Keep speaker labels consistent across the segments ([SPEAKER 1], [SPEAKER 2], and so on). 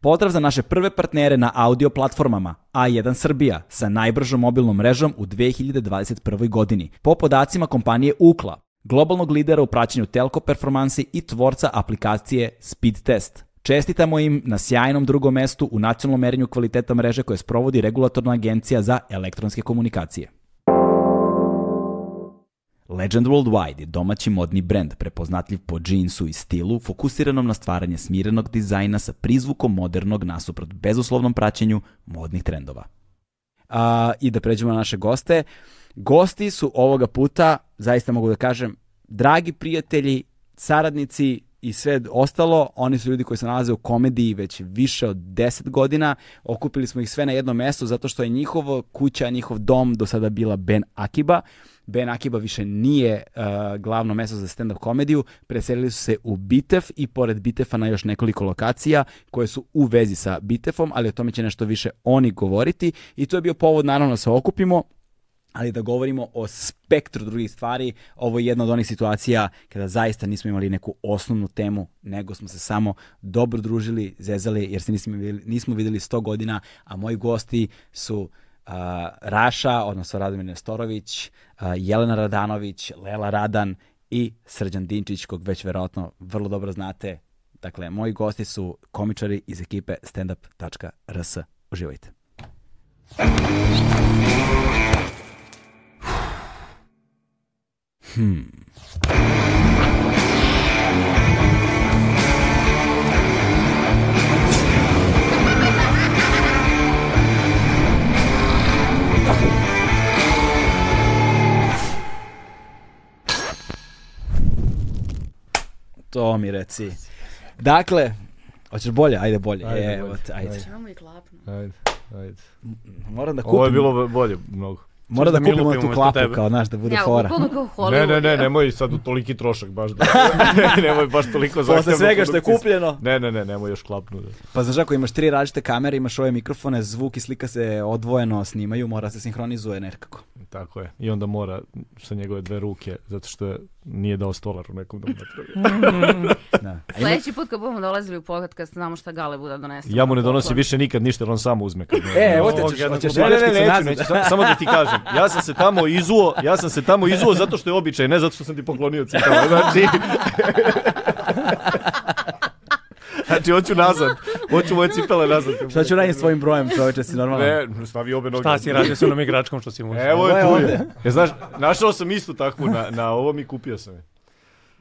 [SPEAKER 1] Pozdrav za naše prve partnere na audio platformama A1 Srbija sa najbržom mobilnom mrežom u 2021. godini. Po podacima kompanije Ukla, globalnog lidera u praćenju telko performansi i tvorca aplikacije Speed Test. Čestitamo im na sjajnom drugom mestu u nacionalnom merenju kvaliteta mreže koje sprovodi Regulatorna agencija za elektronske komunikacije. Legend Worldwide je domaći modni brend prepoznatljiv po džinsu i stilu, fokusiranom na stvaranje smirenog dizajna sa prizvukom modernog nasuprot bezuslovnom praćenju modnih trendova. A, I da pređemo na naše goste. Gosti su ovoga puta, zaista mogu da kažem, dragi prijatelji, saradnici i sve ostalo, oni su ljudi koji se nalaze u komediji već više od 10 godina. Okupili smo ih sve na jedno mesto zato što je njihova kuća, njihov dom do sada bila Ben Akiba. Ben Akiba više nije uh, glavno mesto za stand-up komediju, preselili su se u Bitef i pored Bitefa na još nekoliko lokacija koje su u vezi sa Bitefom, ali o tome će nešto više oni govoriti i to je bio povod naravno da se okupimo ali da govorimo o spektru drugih stvari, ovo je jedna od onih situacija kada zaista nismo imali neku osnovnu temu, nego smo se samo dobro družili, zezali, jer se nismo videli, nismo videli 100 godina, a moji gosti su a, Raša, odnosno Radomir Nestorović, a, Jelena Radanović, Lela Radan i Srđan Dinčić, kog već verovatno vrlo dobro znate. Dakle, moji gosti su komičari iz ekipe standup.rs. Uživajte. To mi reci. Dakle, hoćeš bolje? Ajde bolje.
[SPEAKER 2] Ajde,
[SPEAKER 1] Evo
[SPEAKER 2] bolje.
[SPEAKER 1] te, ajde.
[SPEAKER 2] Ajde.
[SPEAKER 3] Čemu i klapnu?
[SPEAKER 2] Ajde, ajde.
[SPEAKER 1] Moram da kupim.
[SPEAKER 2] Ovo je bilo bolje mnogo.
[SPEAKER 1] Mora da
[SPEAKER 2] da mi
[SPEAKER 1] kupimo
[SPEAKER 2] lupimo
[SPEAKER 1] tu
[SPEAKER 2] umesto
[SPEAKER 1] klapu
[SPEAKER 2] tebe.
[SPEAKER 1] kao, znaš, da bude
[SPEAKER 3] Ja,
[SPEAKER 1] fora.
[SPEAKER 3] bukvalno kao Hollywood.
[SPEAKER 2] Ne, ne, ne,
[SPEAKER 3] ja.
[SPEAKER 2] nemoj sad u toliki trošak baš da. nemoj baš toliko zahtevno.
[SPEAKER 1] Posle svega što je
[SPEAKER 2] produkcijski.
[SPEAKER 1] kupljeno.
[SPEAKER 2] Ne, ne, ne, nemoj još klapnu. Da.
[SPEAKER 1] Pa znaš ako imaš tri različite kamere, imaš ove mikrofone, zvuk i slika se odvojeno snimaju, mora se sinhronizuje nekako.
[SPEAKER 2] Tako je. I onda mora sa njegove dve ruke, zato što je- nije dao stolar u nekom domu.
[SPEAKER 1] Da. A ima-
[SPEAKER 3] Sljedeći put kad budemo dolazili u pogled, kad znamo šta Gale bude donese.
[SPEAKER 2] ja mu ne donosi više nikad ništa, jer on samo uzme. Kad
[SPEAKER 1] E, evo te,
[SPEAKER 2] Ovog
[SPEAKER 1] ćeš-
[SPEAKER 2] jednog-
[SPEAKER 1] hoćeš
[SPEAKER 2] Ne, ne, ne,
[SPEAKER 1] reći
[SPEAKER 2] neću,
[SPEAKER 1] nazad?
[SPEAKER 2] neću, sa- samo da ti kažem. Ja sam se tamo izuo, ja sam se tamo izuo zato što je običaj, ne zato što sam ti poklonio cipele. Znači, znači, hoću nazad. Hoću moje cipele nazad.
[SPEAKER 1] Šta ću raditi s tvojim brojem, čoveče, si normalan?
[SPEAKER 2] Ne, stavi obe noge.
[SPEAKER 4] Šta si radio sa onom igračkom što si mu uzeo?
[SPEAKER 2] Evo je
[SPEAKER 1] Evo
[SPEAKER 2] tu
[SPEAKER 1] je
[SPEAKER 2] je. E, znaš, našao sam istu takvu na, na ovom i kupio sam je.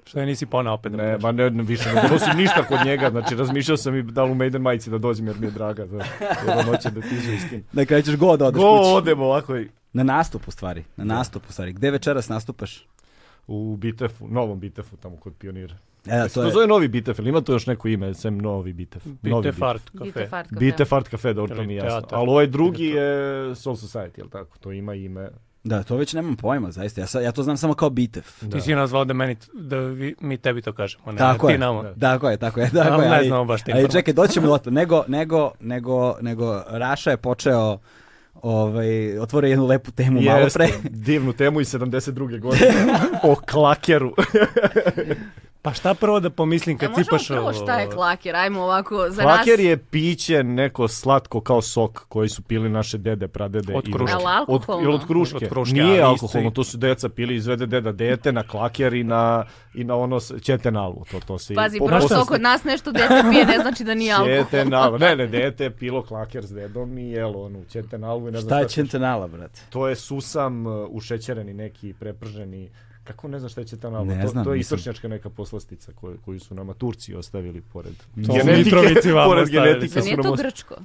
[SPEAKER 4] Što je nisi ponao opet?
[SPEAKER 2] Ne, ma ne, ne, više ne donosim ništa kod njega. Znači, razmišljao sam i da li u Maiden majici da dođem jer mi je draga. Da, jer on hoće da ti izu iskin.
[SPEAKER 1] Na kraju ćeš god da odeš
[SPEAKER 2] Go,
[SPEAKER 1] kući.
[SPEAKER 2] odemo ovako i
[SPEAKER 1] Na nastup u stvari, na nastup u stvari. Gde večeras nastupaš?
[SPEAKER 2] u Bitefu, novom Bitefu tamo kod pionira.
[SPEAKER 1] E, da, to
[SPEAKER 2] To,
[SPEAKER 1] je...
[SPEAKER 2] zove novi Bitef, ili ima tu još neko ime, sem novi Bitef? novi
[SPEAKER 4] Pite fart kafe.
[SPEAKER 3] Bite fart kafe.
[SPEAKER 2] Bitef Art Cafe, dobro, to
[SPEAKER 4] Ili
[SPEAKER 2] nije jasno.
[SPEAKER 4] teatar.
[SPEAKER 2] Ali ovaj drugi je Soul Society, jel tako? To ima ime.
[SPEAKER 1] Da, to već nemam pojma, zaista. Ja, sa- ja to znam samo kao bitev.
[SPEAKER 4] Ti si nazvao da, meni, da vi, mi tebi to kažemo. Ne,
[SPEAKER 1] Tako
[SPEAKER 4] ti
[SPEAKER 1] je,
[SPEAKER 4] nama.
[SPEAKER 1] tako je, tako je, tako je.
[SPEAKER 4] ne
[SPEAKER 1] ali-
[SPEAKER 4] znamo baš te
[SPEAKER 1] Ali
[SPEAKER 4] informacije.
[SPEAKER 1] čekaj, doćemo do toga. Nego, nego, nego, nego, Raša je počeo, ovaj, otvorio jednu lepu temu malo
[SPEAKER 2] Jeste,
[SPEAKER 1] pre.
[SPEAKER 2] divnu temu iz 72. godine o klakeru.
[SPEAKER 4] Pa šta prvo da pomislim kad
[SPEAKER 3] A E, možemo
[SPEAKER 4] cipaš...
[SPEAKER 3] prvo
[SPEAKER 4] ovo-
[SPEAKER 3] šta je klaker, ajmo ovako za
[SPEAKER 2] Klaker
[SPEAKER 3] nas.
[SPEAKER 2] je piće neko slatko kao sok koji su pili naše dede, pradede.
[SPEAKER 4] Od
[SPEAKER 2] E, i-
[SPEAKER 4] kruške.
[SPEAKER 3] Jel
[SPEAKER 2] Od,
[SPEAKER 3] alkoholno?
[SPEAKER 2] jel od kruške.
[SPEAKER 4] Od kruške, ali
[SPEAKER 2] Nije
[SPEAKER 4] isto
[SPEAKER 2] alkoholno,
[SPEAKER 4] i-
[SPEAKER 2] to su deca pili, izvede deda dete na klaker i na, i na ono s- ćetenalvu. To, to Pa se,
[SPEAKER 3] Pazi,
[SPEAKER 2] po-
[SPEAKER 3] prvo
[SPEAKER 2] po-
[SPEAKER 4] šta
[SPEAKER 3] što kod nas nešto dete pije, ne znači da nije alkohol.
[SPEAKER 2] Ćetenalvu. Ne, ne, dete je pilo klaker s dedom i jelo ono, ćetenalvu i ne znam
[SPEAKER 1] Šta je
[SPEAKER 2] će-
[SPEAKER 1] Čentenala, brate?
[SPEAKER 2] To je susam uh, ušećereni neki, preprženi. Kako ne znam šta je ćetenalvu?
[SPEAKER 1] Ne
[SPEAKER 2] to,
[SPEAKER 1] znam,
[SPEAKER 2] to je
[SPEAKER 1] nisam.
[SPEAKER 2] istočnjačka neka poslastica koju, koju su nama Turci ostavili pored
[SPEAKER 4] su
[SPEAKER 2] genetike.
[SPEAKER 4] Mitrovici vama
[SPEAKER 2] pored
[SPEAKER 4] ostavili.
[SPEAKER 2] genetike
[SPEAKER 3] Pa
[SPEAKER 2] su
[SPEAKER 3] nije
[SPEAKER 2] nam
[SPEAKER 3] to
[SPEAKER 2] ostavili.
[SPEAKER 3] grčko.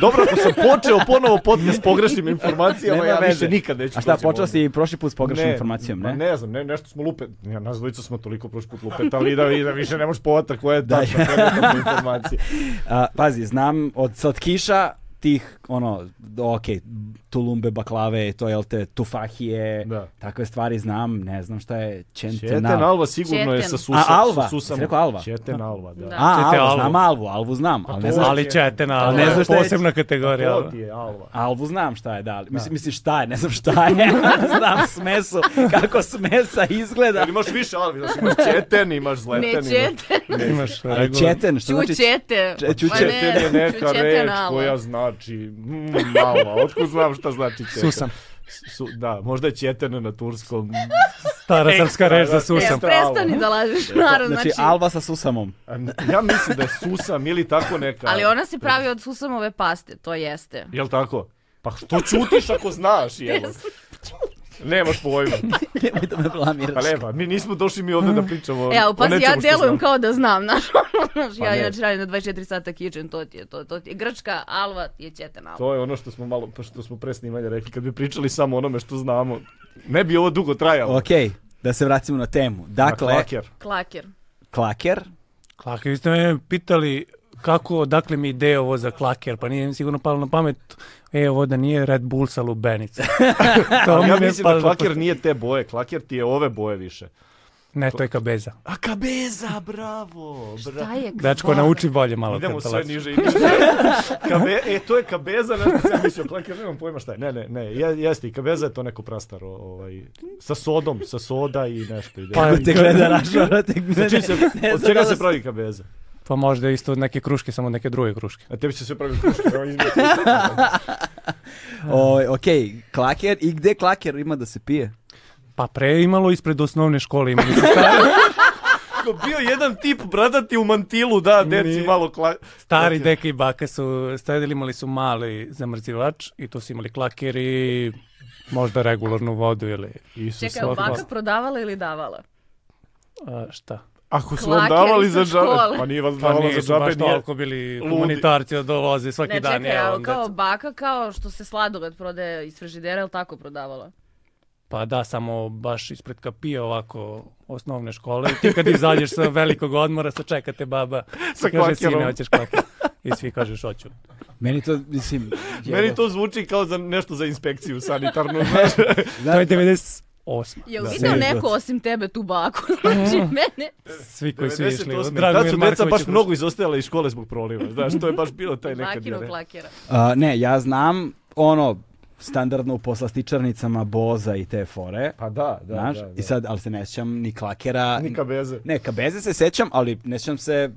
[SPEAKER 2] Dobro, ako sam počeo ponovo podcast s pogrešnim informacijama,
[SPEAKER 1] Nema
[SPEAKER 2] ja
[SPEAKER 1] veze.
[SPEAKER 2] više nikad neću
[SPEAKER 1] A šta,
[SPEAKER 2] doći
[SPEAKER 1] počeo
[SPEAKER 2] ovdje.
[SPEAKER 1] si i prošli put s pogrešnom
[SPEAKER 2] Ne,
[SPEAKER 1] informacijom,
[SPEAKER 2] ma
[SPEAKER 1] ne?
[SPEAKER 2] ne znam, ne, nešto smo lupe, ja, nas dvojica smo toliko prošli put lupetali da, da više ne možeš povata koja je tačna koja je tačna informacija.
[SPEAKER 1] A, pazi, znam od slatkiša tih, ono, ok, tulumbe, baklave, to jel te, tufahije,
[SPEAKER 2] Da.
[SPEAKER 1] takve stvari znam, ne znam šta je
[SPEAKER 2] Četen
[SPEAKER 1] Čentenala.
[SPEAKER 2] Alva sigurno je sa
[SPEAKER 3] Četen.
[SPEAKER 2] susam.
[SPEAKER 1] A, Alva?
[SPEAKER 2] sa susamom.
[SPEAKER 1] Si rekao Alva?
[SPEAKER 2] Četen Alva, da.
[SPEAKER 3] Da.
[SPEAKER 1] A,
[SPEAKER 4] Čete
[SPEAKER 1] Alvu,
[SPEAKER 4] Alvu.
[SPEAKER 1] znam Alvu, Alvu znam, ali ne
[SPEAKER 2] to-
[SPEAKER 1] znam.
[SPEAKER 2] Ali
[SPEAKER 4] Ali ćete na...
[SPEAKER 2] Ali
[SPEAKER 1] ne znaš šta je-
[SPEAKER 4] posebna kategorija.
[SPEAKER 2] To ti je Alva.
[SPEAKER 1] Alvu znam šta je, da, ali mislim, mislim šta je, ne znam šta je, znam smesu, kako smesa izgleda.
[SPEAKER 2] Jer imaš više Alvi, znači imaš Četen, imaš Zleten.
[SPEAKER 3] Pa Ne
[SPEAKER 2] imaš-
[SPEAKER 3] ćete.
[SPEAKER 4] Imaš regular...
[SPEAKER 1] Četen, što znači...
[SPEAKER 3] Čućete.
[SPEAKER 1] Če- čućete
[SPEAKER 3] Ma ne,
[SPEAKER 2] Četen je neka
[SPEAKER 3] čućete
[SPEAKER 2] reč
[SPEAKER 3] nalo.
[SPEAKER 2] koja znači mm, mala. Otko znam šta znači četen.
[SPEAKER 4] Susam.
[SPEAKER 2] Su, da, možda je četen na turskom.
[SPEAKER 4] Stara srpska reč za
[SPEAKER 3] E,
[SPEAKER 4] susam.
[SPEAKER 2] Ekstra.
[SPEAKER 3] prestani da lažeš, narod,
[SPEAKER 1] Znači,
[SPEAKER 3] znači...
[SPEAKER 1] Alva sa Susamom.
[SPEAKER 2] Ja mislim da je susam ili tako neka.
[SPEAKER 3] Ali ona se pravi od susamove paste, to jeste.
[SPEAKER 2] Jel tako? Pa što čutiš ako znaš, jel? Nemaš pojma.
[SPEAKER 1] Nemoj da me blamiraš.
[SPEAKER 2] Pa nema, mi nismo došli mi ovde da pričamo o,
[SPEAKER 3] E, ali
[SPEAKER 2] o
[SPEAKER 3] pazi, ja
[SPEAKER 2] nečemu što
[SPEAKER 3] delujem
[SPEAKER 2] znam.
[SPEAKER 3] kao da znam, znaš, ono, znaš,
[SPEAKER 2] Pa
[SPEAKER 3] ja
[SPEAKER 2] ne.
[SPEAKER 3] inače radim na 24 sata kitchen, to ti je, to, to ti je. Grčka alva je ćete alva.
[SPEAKER 2] To je ono što smo malo, pa što smo pre snimanja rekli, kad bi pričali samo o onome što znamo, ne bi ovo dugo trajalo.
[SPEAKER 1] Ok, da se vratimo na temu.
[SPEAKER 2] Na
[SPEAKER 1] Dakle,
[SPEAKER 2] klaker.
[SPEAKER 3] Klaker.
[SPEAKER 1] klaker.
[SPEAKER 4] Klaker, vi ste me pitali kako, odakle mi ideja ovo za klaker, pa nije mi sigurno palo na pamet, e, ovo da nije Red Bull sa lubenicom. to mi
[SPEAKER 2] Ja
[SPEAKER 4] je
[SPEAKER 2] mislim
[SPEAKER 4] palo
[SPEAKER 2] da
[SPEAKER 4] na
[SPEAKER 2] klaker
[SPEAKER 4] pamet.
[SPEAKER 2] nije te boje, klaker ti je ove boje više.
[SPEAKER 4] Ne, to je kabeza.
[SPEAKER 2] A kabeza, bravo, bravo.
[SPEAKER 3] Šta je
[SPEAKER 4] Dačko, nauči bolje malo.
[SPEAKER 2] Idemo
[SPEAKER 4] kad to
[SPEAKER 2] sve
[SPEAKER 4] laziš.
[SPEAKER 2] niže i niže. Kabe, e, to je kabeza, ne znam, ja mislio, klaker, nemam pojma šta je. Ne, ne, ne, ja, jeste, i kabeza je to neko prastaro, ovaj, sa sodom, sa soda i nešto. Ide.
[SPEAKER 4] Pa,
[SPEAKER 1] Ko te gleda rašo, te gleda.
[SPEAKER 2] Čim se,
[SPEAKER 1] ne
[SPEAKER 2] od
[SPEAKER 1] znam
[SPEAKER 2] čega
[SPEAKER 1] da
[SPEAKER 2] se
[SPEAKER 1] li-
[SPEAKER 2] pravi kabeza?
[SPEAKER 4] Pa možda isto od neke kruške, samo od neke druge kruške.
[SPEAKER 2] A tebi se sve pravi kruške, evo između.
[SPEAKER 1] O, ok, klaker. I gde klaker ima da se pije?
[SPEAKER 4] Pa pre je imalo ispred osnovne škole imali su stari,
[SPEAKER 2] Ko bio jedan tip, bradati u mantilu, da, deci
[SPEAKER 4] Mi-
[SPEAKER 2] malo kla...
[SPEAKER 4] stari
[SPEAKER 2] klaker.
[SPEAKER 4] deka i baka su stavili, imali su mali zamrzivač i tu su imali klaker i možda regularnu vodu ili
[SPEAKER 2] Isus.
[SPEAKER 3] Čekaj, je li
[SPEAKER 4] Svaka
[SPEAKER 3] baka
[SPEAKER 4] čast.
[SPEAKER 3] prodavala ili davala?
[SPEAKER 4] a, šta.
[SPEAKER 2] Ako su
[SPEAKER 3] Klaker
[SPEAKER 2] vam davali
[SPEAKER 3] ispred
[SPEAKER 2] za
[SPEAKER 3] škole.
[SPEAKER 2] džabe, pa nije vas
[SPEAKER 4] Pa
[SPEAKER 2] davala
[SPEAKER 4] nije
[SPEAKER 2] za
[SPEAKER 4] su baš
[SPEAKER 2] džabe, nije.
[SPEAKER 4] toliko bili
[SPEAKER 2] ludi.
[SPEAKER 4] humanitarci da dolaze svaki
[SPEAKER 3] Ne,
[SPEAKER 4] dan.
[SPEAKER 3] čekaj,
[SPEAKER 4] evo,
[SPEAKER 3] ali kao
[SPEAKER 4] deca.
[SPEAKER 3] baka, kao što se sladoled prodaje iz frižidera, ili tako prodavala?
[SPEAKER 4] Pa da, samo baš ispred kapije ovako osnovne škole i ti kad izađeš sa velikog odmora, se čekate baba.
[SPEAKER 2] Sa
[SPEAKER 4] kaže, sine,
[SPEAKER 2] klakerom."
[SPEAKER 4] hoćeš klaker. I svi kažeš, hoću.
[SPEAKER 1] Meni to, mislim...
[SPEAKER 2] Meni to zvuči kao za nešto za inspekciju sanitarnu, znaš.
[SPEAKER 4] To je 98.
[SPEAKER 3] Jel
[SPEAKER 1] Da.
[SPEAKER 3] video
[SPEAKER 1] Svijet.
[SPEAKER 3] neko osim tebe tu baku? Znači, mene...
[SPEAKER 4] Svi koji su išli.
[SPEAKER 2] 98.
[SPEAKER 4] od
[SPEAKER 2] Tad
[SPEAKER 4] Dragomir
[SPEAKER 2] su deca
[SPEAKER 4] Marković
[SPEAKER 2] baš
[SPEAKER 4] je
[SPEAKER 2] mnogo izostajala iz škole zbog proliva, znaš, to je baš bilo taj nekad.
[SPEAKER 3] Bakinu
[SPEAKER 2] jer-
[SPEAKER 3] klakera.
[SPEAKER 1] A, ne, ja znam ono standardno u poslastičarnicama boza i te fore.
[SPEAKER 2] Pa da, da,
[SPEAKER 1] znaš,
[SPEAKER 2] da, da.
[SPEAKER 1] i sad, ali se ne sjećam ni klakera.
[SPEAKER 2] Ni kabeze.
[SPEAKER 1] Ne, kabeze se sjećam, ali ne sjećam se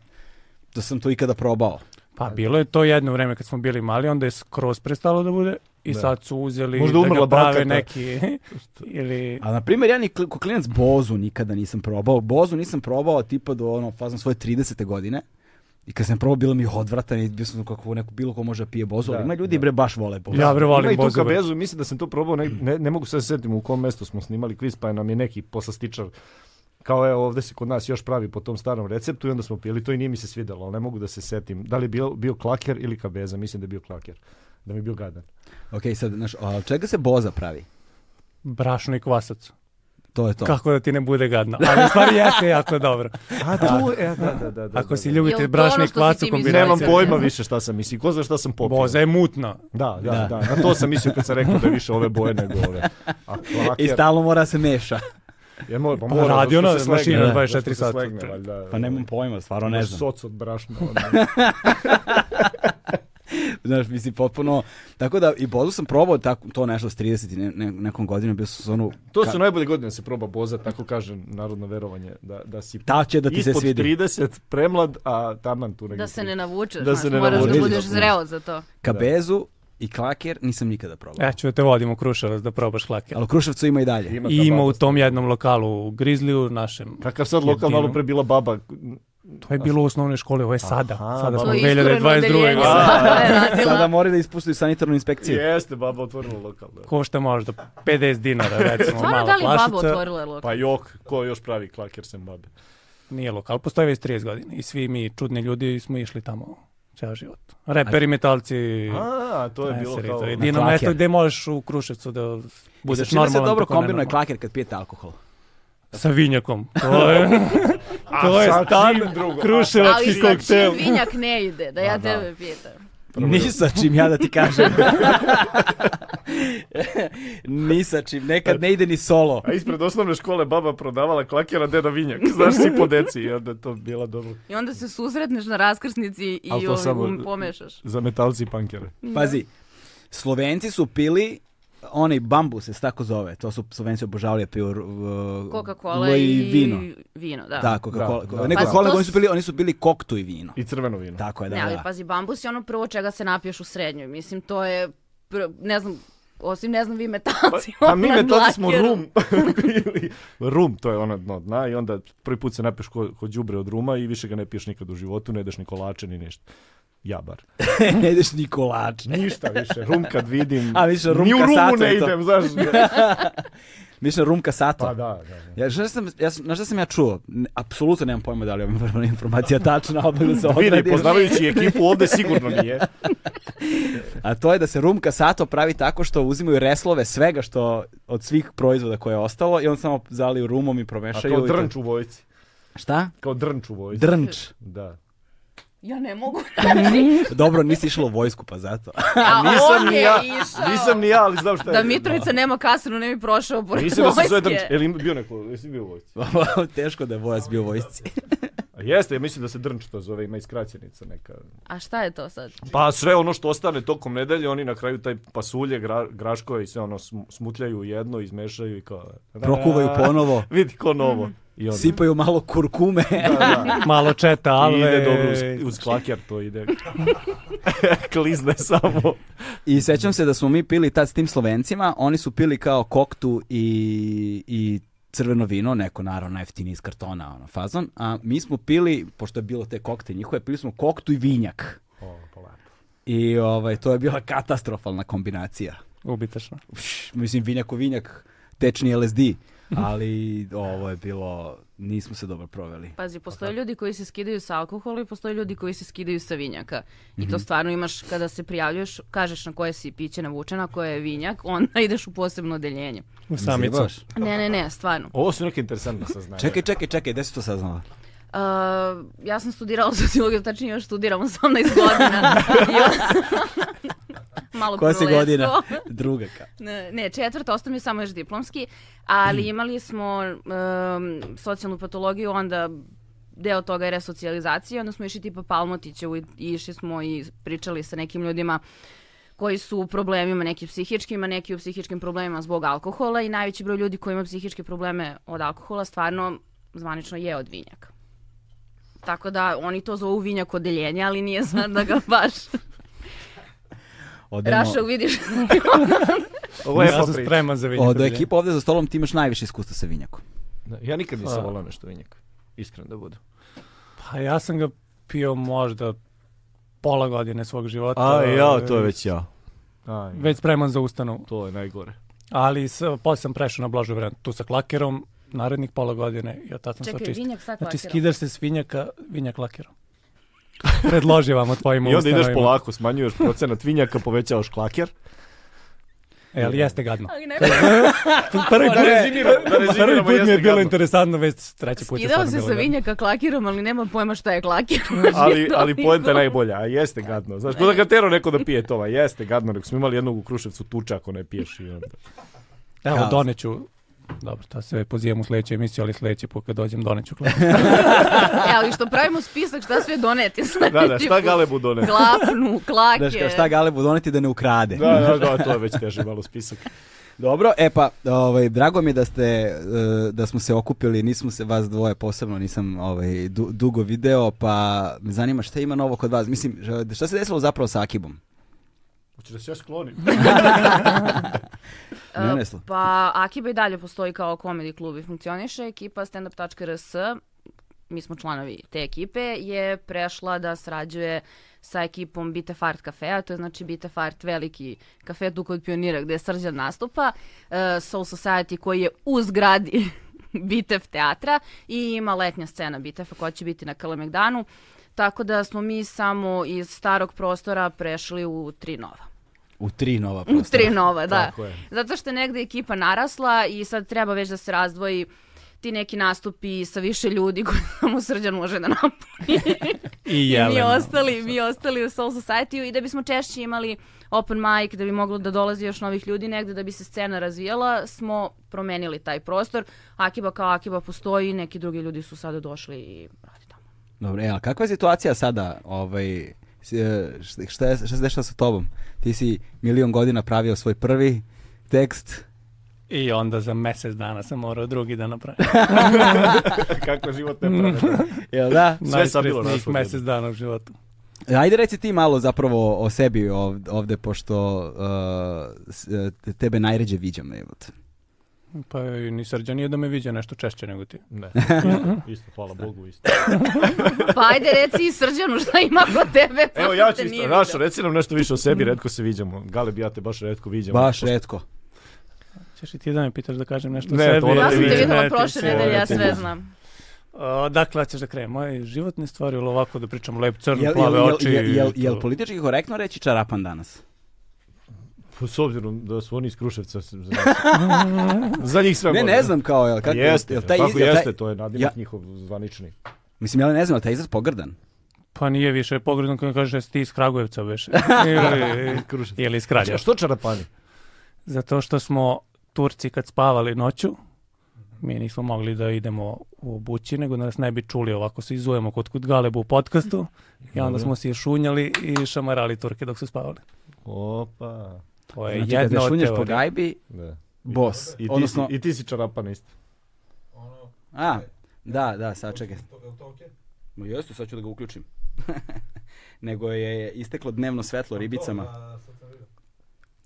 [SPEAKER 1] da sam to ikada probao.
[SPEAKER 4] Pa bilo je to jedno vreme kad smo bili mali, onda je skroz prestalo da bude i
[SPEAKER 2] Da.
[SPEAKER 4] sad su uzeli
[SPEAKER 2] Možda
[SPEAKER 4] da
[SPEAKER 2] umrla
[SPEAKER 4] ga
[SPEAKER 2] baka,
[SPEAKER 4] prave
[SPEAKER 2] da.
[SPEAKER 4] neki ili
[SPEAKER 1] A na primjer, ja ni kl- ko klinac bozu nikada nisam probao. Bozu nisam probao tipa do ono, fazom svoje 30. godine. I kad sam probao, bilo mi je odvratan i bio sam ono, kako neko, bilo ko može da pije bozu, ali
[SPEAKER 2] Da,
[SPEAKER 1] ima ljudi
[SPEAKER 2] da.
[SPEAKER 1] bre baš vole bozu.
[SPEAKER 4] ja bre
[SPEAKER 2] Ima i
[SPEAKER 4] volim
[SPEAKER 2] tu
[SPEAKER 4] bozove.
[SPEAKER 2] kabezu, mislim da sam to probao, ne, ne, ne mogu sad sjetiti u kom mestu smo snimali kviz, pa je nam je neki poslastičar kao evo ovde se kod nas još pravi po tom starom receptu i onda smo pili to i nije mi se svidelo, ali ne mogu da se setim. Da li je bio, bio klaker ili kabeza, mislim da je bio klaker, da mi je bio gadan.
[SPEAKER 1] Ok, sad, znaš, a od čega se boza pravi?
[SPEAKER 4] Brašno i kvasac.
[SPEAKER 1] To je to.
[SPEAKER 4] Kako da ti ne bude gadno. Ali u stvari jeste jako dobro.
[SPEAKER 2] A tu, e, da, da, da. da
[SPEAKER 4] Ako si
[SPEAKER 3] Jel to
[SPEAKER 4] ljubitelj
[SPEAKER 3] ono
[SPEAKER 4] brašna
[SPEAKER 3] što
[SPEAKER 4] i
[SPEAKER 3] si ti
[SPEAKER 4] kvasac u
[SPEAKER 3] mislila?
[SPEAKER 4] kombinaciji.
[SPEAKER 2] Nemam
[SPEAKER 3] Znači,
[SPEAKER 2] pojma
[SPEAKER 3] ne.
[SPEAKER 2] više šta sam mislio, ko zna šta sam popio.
[SPEAKER 4] Boza je mutna.
[SPEAKER 2] Da, da,
[SPEAKER 1] Da.
[SPEAKER 2] da, Na to sam mislio kad sam rekao da je više ove boje nego ove. A
[SPEAKER 1] I
[SPEAKER 2] klaker,
[SPEAKER 1] stalno mora da se meša.
[SPEAKER 2] jer mora, pa
[SPEAKER 4] Pa
[SPEAKER 2] mora,
[SPEAKER 4] radi
[SPEAKER 2] zašto
[SPEAKER 4] ona
[SPEAKER 2] se slegne,
[SPEAKER 4] mašina
[SPEAKER 2] da,
[SPEAKER 4] 24
[SPEAKER 2] zašto se
[SPEAKER 4] sata.
[SPEAKER 2] slegne, valjda.
[SPEAKER 1] Pa nemam pojma, stvarno ne
[SPEAKER 2] Imaš
[SPEAKER 1] znam.
[SPEAKER 2] Soc od brašna. ono.
[SPEAKER 1] Znaš, mislim, potpuno... Tako da, i bozu sam probao tako, to nešto s 30 i ne, ne- nekom godinom, bio sam ono...
[SPEAKER 2] To su najbolje godine da se proba boza, tako kaže narodno verovanje, da, da si
[SPEAKER 1] Ta će da ti se
[SPEAKER 2] ispod
[SPEAKER 1] svidi.
[SPEAKER 2] 30, premlad, a taman tu negdje.
[SPEAKER 3] Da se ne navučeš,
[SPEAKER 2] Da
[SPEAKER 3] da
[SPEAKER 2] se ne Ono,
[SPEAKER 3] moraš da
[SPEAKER 1] navučeš.
[SPEAKER 3] budeš zreo za to.
[SPEAKER 1] Kabezu i klaker nisam nikada probao.
[SPEAKER 4] Ja ću da E, te vodim u Kruševac da probaš klaker.
[SPEAKER 1] Ali u Kruševcu ima i dalje.
[SPEAKER 2] Ima ta
[SPEAKER 4] I ima u
[SPEAKER 2] baba.
[SPEAKER 4] tom jednom lokalu u Grizliju, našem.
[SPEAKER 2] Kakav sad lokal
[SPEAKER 4] Jedino.
[SPEAKER 2] malo pre bila baba.
[SPEAKER 4] To je bilo u osnovnoj školi, ovo je sada.
[SPEAKER 2] Aha,
[SPEAKER 4] sada
[SPEAKER 2] To
[SPEAKER 3] To
[SPEAKER 4] smo u
[SPEAKER 3] je iskureno
[SPEAKER 4] 2022.
[SPEAKER 3] odeljenje
[SPEAKER 4] godine.
[SPEAKER 3] slava je
[SPEAKER 1] Sada
[SPEAKER 3] radila.
[SPEAKER 1] moraju da ispuštaju sanitarnu inspekciju.
[SPEAKER 2] Jeste, baba otvorila lokal. Da.
[SPEAKER 4] Košta možda 50 dinara, recimo,
[SPEAKER 3] Stvarno, da
[SPEAKER 4] mala
[SPEAKER 3] li je baba
[SPEAKER 4] plašica.
[SPEAKER 3] otvorila lokal?
[SPEAKER 2] Pa jok, ko još pravi klaker sem babe?
[SPEAKER 4] Nije lokal, postoji već 30 godina i svi mi čudni ljudi smo išli tamo ceo život. Reperi, metalci,
[SPEAKER 2] Znači- A, to je bilo
[SPEAKER 4] meseri,
[SPEAKER 2] kao...
[SPEAKER 4] to je jedino
[SPEAKER 1] klaker.
[SPEAKER 4] mesto gde možeš u Kruševcu da
[SPEAKER 1] Sa
[SPEAKER 4] budeš
[SPEAKER 1] čime
[SPEAKER 4] normalan.
[SPEAKER 1] se dobro
[SPEAKER 4] tako ne
[SPEAKER 1] kombinuje
[SPEAKER 4] normalan.
[SPEAKER 1] klaker kad pijete alkohol?
[SPEAKER 4] Sa vinjakom. To je, to
[SPEAKER 2] A
[SPEAKER 4] je
[SPEAKER 2] sa
[SPEAKER 4] stan
[SPEAKER 2] čim drugo?
[SPEAKER 3] Ali
[SPEAKER 4] Kruševački
[SPEAKER 3] sa
[SPEAKER 4] koktel.
[SPEAKER 3] čim vinjak ne ide, da
[SPEAKER 2] Pa
[SPEAKER 3] ja
[SPEAKER 2] da.
[SPEAKER 3] tebe pitam.
[SPEAKER 2] Prvo je-
[SPEAKER 1] Ni sa čim ja da ti kažem. Ni sa čim, nekad ne ide ni solo.
[SPEAKER 2] A ispred osnovne škole baba prodavala klakera deda vinjak. Znaš, si po deci i onda je to bila dobro.
[SPEAKER 3] I onda se susretneš na raskrsnici i
[SPEAKER 2] Ali to
[SPEAKER 3] ovaj,
[SPEAKER 2] samo-
[SPEAKER 3] um, pomešaš.
[SPEAKER 2] Za metalci i pankere.
[SPEAKER 1] Pazi, Slovenci su pili onaj bambus se tako zove, to su Slovenci obožavali, pio
[SPEAKER 3] Coca-Cola i
[SPEAKER 1] vino.
[SPEAKER 3] vino, da.
[SPEAKER 1] Da, Coca-Cola.
[SPEAKER 2] Da, da.
[SPEAKER 1] Ne,
[SPEAKER 3] Pa
[SPEAKER 1] Coca-Cola,
[SPEAKER 3] to
[SPEAKER 1] nego oni
[SPEAKER 3] s-
[SPEAKER 1] su bili, oni su bili koktu i vino.
[SPEAKER 2] I crveno vino.
[SPEAKER 1] Tako je, E, da,
[SPEAKER 3] ne, ali
[SPEAKER 1] da.
[SPEAKER 3] pazi, bambus je ono prvo čega se napiješ u srednjoj. Mislim, to je, pr- ne znam, osim ne znam vi metalci.
[SPEAKER 2] Pa mi
[SPEAKER 3] ono,
[SPEAKER 2] metodi smo
[SPEAKER 3] lakeru.
[SPEAKER 2] rum. Ili rum, to je ono dno dna i onda prvi put se napiješ ko, ko đubre od ruma i više ga ne piješ nikad u životu, ne jedeš ni kolače ni ništa. Ja bar.
[SPEAKER 1] ne jedeš ni kolače.
[SPEAKER 2] Ništa više. Rum kad vidim.
[SPEAKER 1] A, više rum
[SPEAKER 2] Ni u
[SPEAKER 1] kad
[SPEAKER 2] rumu
[SPEAKER 1] sato
[SPEAKER 2] ne
[SPEAKER 1] je to.
[SPEAKER 2] idem, znaš.
[SPEAKER 1] Miš na rumka sato.
[SPEAKER 2] Pa da, da. da.
[SPEAKER 1] Ja, znaš šta sam, ja, sam- znaš šta sam ja čuo? Ne, apsolutno nemam pojma da li je ova informacija tačna, odmah da se
[SPEAKER 2] Vidi,
[SPEAKER 1] ogradim.
[SPEAKER 2] poznavajući ekipu ovde sigurno nije.
[SPEAKER 1] A to je da se rumka sato pravi tako što uzimaju reslove svega što od svih proizvoda koje je ostalo i on samo zaliju rumom i
[SPEAKER 2] A
[SPEAKER 1] promešaju.
[SPEAKER 2] kao
[SPEAKER 1] i to-
[SPEAKER 2] drnč u vojci.
[SPEAKER 1] Šta?
[SPEAKER 2] Kao drnč u vojci.
[SPEAKER 1] Drnč.
[SPEAKER 2] Da.
[SPEAKER 3] Ja ne mogu.
[SPEAKER 1] Dobro, nisi išlo u vojsku pa zato.
[SPEAKER 3] A
[SPEAKER 2] Nisam
[SPEAKER 3] on
[SPEAKER 2] ni
[SPEAKER 3] je
[SPEAKER 2] ja,
[SPEAKER 3] išao.
[SPEAKER 2] nisam ni ja, ali znam šta je.
[SPEAKER 3] Da Mitrovica nema kasinu, ne bi prošao pored
[SPEAKER 2] Mislim da se zove drnč.
[SPEAKER 3] vojske.
[SPEAKER 2] Jel ima bio neko, jesi bio u vojci?
[SPEAKER 1] Teško da je vojac bio u vojsci.
[SPEAKER 2] Pa- A jeste, ja mislim da se drnč to zove, ima i skraćenica neka.
[SPEAKER 3] A šta je to sad?
[SPEAKER 2] Pa sve ono što ostane tokom nedelje, oni na kraju taj pasulje, gra, graškove i sve ono sm- smutljaju u jedno, izmešaju i kao...
[SPEAKER 1] Prokuvaju
[SPEAKER 4] ono-
[SPEAKER 1] ponovo,
[SPEAKER 2] Vidi ko novo. I onda.
[SPEAKER 1] sipaju malo kurkume.
[SPEAKER 4] Malo četa,
[SPEAKER 2] I
[SPEAKER 4] ali...
[SPEAKER 2] ide dobro uz, uz klaker to ide. Klizne samo.
[SPEAKER 1] I sećam se da smo mi pili tad s tim Slovencima, oni su pili kao koktu i, i crveno vino, neko naravno najeftinije iz kartona, ono, fazon, a mi smo pili, pošto je bilo te kokte njihove, pili smo koktu i vinjak.
[SPEAKER 2] O, polako.
[SPEAKER 1] I ovaj, to je bila katastrofalna kombinacija.
[SPEAKER 4] Ubitačno.
[SPEAKER 1] Uš, mislim, vinjak u vinjak, tečni LSD, ali ovo je bilo, nismo se dobro proveli.
[SPEAKER 3] Pazi,
[SPEAKER 2] Pa
[SPEAKER 3] postoje ljudi koji se skidaju sa alkohola i postoje ljudi koji se skidaju sa vinjaka. I
[SPEAKER 2] Mhm.
[SPEAKER 3] to stvarno imaš kada se prijavljuješ, kažeš na koje si piće navučena, koje je vinjak, onda ideš u posebno odeljenje.
[SPEAKER 4] U samicu.
[SPEAKER 1] Zjebaš?
[SPEAKER 2] Pa
[SPEAKER 3] Ne, ne, ne, stvarno.
[SPEAKER 2] Ovo su neke interesantne saznanja.
[SPEAKER 1] Čekaj, čekaj, čekaj, gde si to saznala?
[SPEAKER 3] Uh, ja sam studirala sociologiju, tačnije još studiram 18 godina. I on- Malo
[SPEAKER 1] Koja si
[SPEAKER 3] prolesko.
[SPEAKER 1] godina? Druga kao.
[SPEAKER 3] Ne, ne, četvrta, ostao mi je samo još diplomski, ali imali smo em, socijalnu patologiju, onda deo toga je resocijalizacija, onda smo išli tipa Palmotićevu i išli smo i pričali sa nekim ljudima koji su u problemima neki psihičkim, a neki u psihičkim problemima zbog alkohola i najveći broj ljudi koji ima psihičke probleme od alkohola stvarno zvanično je od vinjaka. Tako da oni to zovu vinjak odeljenje, ali nije sad da ga baš
[SPEAKER 1] Odemo-
[SPEAKER 3] Rašel vidiš.
[SPEAKER 2] Ovo je
[SPEAKER 4] ja sam
[SPEAKER 2] priča.
[SPEAKER 4] spreman za vinjak.
[SPEAKER 1] Od ekipa ovde za stolom ti imaš najviše iskustva sa vinjakom.
[SPEAKER 2] Da, Ja nikad nisam
[SPEAKER 4] Pa.
[SPEAKER 2] volao nešto vinjaka. Iskren da budu.
[SPEAKER 4] Pa ja sam ga pio možda pola godine svog života.
[SPEAKER 2] ja. Aj,
[SPEAKER 4] Već spreman za ustanovu.
[SPEAKER 2] to je najgore.
[SPEAKER 4] Ali s, posle sam prešao na blažu varijantu. Tu sa klakerom, narednih pola godine i od tad sam
[SPEAKER 3] Čekaj,
[SPEAKER 4] to čistio.
[SPEAKER 3] vinjak sa
[SPEAKER 4] Znači,
[SPEAKER 3] klakerom.
[SPEAKER 4] skidaš se s vinjaka, vinjak lakerom. Predloži vam o tvojim
[SPEAKER 2] I onda ideš
[SPEAKER 4] ustanovima.
[SPEAKER 2] polako, smanjuješ procenat vinjaka, povećavaš klaker.
[SPEAKER 4] E, ali jeste gadno.
[SPEAKER 3] Ali ne
[SPEAKER 4] Prvi
[SPEAKER 2] Da rezimiramo,
[SPEAKER 1] Pa
[SPEAKER 2] da
[SPEAKER 4] Prvi
[SPEAKER 2] rezimiramo,
[SPEAKER 4] put mi je
[SPEAKER 2] jeste
[SPEAKER 4] bilo
[SPEAKER 2] gadno.
[SPEAKER 4] interesantno, već treći put je
[SPEAKER 3] Skidao
[SPEAKER 4] stvarno
[SPEAKER 3] se
[SPEAKER 4] bilo
[SPEAKER 3] sa
[SPEAKER 4] gadno.
[SPEAKER 3] vinjaka klakirom, ali nemam pojma šta je klakir.
[SPEAKER 2] Ali, ali poenta je najbolja, a jeste gadno. Znaš, kod da ga tero neko da pije tova, jeste gadno, nego smo imali jednog u Kruševcu tuča ako ne piješ. I onda.
[SPEAKER 4] Evo,
[SPEAKER 1] Kaos.
[SPEAKER 4] doneću, dobro, to sve pozivam u sledeću emisiju, ali sledeći put kad dođem doneću kladu.
[SPEAKER 3] E, ali što pravimo spisak šta sve doneti. Znači,
[SPEAKER 2] Da, da, šta Galebu done?
[SPEAKER 3] Klapnu, klake.
[SPEAKER 1] Znaš, kao, šta Galebu doneti da ne ukrade.
[SPEAKER 2] Da, da, da, to je već teže malo spisak.
[SPEAKER 1] Dobro, e pa, ovaj, drago mi je da ste, e, da smo se okupili, nismo se vas dvoje posebno, nisam ovaj, du- dugo video, pa me zanima šta ima novo kod vas. Mislim, ž- šta se desilo zapravo sa Akibom?
[SPEAKER 2] Hoćeš da se ja sklonim?
[SPEAKER 1] Ne,
[SPEAKER 3] E,
[SPEAKER 1] ne sla-
[SPEAKER 3] Pa, Akiba i dalje postoji kao komedi klub i funkcioniše. Ekipa standup.rs, mi smo članovi te ekipe, je prešla da srađuje sa ekipom Bite Fart kafea, to je znači Bite Fart veliki kafe tu kod pionira gde je srđan nastupa, e, Soul Society koji je u zgradi Bitev teatra i ima letnja scena Bitefa koja će biti na Kalemegdanu, tako da smo mi samo iz starog prostora prešli u tri nova.
[SPEAKER 1] U tri nova
[SPEAKER 3] U
[SPEAKER 1] prostora.
[SPEAKER 3] tri nova, da.
[SPEAKER 2] Tako je.
[SPEAKER 3] Zato što je negde ekipa narasla i sad treba već da se razdvoji ti neki nastupi sa više ljudi koji samo srđan može da napuni. I
[SPEAKER 4] I
[SPEAKER 3] mi
[SPEAKER 4] Jelena.
[SPEAKER 3] ostali, mi ostali u Soul Society i da bismo češće imali open mic, da bi moglo da dolazi još novih ljudi negde, da bi se scena razvijala, smo promenili taj prostor. Akiba kao Akiba postoji, neki drugi ljudi su sada došli i radi tamo.
[SPEAKER 1] Dobro, e, ali kakva je situacija sada? Ovaj, s- e, šta, šta, je- šta se dešava sa tobom? Ti si milion godina pravio svoj prvi, tekst.
[SPEAKER 4] I onda za mjesec dana sam morao drugi da napravim.
[SPEAKER 2] Kakva životna pravda.
[SPEAKER 1] Jel da?
[SPEAKER 2] Sve sam bilo
[SPEAKER 4] Najstresnijih
[SPEAKER 2] našlo.
[SPEAKER 4] mjesec dana u životu.
[SPEAKER 1] E, Ajde reci ti malo zapravo o sebi ovde, ovde pošto uh, s- eh, tebe najređe viđam. evo te.
[SPEAKER 4] Pa i ni srđan nije da me viđa nešto češće nego ti.
[SPEAKER 2] Ne, isto, hvala Bogu, isto.
[SPEAKER 3] Pa ajde reci i Srđanu šta ima kod tebe.
[SPEAKER 2] Evo
[SPEAKER 3] pošto
[SPEAKER 2] ja ću
[SPEAKER 3] te
[SPEAKER 2] isto,
[SPEAKER 3] nije
[SPEAKER 2] Rašo,
[SPEAKER 3] vidio.
[SPEAKER 2] reci nam nešto više o sebi, redko se viđamo. Galeb i ja te baš redko viđamo.
[SPEAKER 1] Baš
[SPEAKER 2] Pošto-
[SPEAKER 1] retko.
[SPEAKER 4] Ćeš i ti da me pitaš da kažem nešto
[SPEAKER 2] Ne,
[SPEAKER 4] o
[SPEAKER 2] to
[SPEAKER 4] sebi?
[SPEAKER 2] ona
[SPEAKER 3] Ja
[SPEAKER 2] te
[SPEAKER 3] sam te
[SPEAKER 2] viđa.
[SPEAKER 3] videla
[SPEAKER 4] Ne, ti
[SPEAKER 3] prošle
[SPEAKER 4] si-
[SPEAKER 3] nedelje, ja
[SPEAKER 2] ti
[SPEAKER 3] sve
[SPEAKER 2] viđa.
[SPEAKER 3] znam.
[SPEAKER 4] O, dakle, hoćeš da krenem. Moje životne stvari ili ovako da pričam lep crn,
[SPEAKER 1] Jel, jel,
[SPEAKER 4] plave
[SPEAKER 1] jel,
[SPEAKER 4] oči.
[SPEAKER 1] jel,
[SPEAKER 4] i
[SPEAKER 1] jel,
[SPEAKER 4] to?
[SPEAKER 1] jel politički korektno reći čarapan danas?
[SPEAKER 2] S obzirom da su oni iz Kruševca, s- za, za njih sve
[SPEAKER 1] Ne,
[SPEAKER 2] može.
[SPEAKER 1] ne znam kao, jel, kako,
[SPEAKER 2] jeste,
[SPEAKER 1] jel taj,
[SPEAKER 2] tako
[SPEAKER 1] jel taj-
[SPEAKER 2] jeste, to je nadimak
[SPEAKER 1] Ja-
[SPEAKER 2] njihov zvanični.
[SPEAKER 1] Mislim, jel ne znam, jel taj izraz pogrdan?
[SPEAKER 4] Pa nije više pogredno kada kažeš jesi ti iz Kragujevca već.
[SPEAKER 1] E,
[SPEAKER 4] ili,
[SPEAKER 2] Kruševca.
[SPEAKER 4] ili iz Kralja.
[SPEAKER 2] A što čarapani?
[SPEAKER 4] Zato što smo Turci kad spavali noću, mi nismo mogli da idemo u obući, nego da nas ne bi čuli ovako se izujemo kod kod Galebu u podcastu i onda smo se šunjali i šamarali Turke dok su spavali.
[SPEAKER 2] Opa.
[SPEAKER 4] To Pa je
[SPEAKER 1] Znači,
[SPEAKER 4] jedna
[SPEAKER 1] kada
[SPEAKER 4] od
[SPEAKER 1] šunješ po
[SPEAKER 4] teorija.
[SPEAKER 1] gajbi,
[SPEAKER 2] Da.
[SPEAKER 1] bos.
[SPEAKER 2] I ti,
[SPEAKER 1] Odnosno,
[SPEAKER 2] si, I ti si čarapan isto.
[SPEAKER 1] a, da, da, sad čekaj. Ma jeste, sad ću da ga uključim. Nego je isteklo dnevno svetlo ribicama.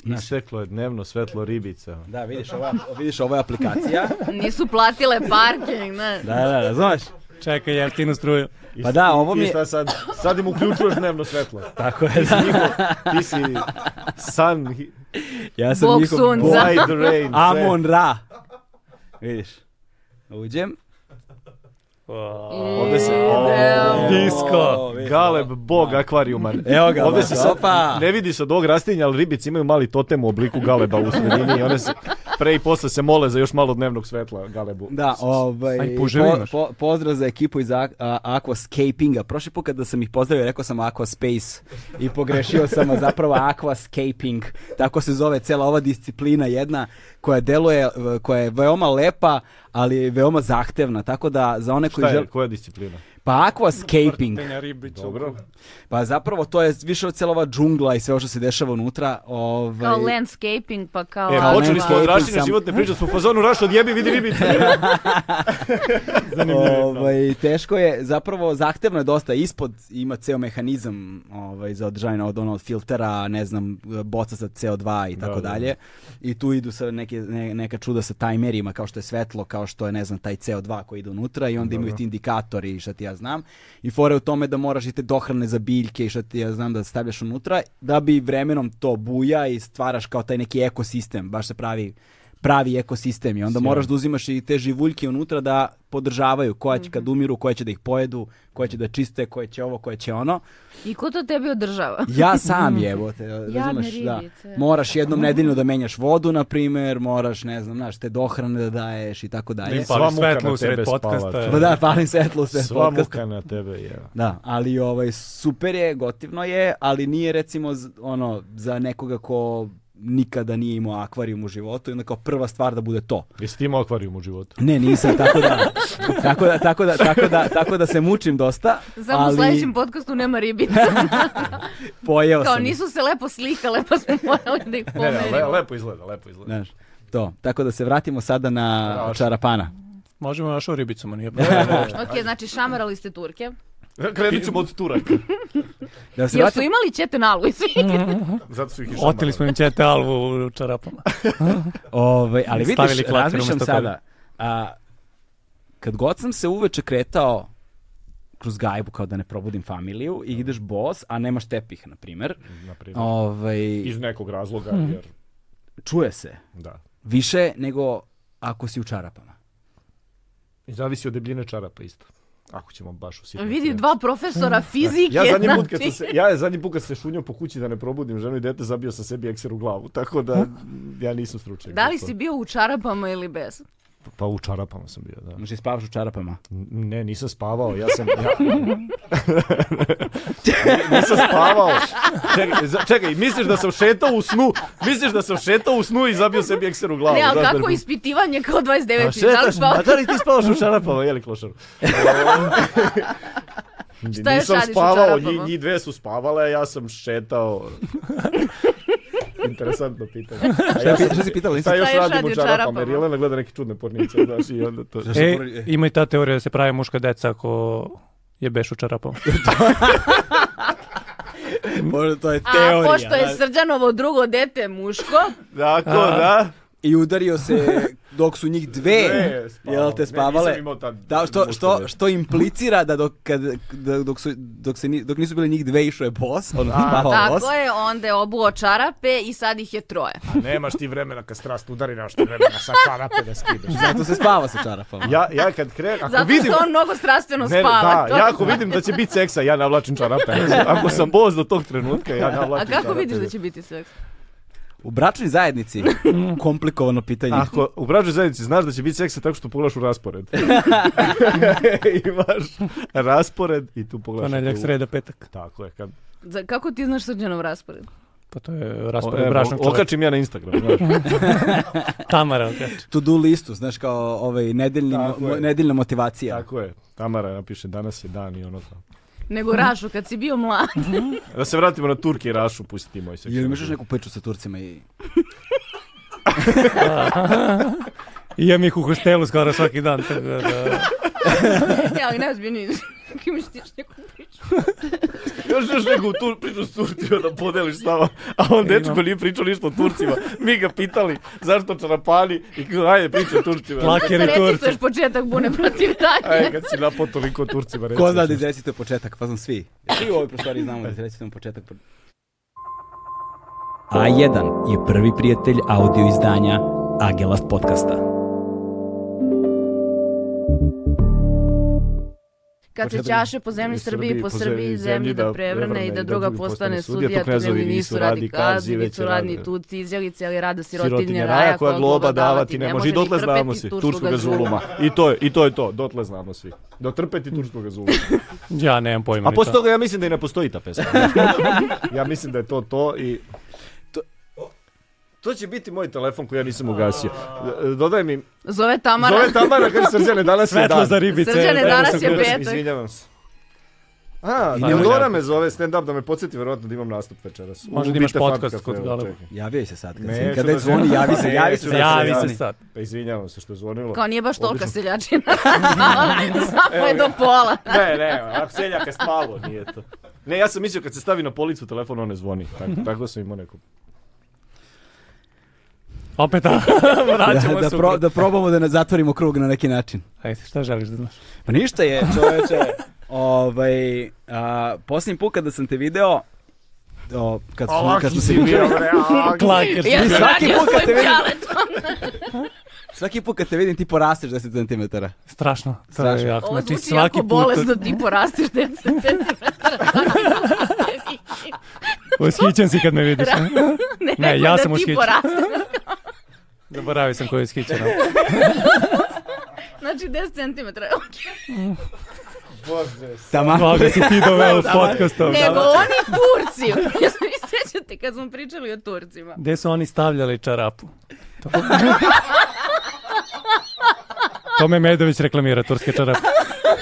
[SPEAKER 1] Znaš.
[SPEAKER 2] Isteklo je dnevno svetlo ribica.
[SPEAKER 1] Da, vidiš, ova, vidiš, ovo je aplikacija.
[SPEAKER 3] Nisu platile parking, ne.
[SPEAKER 1] Da, da, razumeš?
[SPEAKER 4] Čekaj, jeftinu struju.
[SPEAKER 2] I
[SPEAKER 1] Pa
[SPEAKER 2] s-
[SPEAKER 1] da,
[SPEAKER 2] i-
[SPEAKER 1] ovo
[SPEAKER 2] i
[SPEAKER 1] mi je-
[SPEAKER 2] šta sad, sad im uključuješ dnevno svetlo.
[SPEAKER 1] Tako je, da.
[SPEAKER 2] Ti si sun, he-
[SPEAKER 1] Ja sam
[SPEAKER 3] Bog
[SPEAKER 1] njihov
[SPEAKER 3] sunca.
[SPEAKER 1] bog.
[SPEAKER 2] Why the rain?
[SPEAKER 1] Amon Ra. Vidiš. Uđem.
[SPEAKER 2] Ovde se-
[SPEAKER 3] Evo.
[SPEAKER 4] Disko.
[SPEAKER 1] vidiš,
[SPEAKER 2] Galeb, bog akvarijuma.
[SPEAKER 1] Evo ga,
[SPEAKER 2] Ovde
[SPEAKER 1] baš,
[SPEAKER 2] se sad
[SPEAKER 1] opa.
[SPEAKER 2] ne vidi se od ovog rastinja, ali ribice imaju mali totem u obliku galeba u sredini i one se pre i posle se mole za još malo dnevnog svetla galebu.
[SPEAKER 1] Da, ovaj,
[SPEAKER 4] Aj, puževi imaš.
[SPEAKER 1] pozdrav za ekipu iz Ak- a- Aquascapinga. Prošli put kada sam ih pozdravio, rekao sam Aquaspace i pogrešio sam, a zapravo Aquascaping. Tako se zove cela ova disciplina jedna koja deluje, e, koja je veoma lepa, ali je veoma zahtevna. Tako da za one koji
[SPEAKER 2] Šta
[SPEAKER 1] žele...
[SPEAKER 2] je, koja disciplina?
[SPEAKER 1] Pa Aquascaping.
[SPEAKER 2] Dobro.
[SPEAKER 1] Pa zapravo to je više od cijela ova džungla i sve ovo što se dešava unutra. Ovaj...
[SPEAKER 3] Kao landscaping, pa kao...
[SPEAKER 2] E,
[SPEAKER 1] Kao
[SPEAKER 2] počeli smo od
[SPEAKER 1] landscaping
[SPEAKER 2] Rašine
[SPEAKER 1] sam.
[SPEAKER 2] životne priče, smo u fazonu Raš odjebi, vidi Pa ribice.
[SPEAKER 1] Ovaj, teško je, zapravo zahtevno je dosta, ispod ima ceo mehanizam ovaj, za održanje od onog filtera, ne znam, boca sa CO2 i tako
[SPEAKER 2] da,
[SPEAKER 1] dalje. I tu idu sa neke, ne- neka čuda sa tajmerima, kao što je svetlo, kao što je, ne znam, taj CO2 koji ide unutra i onda imaju ti indikatori i šta ti ja znam. I fora je u tome da moraš i te dohrane za biljke i šta ti ja znam da stavljaš unutra, da bi vremenom to buja i stvaraš kao taj neki ekosistem, baš se pravi pravi ekosistem i onda moraš da uzimaš i te živuljke unutra da podržavaju koja će kad umiru, koja će da ih pojedu, koja će da čiste, koja će ovo, koja će ono.
[SPEAKER 3] I ko to tebi održava?
[SPEAKER 1] Ja sam jebote, razumeš, da.
[SPEAKER 3] ribice.
[SPEAKER 1] Moraš jednom nedeljno da menjaš vodu, na primer, moraš, ne znam, znaš, te dohrane da daješ i tako dalje.
[SPEAKER 2] Sva
[SPEAKER 4] Pali
[SPEAKER 2] muka
[SPEAKER 4] svetlo
[SPEAKER 2] na
[SPEAKER 4] u sred
[SPEAKER 2] tebe spava,
[SPEAKER 4] podcasta.
[SPEAKER 2] čovječe.
[SPEAKER 1] Pa da, palim svetlo u sve
[SPEAKER 2] Sva
[SPEAKER 1] podcasta.
[SPEAKER 2] muka na tebe je.
[SPEAKER 1] Da, ali ovaj super je, gotivno je, ali nije recimo z- ono za nekoga ko nikada nije imao akvarijum u životu i onda kao prva stvar da bude to.
[SPEAKER 2] Jesi ti imao akvarijum u životu?
[SPEAKER 1] Ne, nisam, tako da, tako da, tako da, tako da, tako da se mučim dosta,
[SPEAKER 3] Samo u
[SPEAKER 1] ali
[SPEAKER 3] sledećem podcastu nema ribica.
[SPEAKER 1] pojeo
[SPEAKER 3] Kao
[SPEAKER 1] sam.
[SPEAKER 3] nisu se lepo slikale, pa smo morali da ih
[SPEAKER 2] Ne, ne, le-
[SPEAKER 3] pomerimo.
[SPEAKER 2] lepo izgleda, lepo izgleda.
[SPEAKER 1] Znaš, to. Tako da se vratimo sada na
[SPEAKER 2] Bravo.
[SPEAKER 1] čarapana.
[SPEAKER 4] Možemo još o ribicama, nije
[SPEAKER 3] Ok, znači šamarali ste Turke.
[SPEAKER 2] Krenut ćemo od Turaka.
[SPEAKER 1] Da se
[SPEAKER 3] Jer su
[SPEAKER 1] vratimo,
[SPEAKER 3] imali čete nalu i svi.
[SPEAKER 2] Zato su ih i
[SPEAKER 4] Oteli smo
[SPEAKER 2] šamarali.
[SPEAKER 4] im čete alvu u čarapama.
[SPEAKER 1] ovaj, ali
[SPEAKER 4] Stavili
[SPEAKER 1] vidiš,
[SPEAKER 4] klacer
[SPEAKER 1] razmišljam
[SPEAKER 4] umesto
[SPEAKER 1] sada. A, kad god sam se uveče kretao kroz gajbu kao da ne probudim familiju i ideš bos, a nemaš tepih, na primer,
[SPEAKER 2] Naprimjer.
[SPEAKER 1] ovaj,
[SPEAKER 2] Ono, Iz nekog razloga,
[SPEAKER 3] Mhm.
[SPEAKER 2] jer
[SPEAKER 1] čuje se
[SPEAKER 2] da.
[SPEAKER 1] više nego ako si u čarapama.
[SPEAKER 2] I zavisi od debljine čarapa isto. Ako ćemo baš u sitnicu.
[SPEAKER 3] Vidi dva profesora fizike.
[SPEAKER 2] Mhm. Ja zadnji put kad
[SPEAKER 3] znači.
[SPEAKER 2] sam se, ja zadnji put kad sam se šunjao po kući da ne probudim ženu i dete, zabio sam sebi ekser u glavu, tako da ja nisam stručnjak.
[SPEAKER 3] Da li
[SPEAKER 2] za
[SPEAKER 3] si
[SPEAKER 2] to.
[SPEAKER 3] bio u čarapama ili bez?
[SPEAKER 2] Pa u čarapama sam bio, da.
[SPEAKER 1] Znači spavaš u čarapama.
[SPEAKER 2] N- Ne, nisam spavao, ja sam... Ja... nisam spavao. Čekaj, za- čekaj, misliš da sam šetao u snu? Misliš da sam šetao u snu i zabio sebi ekser Pa, u glavu?
[SPEAKER 3] Ne, ali
[SPEAKER 2] znaš,
[SPEAKER 3] kako
[SPEAKER 2] da-
[SPEAKER 3] ispitivanje kao 29.
[SPEAKER 2] A
[SPEAKER 3] Da li
[SPEAKER 2] šetaš,
[SPEAKER 3] spavaš?
[SPEAKER 2] a da li ti spavaš u čarapama, jeli klošaru?
[SPEAKER 3] Šta još
[SPEAKER 2] Nisam
[SPEAKER 3] radiš u
[SPEAKER 2] spavao,
[SPEAKER 3] čarapama?
[SPEAKER 2] njih, njih dve su spavale, ja sam šetao. Interesantno pitanje.
[SPEAKER 1] Šta, ja šta si pitala?
[SPEAKER 2] Šta
[SPEAKER 3] Šta
[SPEAKER 2] još
[SPEAKER 3] još
[SPEAKER 2] radimo u
[SPEAKER 3] radi u
[SPEAKER 2] čarapama?
[SPEAKER 3] čarapama?
[SPEAKER 2] Jer Jelena gleda neke čudne pornice, znaš, i onda to...
[SPEAKER 1] Zašto
[SPEAKER 4] E,
[SPEAKER 1] poredi-
[SPEAKER 4] ima i ta teorija da se pravi muška deca ako je beš u čarapom.
[SPEAKER 1] Možda to je
[SPEAKER 3] A
[SPEAKER 1] teorija.
[SPEAKER 3] pošto je
[SPEAKER 1] da.
[SPEAKER 3] Srđanovo drugo dete muško,
[SPEAKER 2] Dakle,
[SPEAKER 4] A.
[SPEAKER 2] da?
[SPEAKER 1] I udario se dok su njih dve,
[SPEAKER 2] Ne, spavao.
[SPEAKER 1] jel te
[SPEAKER 2] Ne,
[SPEAKER 1] spavale?
[SPEAKER 2] nisam imao tad-
[SPEAKER 1] da, što,
[SPEAKER 2] možda
[SPEAKER 1] što,
[SPEAKER 2] ne.
[SPEAKER 1] što implicira da dok, kad, da- dok, su, dok, se, ni- dok nisu bile njih dve išao je bos, odnosno spavao bos.
[SPEAKER 3] tako je, onda je obuo čarape i sad ih je troje.
[SPEAKER 2] A nemaš ti vremena kad strast udari, nemaš ti vremena sa čarape da skidaš.
[SPEAKER 1] Zato se spava sa čarapama.
[SPEAKER 2] Ja, ja kad krenem, ako
[SPEAKER 3] Zato
[SPEAKER 2] vidim...
[SPEAKER 3] što on mnogo strastveno
[SPEAKER 2] Ne,
[SPEAKER 3] spava.
[SPEAKER 2] da,
[SPEAKER 3] to-
[SPEAKER 2] ja ako vidim da će biti seksa, ja navlačim čarape. Ako sam boz do tog trenutka, ja
[SPEAKER 3] A
[SPEAKER 2] navlačim čarape.
[SPEAKER 3] kako vidiš da će biti seks?
[SPEAKER 1] U bračnoj zajednici, komplikovano pitanje.
[SPEAKER 2] Ako u brađoj zajednici znaš da će biti seksa tako što pogledaš u raspored. Imaš raspored i tu pogledaš.
[SPEAKER 4] Ponedjeljak,
[SPEAKER 2] u-
[SPEAKER 4] sreda, petak.
[SPEAKER 2] Tako je. Kad,
[SPEAKER 3] Za- Kako ti znaš Srđanov raspored?
[SPEAKER 4] Pa to je
[SPEAKER 2] o,
[SPEAKER 4] raspored
[SPEAKER 2] evo,
[SPEAKER 4] brašnog čovjeka.
[SPEAKER 2] okačim ja na Instagram, znaš.
[SPEAKER 4] Tamara okači.
[SPEAKER 1] To do listu, znaš, kao ovaj, nedeljni,
[SPEAKER 2] Tako
[SPEAKER 1] mo-
[SPEAKER 2] je.
[SPEAKER 1] nedeljna motivacija.
[SPEAKER 2] Tako je. Tamara napiše danas je dan i ono to.
[SPEAKER 3] Nego Rašu, kad si bio mlad.
[SPEAKER 2] Da se vratimo na Turke i Rašu, pusti ti moj seksualni
[SPEAKER 1] Jel imaš još
[SPEAKER 2] život.
[SPEAKER 1] neku priču sa Turcima i...
[SPEAKER 4] I ja mi ih u hostelu skoro svaki dan. tako da-
[SPEAKER 3] ne, ali najozbiljnije. Kako imaš ti još neku priču?
[SPEAKER 2] Još još neku tur, priču s Turcima da podeliš s nama. A on dečko nije pričao ništa o Turcima. Mi ga pitali zašto čarapani i kao ajde priča o Turcima.
[SPEAKER 4] Lakeri Turci.
[SPEAKER 3] Recituješ početak bune protiv dalje.
[SPEAKER 2] Ajde kad si napao toliko o Turcima reći.
[SPEAKER 1] Ko zna da izrecite početak, pa znam svi. Svi u ovoj prostoriji znamo da izrecite početak.
[SPEAKER 5] A1 je prvi prijatelj audio izdanja Agelast podcasta.
[SPEAKER 3] Kad se čaše po zemlji Srbiji, po Srbiji zemlji da prevrne i da druga postane sudija, to
[SPEAKER 2] knezovi
[SPEAKER 3] mi nisu radi kazi, već su radni tuci, izjelice, ali rada sirotinje raja koja globa davati ne može
[SPEAKER 2] I
[SPEAKER 3] ni
[SPEAKER 2] dotle znamo
[SPEAKER 3] trpeti
[SPEAKER 2] svi,
[SPEAKER 3] turskoga
[SPEAKER 2] turskoga zuluma.
[SPEAKER 3] zuluma.
[SPEAKER 2] I to je, i to je to, dotle znamo svi. Do trpeti turskoga zuluma.
[SPEAKER 4] Ja nemam pojma.
[SPEAKER 2] A
[SPEAKER 4] ni
[SPEAKER 2] posle
[SPEAKER 4] to.
[SPEAKER 2] toga ja mislim da i ne postoji ta pesma. ja mislim da je to to i... To, to će biti moj telefon koji ja nisam ugasio. Dodaj mi,
[SPEAKER 3] Zove Tamara.
[SPEAKER 2] zove Tamara, kaže Srđane, danas je
[SPEAKER 4] Svetlo
[SPEAKER 2] dan.
[SPEAKER 4] za ribice.
[SPEAKER 3] Srđane,
[SPEAKER 4] evo
[SPEAKER 3] danas
[SPEAKER 4] sam
[SPEAKER 3] je
[SPEAKER 4] gledao.
[SPEAKER 3] petak.
[SPEAKER 2] Izvinjavam se. A,
[SPEAKER 4] nemoj
[SPEAKER 2] Teodora
[SPEAKER 4] tako.
[SPEAKER 2] me zove stand up da me podsjeti verovatno da imam nastup večeras.
[SPEAKER 4] Možda
[SPEAKER 2] U
[SPEAKER 4] da imaš
[SPEAKER 2] Bite Fun
[SPEAKER 4] podcast
[SPEAKER 2] Cafe,
[SPEAKER 4] kod
[SPEAKER 2] evo,
[SPEAKER 4] Galeba.
[SPEAKER 2] čekaj.
[SPEAKER 1] Javi se sad, kad,
[SPEAKER 2] Neću
[SPEAKER 1] se, kad
[SPEAKER 2] da
[SPEAKER 1] već
[SPEAKER 2] se-
[SPEAKER 1] zvoni, javi se, javi se.
[SPEAKER 2] Neću da
[SPEAKER 4] Javi se
[SPEAKER 1] zvoni.
[SPEAKER 4] sad.
[SPEAKER 2] Pa izvinjavam se što je zvonilo.
[SPEAKER 3] Kao nije baš tolika
[SPEAKER 2] Obično-
[SPEAKER 3] seljačina. Samo je do pola.
[SPEAKER 2] Ne, ne, ako seljaka spalo, nije to. Ne, ja sam mislio kad se stavi na policu telefon, on ne zvoni. Tako, tako sam imao neku.
[SPEAKER 4] Opet, a, vraćamo
[SPEAKER 1] Da, da,
[SPEAKER 4] se. u
[SPEAKER 1] pro- da probamo da ne zatvorimo krug na neki način.
[SPEAKER 4] Ajde, šta želiš da znaš?
[SPEAKER 1] Pa ništa je, čoveče. ovaj, a, posljednji put kada sam te video, o, kad, smo, kad smo se
[SPEAKER 2] bio, bre, a,
[SPEAKER 4] Klaker.
[SPEAKER 3] Ja sam
[SPEAKER 1] svaki
[SPEAKER 3] radio
[SPEAKER 1] put kad te
[SPEAKER 3] svojim
[SPEAKER 1] vidim-
[SPEAKER 3] čaletom.
[SPEAKER 1] Svaki put kad te vidim ti porasteš 10 cm.
[SPEAKER 4] Strašno. To
[SPEAKER 1] Strašno.
[SPEAKER 4] je jako.
[SPEAKER 3] Ovo
[SPEAKER 4] Znači,
[SPEAKER 3] ono, zvuči
[SPEAKER 4] svaki
[SPEAKER 3] jako
[SPEAKER 4] put...
[SPEAKER 3] bolesno, ti porasteš deset centimetara.
[SPEAKER 4] Ushićen si kad me vidiš. ne? Ne,
[SPEAKER 3] rekao
[SPEAKER 4] ja
[SPEAKER 3] da
[SPEAKER 4] sam
[SPEAKER 3] ti
[SPEAKER 4] ushićen.
[SPEAKER 3] porasteš.
[SPEAKER 4] Zaboravio sam koji je ushićen. ali-
[SPEAKER 3] Znači 10 centimetara.
[SPEAKER 2] Bože,
[SPEAKER 1] Tama.
[SPEAKER 4] Koga si ti doveo podcastom?
[SPEAKER 3] Nego oni Turci. Ja se vi sjećate kad smo pričali o Turcima.
[SPEAKER 4] Gde su oni stavljali čarapu? To... Tome Medović reklamira turske čarape.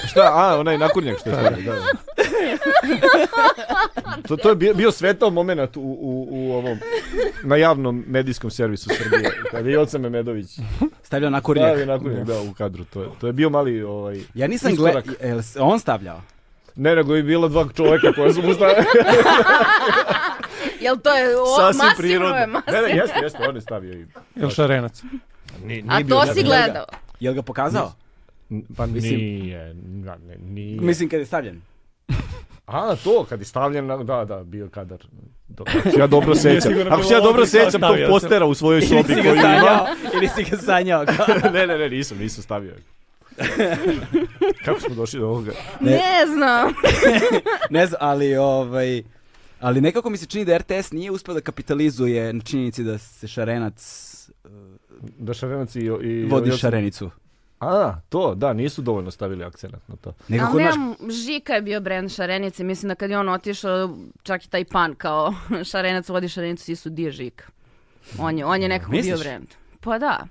[SPEAKER 2] Šta, a, onaj nakurnjak što je stavio. da, da. To, to je bio, bio svetao moment u, u, u ovom, na javnom medijskom servisu Srbije. Kad je Joca Memedović
[SPEAKER 1] Stavljao na kornjak.
[SPEAKER 2] stavio nakurnjak da, u kadru. To je, to je bio mali... Ovaj,
[SPEAKER 1] Ja nisam gledao,
[SPEAKER 2] iskorak.
[SPEAKER 1] jel se on stavljao?
[SPEAKER 2] Ne, nego je bilo dva čoveka koja su mu stavili.
[SPEAKER 3] Jel to je o,
[SPEAKER 2] Sasvim
[SPEAKER 3] masivno
[SPEAKER 2] prirodno. Ne,
[SPEAKER 3] je masivno.
[SPEAKER 2] ne, jeste, jeste, on je stavio i...
[SPEAKER 4] Jel šarenac?
[SPEAKER 2] Ni,
[SPEAKER 3] A to si gledao.
[SPEAKER 1] Jel ga pokazao?
[SPEAKER 2] Pa
[SPEAKER 1] Mislim-
[SPEAKER 2] nije, na- ne, nije.
[SPEAKER 1] Mislim kad je stavljen.
[SPEAKER 2] A, to, kad je stavljen, na- da, da, bio kadar. Do, ako se ja dobro sećam,
[SPEAKER 4] sigurno
[SPEAKER 2] ako se ja
[SPEAKER 4] bilo
[SPEAKER 2] dobro
[SPEAKER 4] odlično,
[SPEAKER 2] sećam tog
[SPEAKER 4] stavio sam.
[SPEAKER 2] postera u svojoj
[SPEAKER 1] Ili
[SPEAKER 2] sobi
[SPEAKER 1] si
[SPEAKER 2] koju
[SPEAKER 1] ga sanjao,
[SPEAKER 2] ima.
[SPEAKER 1] ili si ga sanjao.
[SPEAKER 2] ne, ne, ne, nisam, nisam stavio. Kako smo došli do ovoga?
[SPEAKER 3] Ne znam.
[SPEAKER 1] ne znam, ali ovaj... Ali nekako mi se čini da RTS nije uspio da kapitalizuje na činjenici da se Šarenac
[SPEAKER 2] Da šarenac i... i
[SPEAKER 1] vodi
[SPEAKER 2] i-
[SPEAKER 1] Šarenicu.
[SPEAKER 2] A, to, da, nisu dovoljno stavili akcenat na to.
[SPEAKER 1] Nego
[SPEAKER 3] Ali
[SPEAKER 1] kod naš...
[SPEAKER 3] nemam, Žika je bio brend Šarenice. Mislim da kad je on otišao, čak i taj pan kao Šarenac vodi Šarenicu, svi su di je Žika. On je, on je nekako
[SPEAKER 1] Misliš?
[SPEAKER 3] bio brend. Pa da.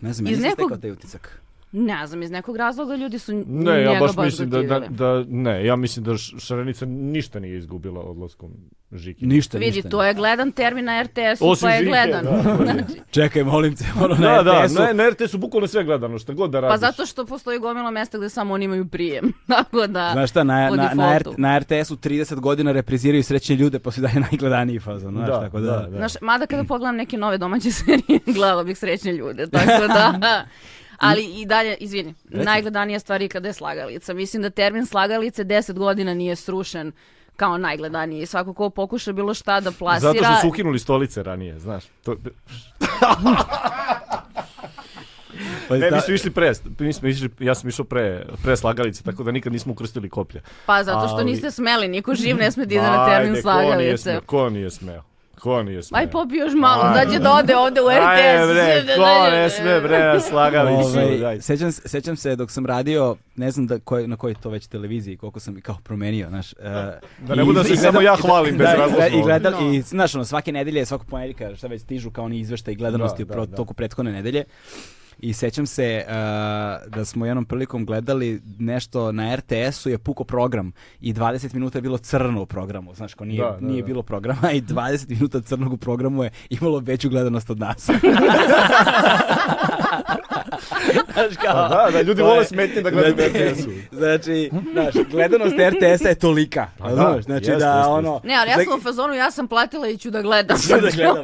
[SPEAKER 1] Ne znam,
[SPEAKER 3] iz
[SPEAKER 1] ja nisam
[SPEAKER 3] nekog-
[SPEAKER 1] stekao taj utisak.
[SPEAKER 3] Ne znam, iz nekog razloga ljudi su
[SPEAKER 2] Ne, ja
[SPEAKER 3] njega
[SPEAKER 2] baš mislim da, da,
[SPEAKER 3] dotirali.
[SPEAKER 2] da, ne, ja mislim da Š- Šarenica ništa nije izgubila odlaskom Žike.
[SPEAKER 1] Ništa,
[SPEAKER 3] Vidi,
[SPEAKER 1] ništa.
[SPEAKER 3] to je gledan termin na RTS-u,
[SPEAKER 2] Osim
[SPEAKER 3] pa je
[SPEAKER 2] Žike,
[SPEAKER 3] gledan.
[SPEAKER 2] da.
[SPEAKER 1] Čekaj, molim te, ono na
[SPEAKER 2] da, da,
[SPEAKER 1] RTS-u.
[SPEAKER 2] na, na RTS-u bukvalno sve gledano, šta god da radiš.
[SPEAKER 3] Pa zato što postoji gomila mesta gde samo oni imaju prijem. Tako da,
[SPEAKER 1] Znaš šta, na,
[SPEAKER 3] po
[SPEAKER 1] na, na,
[SPEAKER 3] defaultu.
[SPEAKER 1] R- na RTS-u 30 godina repriziraju srećne ljude, pa su i dalje najgledaniji fazon, znaš,
[SPEAKER 2] Da,
[SPEAKER 1] tako da...
[SPEAKER 2] da, da.
[SPEAKER 3] Znaš, mada kada pogledam neke nove domaće serije, gledala bih srećne ljude, tako da... Ali i dalje, izvini, najgledanija stvar je kada je slagalica. Mislim da termin slagalice 10 godina nije srušen kao najgledaniji. Svako ko pokuša bilo šta da plasira...
[SPEAKER 2] Zato što su ukinuli stolice ranije, znaš. To,
[SPEAKER 1] Pa
[SPEAKER 2] ne,
[SPEAKER 1] da-
[SPEAKER 2] mi smo išli pre, mi smo išli, ja sam išao pre, pre slagalice, tako da nikad nismo ukrstili koplja.
[SPEAKER 3] Pa zato što
[SPEAKER 2] Ali-
[SPEAKER 3] niste smeli, niko živ ne sme da ide na termin
[SPEAKER 2] Ajde, ko nije
[SPEAKER 3] slagalice.
[SPEAKER 2] smeo, ko nije smeo? Ko nije smeo?
[SPEAKER 3] Aj popi još malo,
[SPEAKER 2] Ajde.
[SPEAKER 3] sad će da ode ovde u RTS.
[SPEAKER 2] Ajde, bre, ko ne sme, bre, na slagalicu.
[SPEAKER 1] Ovaj,
[SPEAKER 2] daj.
[SPEAKER 1] sećam, se- sećam se dok sam radio, ne znam da koj, na kojoj to već televiziji, koliko sam i kao promenio, znaš. e,
[SPEAKER 2] Da ne bude da se samo ja hvalim bez razloga.
[SPEAKER 1] I gledam, i, znaš, ono, svake nedelje, svakog ponedjeljka, šta već stižu kao oni izveštaj gledanosti
[SPEAKER 2] Da, da,
[SPEAKER 1] u pro,
[SPEAKER 2] da.
[SPEAKER 1] toku prethodne nedelje. I sećam se uh, da smo jednom prilikom gledali nešto na RTS-u je puko program i 20 minuta je bilo crno u programu, znaš, ko nije,
[SPEAKER 2] Da, da,
[SPEAKER 1] nije
[SPEAKER 2] da.
[SPEAKER 1] bilo programa i 20 minuta crnog u programu je imalo veću gledanost od nas. znaš, kao,
[SPEAKER 2] Da, da, ljudi
[SPEAKER 1] pa to
[SPEAKER 2] vole
[SPEAKER 1] je-
[SPEAKER 2] smetnje da gledaju
[SPEAKER 1] Znači-
[SPEAKER 2] RTS-u.
[SPEAKER 1] Znači, znaš, gledanost RTS-a je tolika.
[SPEAKER 2] Pa
[SPEAKER 1] razumeš?
[SPEAKER 2] da,
[SPEAKER 1] znači
[SPEAKER 2] jeste,
[SPEAKER 1] da
[SPEAKER 2] jeste,
[SPEAKER 1] ono...
[SPEAKER 3] Ne, ali ja
[SPEAKER 1] da-
[SPEAKER 3] sam u fazonu, ja sam platila i ću da gledam.
[SPEAKER 1] Ću da gledam.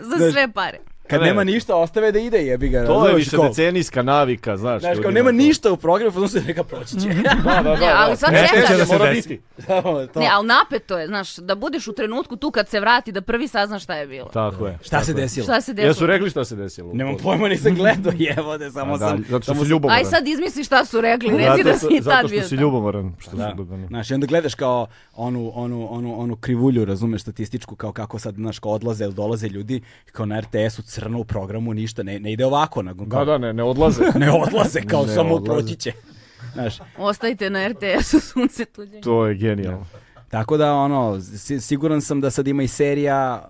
[SPEAKER 3] Za
[SPEAKER 1] Znaš-
[SPEAKER 3] sve pare. E,
[SPEAKER 1] Kad
[SPEAKER 2] Ne.
[SPEAKER 1] nema ništa, ostave da ide, jebi ga.
[SPEAKER 2] To je
[SPEAKER 1] razumeš,
[SPEAKER 2] više
[SPEAKER 1] kao-
[SPEAKER 2] decenijska navika, znaš.
[SPEAKER 1] Znaš, kao
[SPEAKER 2] ljudima
[SPEAKER 1] nema
[SPEAKER 2] to.
[SPEAKER 1] ništa u programu, pa se neka proći će.
[SPEAKER 2] Da, da, da.
[SPEAKER 3] Ne, ali
[SPEAKER 2] da.
[SPEAKER 3] sad
[SPEAKER 2] Ne, to
[SPEAKER 3] čekaj.
[SPEAKER 2] E, će
[SPEAKER 3] Da se
[SPEAKER 2] mora
[SPEAKER 1] desi.
[SPEAKER 2] biti.
[SPEAKER 1] Samo to.
[SPEAKER 3] Ne, ali napeto je, znaš, da budeš u trenutku tu kad se vrati, da prvi saznaš šta je bilo.
[SPEAKER 2] Tako je.
[SPEAKER 1] Šta se desilo?
[SPEAKER 3] Šta se
[SPEAKER 2] Jesu
[SPEAKER 3] desilo?
[SPEAKER 2] rekli šta se desilo?
[SPEAKER 1] Nemam pojma, nisam gledao, jevo da
[SPEAKER 2] A
[SPEAKER 1] samo
[SPEAKER 2] da,
[SPEAKER 1] sam...
[SPEAKER 2] zato što
[SPEAKER 1] samo
[SPEAKER 2] si
[SPEAKER 1] sam-
[SPEAKER 2] ljubomoran.
[SPEAKER 3] Aj sad izmisli šta su rekli, reci da si i tad
[SPEAKER 2] Zato
[SPEAKER 3] bio.
[SPEAKER 2] što si
[SPEAKER 3] tamo.
[SPEAKER 2] ljubomoran. Što
[SPEAKER 1] Da.
[SPEAKER 2] su, da, da.
[SPEAKER 1] Znaš, i onda gledaš kao onu, onu, onu, onu krivulju, razumeš, statističku, kao kako sad, znaš, kao odlaze ili dolaze ljudi, kao na RTS-u crno u programu, ništa, ne, ne ide ovako, nego
[SPEAKER 2] Da,
[SPEAKER 1] kao,
[SPEAKER 2] Pa da, ne, ne odlaze.
[SPEAKER 1] ne odlaze, kao
[SPEAKER 2] Ne
[SPEAKER 1] samo
[SPEAKER 2] odlaze.
[SPEAKER 1] proći će. Znaš,
[SPEAKER 3] Ostajte na RTS-u, sunce tuđe.
[SPEAKER 2] To je genijalno.
[SPEAKER 1] Tako da ono, si- siguran sam da sad ima i serija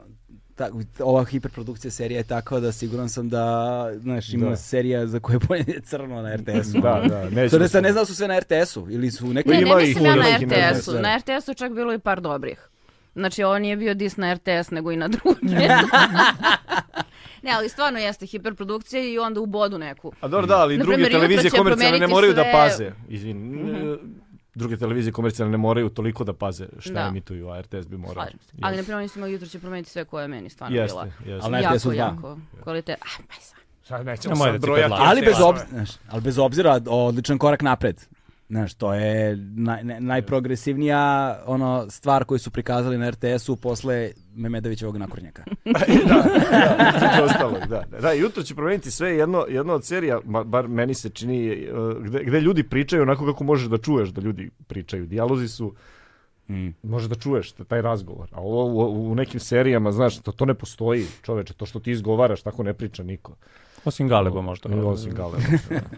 [SPEAKER 1] ta, ova hiperprodukcija serija je takva da siguran sam da, znaš, ima
[SPEAKER 2] Da.
[SPEAKER 1] serija za koje bolje crno na RTS-u.
[SPEAKER 2] Da, da, nećemo
[SPEAKER 1] Sad ne, sad
[SPEAKER 2] se-
[SPEAKER 1] ne znam da su sve na RTS-u ili su u nekoj...
[SPEAKER 3] Ne, ne
[SPEAKER 2] Ima
[SPEAKER 3] mislim
[SPEAKER 2] ih
[SPEAKER 3] ja
[SPEAKER 2] u
[SPEAKER 3] na
[SPEAKER 2] nekim, ne znam,
[SPEAKER 3] RTS-u.
[SPEAKER 1] da.
[SPEAKER 3] Na RTS-u čak bilo i par dobrih. Znači, ovo nije bio dis na RTS, nego i na druge. ne, ali stvarno jeste hiperprodukcija i onda u bodu neku.
[SPEAKER 2] A dobro, da, ali
[SPEAKER 3] Na
[SPEAKER 2] druge
[SPEAKER 3] primjer,
[SPEAKER 2] televizije
[SPEAKER 3] jutro će
[SPEAKER 2] komercijalne ne
[SPEAKER 3] promeniti
[SPEAKER 2] moraju da
[SPEAKER 3] sve- Mhm.
[SPEAKER 2] paze. Izvini. Druge televizije komercijalne ne moraju toliko da paze šta
[SPEAKER 3] Da.
[SPEAKER 2] emituju, a RTS bi morao.
[SPEAKER 3] Slažem se. Ali, na primjer, mislim, jutro će promeniti sve koje je meni stvarno
[SPEAKER 2] Jeste,
[SPEAKER 3] bila.
[SPEAKER 2] jeste.
[SPEAKER 1] Ali na RTS-u
[SPEAKER 3] Jako,
[SPEAKER 1] dva.
[SPEAKER 3] jako kvalitet. Aj, pa sad.
[SPEAKER 2] Sad nećemo
[SPEAKER 4] Nemoj
[SPEAKER 2] sad
[SPEAKER 4] da ti
[SPEAKER 2] brojati.
[SPEAKER 4] predlažem.
[SPEAKER 1] Ali bez, obzira, znaš, ali bez obzira, odličan korak napred. Znaš, to je naj, ne- najprogresivnija ono, stvar koju su prikazali na RTS-u posle Memedovićevog nakurnjaka.
[SPEAKER 2] između ostalog, da. Da, jutro će promeniti sve jedno, jedno od serija, ma- bar meni se čini, e, gde, gde ljudi pričaju onako kako možeš da čuješ da ljudi pričaju. Dijalozi su možeš da čuješ t- taj razgovor. A ovo u, u nekim serijama, znaš, to, to ne postoji, čoveče. To što ti izgovaraš, tako ne priča niko.
[SPEAKER 4] Osim Galeba možda.
[SPEAKER 2] Osim Galeba.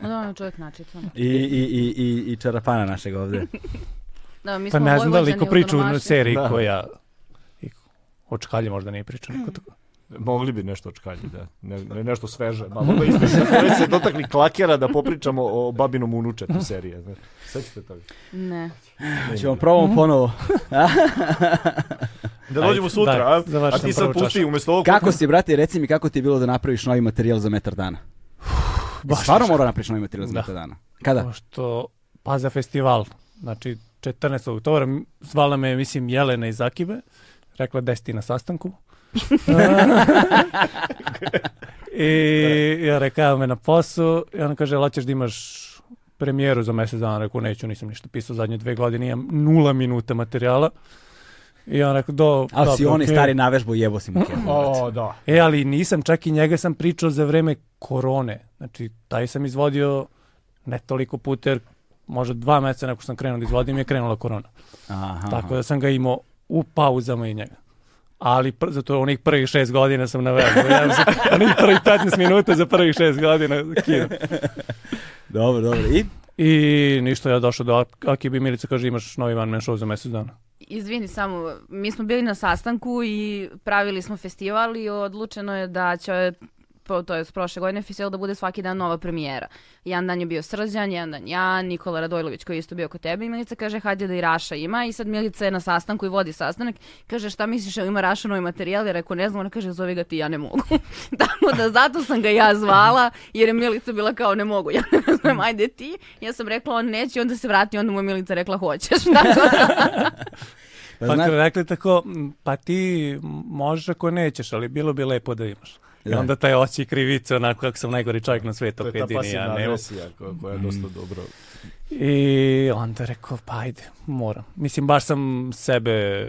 [SPEAKER 3] Ma Da, on je čovjek načitan.
[SPEAKER 1] I, i, i, i, i čarapana našeg ovde.
[SPEAKER 3] Da, mi
[SPEAKER 4] Pa
[SPEAKER 3] smo
[SPEAKER 4] ne znam da li
[SPEAKER 3] Vojvođani,
[SPEAKER 4] ko priču u
[SPEAKER 3] autonomaši.
[SPEAKER 4] seriji
[SPEAKER 2] Da.
[SPEAKER 4] koja... i- O Čkalji možda nije pričao niko tako.
[SPEAKER 2] Mogli bi nešto očkalji, da. Ne, ne- nešto sveže. Malo da isto već se dotakli klakera da popričamo o babinom unučetu serije. Znaš. Sećate toga?
[SPEAKER 3] Ne.
[SPEAKER 1] Ćemo Znači,
[SPEAKER 4] Mhm.
[SPEAKER 1] probamo ponovo.
[SPEAKER 2] Da dođemo
[SPEAKER 4] Ajde,
[SPEAKER 2] sutra,
[SPEAKER 4] daj,
[SPEAKER 2] a?
[SPEAKER 4] završi
[SPEAKER 2] A ti
[SPEAKER 4] nam
[SPEAKER 2] sad
[SPEAKER 4] prvu
[SPEAKER 2] pusti
[SPEAKER 4] čašu.
[SPEAKER 2] umjesto ovog...
[SPEAKER 1] Kako si, brate, reci mi kako ti je bilo da napraviš novi materijal za metar dana?
[SPEAKER 4] baš
[SPEAKER 1] Stvarno
[SPEAKER 4] teško.
[SPEAKER 1] mora napraviš novi materijal za
[SPEAKER 4] Da.
[SPEAKER 1] metar dana. Kada?
[SPEAKER 4] Pošto Paza festival, znači 14. oktobra, m- zvala me, mislim, Jelena iz Zakibe, rekla da si ti na sastanku. I ja rekao me na posu i ona kaže, "Jel hoćeš da imaš premijeru za mjesec dana, rekao neću, nisam ništa pisao zadnje dve godine, imam nula minuta materijala. I on rekao, do...
[SPEAKER 1] Ali si
[SPEAKER 4] dobro,
[SPEAKER 1] onaj
[SPEAKER 4] okej."
[SPEAKER 1] stari navežbo jebo si mu kevu.
[SPEAKER 2] O, da.
[SPEAKER 4] E, ali nisam, čak i njega sam pričao za vreme korone. Znači, taj sam izvodio ne toliko puta, jer možda dva meseca nakon što sam krenuo da izvodim je krenula korona.
[SPEAKER 1] Aha.
[SPEAKER 4] Tako da sam ga imao u pauzama i njega. Ali pr- zato onih prvih šest godina sam naveo. Ja sam onih prvih 15 minuta za prvih šest godina kino.
[SPEAKER 1] Dobro, dobro. I?
[SPEAKER 4] I ništa, ja došao do Ak- Akibi Milica kaže imaš novi one man show za mjesec dana.
[SPEAKER 3] Izvini samo, mi smo bili na sastanku i pravili smo festival i odlučeno je da će pro- to je prošle godine, Fisel da bude svaki dan nova premijera. Jedan dan je bio Srđan, jedan dan ja, Nikola Radojlović koji je isto bio kod tebe i Milica kaže hajde da i Raša ima i sad Milica je na sastanku i vodi sastanak, kaže šta misliš, jel ima Raša novi materijal, jer ako ne znam, ona kaže zove ga ti, ja ne mogu. Tako da zato sam ga ja zvala, jer je Milica bila kao ne mogu, ja ne znam, ajde ti. Ja sam rekla on neće, onda se vrati, onda mu je Milica rekla hoćeš. Tako da,
[SPEAKER 1] Pa
[SPEAKER 4] Pa
[SPEAKER 1] zna-
[SPEAKER 4] su rekli tako, "M, pa ti možeš ako nećeš, ali bilo bi lepo da imaš. I
[SPEAKER 1] Da.
[SPEAKER 4] onda taj oči krivice, onako kako sam najgori čovjek na
[SPEAKER 2] To
[SPEAKER 4] svetu,
[SPEAKER 2] je
[SPEAKER 4] ako
[SPEAKER 2] ta
[SPEAKER 4] jedini ja
[SPEAKER 2] pasivna
[SPEAKER 4] ne mogu.
[SPEAKER 2] agresija koja, koja je dosta dobro.
[SPEAKER 4] I onda rekao, pa ajde, moram. Mislim, baš sam sebe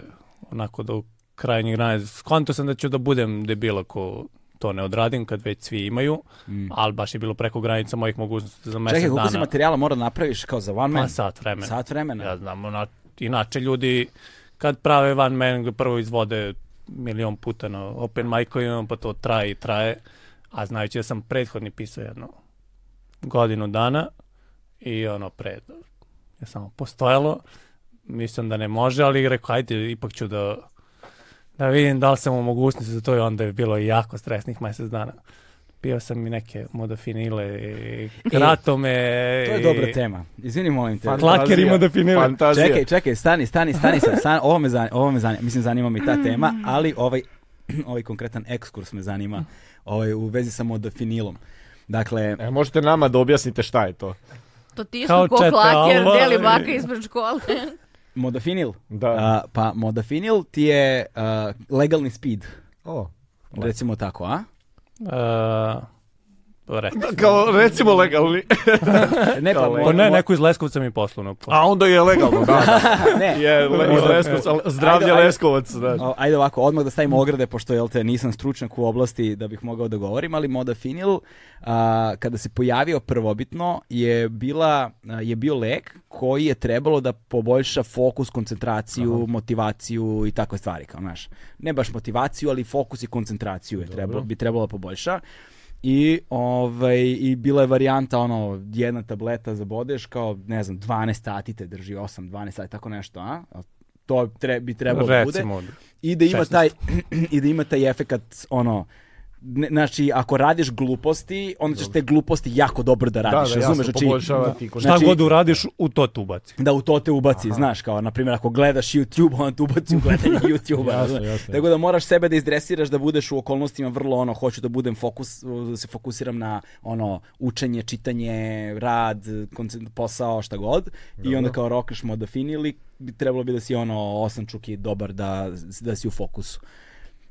[SPEAKER 4] onako do krajnjih granic. Skonto sam da ću da budem debil ako to ne odradim, kad već svi imaju, ali baš je bilo preko granica mojih mogućnosti za
[SPEAKER 1] Mm.
[SPEAKER 4] mesec
[SPEAKER 1] Čekaj, koliko si
[SPEAKER 4] dana.
[SPEAKER 1] materijala mora da napraviš kao za one man?
[SPEAKER 4] Pa sat vremena.
[SPEAKER 1] Sat vremena.
[SPEAKER 4] Ja znam, ona, inače ljudi kad prave van man, prvo izvode milion puta na open mic-ovima, pa to traje i traje. A znajući da sam prethodni pisao jedno godinu dana i ono pre je samo postojalo. Mislim da ne može, ali rekao, ajde, ipak ću da da vidim da li sam u mogućnosti za to i onda je bilo jako stresnih mjesec dana. Pio sam i neke modofinile, i kratome.
[SPEAKER 1] E, To je
[SPEAKER 4] e.
[SPEAKER 1] dobra tema. Izvini, molim te.
[SPEAKER 4] Pa
[SPEAKER 2] Fan-
[SPEAKER 1] Kla-
[SPEAKER 4] Klakerima da finira.
[SPEAKER 2] Fantazija.
[SPEAKER 1] Čekaj, čekaj, stani, stani, stani sad. Stan, ovo me zanima, ovo me zanima. Mislim, zanima me i ta tema, ali ovaj, ovaj konkretan ekskurs me zanima ovaj, u vezi sa modofinilom. Dakle,
[SPEAKER 2] E, možete nama da objasnite šta je to.
[SPEAKER 3] to ti
[SPEAKER 4] Kao
[SPEAKER 3] isto ko
[SPEAKER 4] čete,
[SPEAKER 3] klaker,
[SPEAKER 4] ali-
[SPEAKER 3] deli baka ispred škole.
[SPEAKER 1] modofinil.
[SPEAKER 2] Da.
[SPEAKER 1] A, pa modofinil ti je a, legalni speed,
[SPEAKER 2] O.
[SPEAKER 1] recimo tako, a?
[SPEAKER 4] Uh, reći.
[SPEAKER 2] Kao recimo legalni.
[SPEAKER 1] Ne, pa,
[SPEAKER 2] Kao
[SPEAKER 1] mo-
[SPEAKER 4] Pa ne,
[SPEAKER 1] mo-
[SPEAKER 4] neko iz Leskovca mi je poslao. Pa.
[SPEAKER 2] A onda je legalno, da.
[SPEAKER 1] ne.
[SPEAKER 2] Je, le, iz Leskovca, ali zdravlje
[SPEAKER 1] Ajde, ajde.
[SPEAKER 2] Leskovac, da.
[SPEAKER 1] O, ajde ovako, odmah da stavimo ograde, pošto jel te, nisam stručnjak u oblasti da bih mogao da govorim, ali modafinil, a, kada se pojavio prvobitno, je, bila, a, je bio lek koji je trebalo da poboljša fokus, koncentraciju, motivaciju i takve stvari, kao znaš. Ne baš motivaciju, ali fokus i koncentraciju je trebalo, bi trebalo da poboljša. I, ovaj, I bila je varijanta ono, jedna tableta zabodeš kao, ne znam, 12 sati te drži, 8, 12 sati, tako nešto, a? To tre, bi trebalo da bude
[SPEAKER 4] Recimo.
[SPEAKER 1] i da ima
[SPEAKER 4] 16.
[SPEAKER 1] taj i da ima taj efekat ono ne- znači ako radiš gluposti onda ćeš te gluposti jako dobro da radiš
[SPEAKER 2] da,
[SPEAKER 1] razumeš
[SPEAKER 2] jasno,
[SPEAKER 1] znači
[SPEAKER 2] poboljšava ti
[SPEAKER 1] Šta
[SPEAKER 4] Šta
[SPEAKER 1] Znači-
[SPEAKER 4] god uradiš, u to tu ubaci.
[SPEAKER 1] da u to te ubaci, znaš, kao na primjer ako gledaš YouTube, on te ubaci u gledanje YouTube.
[SPEAKER 2] Jasno, jasno.
[SPEAKER 1] Tako da moraš sebe da izdresiraš da budeš u okolnostima vrlo ono hoću da budem fokus da se fokusiram na ono učenje, čitanje, rad, koncent- posao, šta god. I onda kao rokneš modafin ili bi trebalo bi da si ono osamčuk i dobar da da si u fokusu.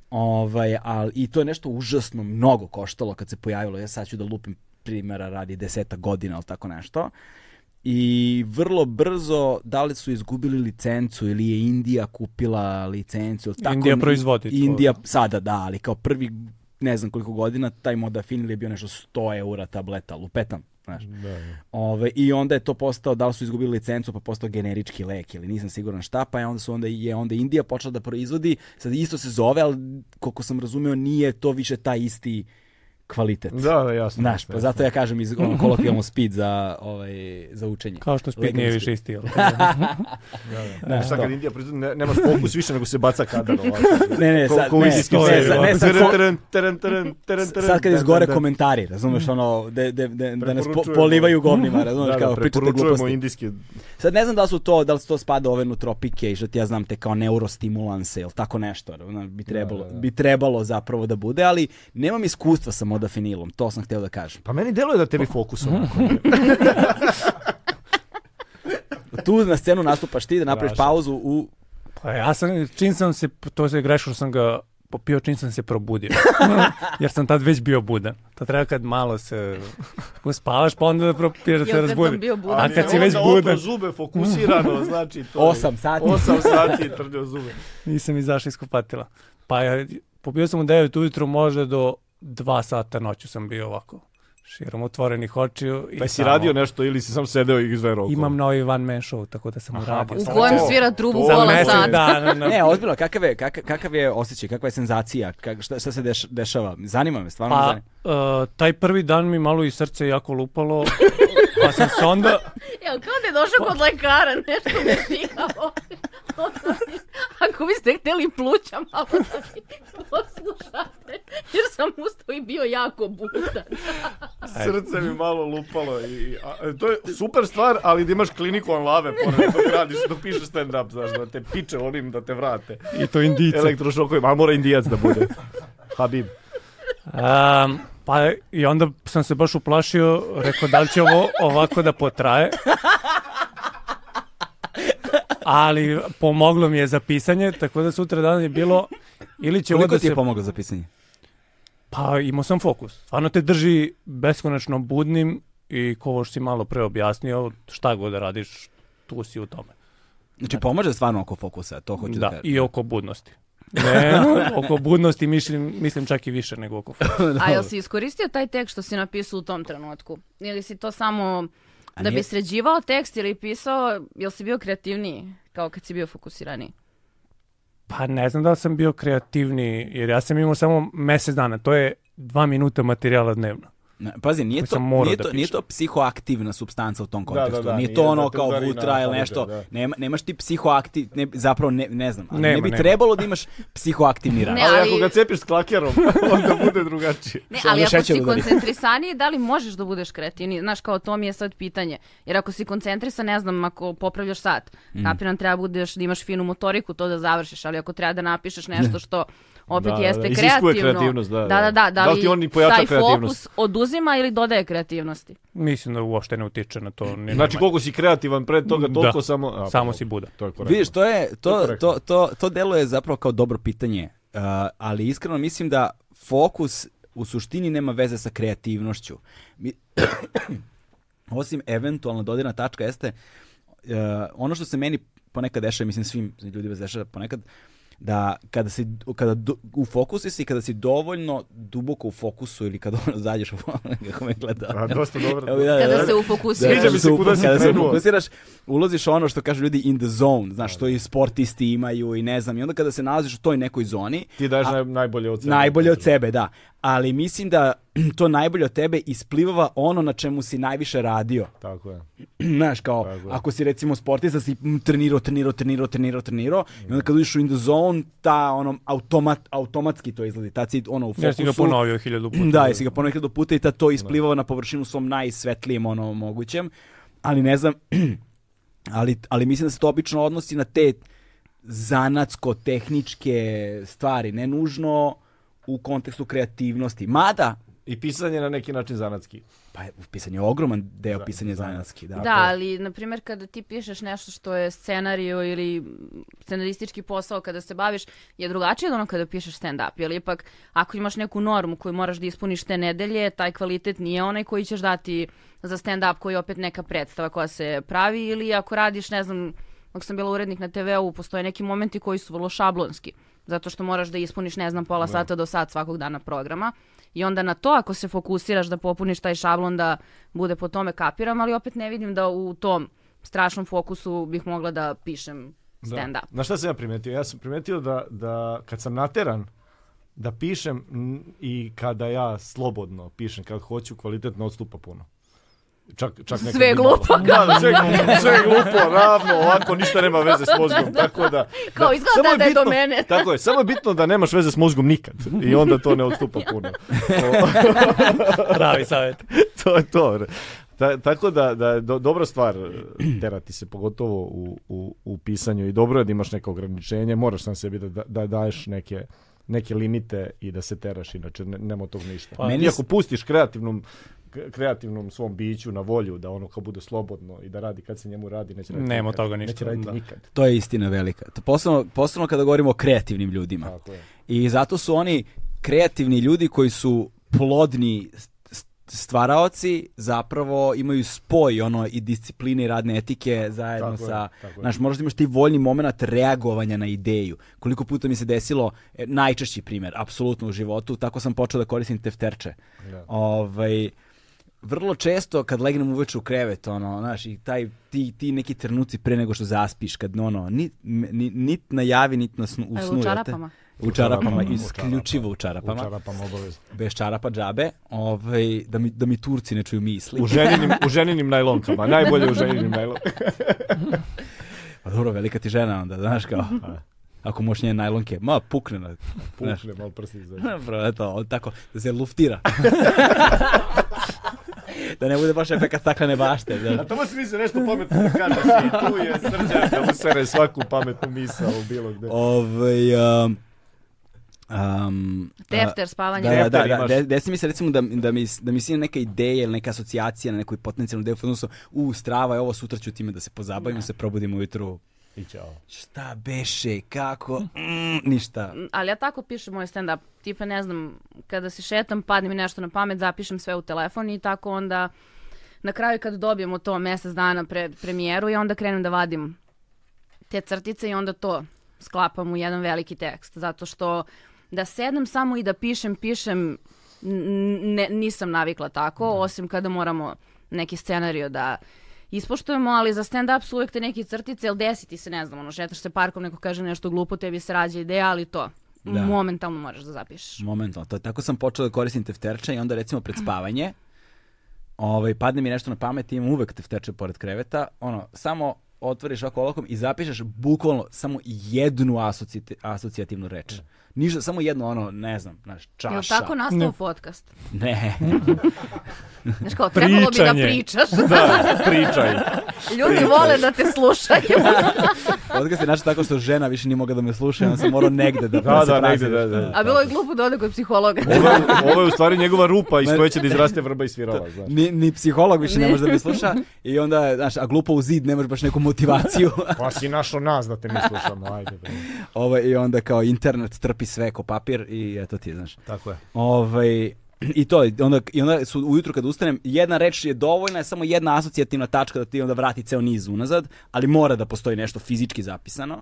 [SPEAKER 1] Ovaj, al, I to je nešto užasno mnogo koštalo kad se pojavilo. Ja sad ću da lupim primjera radi deseta godina ili tako nešto. I vrlo brzo, da li su izgubili licencu ili je Indija kupila licencu. ili Tako,
[SPEAKER 4] Indija
[SPEAKER 1] ne-
[SPEAKER 4] proizvodi to.
[SPEAKER 1] Indija sada, da, ali kao prvi ne znam koliko godina, taj modafinil je bio nešto 100 eura tableta, lupetam. Znaš. Ove, I onda je to postao, da li su izgubili licencu, pa postao generički lek ili nisam siguran šta, pa je onda, su onda, je onda Indija počela da proizvodi, sad isto se zove, ali koliko sam razumeo nije to više taj isti kvalitet.
[SPEAKER 2] Da, da, jasno.
[SPEAKER 1] Znaš, pa zato ja kažem iz ono, kolokvijalno speed za, ovaj, za učenje.
[SPEAKER 4] Kao što speed
[SPEAKER 1] Legalni
[SPEAKER 4] nije više isti. jel?
[SPEAKER 2] Da, sad kad Indija proizvodi, ne, nemaš fokus više nego se baca kadar ovako.
[SPEAKER 1] Ne, ne,
[SPEAKER 2] Ko-
[SPEAKER 1] sad,
[SPEAKER 2] ko
[SPEAKER 1] ne,
[SPEAKER 2] uđe iz
[SPEAKER 1] ne,
[SPEAKER 4] pistola,
[SPEAKER 1] sad-
[SPEAKER 4] jel?
[SPEAKER 1] ne, sad,
[SPEAKER 2] Teren,
[SPEAKER 1] sad,
[SPEAKER 2] teren, teren, teren, teren, teren.
[SPEAKER 1] sad kad
[SPEAKER 2] Da,
[SPEAKER 1] izgore
[SPEAKER 2] da, da.
[SPEAKER 1] komentari, razumeš, ono, de, de, de, da nas po-
[SPEAKER 2] Preporučujemo.
[SPEAKER 1] polivaju govnima, razumeš,
[SPEAKER 2] Da, da,
[SPEAKER 1] kao pričate
[SPEAKER 2] preporučujemo
[SPEAKER 1] gluposti.
[SPEAKER 2] indijske.
[SPEAKER 1] Sad ne znam da li su to, da li su to spada u ove nutropike i što ti ja znam te kao neurostimulanse ili tako nešto, ono, bi trebalo, bi trebalo zapravo da bude, ali nemam iskustva sa modafinilom, to sam hteo da kažem.
[SPEAKER 2] Pa meni deluje da tebi fokus ono, ovako.
[SPEAKER 1] Tu na scenu nastupaš ti da napraviš
[SPEAKER 2] Strašno.
[SPEAKER 1] pauzu u
[SPEAKER 4] Pa ja sam, čim sam se, to se grešio sam ga popio čim sam se probudio. Jer sam tad već bio budan. To treba kad malo se uspavaš, pa onda da propiješ da
[SPEAKER 3] Jel
[SPEAKER 4] se
[SPEAKER 3] kad sam
[SPEAKER 4] razbudi.
[SPEAKER 3] bio budan?
[SPEAKER 4] A kad si već
[SPEAKER 2] pa Onda opro
[SPEAKER 4] budan,
[SPEAKER 2] zube fokusirano, znači to. je-
[SPEAKER 1] 8 sati.
[SPEAKER 2] Osam sati je trljao zube.
[SPEAKER 4] nisam izašao iz kupatila. Pa ja, popio sam u 9 ujutru, možda do 2 sata noću sam bio ovako. Širom otvorenih očiju. i
[SPEAKER 2] Pa si
[SPEAKER 4] samo-
[SPEAKER 2] radio nešto ili si sam sedeo i izveo roku?
[SPEAKER 4] Imam novi one man show, tako da sam uradio.
[SPEAKER 3] U
[SPEAKER 2] to-
[SPEAKER 3] kojem svira trubu
[SPEAKER 2] to-
[SPEAKER 4] Za
[SPEAKER 3] pola
[SPEAKER 2] mesec
[SPEAKER 3] sata.
[SPEAKER 4] dana. na-
[SPEAKER 1] Ne, ozbiljno, kakav je, kakav, kakav je osjećaj, kakva je senzacija, kak, šta, šta se deš, dešava? Zanima me, stvarno me
[SPEAKER 4] Pa,
[SPEAKER 1] zanima.
[SPEAKER 4] e, taj prvi dan mi malo i srce jako lupalo, pa sam se onda,
[SPEAKER 3] Jel kao da je došao kod lekara, nešto mi je digao. Ako biste hteli pluća malo da mi poslušate, jer sam ustao koji bio jako butan.
[SPEAKER 2] Srce mi malo lupalo. I, i- a, e, to je super stvar, ali da imaš kliniku on lave pored dok radiš, dok pišeš stand-up, znaš, da te piče onim da te vrate.
[SPEAKER 4] I to indica.
[SPEAKER 2] Elektrošokovima, a mora indijac da bude. E, Habib.
[SPEAKER 4] Um, pa i onda sam se baš uplašio, rekao da li će ovo ovako da potraje. Ali pomoglo mi je za pisanje, tako da sutra dan je bilo ili će ovo
[SPEAKER 1] Koliko
[SPEAKER 4] da
[SPEAKER 1] ti je
[SPEAKER 4] se...
[SPEAKER 1] pomoglo za pisanje?
[SPEAKER 4] Pa imao sam fokus. Stvarno te drži beskonačno budnim i ko ovo što si malo pre objasnio, šta god da radiš, tu si u tome.
[SPEAKER 1] Znači, pomaže stvarno oko fokusa, to hoću da,
[SPEAKER 4] Pa- Da,
[SPEAKER 1] kažem.
[SPEAKER 4] i oko budnosti. Ne, oko budnosti mislim, mislim čak i više nego oko fokusa.
[SPEAKER 3] A jel si iskoristio taj tekst što si napisao u tom trenutku? Ili si to samo
[SPEAKER 1] A
[SPEAKER 3] da
[SPEAKER 1] nije-
[SPEAKER 3] bi sređivao tekst ili pisao, jel si bio kreativniji kao kad si bio fokusiraniji?
[SPEAKER 4] Pa ne znam da li sam bio kreativniji, jer ja sam imao samo mesec dana, to je dva minuta materijala dnevno.
[SPEAKER 1] Ne, Pazi, nije
[SPEAKER 4] Koji
[SPEAKER 1] to,
[SPEAKER 4] sam morao
[SPEAKER 1] nije,
[SPEAKER 4] da
[SPEAKER 1] to, nije
[SPEAKER 4] pišem.
[SPEAKER 1] to psihoaktivna substanca u tom kontekstu.
[SPEAKER 2] da, da,
[SPEAKER 1] nije
[SPEAKER 2] nije,
[SPEAKER 1] to ono
[SPEAKER 2] da te
[SPEAKER 1] kao
[SPEAKER 2] udari na
[SPEAKER 1] vutra ili
[SPEAKER 2] pamet,
[SPEAKER 1] nešto.
[SPEAKER 2] da.
[SPEAKER 1] Nema, nemaš ti psihoaktiv... Ne, zapravo ne, ne znam. Ali ne
[SPEAKER 4] Nema,
[SPEAKER 1] bi
[SPEAKER 4] nema.
[SPEAKER 1] trebalo da imaš psihoaktivni rad.
[SPEAKER 3] Ne,
[SPEAKER 2] Ali
[SPEAKER 3] ali-
[SPEAKER 2] ako ga cepiš s klakerom, onda bude drugačije.
[SPEAKER 3] Ne,
[SPEAKER 1] Što
[SPEAKER 3] ali
[SPEAKER 1] ono
[SPEAKER 3] ako
[SPEAKER 1] šećer
[SPEAKER 3] si
[SPEAKER 1] udari.
[SPEAKER 3] koncentrisaniji, da li možeš da budeš kreativniji? Znaš, kao to mi je sad pitanje. Jer ako si koncentrisan, ne znam, ako popravljaš sat,
[SPEAKER 2] Mm.
[SPEAKER 3] kapiram treba budeš da imaš finu motoriku, to da završiš, ali ako treba da napišeš nešto što opet
[SPEAKER 2] Da, da,
[SPEAKER 3] jeste
[SPEAKER 2] da, iziskuje
[SPEAKER 3] kreativno.
[SPEAKER 2] kreativnost, da,
[SPEAKER 3] da,
[SPEAKER 2] da.
[SPEAKER 3] da, da
[SPEAKER 2] Da li
[SPEAKER 3] li
[SPEAKER 2] ti on i pojača
[SPEAKER 3] taj
[SPEAKER 2] kreativnost?
[SPEAKER 3] fokus oduzima ili dodaje kreativnosti?
[SPEAKER 4] Mislim da uopšte ne utiče na to. Ni
[SPEAKER 2] Znači,
[SPEAKER 4] na
[SPEAKER 2] koliko si kreativan pred toga, toliko
[SPEAKER 4] Da.
[SPEAKER 2] samo... a,
[SPEAKER 4] Samo
[SPEAKER 2] dobro,
[SPEAKER 4] si buda.
[SPEAKER 2] To je korektno.
[SPEAKER 1] Vidiš, to je,
[SPEAKER 2] To je
[SPEAKER 1] to,
[SPEAKER 2] korektno.
[SPEAKER 1] to, to, to deluje zapravo kao dobro pitanje, uh, ali iskreno mislim da fokus u suštini nema veze sa kreativnošću. Mi, osim eventualno dodirna tačka jeste, uh, ono što se meni ponekad dešava, mislim svim ljudima se dešava ponekad, da kada si kada du, u fokusu si i kada si dovoljno duboko u fokusu ili kada ono zađeš u kako me gleda.
[SPEAKER 2] A, dosta dobro.
[SPEAKER 1] Evo, da, da, da.
[SPEAKER 3] Kada se ufokusiraš.
[SPEAKER 2] E, Sviđa mi se kuda si
[SPEAKER 1] Kada se
[SPEAKER 2] krenuo.
[SPEAKER 1] fokusiraš, ulaziš u ono što kažu ljudi in the zone, znaš, što i sportisti imaju i ne znam, i onda kada se nalaziš u toj nekoj zoni,
[SPEAKER 2] Ti daješ naj, najbolje od sebe.
[SPEAKER 1] najbolje od sebe, da. Ali mislim da to najbolje od tebe isplivava ono na čemu si najviše radio.
[SPEAKER 2] Tako je.
[SPEAKER 1] Znaš, kao,
[SPEAKER 2] Tako je.
[SPEAKER 1] ako si recimo sportista, si mm, trenirao, trenirao, trenirao, trenirao, trenirao, i
[SPEAKER 2] Mhm.
[SPEAKER 1] onda kad uđeš u in the zone, ta, ono, automat, automatski to izlazi, ta si, ono, u fokusu.
[SPEAKER 4] Ja sam ga ponovio hiljadu puta.
[SPEAKER 1] Da, jesi ga ponekad do puta i tad to isplivao na površinu svom najsvetlijem ono mogućem, ali ne znam, ali, ali mislim da se to obično odnosi na te zanatsko-tehničke stvari, ne nužno u kontekstu kreativnosti. Mada,
[SPEAKER 2] I pisanje na neki način zanatski.
[SPEAKER 1] pa je, pisanje je ogroman deo pisanja zanatski. Da,
[SPEAKER 3] Da, ali, na primjer, kada ti pišeš nešto što je scenario ili scenaristički posao kada se baviš, je drugačije od ono kada pišeš stand-up. Jer ipak, ako imaš neku normu koju moraš da ispuniš te nedelje, taj kvalitet nije onaj koji ćeš dati za stand-up koji je opet neka predstava koja se pravi ili ako radiš, ne znam, dok sam bila urednik na TV-u, postoje neki momenti koji su vrlo šablonski. Zato što moraš da ispuniš, ne znam, pola sata do sat svakog dana programa. I onda na to, ako se fokusiraš da popuniš taj šablon, da bude po tome kapiram, ali opet ne vidim da u tom strašnom fokusu bih mogla da pišem stand-up.
[SPEAKER 2] Na šta sam ja primetio? Ja sam primetio da, da kad sam nateran, da pišem mm, i kada ja slobodno pišem, kad hoću, kvalitetno odstupa puno. Čak, čak nekad
[SPEAKER 3] Sve
[SPEAKER 2] i
[SPEAKER 3] je
[SPEAKER 2] malo.
[SPEAKER 3] glupo.
[SPEAKER 2] Da, da, sve, je glupo, sve je glupo, ravno, ovako, ništa nema veze s mozgom. Tako da,
[SPEAKER 3] Kao, izgleda
[SPEAKER 2] samo
[SPEAKER 3] da je do
[SPEAKER 2] bitno-
[SPEAKER 3] mene.
[SPEAKER 2] Tako je, samo je bitno da nemaš veze s mozgom nikad. I onda to ne odstupa puno.
[SPEAKER 4] Pravi savjet.
[SPEAKER 2] to je to. Ta- tako da, da je do- dobra stvar eh, terati se, pogotovo u, u, u pisanju i dobro je da imaš neko ograničenje, moraš sam sebi da, da, da daješ neke neke limite i da se teraš, inače ne, nema od tog ništa.
[SPEAKER 1] Pa, meni
[SPEAKER 2] Iako
[SPEAKER 1] s-
[SPEAKER 2] pustiš kreativnom k- kreativnom svom biću na volju da ono kao bude slobodno i da radi kad se njemu radi, neće raditi
[SPEAKER 4] Nema
[SPEAKER 2] nikad.
[SPEAKER 4] toga ništa,
[SPEAKER 2] Neće raditi
[SPEAKER 4] da.
[SPEAKER 2] nikad.
[SPEAKER 1] To je istina velika. To posebno, posebno kada govorimo o kreativnim ljudima.
[SPEAKER 2] Tako je.
[SPEAKER 1] I zato su oni kreativni ljudi koji su plodni st- stvaraoci zapravo imaju spoj ono i discipline i radne etike zajedno
[SPEAKER 2] Tako je,
[SPEAKER 1] sa
[SPEAKER 2] tako je.
[SPEAKER 1] znaš možda imaš ti voljni moment reagovanja na ideju koliko puta mi se desilo e, najčešći primjer apsolutno u životu tako sam počeo da koristim tefterče
[SPEAKER 2] Da.
[SPEAKER 1] ovaj vrlo često kad legnem uveče u krevet, ono, znaš, i taj, ti, ti neki trenuci pre nego što zaspiš, kad, ono, nit, ni, nit na javi, nit na snu, u
[SPEAKER 3] A je li
[SPEAKER 1] snu,
[SPEAKER 3] u
[SPEAKER 1] jel te?
[SPEAKER 3] čarapama?
[SPEAKER 1] U čarapama,
[SPEAKER 2] U
[SPEAKER 1] isključivo u čarapama,
[SPEAKER 2] Učarapam obavezno.
[SPEAKER 1] bez čarapa džabe, ovaj, da, mi, da mi Turci ne čuju misli.
[SPEAKER 2] U ženinim, u ženinim najlonkama, najbolje u ženinim najlonkama.
[SPEAKER 1] Pa dobro, velika ti žena onda, znaš, kao. ako možeš njene najlonke. Ma, pukne na...
[SPEAKER 2] Pukne, malo prsti izađe.
[SPEAKER 1] Bro, eto, on tako, da se luftira. da ne bude baš efekat staklene bašte.
[SPEAKER 2] A
[SPEAKER 1] Da.
[SPEAKER 2] tamo si mislio nešto pametno da kažeš i tu je srđan da mu sere svaku pametnu misao u bilo gde.
[SPEAKER 1] Ove, um, um,
[SPEAKER 3] Tefter,
[SPEAKER 1] Da,
[SPEAKER 3] spavanje.
[SPEAKER 1] da,
[SPEAKER 2] Defter
[SPEAKER 1] da,
[SPEAKER 2] imaš.
[SPEAKER 1] da, desi mi se recimo da, da mi, da mi sine neka ideja ili neka asocijacija na nekoj potencijalnoj ideju, odnosno, u, strava je ovo, sutra ću time da se pozabavim, se probudim ujutru.
[SPEAKER 2] I ćao.
[SPEAKER 1] Šta beše, kako, mm, ništa.
[SPEAKER 3] ali ja tako pišem moj stand-up. Tipa, ne znam, kada se šetam, padne mi nešto na pamet, zapišem sve u telefon i tako onda na kraju kad dobijemo to mjesec dana pred premijeru i onda krenem da vadim te crtice i onda to sklapam u jedan veliki tekst. Zato što da sednem samo i da pišem, pišem, n- ne, nisam navikla tako, osim kada moramo neki scenario da ispoštujemo, ali za stand-up su uvijek te neke crtice, ili desi ti se, ne znam, ono, šetaš se parkom, neko kaže nešto glupo, tebi se rađa ideja, ali to,
[SPEAKER 1] Da.
[SPEAKER 3] momentalno moraš da zapišeš.
[SPEAKER 1] Momentalno, to, tako sam počeo da koristim tefterče i onda recimo pred spavanje ovaj, padne mi nešto na pamet i imam uvek tefterče pored kreveta, ono, samo otvoriš ovako olakom i zapišeš bukvalno samo jednu asociti- asocijativnu reč. Ništa, samo jedno ono, ne znam, znaš, čaša.
[SPEAKER 3] Jel tako nastao podcast?
[SPEAKER 1] Ne.
[SPEAKER 3] Znaš kao, trebalo bi da
[SPEAKER 4] Pričanje.
[SPEAKER 3] pričaš.
[SPEAKER 2] Da, pričaj.
[SPEAKER 3] Ljudi vole da te slušaju.
[SPEAKER 1] Odga se našao tako što žena više nije mogla da me sluša, on sam morao negde da
[SPEAKER 2] Da,
[SPEAKER 1] se
[SPEAKER 2] da, negde,
[SPEAKER 1] praziš.
[SPEAKER 2] da, da.
[SPEAKER 3] A bilo je glupo da ode kod psihologa.
[SPEAKER 2] Ovo, je- ovo je u stvari njegova rupa iz koje će da izraste vrba i svirala, znaš.
[SPEAKER 1] Ni, ni psiholog više ne
[SPEAKER 3] Ne.
[SPEAKER 1] može da me sluša i onda, znaš, a glupo u zid nemaš baš neku motivaciju.
[SPEAKER 2] Pa si našao nas da te mi slušamo, ajde. Bre.
[SPEAKER 1] Ovo, Ovaj, I onda kao internet trpi sve ko papir i eto ti, znaš.
[SPEAKER 2] Tako je.
[SPEAKER 1] Ovaj, I to, onda, i onda su ujutru kad ustanem, jedna reč je dovoljna, je samo jedna asocijativna tačka da ti onda vrati ceo niz unazad, ali mora da postoji nešto fizički zapisano.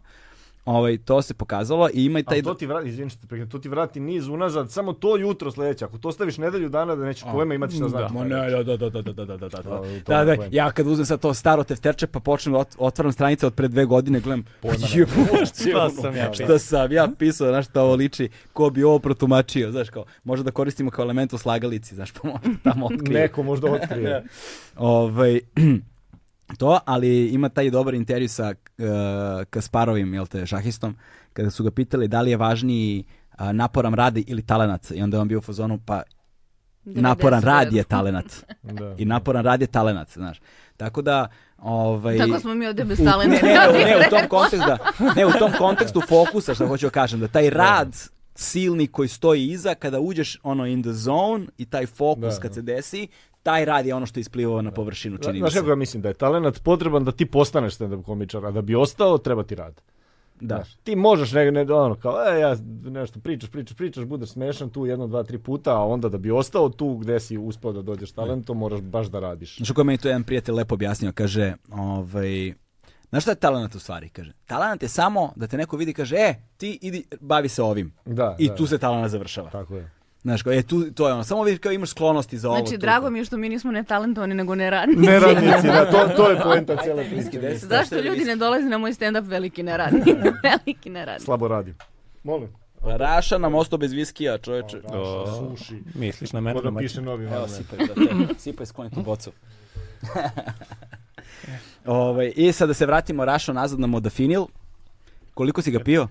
[SPEAKER 1] Ovaj, to se pokazalo i ima i taj...
[SPEAKER 2] Ali to ti vrati, izvini što te prekidam, to ti vrati niz unazad, samo to jutro sledeće. Ako to staviš nedelju dana da nećeš pojma imati šta znači.
[SPEAKER 1] Ma ne, da, da, da, da, da, da, da, da, da, da.
[SPEAKER 2] je to
[SPEAKER 1] Da, da,
[SPEAKER 2] problem.
[SPEAKER 1] ja kad uzmem sad to staro tefterče pa počnem da ot- otvaram stranice od pre dve godine, gledam, je, šta Pa sam ja pisao? Šta sam ja pisao, znaš, šta ovo liči, ko bi ovo protumačio, znaš, kao, možda da koristimo kao element u slagalici, znaš, pa možda tamo otkrije.
[SPEAKER 2] Neko možda otkrije.
[SPEAKER 1] Ovaj, to, ali ima taj dobar intervju sa e, Kasparovim, jel te, šahistom, kada su ga pitali da li je važniji a, naporan rad ili talenat. I onda je on bio u fazonu, pa naporan rad je talenat.
[SPEAKER 2] Da.
[SPEAKER 1] I naporan rad je talenat, znaš. Tako da, ovaj...
[SPEAKER 3] Tako smo mi ovdje bez
[SPEAKER 1] u-
[SPEAKER 3] talenta.
[SPEAKER 1] E,
[SPEAKER 3] Znači,
[SPEAKER 1] Ne, ne, ne, u tom kontekstu, da, ne, u tom kontekstu fokusa, što hoću da kažem, da taj rad silni koji stoji iza, kada uđeš ono in the zone i taj fokus
[SPEAKER 2] Da,
[SPEAKER 1] kad
[SPEAKER 2] da.
[SPEAKER 1] se desi, taj rad je ono što isplivao na površinu, čini mi
[SPEAKER 2] Znaš
[SPEAKER 1] se.
[SPEAKER 2] kako ja mislim da je talenat potreban da ti postaneš stand-up komičar, a da bi ostao treba ti rad.
[SPEAKER 1] Da.
[SPEAKER 2] Znaš, ti možeš ne, ne, ono, kao, e, ja nešto pričaš, pričaš, pričaš, budeš smešan tu jedno, dva, tri puta, a onda da bi ostao tu gde si uspao da dođeš talentom, moraš baš da radiš.
[SPEAKER 1] Znaš kako je meni to jedan prijatelj lepo objasnio, kaže, ovaj, znaš šta je talent u stvari, kaže, talent je samo da te neko vidi i kaže, e, ti idi, bavi se ovim.
[SPEAKER 2] Da,
[SPEAKER 1] I
[SPEAKER 2] da.
[SPEAKER 1] tu se talent završava.
[SPEAKER 2] Tako je.
[SPEAKER 1] Znaš, kao, e, tu, to je ono, samo vidi kao imaš sklonosti za ovo.
[SPEAKER 3] Znači,
[SPEAKER 1] tu,
[SPEAKER 3] drago
[SPEAKER 1] to.
[SPEAKER 3] mi je što mi nismo ne talentovani, nego ne radnici.
[SPEAKER 2] Ne radnici, da, to, to je poenta cele
[SPEAKER 1] Viski
[SPEAKER 2] priče.
[SPEAKER 1] desite, šta
[SPEAKER 3] Zašto
[SPEAKER 1] je
[SPEAKER 3] ljudi
[SPEAKER 1] viski?
[SPEAKER 3] ne dolaze na moj stand-up veliki ne radni? veliki ne radni.
[SPEAKER 2] Slabo radim. Molim.
[SPEAKER 1] Pa Raša nam ostao bez viskija,
[SPEAKER 2] Pa,
[SPEAKER 1] čoveče.
[SPEAKER 2] Suši.
[SPEAKER 4] Misliš na mene?
[SPEAKER 2] Ko da
[SPEAKER 4] domaćin?
[SPEAKER 2] piše novi ono,
[SPEAKER 1] Evo,
[SPEAKER 2] moment.
[SPEAKER 1] sipaj, da te, sipaj, skloni tu bocu. Ovaj, I sad da se vratimo Rašo nazad na modafinil. Koliko si ga pio?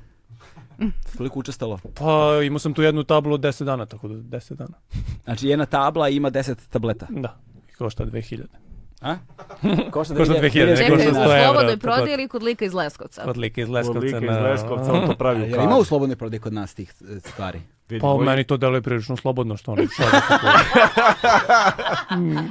[SPEAKER 1] Koliko učestalo?
[SPEAKER 4] Pa imao sam tu jednu tablu 10 dana, tako da 10 dana.
[SPEAKER 1] Znači jedna tabla ima 10 tableta.
[SPEAKER 4] Da. I košta 2000.
[SPEAKER 1] A? Košta
[SPEAKER 4] Košta 2000, ne
[SPEAKER 3] Čekaj,
[SPEAKER 4] košta
[SPEAKER 3] u
[SPEAKER 4] 100 evra.
[SPEAKER 3] slobodnoj
[SPEAKER 4] tako da-
[SPEAKER 3] prodaji ili kod lika iz Leskovca?
[SPEAKER 4] Od lika iz
[SPEAKER 2] Od
[SPEAKER 4] Leskovca.
[SPEAKER 2] lika iz
[SPEAKER 4] na-
[SPEAKER 2] Leskovca, on to pravi u
[SPEAKER 1] Jel ima u slobodnoj prodaji kod nas tih e, stvari?
[SPEAKER 2] Znači
[SPEAKER 4] Pa
[SPEAKER 2] meni
[SPEAKER 4] meni to deluje prilično slobodno što oni šalju tako.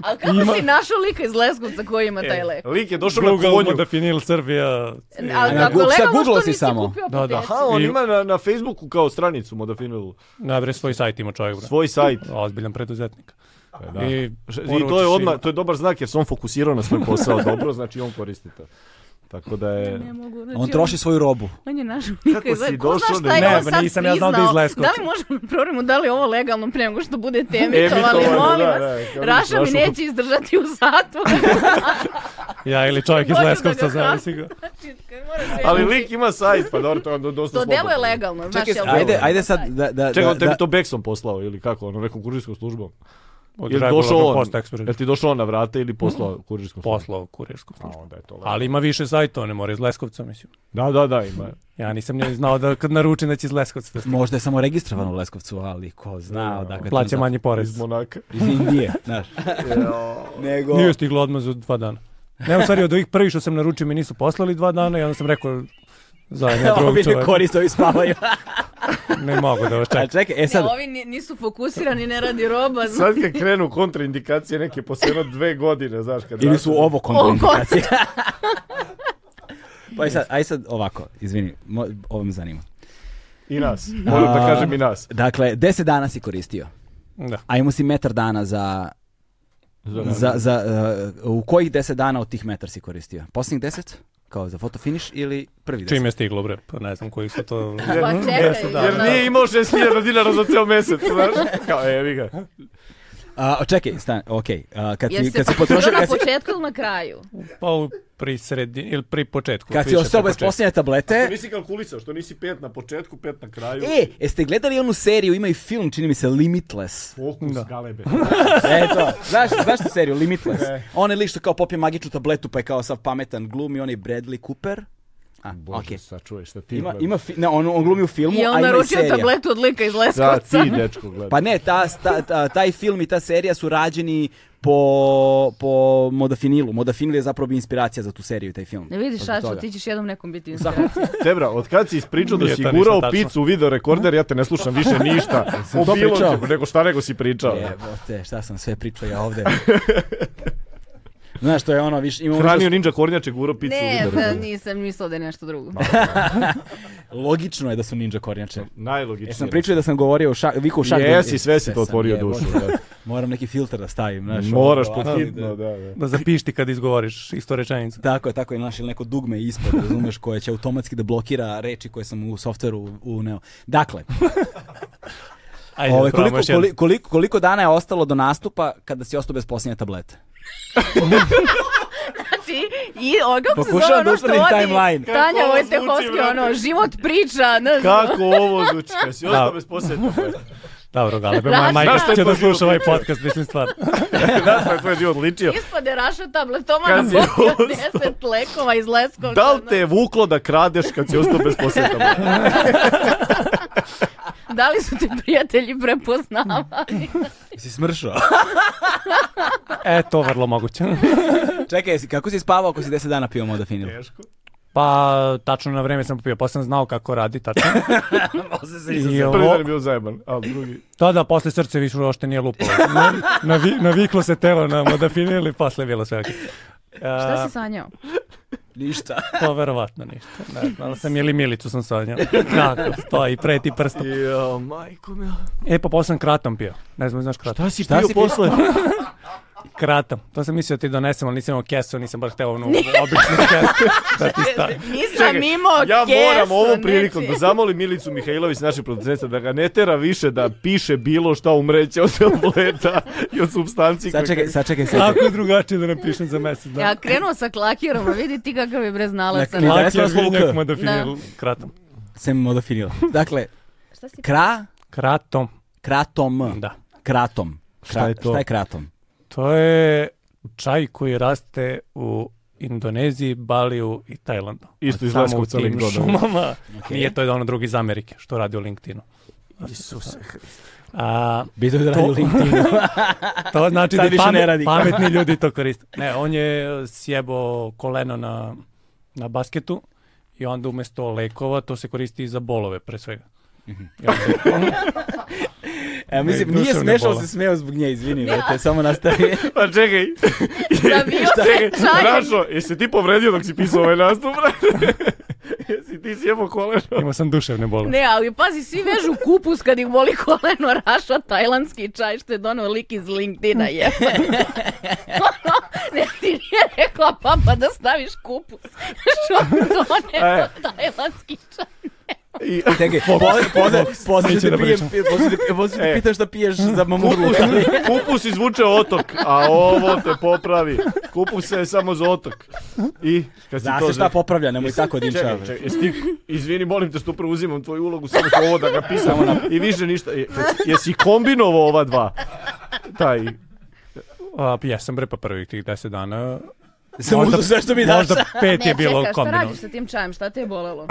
[SPEAKER 3] A kako si našao lika iz Leskovca koji ima
[SPEAKER 1] E,
[SPEAKER 3] taj lek?
[SPEAKER 2] Lik je došao na
[SPEAKER 4] Google
[SPEAKER 2] konju.
[SPEAKER 4] mu definil Srbija.
[SPEAKER 3] Ali
[SPEAKER 1] na
[SPEAKER 3] ako
[SPEAKER 1] Gu- sa
[SPEAKER 3] legalno,
[SPEAKER 1] Google-o
[SPEAKER 3] što
[SPEAKER 1] si
[SPEAKER 3] nisi
[SPEAKER 1] samo.
[SPEAKER 3] kupio
[SPEAKER 4] Da, da.
[SPEAKER 3] apotecu?
[SPEAKER 2] Aha, on
[SPEAKER 4] I-
[SPEAKER 2] ima na, na Facebooku kao stranicu Modafinilu,
[SPEAKER 4] Najbre svoj sajt ima čovjek. Bro.
[SPEAKER 2] svoj sajt.
[SPEAKER 4] Ozbiljan preduzetnik.
[SPEAKER 2] E, da.
[SPEAKER 4] I,
[SPEAKER 2] I to je odmah, to je dobar znak jer se on fokusirao na svoj posao dobro, znači on koristi to. Tako da je...
[SPEAKER 3] Ne mogu, znači,
[SPEAKER 1] On troši svoju robu.
[SPEAKER 3] On je našao lika
[SPEAKER 2] Kako
[SPEAKER 3] iz
[SPEAKER 2] si
[SPEAKER 3] Leskovca. Ko
[SPEAKER 2] došao
[SPEAKER 3] zna
[SPEAKER 2] do-
[SPEAKER 3] šta je
[SPEAKER 4] Ne,
[SPEAKER 3] on
[SPEAKER 4] pa
[SPEAKER 3] sad
[SPEAKER 4] nisam ja znao da je iz
[SPEAKER 3] priznao?
[SPEAKER 4] Leskovca.
[SPEAKER 3] Da li možemo da provjerimo da li je ovo legalno pre nego što budete emitovali?
[SPEAKER 2] Emitovano,
[SPEAKER 3] Molim
[SPEAKER 2] da,
[SPEAKER 3] vas,
[SPEAKER 2] da, kao
[SPEAKER 3] Raša mi
[SPEAKER 2] Rašu-
[SPEAKER 3] neće izdržati u zatvoru.
[SPEAKER 4] Ja ili čovjek iz
[SPEAKER 3] Možda da
[SPEAKER 4] Leskovca,
[SPEAKER 3] ga
[SPEAKER 4] znam
[SPEAKER 3] hapsi.
[SPEAKER 4] si ga.
[SPEAKER 3] Mora sve
[SPEAKER 2] Ali
[SPEAKER 3] ići.
[SPEAKER 2] lik ima sajt, pa dobro, to je onda dosta
[SPEAKER 3] To
[SPEAKER 2] slobodno.
[SPEAKER 3] delo je legalno, znaš,
[SPEAKER 1] Čekaj,
[SPEAKER 3] jel
[SPEAKER 1] ajde,
[SPEAKER 3] legalno?
[SPEAKER 1] ajde sad da... da,
[SPEAKER 2] Čekaj, on
[SPEAKER 1] da-
[SPEAKER 2] tebi
[SPEAKER 1] da-
[SPEAKER 2] to Beksom poslao ili kako, ono nekom kurijskom službom.
[SPEAKER 4] Od
[SPEAKER 2] Jel
[SPEAKER 4] regularnog
[SPEAKER 2] došao on?
[SPEAKER 4] posta ekspres.
[SPEAKER 2] Jel ti došao on na vrata ili poslao kurirsku službu?
[SPEAKER 4] Poslao kurirsku službu.
[SPEAKER 2] A onda je to lepo.
[SPEAKER 4] Ali ima više sajtova, ne mora iz Leskovca, mislim.
[SPEAKER 2] Da, da, da, ima.
[SPEAKER 4] Ja nisam ni znao da kad naručim da će iz Leskovca da stigne.
[SPEAKER 1] Možda je samo registrovan u Leskovcu, ali ko zna odakle. to
[SPEAKER 4] Plaća
[SPEAKER 1] za-
[SPEAKER 4] manji
[SPEAKER 2] Iz
[SPEAKER 4] porez.
[SPEAKER 2] Monaka.
[SPEAKER 1] Iz Indije, znaš. Nego...
[SPEAKER 4] Nije stiglo odmah za dva dana. Ne, u stvari od ovih prvih što sam naručio mi nisu poslali dva dana i onda sam rekao zajedno ja, drugom
[SPEAKER 1] Ovi ne
[SPEAKER 4] čoveku,
[SPEAKER 1] koriste, ovi spavaju.
[SPEAKER 4] ne mogu da vas
[SPEAKER 1] A
[SPEAKER 4] čekam.
[SPEAKER 1] čekaj, e sad,
[SPEAKER 3] Ne, ovi ni- nisu fokusirani, ne radi roba. znaš.
[SPEAKER 2] Sad kad krenu kontraindikacije neke posle jedno dve godine, znaš, kad...
[SPEAKER 1] Ili su
[SPEAKER 2] vrate-
[SPEAKER 1] ovo kontraindikacije? pa aj sad, aj sad ovako, izvini, mo, ovo me zanima.
[SPEAKER 2] I nas. Moram da
[SPEAKER 1] A-
[SPEAKER 2] kažem i nas.
[SPEAKER 1] Dakle, 10 dana si koristio,
[SPEAKER 4] Da.
[SPEAKER 1] a imao si metar dana za... za, za uh, u kojih 10 dana od tih metar si koristio? Posljednjih 10? Kao za fotofiniš ili prvi 10?
[SPEAKER 4] Čim je stiglo, bre, pa ne znam koji su to...
[SPEAKER 3] Pa čekaj,
[SPEAKER 2] Jer
[SPEAKER 3] ono-
[SPEAKER 2] nije imao 6000 dinara za ceo mesec, znaš? Kao, evi ga.
[SPEAKER 1] A, čekaj, stan, okej. a, kad,
[SPEAKER 3] Jel
[SPEAKER 1] si,
[SPEAKER 3] se
[SPEAKER 1] kad si
[SPEAKER 3] potrošio
[SPEAKER 1] potrošio...
[SPEAKER 3] na
[SPEAKER 1] Kad si,
[SPEAKER 3] početku ili na kraju?
[SPEAKER 4] Pa u, pri sredini, ili pri početku.
[SPEAKER 1] kad si
[SPEAKER 4] više
[SPEAKER 1] ostao
[SPEAKER 4] pri
[SPEAKER 1] bez
[SPEAKER 4] početku.
[SPEAKER 1] posljednje tablete...
[SPEAKER 2] Nisi kalkulisao, što nisi pet na početku, pet na kraju.
[SPEAKER 1] E, jeste gledali onu seriju, ima i film, čini mi se, Limitless.
[SPEAKER 2] Fokus galebe.
[SPEAKER 1] Eto, E, znaš, znaš tu seriju, Limitless?
[SPEAKER 2] E.
[SPEAKER 1] On je liš što kao popije magičnu tabletu pa je kao sav pametan glumi, on je Bradley Cooper. A,
[SPEAKER 2] Bože,
[SPEAKER 1] okej.
[SPEAKER 2] sačuvaj, šta ti
[SPEAKER 1] Ima,
[SPEAKER 2] gledaš?
[SPEAKER 1] ima fi- ne, on, on glumi u filmu,
[SPEAKER 3] I
[SPEAKER 1] a
[SPEAKER 3] on
[SPEAKER 1] ima i
[SPEAKER 3] naručio
[SPEAKER 1] serija.
[SPEAKER 3] tabletu od lika iz
[SPEAKER 2] Da,
[SPEAKER 3] Leskovca.
[SPEAKER 2] ti dečko gledaš.
[SPEAKER 1] Pa ne, ta, ta, ta- taj film i ta serija su rađeni po, po Modafinilu. Modafinil je zapravo bio inspiracija za tu seriju i taj film.
[SPEAKER 3] Ne vidiš,
[SPEAKER 1] Pa zbog
[SPEAKER 3] Šačo,
[SPEAKER 1] toga.
[SPEAKER 3] ti ćeš jednom nekom biti inspiracija.
[SPEAKER 2] Tebra, od kad si ispričao da
[SPEAKER 4] Nije
[SPEAKER 2] si
[SPEAKER 4] to
[SPEAKER 2] gurao
[SPEAKER 4] ništa tačno.
[SPEAKER 2] picu u video rekorder, ja te ne slušam više ništa.
[SPEAKER 1] to
[SPEAKER 2] o bilo
[SPEAKER 1] pričao?
[SPEAKER 2] čemu, nego šta nego si pričao.
[SPEAKER 1] Jebote, E, šta sam sve pričao ja ovde. Znaš, to je ono, viš, imamo
[SPEAKER 2] Hranio ninja kornjače gurao picu u
[SPEAKER 3] ne,
[SPEAKER 2] video
[SPEAKER 3] pa
[SPEAKER 2] rekorder.
[SPEAKER 3] nisam mislila da je nešto drugo.
[SPEAKER 1] Logično je da su ninja kornjače.
[SPEAKER 2] Najlogičnije.
[SPEAKER 1] Jesam pričao da E, sam govorio o šak, viku o šak.
[SPEAKER 2] Jesi, sve si to otvorio dušu. da.
[SPEAKER 1] Moram neki filter da stavim, znaš. ono,
[SPEAKER 2] Moraš
[SPEAKER 1] ovako.
[SPEAKER 2] potitno, pa, da, da.
[SPEAKER 4] Da zapišti kad izgovoriš isto rečenicu.
[SPEAKER 1] Tako je, tako je, znaš, ili neko dugme ispod, razumeš, koje će automatski da blokira reči koje sam u softveru uneo. Dakle,
[SPEAKER 4] Ajde,
[SPEAKER 1] ove,
[SPEAKER 4] Ove,
[SPEAKER 1] koliko, koli- koliko, koliko dana je ostalo do nastupa kada si ostao bez posljednje tablete?
[SPEAKER 3] Znači, i ono kako se zove
[SPEAKER 1] Pokušavam da
[SPEAKER 3] ono što
[SPEAKER 1] utvrdim timeline.
[SPEAKER 3] vodi
[SPEAKER 2] Kako
[SPEAKER 3] Tanja
[SPEAKER 2] ovo zvuči,
[SPEAKER 3] Vojtehovski,
[SPEAKER 2] brate?
[SPEAKER 3] ono, život priča, ne znam.
[SPEAKER 2] Kako ovo zvuči? Kad si ostao
[SPEAKER 4] Da.
[SPEAKER 2] bez posljednog.
[SPEAKER 4] Dobro, Galebe, moja majka
[SPEAKER 2] Znaš šta je
[SPEAKER 4] će
[SPEAKER 2] to
[SPEAKER 4] da sluša
[SPEAKER 2] bilo?
[SPEAKER 4] ovaj podcast, mislim stvar.
[SPEAKER 2] Znaš kako je život ličio?
[SPEAKER 3] Ispade Raša tabletoma na
[SPEAKER 2] Kad si
[SPEAKER 3] popio
[SPEAKER 2] ostao.
[SPEAKER 3] 10 lekova iz Leskovca.
[SPEAKER 2] Da li te je vuklo da kradeš kad si ostao bez posljednog?
[SPEAKER 3] ono. Da li su te prijatelji prepoznavali?
[SPEAKER 1] Si smršao.
[SPEAKER 4] E, to vrlo moguće.
[SPEAKER 1] Čekaj, jesi- kako si spavao ako si 10 dana pio modafinil?
[SPEAKER 2] Teško.
[SPEAKER 4] Pa, tačno na vreme sam popio, pa sam znao kako radi, tačno. I
[SPEAKER 2] Prvi
[SPEAKER 4] ovo,
[SPEAKER 2] dan je bio zajeban, a drugi...
[SPEAKER 4] Da, da, posle srce više uopšte nije lupalo. Na, navi, naviklo se telo na modafinil i posle je bilo sve okej.
[SPEAKER 3] Šta
[SPEAKER 4] Okay.
[SPEAKER 3] si sanjao?
[SPEAKER 1] Ništa.
[SPEAKER 4] E, To verovatno ništa. Ne znam, ali sam ili milicu sam sanjao. Kako, stoji, preti prstom.
[SPEAKER 2] Jo, majko mila.
[SPEAKER 4] E, pa posle sam kratom pio. Ne znam, znaš kratom.
[SPEAKER 2] Šta si
[SPEAKER 1] Šta
[SPEAKER 2] pio
[SPEAKER 1] si pio?
[SPEAKER 2] posle?
[SPEAKER 4] Kratom. To sam mislio da ti donesem, ali nisam imao kesu, nisam baš hteo onu običnu kesu. Da ti stavi.
[SPEAKER 3] Nisam imao
[SPEAKER 2] Ja moram
[SPEAKER 3] kesu,
[SPEAKER 2] ovom prilikom
[SPEAKER 3] nečije.
[SPEAKER 2] da zamolim Milicu Mihajlović, naše producenta, da ga ne tera više da piše bilo šta umreće od tableta i od substanci.
[SPEAKER 1] Sad čekaj, sad čekaj, sad čekaj.
[SPEAKER 4] Kako je drugačije da napišem za mesec dana?
[SPEAKER 3] Ja krenuo sa klakirama, vidi ti kakav je breznalac.
[SPEAKER 1] Dakle,
[SPEAKER 4] Lak
[SPEAKER 1] Interesuje
[SPEAKER 4] je
[SPEAKER 1] vas slovo K.
[SPEAKER 4] vinjak modafinil. Kratom.
[SPEAKER 1] Sem modafinila. Dakle,
[SPEAKER 3] Šta si
[SPEAKER 1] kra,
[SPEAKER 4] Kratom,
[SPEAKER 1] kratom.
[SPEAKER 4] da.
[SPEAKER 1] Kratom.
[SPEAKER 2] Šta je to?
[SPEAKER 1] Šta je kratom?
[SPEAKER 4] To je čaj koji raste u Indoneziji, Baliju i Tajlandu. Znači,
[SPEAKER 2] Isto iz
[SPEAKER 4] Samo
[SPEAKER 2] Leskovca
[SPEAKER 4] u tim
[SPEAKER 2] LinkedIn-a.
[SPEAKER 4] šumama. Nije to ono drugi iz Amerike, što radi u LinkedInu. Znači,
[SPEAKER 2] Isuse Hriste.
[SPEAKER 4] A,
[SPEAKER 1] Bito da radi
[SPEAKER 4] To-
[SPEAKER 1] LinkedIn.
[SPEAKER 4] to znači da
[SPEAKER 1] Sad više
[SPEAKER 4] pamet-
[SPEAKER 1] ne radi.
[SPEAKER 4] pametni ljudi to koriste. Ne, on je sjebo koleno na, na basketu i onda umesto lekova to se koristi za bolove pre svega.
[SPEAKER 1] Mhm.
[SPEAKER 4] I onda-
[SPEAKER 1] E, mislim,
[SPEAKER 4] Ne,
[SPEAKER 1] nije
[SPEAKER 4] duševne
[SPEAKER 1] smešao, ali
[SPEAKER 4] bole.
[SPEAKER 1] se smeo zbog nje, izvini, brate, samo nastavi.
[SPEAKER 2] Pa čekaj,
[SPEAKER 3] Zabio
[SPEAKER 2] čekaj,
[SPEAKER 3] se čajem.
[SPEAKER 2] Rašo, jesi ti povredio dok si pisao ovaj nastup? brate? jesi ti sjebo koleno?
[SPEAKER 4] Imao sam duševne bolove.
[SPEAKER 3] Ne, ali pazi, svi vežu kupus kad ih boli koleno raša tajlandski čaj što je donao lik iz LinkedIna je. Ono, ne, ti nije rekla papa da staviš kupus. što doneo
[SPEAKER 2] E.
[SPEAKER 3] tajlandski čaj.
[SPEAKER 2] I,
[SPEAKER 1] Čekaj, pozdrav, pozdrav, pozdrav,
[SPEAKER 4] Neće
[SPEAKER 1] da
[SPEAKER 4] da
[SPEAKER 1] pijem,
[SPEAKER 4] pričam.
[SPEAKER 1] pozdrav, pozdrav,
[SPEAKER 2] E.
[SPEAKER 1] pitam šta piješ za mamuru.
[SPEAKER 2] kupus, kupus izvuče otok, a ovo te popravi. Kupus je samo za otok. I kad si
[SPEAKER 1] Zna
[SPEAKER 2] to
[SPEAKER 1] se šta
[SPEAKER 2] zre-
[SPEAKER 1] popravlja, nemoj tako
[SPEAKER 2] Čekaj,
[SPEAKER 1] dinča.
[SPEAKER 2] čekaj, jesi ti, izvini, molim te što preuzimam tvoju ulogu, samo što ovo da ga pisam i više ništa. Je- kad si- Jesi kombinovao ova dva? Taj
[SPEAKER 4] A, pa jesam bre, pa prvih tih deset dana.
[SPEAKER 1] Sam uzeo sve što mi daš.
[SPEAKER 4] Možda pet je bilo
[SPEAKER 3] čekaj, šta
[SPEAKER 4] kombinovan.
[SPEAKER 3] radiš sa tim čajem, šta te je bolelo?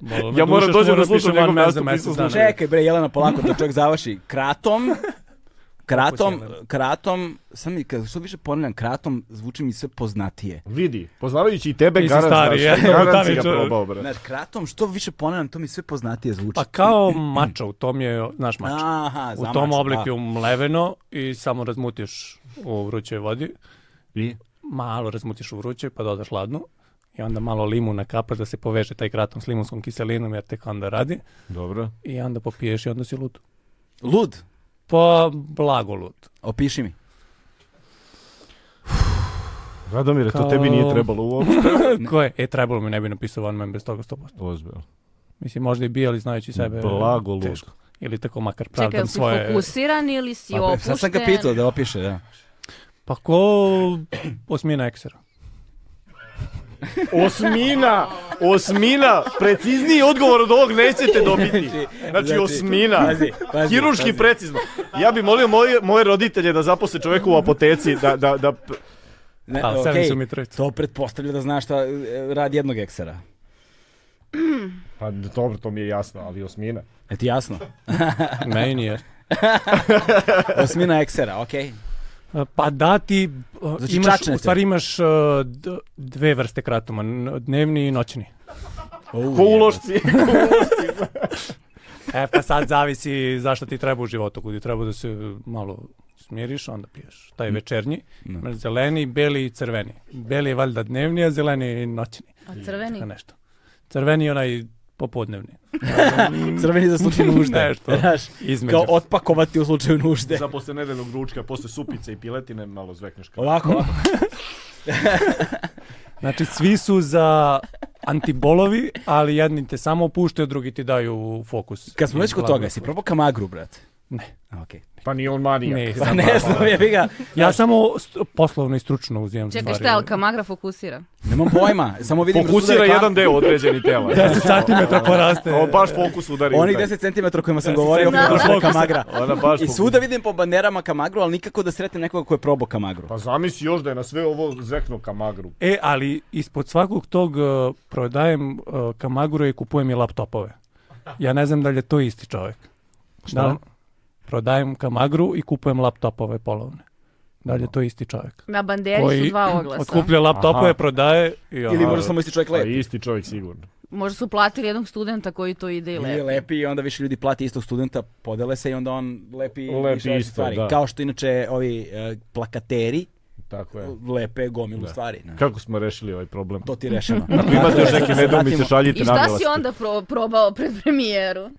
[SPEAKER 4] Bolelo me
[SPEAKER 2] Ja moram
[SPEAKER 4] duša
[SPEAKER 2] dođem
[SPEAKER 4] što
[SPEAKER 2] da
[SPEAKER 4] moram
[SPEAKER 2] slušam
[SPEAKER 4] pišem
[SPEAKER 2] njegov
[SPEAKER 4] van mene
[SPEAKER 2] nastup,
[SPEAKER 4] za mesec
[SPEAKER 2] nisam
[SPEAKER 4] dana.
[SPEAKER 2] slušao.
[SPEAKER 1] Čekaj bre, Jelena, polako da čovjek završi. Kratom, kratom, kratom, sam mi, kad što više ponavljam, kratom zvuči mi sve poznatije.
[SPEAKER 2] Vidi, poznavajući i tebe,
[SPEAKER 4] Nisam
[SPEAKER 2] garant
[SPEAKER 4] stari,
[SPEAKER 2] znaš.
[SPEAKER 4] ja.
[SPEAKER 2] Garant
[SPEAKER 4] Da,
[SPEAKER 2] si
[SPEAKER 4] mi
[SPEAKER 2] ga
[SPEAKER 4] čuo.
[SPEAKER 2] probao, bre.
[SPEAKER 1] Znaš, kratom, što više ponavljam, to mi sve poznatije zvuči.
[SPEAKER 4] Pa kao mača, u tom je, znaš, mača.
[SPEAKER 1] Aha,
[SPEAKER 4] u
[SPEAKER 1] zamačan,
[SPEAKER 4] tom obliku
[SPEAKER 1] da.
[SPEAKER 4] je umleveno i samo razmutiš u vrućoj vodi.
[SPEAKER 2] I?
[SPEAKER 4] Malo razmutiš u vrućoj pa dodaš hladnu i onda malo limuna kapa da se poveže taj kratom s limunskom kiselinom jer tek onda radi
[SPEAKER 2] Dobro.
[SPEAKER 4] i onda popiješ i onda si lud.
[SPEAKER 1] Lud,
[SPEAKER 4] Pa blago lud.
[SPEAKER 1] opiši mi.
[SPEAKER 2] Radomire, to
[SPEAKER 4] Kao-
[SPEAKER 2] tebi nije trebalo uopšte.
[SPEAKER 4] Ko je? E, trebalo mi ne bi napisao One Man bez toga 100%.
[SPEAKER 2] Ozbiljno.
[SPEAKER 4] Mislim, možda i bi, ali znajući sebe...
[SPEAKER 2] Blago lud.
[SPEAKER 4] E, teško. Ili tako makar pravdam
[SPEAKER 3] Čekaj, si
[SPEAKER 4] svoje...
[SPEAKER 3] fokusiran ili si
[SPEAKER 1] Pa, bre,
[SPEAKER 3] opušten?
[SPEAKER 1] sad sam ga pitao da opiše, da.
[SPEAKER 4] Pa ko osmina eksera?
[SPEAKER 2] Osmina! Osmina! Precizniji odgovor od ovog nećete dobiti. Znači, osmina.
[SPEAKER 1] pazi, pazi,
[SPEAKER 2] Hiruški
[SPEAKER 1] pazi.
[SPEAKER 2] precizno. Ja bi molio moje, moje roditelje da zaposle čoveku u apoteci da, da, da p-
[SPEAKER 1] Ne,
[SPEAKER 4] Ali sebi
[SPEAKER 1] okej,
[SPEAKER 4] su mi trojica.
[SPEAKER 1] To pretpostavlja da znaš šta e, radi jednog eksera.
[SPEAKER 2] Pa dobro, to mi je jasno, ali osmina.
[SPEAKER 1] E ti jasno?
[SPEAKER 4] Meni nije.
[SPEAKER 1] Osmina eksera, okej.
[SPEAKER 4] Pa da ti uh,
[SPEAKER 1] Znači,
[SPEAKER 4] imaš,
[SPEAKER 1] čačnete.
[SPEAKER 4] u stvari imaš uh, d- dve vrste kratuma, n- dnevni i noćni.
[SPEAKER 1] Okay.
[SPEAKER 2] Ko ulošci?
[SPEAKER 4] E pa sad zavisi zašto ti treba u životu, kudi treba da se malo smiriš, onda piješ.
[SPEAKER 1] Mm.
[SPEAKER 4] Taj večernji, imaš zeleni, beli i crveni. Beli je valjda dnevni, a zeleni je noćni.
[SPEAKER 3] A crveni?
[SPEAKER 4] Tako nešto. Crveni je onaj popodnevni.
[SPEAKER 1] Crveni za slučaj nužde.
[SPEAKER 4] Nešto.
[SPEAKER 1] Znaš,
[SPEAKER 4] Između.
[SPEAKER 1] kao otpakovati u slučaju nužde.
[SPEAKER 2] Za posle nedeljnog ručka, posle supice i piletine, malo zvekneš kao.
[SPEAKER 1] Ovako, ovako.
[SPEAKER 4] Znači, svi su za antibolovi, ali jedni te samo opuštaju, drugi ti daju fokus.
[SPEAKER 1] Kad smo
[SPEAKER 4] I
[SPEAKER 1] već kod
[SPEAKER 4] blago
[SPEAKER 1] toga, si probao kamagru, brate?
[SPEAKER 4] Ne.
[SPEAKER 1] A, Okej.
[SPEAKER 2] Pa nije on manijak.
[SPEAKER 4] Ne,
[SPEAKER 1] Pa ne znam, je ga.
[SPEAKER 4] ja samo st- poslovno i stručno uzimam
[SPEAKER 3] Čekaj,
[SPEAKER 4] stvari.
[SPEAKER 3] šta, jel kamagra fokusira?
[SPEAKER 1] Nemam pojma, samo vidim...
[SPEAKER 2] Fokusira
[SPEAKER 1] razuzda
[SPEAKER 2] jedan deo određeni tela.
[SPEAKER 4] 10 sati me to poraste.
[SPEAKER 2] Ovo baš fokus udari. u
[SPEAKER 1] Onih
[SPEAKER 2] taj.
[SPEAKER 1] 10 cm kojima sam govorio,
[SPEAKER 4] centimetara
[SPEAKER 1] fokusira
[SPEAKER 4] fokusa.
[SPEAKER 1] kamagra.
[SPEAKER 2] Ona baš
[SPEAKER 1] I
[SPEAKER 2] fokus-
[SPEAKER 1] svuda vidim po banerama kamagru, ali nikako da sretnem nekoga ko je probao kamagru.
[SPEAKER 2] Pa zamisli još da je na sve ovo zveknuo kamagru.
[SPEAKER 4] E, ali ispod svakog tog uh, prodajem uh, kamaguru i kupujem i laptopove. Ja ne znam da li je to isti čovjek. Šta? prodajem kamagru i kupujem laptopove polovne. Da li je to isti čovjek?
[SPEAKER 3] Na banderi su dva oglasa.
[SPEAKER 4] otkuplja laptopove,
[SPEAKER 2] Aha.
[SPEAKER 4] prodaje i ono-
[SPEAKER 1] Ili možda samo isti čovjek
[SPEAKER 2] Pa
[SPEAKER 1] lepi.
[SPEAKER 2] isti čovjek sigurno.
[SPEAKER 3] Možda su platili jednog studenta koji to ide i
[SPEAKER 1] Ili
[SPEAKER 3] lepi.
[SPEAKER 1] lepi i onda više ljudi plati istog studenta, podele se i onda on lepi,
[SPEAKER 2] Lepi
[SPEAKER 1] više različitih
[SPEAKER 2] isto,
[SPEAKER 1] stvari.
[SPEAKER 2] da.
[SPEAKER 1] Kao što inače ovi e, plakateri
[SPEAKER 2] Tako je.
[SPEAKER 1] lepe gomilu stvari. ne.
[SPEAKER 2] Kako smo rešili ovaj problem?
[SPEAKER 1] To ti je rešeno.
[SPEAKER 2] Imate još neke
[SPEAKER 1] Da se
[SPEAKER 2] nedomice,
[SPEAKER 1] vratimo-
[SPEAKER 2] šaljite
[SPEAKER 3] I šta
[SPEAKER 2] naglaske.
[SPEAKER 3] si onda pro- probao pred premijeru?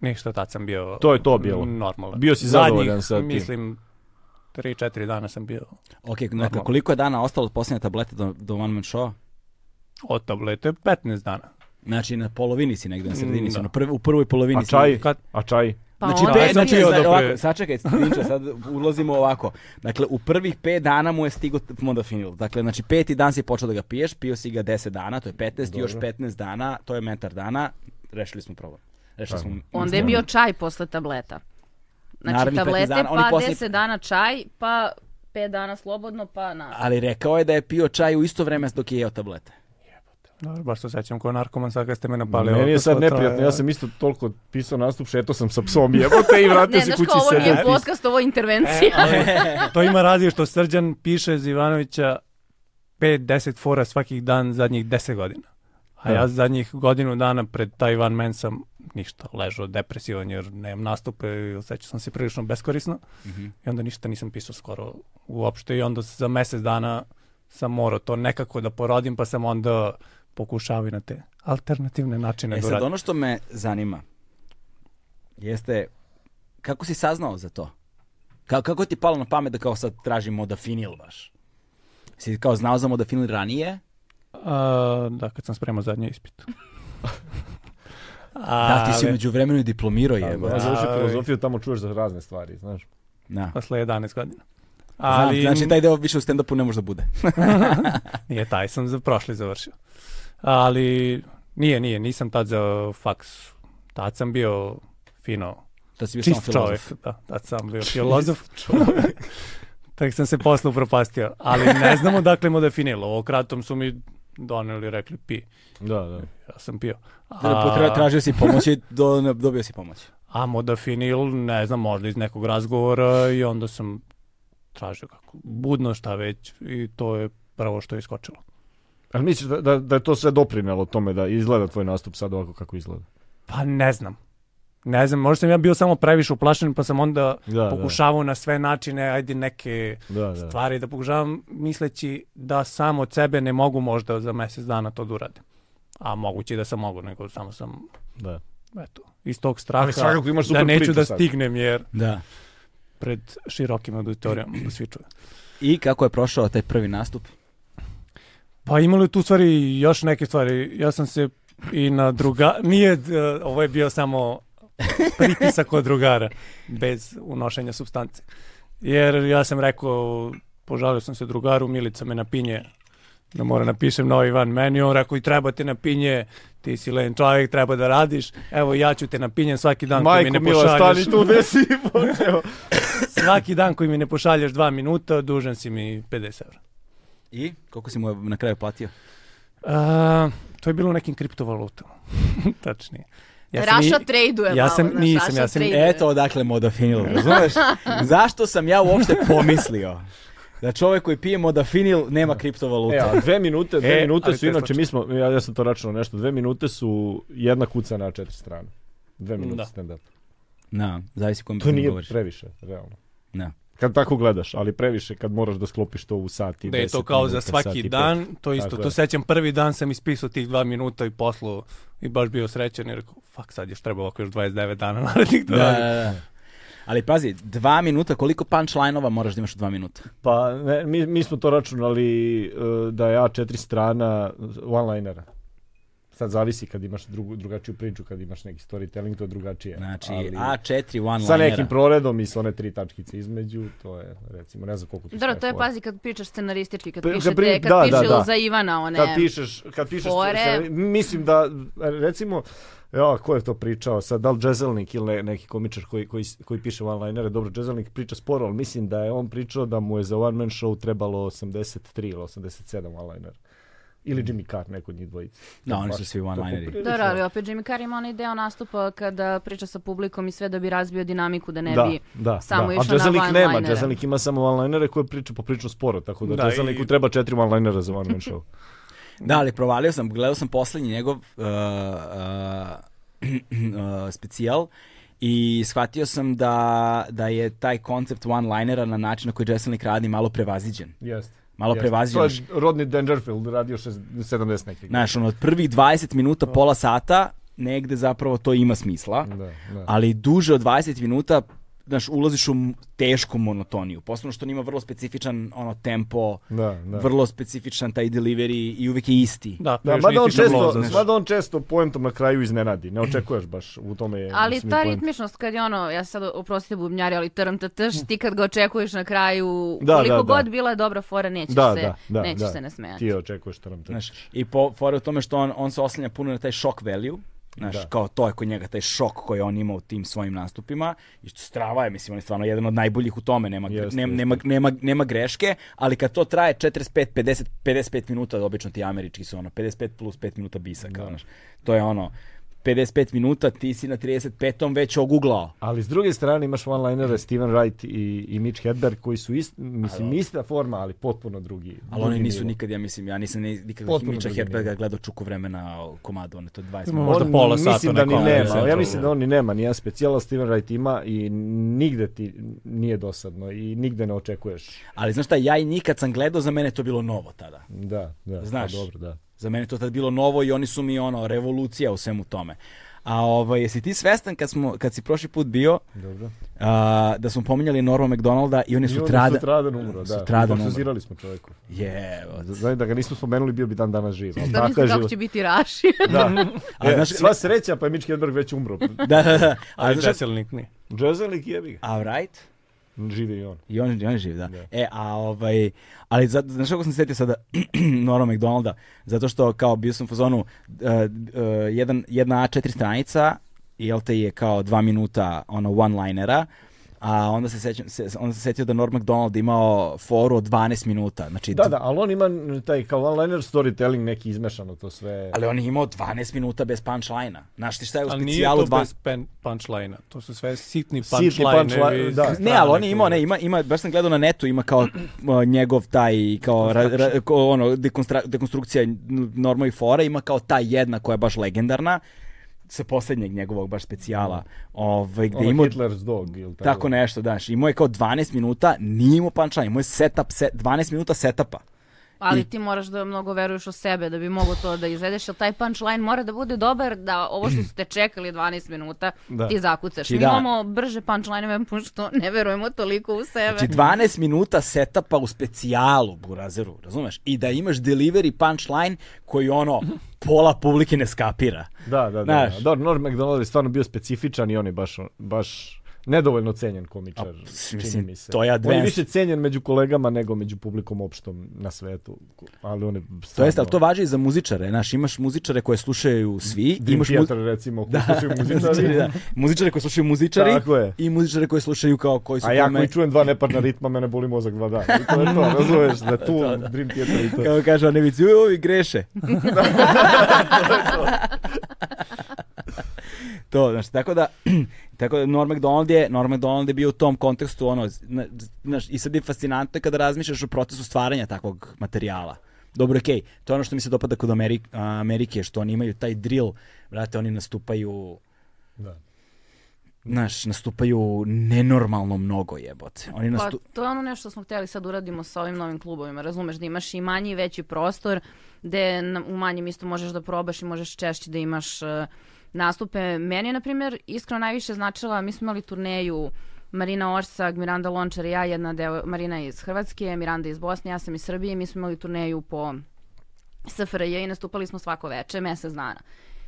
[SPEAKER 4] Ništa, tad sam bio...
[SPEAKER 2] To je to bilo.
[SPEAKER 4] Normalno.
[SPEAKER 2] Bio si zadovoljan sa tim.
[SPEAKER 4] mislim, 3-4 dana sam bio
[SPEAKER 1] Ok, dakle, koliko je dana ostalo od posljednje tablete do, do One Man Show?
[SPEAKER 4] od tablete 15 dana.
[SPEAKER 1] Znači, na polovini si negdje, na sredini si,
[SPEAKER 4] da.
[SPEAKER 1] na prvi- u prvoj polovini
[SPEAKER 2] A
[SPEAKER 1] si.
[SPEAKER 2] čaj?
[SPEAKER 4] Kad-
[SPEAKER 2] A čaj?
[SPEAKER 3] Pa
[SPEAKER 1] Znači,
[SPEAKER 3] onda
[SPEAKER 4] pe-
[SPEAKER 1] pet,
[SPEAKER 4] Ja sam
[SPEAKER 1] znači,
[SPEAKER 4] čuo
[SPEAKER 1] za-
[SPEAKER 3] ono,
[SPEAKER 4] da
[SPEAKER 1] ovako,
[SPEAKER 4] pre-
[SPEAKER 1] sačekaj, Dinče, sad ulazimo ovako. Dakle, u prvih pet dana mu je stigo modafinil. Dakle, znači, peti dan si počeo da ga piješ, pio si ga 10 dana, to je 15, i još 15 dana, to je mentar dana, rešili smo problem. Rešili smo...
[SPEAKER 3] Onda je bio čaj posle tableta. Znači
[SPEAKER 1] Narednih 15
[SPEAKER 3] tablete,
[SPEAKER 1] dana, oni
[SPEAKER 3] pa
[SPEAKER 1] poslije-
[SPEAKER 3] 10 dana čaj, pa 5 dana slobodno, pa na.
[SPEAKER 1] Ali rekao je da je pio čaj u isto vreme dok je jeo tablete.
[SPEAKER 4] Dobro, baš se sećam kao narkoman, sad kad ste me napali.
[SPEAKER 2] Meni je
[SPEAKER 4] ovako,
[SPEAKER 2] sad
[SPEAKER 4] to traje-
[SPEAKER 2] neprijatno, ja sam isto toliko pisao nastup, šetao sam sa psom jebote i vratio
[SPEAKER 3] Ne,
[SPEAKER 2] se
[SPEAKER 3] znaš
[SPEAKER 2] kući
[SPEAKER 3] kao ovo
[SPEAKER 2] sedam
[SPEAKER 3] nije podcast, ovo je intervencija.
[SPEAKER 4] to ima razlije što Srđan piše za Ivanovića 5-10 fora svakih dan zadnjih 10 godina. A ja zadnjih godinu dana pred taj van men sam ništa ležao depresivan jer nemam nastupe i osjećao sam se prilično beskorisno. I onda ništa nisam pisao skoro uopšte i onda za mjesec dana sam morao to nekako da porodim pa sam onda pokušavao i na te alternativne načine
[SPEAKER 1] E
[SPEAKER 4] da
[SPEAKER 1] sad,
[SPEAKER 4] uradim.
[SPEAKER 1] ono što me zanima jeste kako si saznao za to? Ka- kako ti je palo na pamet da kao sad tražim modafinil baš? Si kao znao za modafinil ranije?
[SPEAKER 4] A, da, kad sam spremao zadnji ispit.
[SPEAKER 1] Da, ti si
[SPEAKER 4] Ali-
[SPEAKER 1] umeđu vremenu diplomirao je.
[SPEAKER 2] Ja završio filozofiju, tamo čuješ za razne stvari, znaš.
[SPEAKER 1] Da.
[SPEAKER 4] posle 11 godina.
[SPEAKER 1] Znam,
[SPEAKER 4] Ali
[SPEAKER 1] Znači, taj deo više u stand-upu ne može da bude.
[SPEAKER 4] nije taj sam za prošli završio. Ali nije, nije, nisam tad za faks. Tad sam bio fino
[SPEAKER 1] To si bio samo
[SPEAKER 4] čist
[SPEAKER 1] filozof.
[SPEAKER 4] čovjek. Da, tad sam bio filozof. Tako sam se posle upropastio. Ali ne znamo dakle mu definilo. Ovo kratom su mi doneli, rekli pi.
[SPEAKER 2] Da, da.
[SPEAKER 4] Ja sam pio.
[SPEAKER 1] Potra- Tražio si pomoć i do, ne- dobio si pomoć.
[SPEAKER 4] a modafinil, ne znam, možda iz nekog razgovora i onda sam tražio kako budno šta već i to je prvo što je iskočilo.
[SPEAKER 2] Ali misliš da, da, da je to sve doprinelo tome da izgleda tvoj nastup sad ovako kako izgleda?
[SPEAKER 4] Pa ne znam. Ne znam, možda sam ja bio samo previše uplašen pa sam onda
[SPEAKER 2] Da,
[SPEAKER 4] pokušavao na sve načine, ajde neke
[SPEAKER 2] da, da.
[SPEAKER 4] stvari da pokušavam misleći da sam od sebe ne mogu možda za mjesec dana to da uradim. A moguće i da sam mogu, nego samo sam
[SPEAKER 2] da.
[SPEAKER 4] eto, iz tog straha
[SPEAKER 2] svakako imaš
[SPEAKER 4] da
[SPEAKER 2] super
[SPEAKER 4] neću
[SPEAKER 2] priču
[SPEAKER 4] da
[SPEAKER 2] sad.
[SPEAKER 4] stignem jer
[SPEAKER 1] Da.
[SPEAKER 4] pred širokim auditorijom da svi čuju.
[SPEAKER 1] I kako je prošao taj prvi nastup?
[SPEAKER 4] Pa imali tu stvari još neke stvari. Ja sam se i na druga... Nije, e, ovo je bio samo pritisak od drugara, bez unošenja substance. Jer ja sam rekao, požalio sam se drugaru, Milica me napinje da mora napišem novi van meni. On rekao, i treba te napinje, ti si len čovjek, treba da radiš. Evo, ja ću te napinjem svaki dan koji mi
[SPEAKER 2] Majko
[SPEAKER 4] ne
[SPEAKER 2] Mila,
[SPEAKER 4] pošalješ.
[SPEAKER 2] stani tu gde si počeo.
[SPEAKER 4] Svaki dan koji mi ne pošalješ dva minuta, dužan si mi 50 evra.
[SPEAKER 1] I koliko si mu je na kraju platio?
[SPEAKER 4] A, to je bilo u nekim kriptovalutama. Tačnije. sam
[SPEAKER 3] Raša
[SPEAKER 4] i-
[SPEAKER 3] traduje
[SPEAKER 4] ja
[SPEAKER 3] malo,
[SPEAKER 4] sam-
[SPEAKER 3] znaš,
[SPEAKER 4] nisam,
[SPEAKER 3] Raša
[SPEAKER 4] ja sam-
[SPEAKER 3] traduje.
[SPEAKER 1] Eto odakle modafinil, razumeš? Zašto sam ja uopšte pomislio da čovjek koji pije modafinil nema kriptovaluta?
[SPEAKER 2] E, a dve minute, dve
[SPEAKER 4] E,
[SPEAKER 2] minute
[SPEAKER 4] ali
[SPEAKER 2] su,
[SPEAKER 4] to je
[SPEAKER 2] inače,
[SPEAKER 4] slučaj.
[SPEAKER 2] mi smo, ja, ja sam to računao nešto, dve minute su jedna kuca na četiri strane. Dve minute
[SPEAKER 4] Da.
[SPEAKER 2] stand-up.
[SPEAKER 1] Na, zavisi kom
[SPEAKER 2] To nije
[SPEAKER 1] govoriš.
[SPEAKER 2] previše, realno.
[SPEAKER 1] Ne.
[SPEAKER 2] Kad tako gledaš, ali previše kad moraš da sklopiš to u sati.
[SPEAKER 4] Da je to kao za svaki dan, to isto.
[SPEAKER 2] Tako je.
[SPEAKER 4] To sećam, prvi dan sam ispisao tih dva minuta i poslu i baš bio srećan i rekao, fuck, sad još treba ovako još 29 dana narednih da,
[SPEAKER 1] Da, da,
[SPEAKER 4] radim."
[SPEAKER 1] da. Ali pazi, dva minuta, koliko punchline-ova moraš da imaš u dva minuta?
[SPEAKER 2] Pa ne, mi, mi smo to računali e, da je A4 strana one-linera. Sad zavisi kad imaš drugu, drugačiju priču, kad imaš neki storytelling, to je drugačije.
[SPEAKER 1] Znači,
[SPEAKER 2] ali
[SPEAKER 1] A4 one-linera.
[SPEAKER 2] Sa nekim proredom i sa one tri tačkice između, to je, recimo, ne znam koliko tu
[SPEAKER 3] Dobro,
[SPEAKER 2] staje
[SPEAKER 3] to je,
[SPEAKER 2] fora.
[SPEAKER 3] pazi, kad pičeš scenaristički, kad
[SPEAKER 2] Pri-
[SPEAKER 3] pišete,
[SPEAKER 2] kad pri-
[SPEAKER 3] kad
[SPEAKER 2] da,
[SPEAKER 3] piše
[SPEAKER 2] da, da.
[SPEAKER 3] za Ivana, one...
[SPEAKER 2] Kad pišeš, kad pišeš
[SPEAKER 3] fore.
[SPEAKER 2] scenarij- mislim da, recimo, ja, ko je to pričao sad, da li Džezelnik ili ne- neki komičar koji, koji, koji piše one-linere, dobro, Džezelnik priča sporo, ali mislim da je on pričao da mu je za one man show trebalo 83 ili 87 one-linera. Ili Jimmy Carr, neko od njih dvojice.
[SPEAKER 1] Da,
[SPEAKER 2] To je
[SPEAKER 1] oni su
[SPEAKER 2] baš-
[SPEAKER 1] svi
[SPEAKER 2] to je
[SPEAKER 1] one-lineri.
[SPEAKER 2] poprilično.
[SPEAKER 3] Dobro, ali opet Jimmy Carr ima onaj deo nastupa kada priča sa publikom i sve da bi razbio dinamiku, da ne
[SPEAKER 2] da,
[SPEAKER 3] bi...
[SPEAKER 2] da,
[SPEAKER 3] samo
[SPEAKER 2] da.
[SPEAKER 3] išao
[SPEAKER 2] A
[SPEAKER 3] na
[SPEAKER 2] Jezelik nema,
[SPEAKER 3] one-linere.
[SPEAKER 2] Jezelik ima samo one-linere koje priča poprično sporo, tako da,
[SPEAKER 4] Da,
[SPEAKER 2] da Jezeliku
[SPEAKER 4] i-
[SPEAKER 2] treba četiri one-linera za one man show.
[SPEAKER 1] Da, ali provalio sam, gledao sam posljednji njegov uh, uh, uh, specijal i shvatio sam da, da je taj koncept one-linera na način na koji Jesselnik radi malo prevaziđen.
[SPEAKER 2] Jeste.
[SPEAKER 1] Malo
[SPEAKER 2] jeste.
[SPEAKER 1] prevaziđen.
[SPEAKER 2] To je Rodney Dangerfield radio šest- 70 nekih.
[SPEAKER 1] Znaš, ono, od prvih 20 minuta, pola sata, negde zapravo to ima smisla,
[SPEAKER 2] Da, da.
[SPEAKER 1] ali duže od 20 minuta, znaš, ulaziš u m- tešku monotoniju. Posebno što on ima vrlo specifičan ono, tempo,
[SPEAKER 2] Da, da.
[SPEAKER 1] vrlo specifičan taj delivery i uvijek je isti.
[SPEAKER 4] Da,
[SPEAKER 2] Da,
[SPEAKER 4] još
[SPEAKER 2] mada on,
[SPEAKER 4] nisi
[SPEAKER 2] često,
[SPEAKER 4] tablao, znaš.
[SPEAKER 2] mada on često poentom na kraju iznenadi, ne očekuješ baš, u tome je...
[SPEAKER 3] Ali
[SPEAKER 2] mislim, i
[SPEAKER 3] ta
[SPEAKER 2] poent.
[SPEAKER 3] ritmičnost kad je ono, ja sad oprostite bubnjari, ali trm tš, ti kad ga očekuješ na kraju,
[SPEAKER 2] Da,
[SPEAKER 3] koliko
[SPEAKER 2] da, da.
[SPEAKER 3] god bila dobra fora, nećeš
[SPEAKER 2] Da,
[SPEAKER 3] se,
[SPEAKER 2] da, da,
[SPEAKER 3] nećeš
[SPEAKER 2] da.
[SPEAKER 3] se nasmejati.
[SPEAKER 2] Ti je očekuješ to nam te...
[SPEAKER 1] Znaš, I po, fora je u tome što on, on se oslanja puno na taj shock value, Znaš,
[SPEAKER 2] Da.
[SPEAKER 1] kao to je kod njega taj šok koji on ima u tim svojim nastupima i što strava je, mislim, on je stvarno jedan od najboljih u tome, nema, gre-
[SPEAKER 2] Jeste,
[SPEAKER 1] nema,
[SPEAKER 2] jeste.
[SPEAKER 1] nema, nema, nema greške, ali kad to traje 45, 50, 55 minuta, obično ti američki su ono, 55 plus 5 minuta bisa, kao, znaš, to je ono, 55 minuta, ti si na 35. već oguglao.
[SPEAKER 2] Ali s druge strane imaš one-linere Steven Wright i, i Mitch Hedberg koji su ist, mislim, ista forma, ali potpuno drugi.
[SPEAKER 1] Ali
[SPEAKER 2] drugi
[SPEAKER 1] oni nisu
[SPEAKER 2] nivo.
[SPEAKER 1] nikad, ja mislim, ja nisam ni- nikad
[SPEAKER 2] Potpuno
[SPEAKER 1] Mića
[SPEAKER 2] drugi
[SPEAKER 1] Herberga
[SPEAKER 2] nivo.
[SPEAKER 1] gledao čuku vremena komadu, ono, to je 20
[SPEAKER 4] Ima
[SPEAKER 1] minuta.
[SPEAKER 4] možda pola sata
[SPEAKER 2] mislim da
[SPEAKER 4] neko,
[SPEAKER 2] ni
[SPEAKER 4] ali mislim
[SPEAKER 2] nema,
[SPEAKER 4] da
[SPEAKER 2] ja
[SPEAKER 4] to-
[SPEAKER 2] mislim da on ni nema, nijedan specijala Steven Wright ima i nigde ti nije dosadno i nigde ne očekuješ.
[SPEAKER 1] Ali znaš šta, ja i nikad sam gledao, za mene je to bilo novo tada.
[SPEAKER 2] Da, da, pa
[SPEAKER 1] Znaš.
[SPEAKER 2] dobro, da.
[SPEAKER 1] Za mene je to tad bilo novo i oni su mi ono revolucija u svemu tome. A ovaj, jesi ti svestan kad, smo, kad si prošli put bio
[SPEAKER 2] Dobro.
[SPEAKER 1] a, da smo pominjali Norma McDonalda i on je
[SPEAKER 2] I onda
[SPEAKER 1] sutradan...
[SPEAKER 2] Sutradan umro, da.
[SPEAKER 1] Sutradan umro.
[SPEAKER 2] Hipnotizirali smo čovjeku.
[SPEAKER 1] Jevo.
[SPEAKER 2] Znaj da ga nismo spomenuli, bio bi dan danas živ. ali
[SPEAKER 3] Da
[SPEAKER 2] tako je
[SPEAKER 3] mislim kako
[SPEAKER 2] život.
[SPEAKER 3] će biti Raši.
[SPEAKER 2] Da.
[SPEAKER 1] A
[SPEAKER 2] E,
[SPEAKER 1] znaš-
[SPEAKER 2] sva sreća, pa je Mitch Hedberg već umro.
[SPEAKER 1] Da, da, da. A,
[SPEAKER 4] Ali
[SPEAKER 1] znaš,
[SPEAKER 4] Jesselnik nije.
[SPEAKER 2] Džezelik jebi ga.
[SPEAKER 1] a right?
[SPEAKER 2] Živi i on.
[SPEAKER 1] I on, i on je živ, da. E, a ovaj, ali za, znaš kako sam se sjetio sada Norma McDonalda? Zato što kao bio sam u fazonu e, e, jedan, jedna A4 stranica, jel te je kao dva minuta ono one-linera, A onda se, sećam, se, onda se setio da Norm MacDonald imao foru od 12 minuta. Znači,
[SPEAKER 2] Da, da, ali on ima taj kao one-liner storytelling neki izmešano to sve.
[SPEAKER 1] Ali on je imao 12 minuta bez punchline-a. Znaš ti šta je u
[SPEAKER 4] Ali nije to
[SPEAKER 1] specijalu 12?
[SPEAKER 4] bez pen, punchline-a. To su sve sitni
[SPEAKER 2] Sitni punchline,
[SPEAKER 4] punchline-evi.
[SPEAKER 2] da.
[SPEAKER 1] Ne, ali on je imao, ne, ima, ima, baš sam gledao na netu, ima kao uh, njegov taj, kao, ra, ra, ko, ono, dekonstra- dekonstrukcija norma i fora, ima kao ta jedna koja je baš legendarna, sa posljednjeg njegovog baš specijala, ovaj, gde
[SPEAKER 2] ono, pa
[SPEAKER 1] imao
[SPEAKER 2] Hitler's dog ili tako.
[SPEAKER 1] tako nešto, daš, imao je kao 12 minuta, nije imao punchline, imao je setup, set, 12 minuta setupa.
[SPEAKER 3] Ali ti moraš da mnogo veruješ u sebe da bi mogo to da izvedeš, jer taj punchline mora da bude dobar da ovo što ste čekali 12 minuta
[SPEAKER 2] Da.
[SPEAKER 3] ti zakucaš.
[SPEAKER 1] Znači,
[SPEAKER 3] Mi
[SPEAKER 1] da.
[SPEAKER 3] imamo brže punchline-eve pošto ne verujemo toliko u sebe.
[SPEAKER 1] Znači 12 minuta setapa u specijalu Burazeru, razumeš? I da imaš delivery punchline koji ono pola publike ne skapira.
[SPEAKER 2] Da, da, da.
[SPEAKER 1] Znaš.
[SPEAKER 2] da. Dobro, Norm MacDonald je stvarno bio specifičan i on je baš, baš nedovoljno cenjen komičar.
[SPEAKER 1] mislim,
[SPEAKER 2] čini mi se.
[SPEAKER 1] to je
[SPEAKER 2] On je
[SPEAKER 1] advanced.
[SPEAKER 2] više cenjen među kolegama nego među publikom opštom na svetu. Ali on je
[SPEAKER 1] To
[SPEAKER 2] stvarno...
[SPEAKER 1] jest, ali to važi i za muzičare, znaš, imaš muzičare koje slušaju svi,
[SPEAKER 2] Dream
[SPEAKER 1] imaš mu- Znači,
[SPEAKER 2] Theater, recimo, da. slušaju muzičari.
[SPEAKER 1] da. muzičare koje slušaju muzičari
[SPEAKER 2] Tako je.
[SPEAKER 1] i muzičare koje slušaju kao koji su
[SPEAKER 2] A ja
[SPEAKER 1] kome-
[SPEAKER 2] koji čujem dva neparna ritma, mene boli mozak dva dana. I to je to, razumeš, da tu Dream Theater i to.
[SPEAKER 1] kao kaže Anevic, "Joj, ovi greše. to, znači, tako da, tako da Norm MacDonald je, Norm Macdonald je bio u tom kontekstu, ono, zna- znaš, i sad je fascinantno kada razmišljaš o procesu stvaranja takvog materijala. Dobro, okej, to je ono što mi se dopada kod Ameri- a, Amerike, što oni imaju taj drill, brate, oni nastupaju,
[SPEAKER 2] Da.
[SPEAKER 1] znaš, nastupaju nenormalno mnogo jebote. Oni
[SPEAKER 3] Pa
[SPEAKER 1] nastu...
[SPEAKER 3] to je ono nešto smo htjeli sad uradimo sa ovim novim klubovima, razumeš da imaš i manji i veći prostor gde na- u manjem isto možeš da probaš i možeš češće da imaš e, nastupe. Meni je, na primjer, iskreno najviše značila, mi smo imali turneju Marina Orsag, Miranda Lončar i ja, jedna deo, Marina iz Hrvatske, Miranda iz Bosne, ja sam iz Srbije, mi smo imali turneju po SFRJ i nastupali smo svako veče, mesec dana.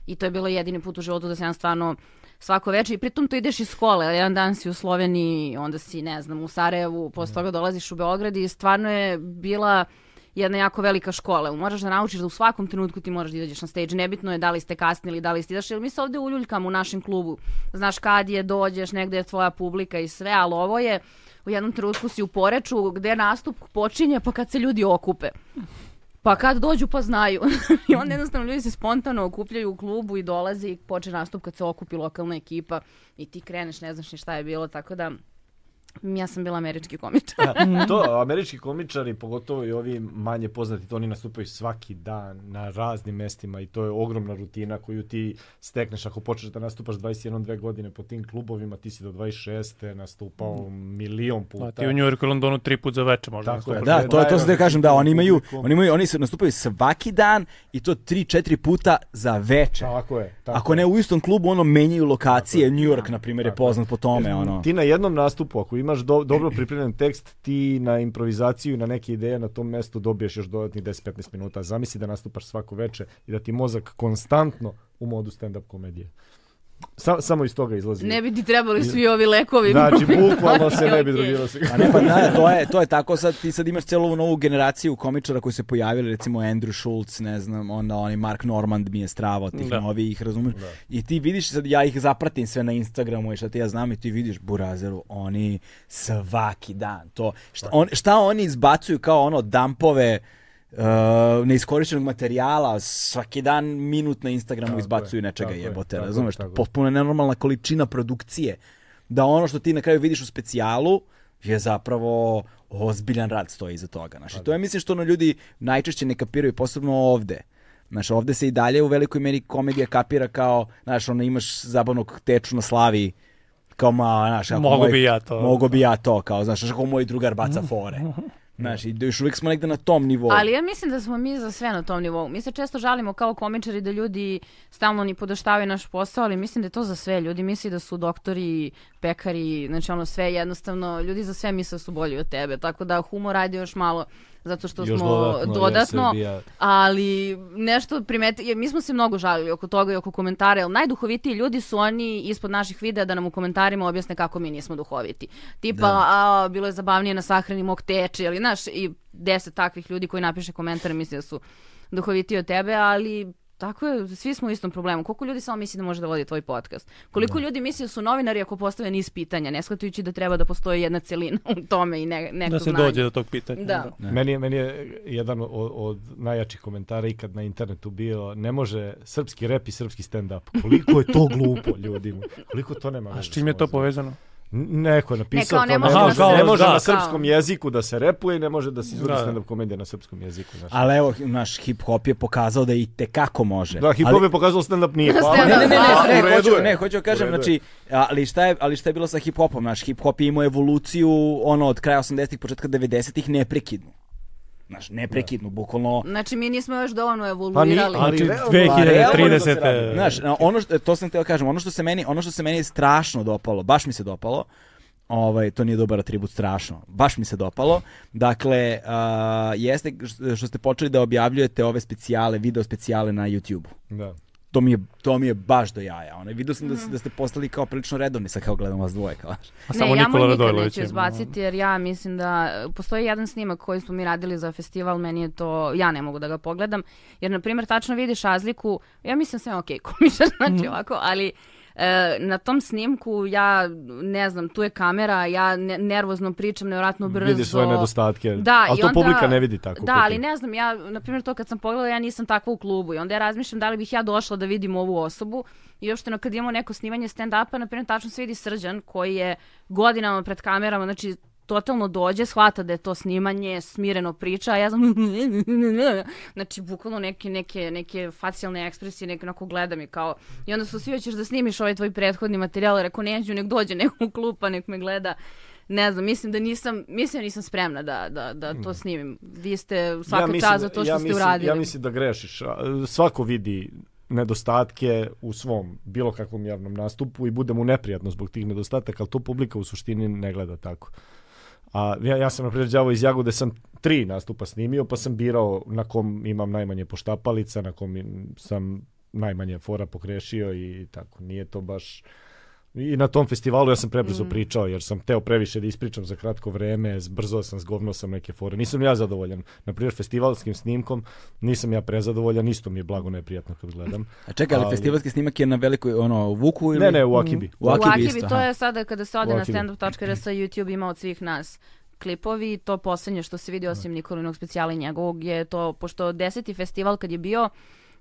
[SPEAKER 3] I to je bilo jedini put u životu da sam stvarno svako veče i pritom to ideš iz škole, jedan dan si u Sloveniji, onda si, ne znam, u Sarajevu, posle toga dolaziš u Beograd i stvarno je bila jedna jako velika škola. Moraš da naučiš da u svakom trenutku ti moraš da izađeš na stage. Nebitno je da li ste kasnili, da li ste izašli, jer mi se ovde uljuljkamo u našem klubu. Znaš kad je, dođeš, negde je tvoja publika i sve, ali ovo je u jednom trenutku si u Poreču gde nastup počinje pa kad se ljudi okupe. Pa kad dođu pa znaju. I onda jednostavno ljudi se spontano okupljaju u klubu i dolaze i počne nastup kad se okupi lokalna ekipa i ti kreneš, ne znaš ni šta je bilo, tako da ja sam bila američki komičar.
[SPEAKER 2] to, američki komičari, pogotovo i ovi manje poznati, to oni nastupaju svaki dan na raznim mestima i to je ogromna rutina koju ti stekneš ako počneš da nastupaš 21-2 godine po tim klubovima, ti si do 26. nastupao milion
[SPEAKER 4] Pa
[SPEAKER 2] puta.
[SPEAKER 4] ti u Njujorku i Londonu tri put za veče možda.
[SPEAKER 2] Tako je,
[SPEAKER 4] nastupaš.
[SPEAKER 1] Da, to, to sam da kažem, da, oni imaju,
[SPEAKER 2] Publikum.
[SPEAKER 1] oni imaju, oni se nastupaju svaki dan i to 3-4 puta za večer.
[SPEAKER 2] Tako je. Tako
[SPEAKER 1] Ako ne u istom klubu, ono menjaju lokacije. New York, na primjer, je poznat po tome. Ono.
[SPEAKER 2] Ti na jednom nastupu, ako imaš do, dobro pripremljen tekst, ti na improvizaciju i na neke ideje na tom mestu dobiješ još dodatnih 10-15 minuta. Zamisli da nastupaš svako veče i da ti mozak konstantno u modu stand-up komedije. Sa, samo iz toga izlazi.
[SPEAKER 3] ne bi ti trebali svi ovi lekovi.
[SPEAKER 2] Znači, bukvalno se ne bi
[SPEAKER 3] Ok.
[SPEAKER 2] drogirao se.
[SPEAKER 1] Pa ne, pa da, to je, to je tako. Sad, ti sad imaš celu ovu novu generaciju komičara koji se pojavili, recimo Andrew Schultz, ne znam, onda oni Mark Normand mi je strava od tih
[SPEAKER 4] Da.
[SPEAKER 1] novih, razumiješ? I ti vidiš, sad ja ih zapratim sve na Instagramu i šta ti ja znam i ti vidiš Burazeru, oni svaki dan to. Šta, on, šta oni izbacuju kao ono dampove Uh, neiskorištenog materijala svaki dan minut na Instagramu izbacuju nečega
[SPEAKER 2] tako je,
[SPEAKER 1] jebote,
[SPEAKER 2] tako je,
[SPEAKER 1] razumeš?
[SPEAKER 2] tako je.
[SPEAKER 1] Potpuno je nenormalna količina produkcije. Da ono što ti na kraju vidiš u specijalu je zapravo ozbiljan rad stoji iza toga. Znaš, i to je mislim što ono ljudi najčešće ne kapiraju, posebno ovde. Znaš, ovde se i dalje u velikoj meri komedija kapira kao, znaš, ono imaš zabavnog teču na slavi, kao ma, znaš, ako
[SPEAKER 4] Mogu
[SPEAKER 1] moj-
[SPEAKER 4] bi ja to.
[SPEAKER 1] Mogu bi ja to, kao, znaš, znaš, ako moj drugar baca fore. Znaš, i još uvijek smo negde na tom nivou.
[SPEAKER 3] Ali ja mislim da smo mi za sve na tom nivou. Mi se često žalimo kao komičari da ljudi stalno ni podoštavaju naš posao, ali mislim da je to za sve. Ljudi misle da su doktori, pekari, znači ono sve jednostavno, ljudi za sve misle da su bolji od tebe. Tako da humor radi još malo zato što
[SPEAKER 2] Još
[SPEAKER 3] smo
[SPEAKER 2] dodatno,
[SPEAKER 3] dodatno,
[SPEAKER 2] jer Srbija-
[SPEAKER 3] ali nešto primeti, jer mi smo se mnogo žalili oko toga i oko komentara, jer najduhovitiji ljudi su oni ispod naših videa da nam u komentarima objasne kako mi nismo duhoviti. Tipa, a, bilo je zabavnije na sahrani mog teče, ali znaš, i deset takvih ljudi koji napiše komentare misle da su duhovitiji od tebe, ali Tako je, svi smo u istom problemu. Koliko ljudi samo misli da može da vodi tvoj podcast? Koliko ljudi misli da su novinari ako postave niz pitanja, ne shvatajući da treba da postoji jedna celina u tome i ne, neko
[SPEAKER 4] Da se
[SPEAKER 3] znanje.
[SPEAKER 4] dođe do tog pitanja.
[SPEAKER 3] Da.
[SPEAKER 2] Meni je, meni je jedan od, od najjačih komentara ikad na internetu bio ne može srpski rep i srpski stand-up. Koliko je to glupo ljudima. Koliko to nema
[SPEAKER 4] A
[SPEAKER 2] veze
[SPEAKER 4] s čim je
[SPEAKER 2] sa
[SPEAKER 4] to
[SPEAKER 2] mozgom.
[SPEAKER 4] povezano?
[SPEAKER 2] N- Neko je napisao
[SPEAKER 3] kao
[SPEAKER 2] ne
[SPEAKER 3] ne
[SPEAKER 2] može,
[SPEAKER 3] može
[SPEAKER 4] na
[SPEAKER 2] ne može,
[SPEAKER 4] srpskom- da,
[SPEAKER 2] na
[SPEAKER 4] kao.
[SPEAKER 2] srpskom jeziku da se repuje, ne može da se izvodi
[SPEAKER 4] Da, da.
[SPEAKER 2] stand-up komedija na srpskom jeziku. Znaš.
[SPEAKER 1] Ali evo, naš hip-hop je pokazao da i tekako može.
[SPEAKER 2] Da, hip hop
[SPEAKER 1] Ali-
[SPEAKER 2] je pokazao stand-up nije. Pa,
[SPEAKER 1] Ne, ne, ne,
[SPEAKER 3] A,
[SPEAKER 1] ne,
[SPEAKER 2] u
[SPEAKER 1] ne,
[SPEAKER 2] redu
[SPEAKER 1] hoću,
[SPEAKER 2] je.
[SPEAKER 1] ne, hoću da kažem,
[SPEAKER 2] U redu je.
[SPEAKER 1] znači, ali šta, je, ali šta je bilo sa hip-hopom? Naš hip-hop je imao evoluciju, ono, od kraja 80-ih, početka 90-ih, neprekidnu. Znaš, neprekidnu, bukvalno,
[SPEAKER 3] Znači, mi nismo još dovoljno
[SPEAKER 2] Pa ni-
[SPEAKER 3] evoluirali.
[SPEAKER 2] ali
[SPEAKER 4] Znači,
[SPEAKER 2] realno- Pa, realno
[SPEAKER 4] 2030.
[SPEAKER 1] Znaš, ono što, to sam htio da kažem, ono što se meni, ono što se meni strašno dopalo, baš mi se dopalo, ovaj, to nije dobar atribut, strašno, baš mi se dopalo, dakle, a, jeste što ste počeli da objavljujete ove specijale, video specijale na YouTube-u.
[SPEAKER 2] Da.
[SPEAKER 1] To mi, je, to mi je baš do jaja. Ono, vidio sam da,
[SPEAKER 3] Mhm.
[SPEAKER 1] s- da ste postali kao prilično redovni, sad kao gledam vas dvoje. Kao.
[SPEAKER 2] Pa
[SPEAKER 4] A
[SPEAKER 3] ne,
[SPEAKER 4] Pa samo
[SPEAKER 3] ja
[SPEAKER 4] Nikola
[SPEAKER 3] mu nikad
[SPEAKER 4] Radojlović
[SPEAKER 3] neću
[SPEAKER 4] je-
[SPEAKER 3] izbaciti jer ja mislim da e, postoji jedan snimak koji smo mi radili za festival, meni je to, ja ne mogu da ga pogledam, jer na primjer tačno vidiš razliku, ja mislim sve ok, komičar,
[SPEAKER 2] Mhm.
[SPEAKER 3] znači ovako, ali e, na tom snimku ja ne znam, tu je kamera, ja ne- nervozno pričam, nevjerojatno brzo.
[SPEAKER 2] Vidiš svoje nedostatke.
[SPEAKER 3] Da,
[SPEAKER 2] ali
[SPEAKER 3] i
[SPEAKER 2] to
[SPEAKER 3] onda-
[SPEAKER 2] publika ne vidi tako.
[SPEAKER 3] Da,
[SPEAKER 2] kod
[SPEAKER 3] ali
[SPEAKER 2] tih.
[SPEAKER 3] ne znam, ja, na primjer, to kad sam pogledala, ja nisam takva u klubu i onda ja razmišljam da li bih ja došla da vidim ovu osobu i uopšteno kad imamo neko snimanje stand-upa, na primjer, tačno se vidi Srđan koji je godinama pred kamerama, znači, totalno dođe, shvata da je to snimanje, smireno priča, a ja znam, znači, bukvalno neke, neke, neke facijalne ekspresije, neke onako gledam i kao, i onda su svi hoćeš da snimiš ovaj tvoj prethodni materijal, rekao, neću, nek dođe neko u klupa, nek me gleda, ne znam, mislim da nisam, mislim da nisam spremna da, da, da to snimim. Vi ste svaka
[SPEAKER 2] mislim
[SPEAKER 3] čast
[SPEAKER 2] da-
[SPEAKER 3] za to što
[SPEAKER 2] ja
[SPEAKER 3] ste
[SPEAKER 2] mislim-
[SPEAKER 3] uradili.
[SPEAKER 2] Ja mislim da grešiš. A, Svako vidi nedostatke u svom bilo kakvom javnom nastupu i bude mu neprijatno zbog tih nedostataka, ali to publika u suštini ne gleda tako. A ja, ja sam, na primjer, đavo iz Jagode, sam tri nastupa snimio, pa sam birao na kom imam najmanje poštapalica, na kom im- sam najmanje fora pokrešio i tako. Nije to baš... I na tom festivalu ja sam
[SPEAKER 3] Mm.
[SPEAKER 2] prebrzo pričao jer sam teo previše da ispričam za kratko vreme, zbrzo sam, zgovno sam neke fore. Nisam ja zadovoljan. Na primjer, festivalskim snimkom nisam ja prezadovoljan, isto mi je blago neprijatno kad gledam.
[SPEAKER 1] A čekaj, ali,
[SPEAKER 2] Ali-
[SPEAKER 1] festivalski snimak je na velikoj, ono, Vuku ili?
[SPEAKER 2] Ne, ne, u Akibi.
[SPEAKER 1] U Akibi,
[SPEAKER 3] u Akibi
[SPEAKER 1] isto,
[SPEAKER 3] to
[SPEAKER 1] aha.
[SPEAKER 3] je sada kada se ode
[SPEAKER 2] U
[SPEAKER 3] na
[SPEAKER 2] Akibi.
[SPEAKER 3] standup.rs YouTube ima od svih nas klipovi i to posljednje što se vidi osim Nikolinog specijala i njegovog je to, pošto deseti festival kad je bio,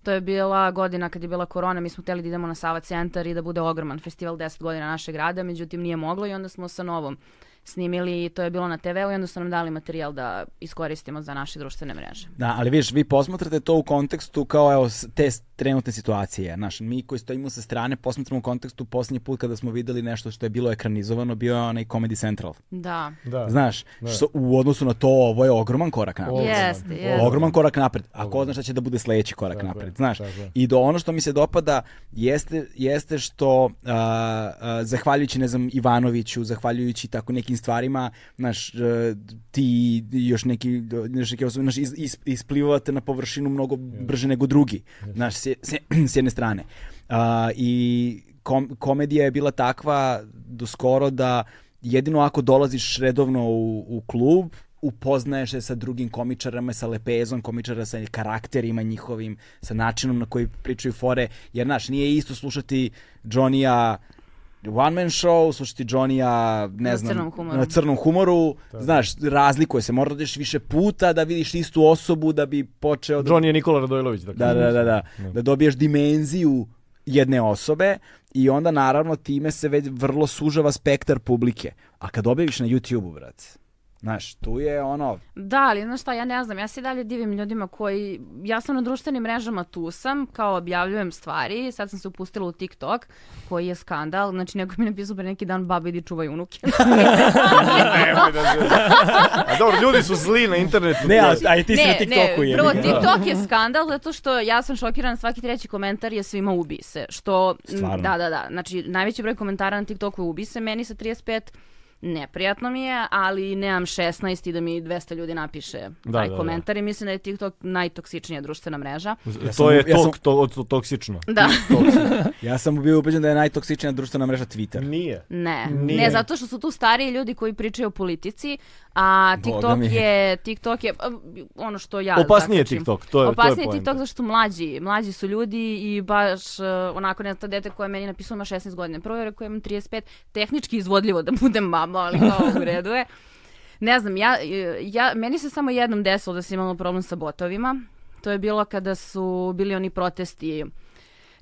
[SPEAKER 3] to je bila godina kad je bila korona, mi smo hteli da idemo na Sava centar i da bude ogroman festival 10 godina našeg grada, međutim nije moglo i onda smo sa novom snimili i to je bilo na TV-u i onda su nam dali materijal da iskoristimo za naše društvene mreže.
[SPEAKER 1] Da, ali vidiš, vi posmatrate to u kontekstu kao evo, s- te s- trenutne situacije. Znaš, mi koji stojimo sa strane posmatramo u kontekstu posljednji put kada smo videli nešto što je bilo ekranizovano, bio je onaj Comedy Central.
[SPEAKER 3] Da.
[SPEAKER 2] Da.
[SPEAKER 1] Znaš, što u odnosu na to ovo je ogroman korak
[SPEAKER 2] Ogroman,
[SPEAKER 1] napred.
[SPEAKER 3] Jeste, jeste.
[SPEAKER 1] Ogroman korak napred. A ko zna šta će da bude sledeći korak napred, znaš.
[SPEAKER 2] tako je.
[SPEAKER 1] I do ono što mi se dopada jeste, jeste što a, a, zahvaljujući, ne znam, Ivanoviću, zahvaljujući tako nekim stvarima, znaš, e, ti još neki, još neki osobe, znaš, is, is- isplivavate na površinu mnogo brže nego drugi, znaš, s, je- s, je- s jedne strane. A, I kom- komedija je bila takva do skoro da jedino ako dolaziš redovno u, u klub, upoznaješ se sa drugim komičarama, sa lepezom komičara, sa karakterima njihovim, sa načinom na koji pričaju fore, jer znaš, nije isto slušati Johnny-a one man show, slušati Johnny-a, ne
[SPEAKER 3] Na
[SPEAKER 1] znam,
[SPEAKER 3] crnom humoru.
[SPEAKER 1] na crnom humoru, znaš, razlikuje se, moraš da ideš više puta da vidiš istu osobu da bi počeo da
[SPEAKER 2] John je Nikola Radojlović. Dakle.
[SPEAKER 1] da, da, da, da. Da dobiješ dimenziju jedne osobe i onda naravno time se već vrlo sužava spektar publike. A kad objaviš na YouTube-u, brate, znaš, tu je ono,
[SPEAKER 3] Da, ali znaš šta, ja ne znam, ja se i dalje divim ljudima koji, ja sam na društvenim mrežama tu sam, kao objavljujem stvari, sad sam se upustila u TikTok, koji je skandal, znači neko mi je napisao pre neki dan, babi idi čuvaj unuke.
[SPEAKER 2] Nemoj da se- A dobro, ljudi su zli na internetu.
[SPEAKER 1] ne,
[SPEAKER 2] to
[SPEAKER 1] a,
[SPEAKER 2] je-
[SPEAKER 1] a i ti si na
[SPEAKER 3] ne,
[SPEAKER 1] TikToku
[SPEAKER 3] ne,
[SPEAKER 1] je.
[SPEAKER 3] prvo TikTok je skandal zato što ja sam šokirana, svaki treći komentar je svima ubi se, što, m,
[SPEAKER 1] Stvarno?
[SPEAKER 3] da, da, da, znači najveći broj komentara na TikToku je ubi se, meni sa 35 neprijatno mi je, ali nemam 16 i da mi 200 ljudi napiše
[SPEAKER 2] Da,
[SPEAKER 3] taj
[SPEAKER 2] da, da.
[SPEAKER 3] komentar i mislim da je TikTok najtoksičnija društvena mreža.
[SPEAKER 2] to
[SPEAKER 1] sam-
[SPEAKER 2] je
[SPEAKER 1] ja sam-
[SPEAKER 2] tok, to, to, toksično.
[SPEAKER 3] Da.
[SPEAKER 1] Ja sam bio ubeđen da je najtoksičnija društvena mreža Twitter.
[SPEAKER 2] Nije.
[SPEAKER 3] Ne,
[SPEAKER 2] Nije.
[SPEAKER 3] ne, zato što su tu stariji ljudi koji pričaju o politici, a
[SPEAKER 1] Boga
[SPEAKER 3] TikTok
[SPEAKER 1] mi.
[SPEAKER 3] je, TikTok je a, ono što ja
[SPEAKER 2] Opasnije je
[SPEAKER 3] zaključim.
[SPEAKER 2] TikTok, to je- to je
[SPEAKER 3] Opasnije
[SPEAKER 2] poenta.
[SPEAKER 3] TikTok zato što mlađi, mlađi su ljudi i baš e, onako ne znam, to dete koje je meni napisalo ima 16 godina, prvo je rekao imam 35, tehnički izvodljivo da budem mama, ali kao u redu je. Ne znam, ja, e, ja, meni se samo jednom desilo da sam imala problem sa botovima. To je bilo kada su bili oni protesti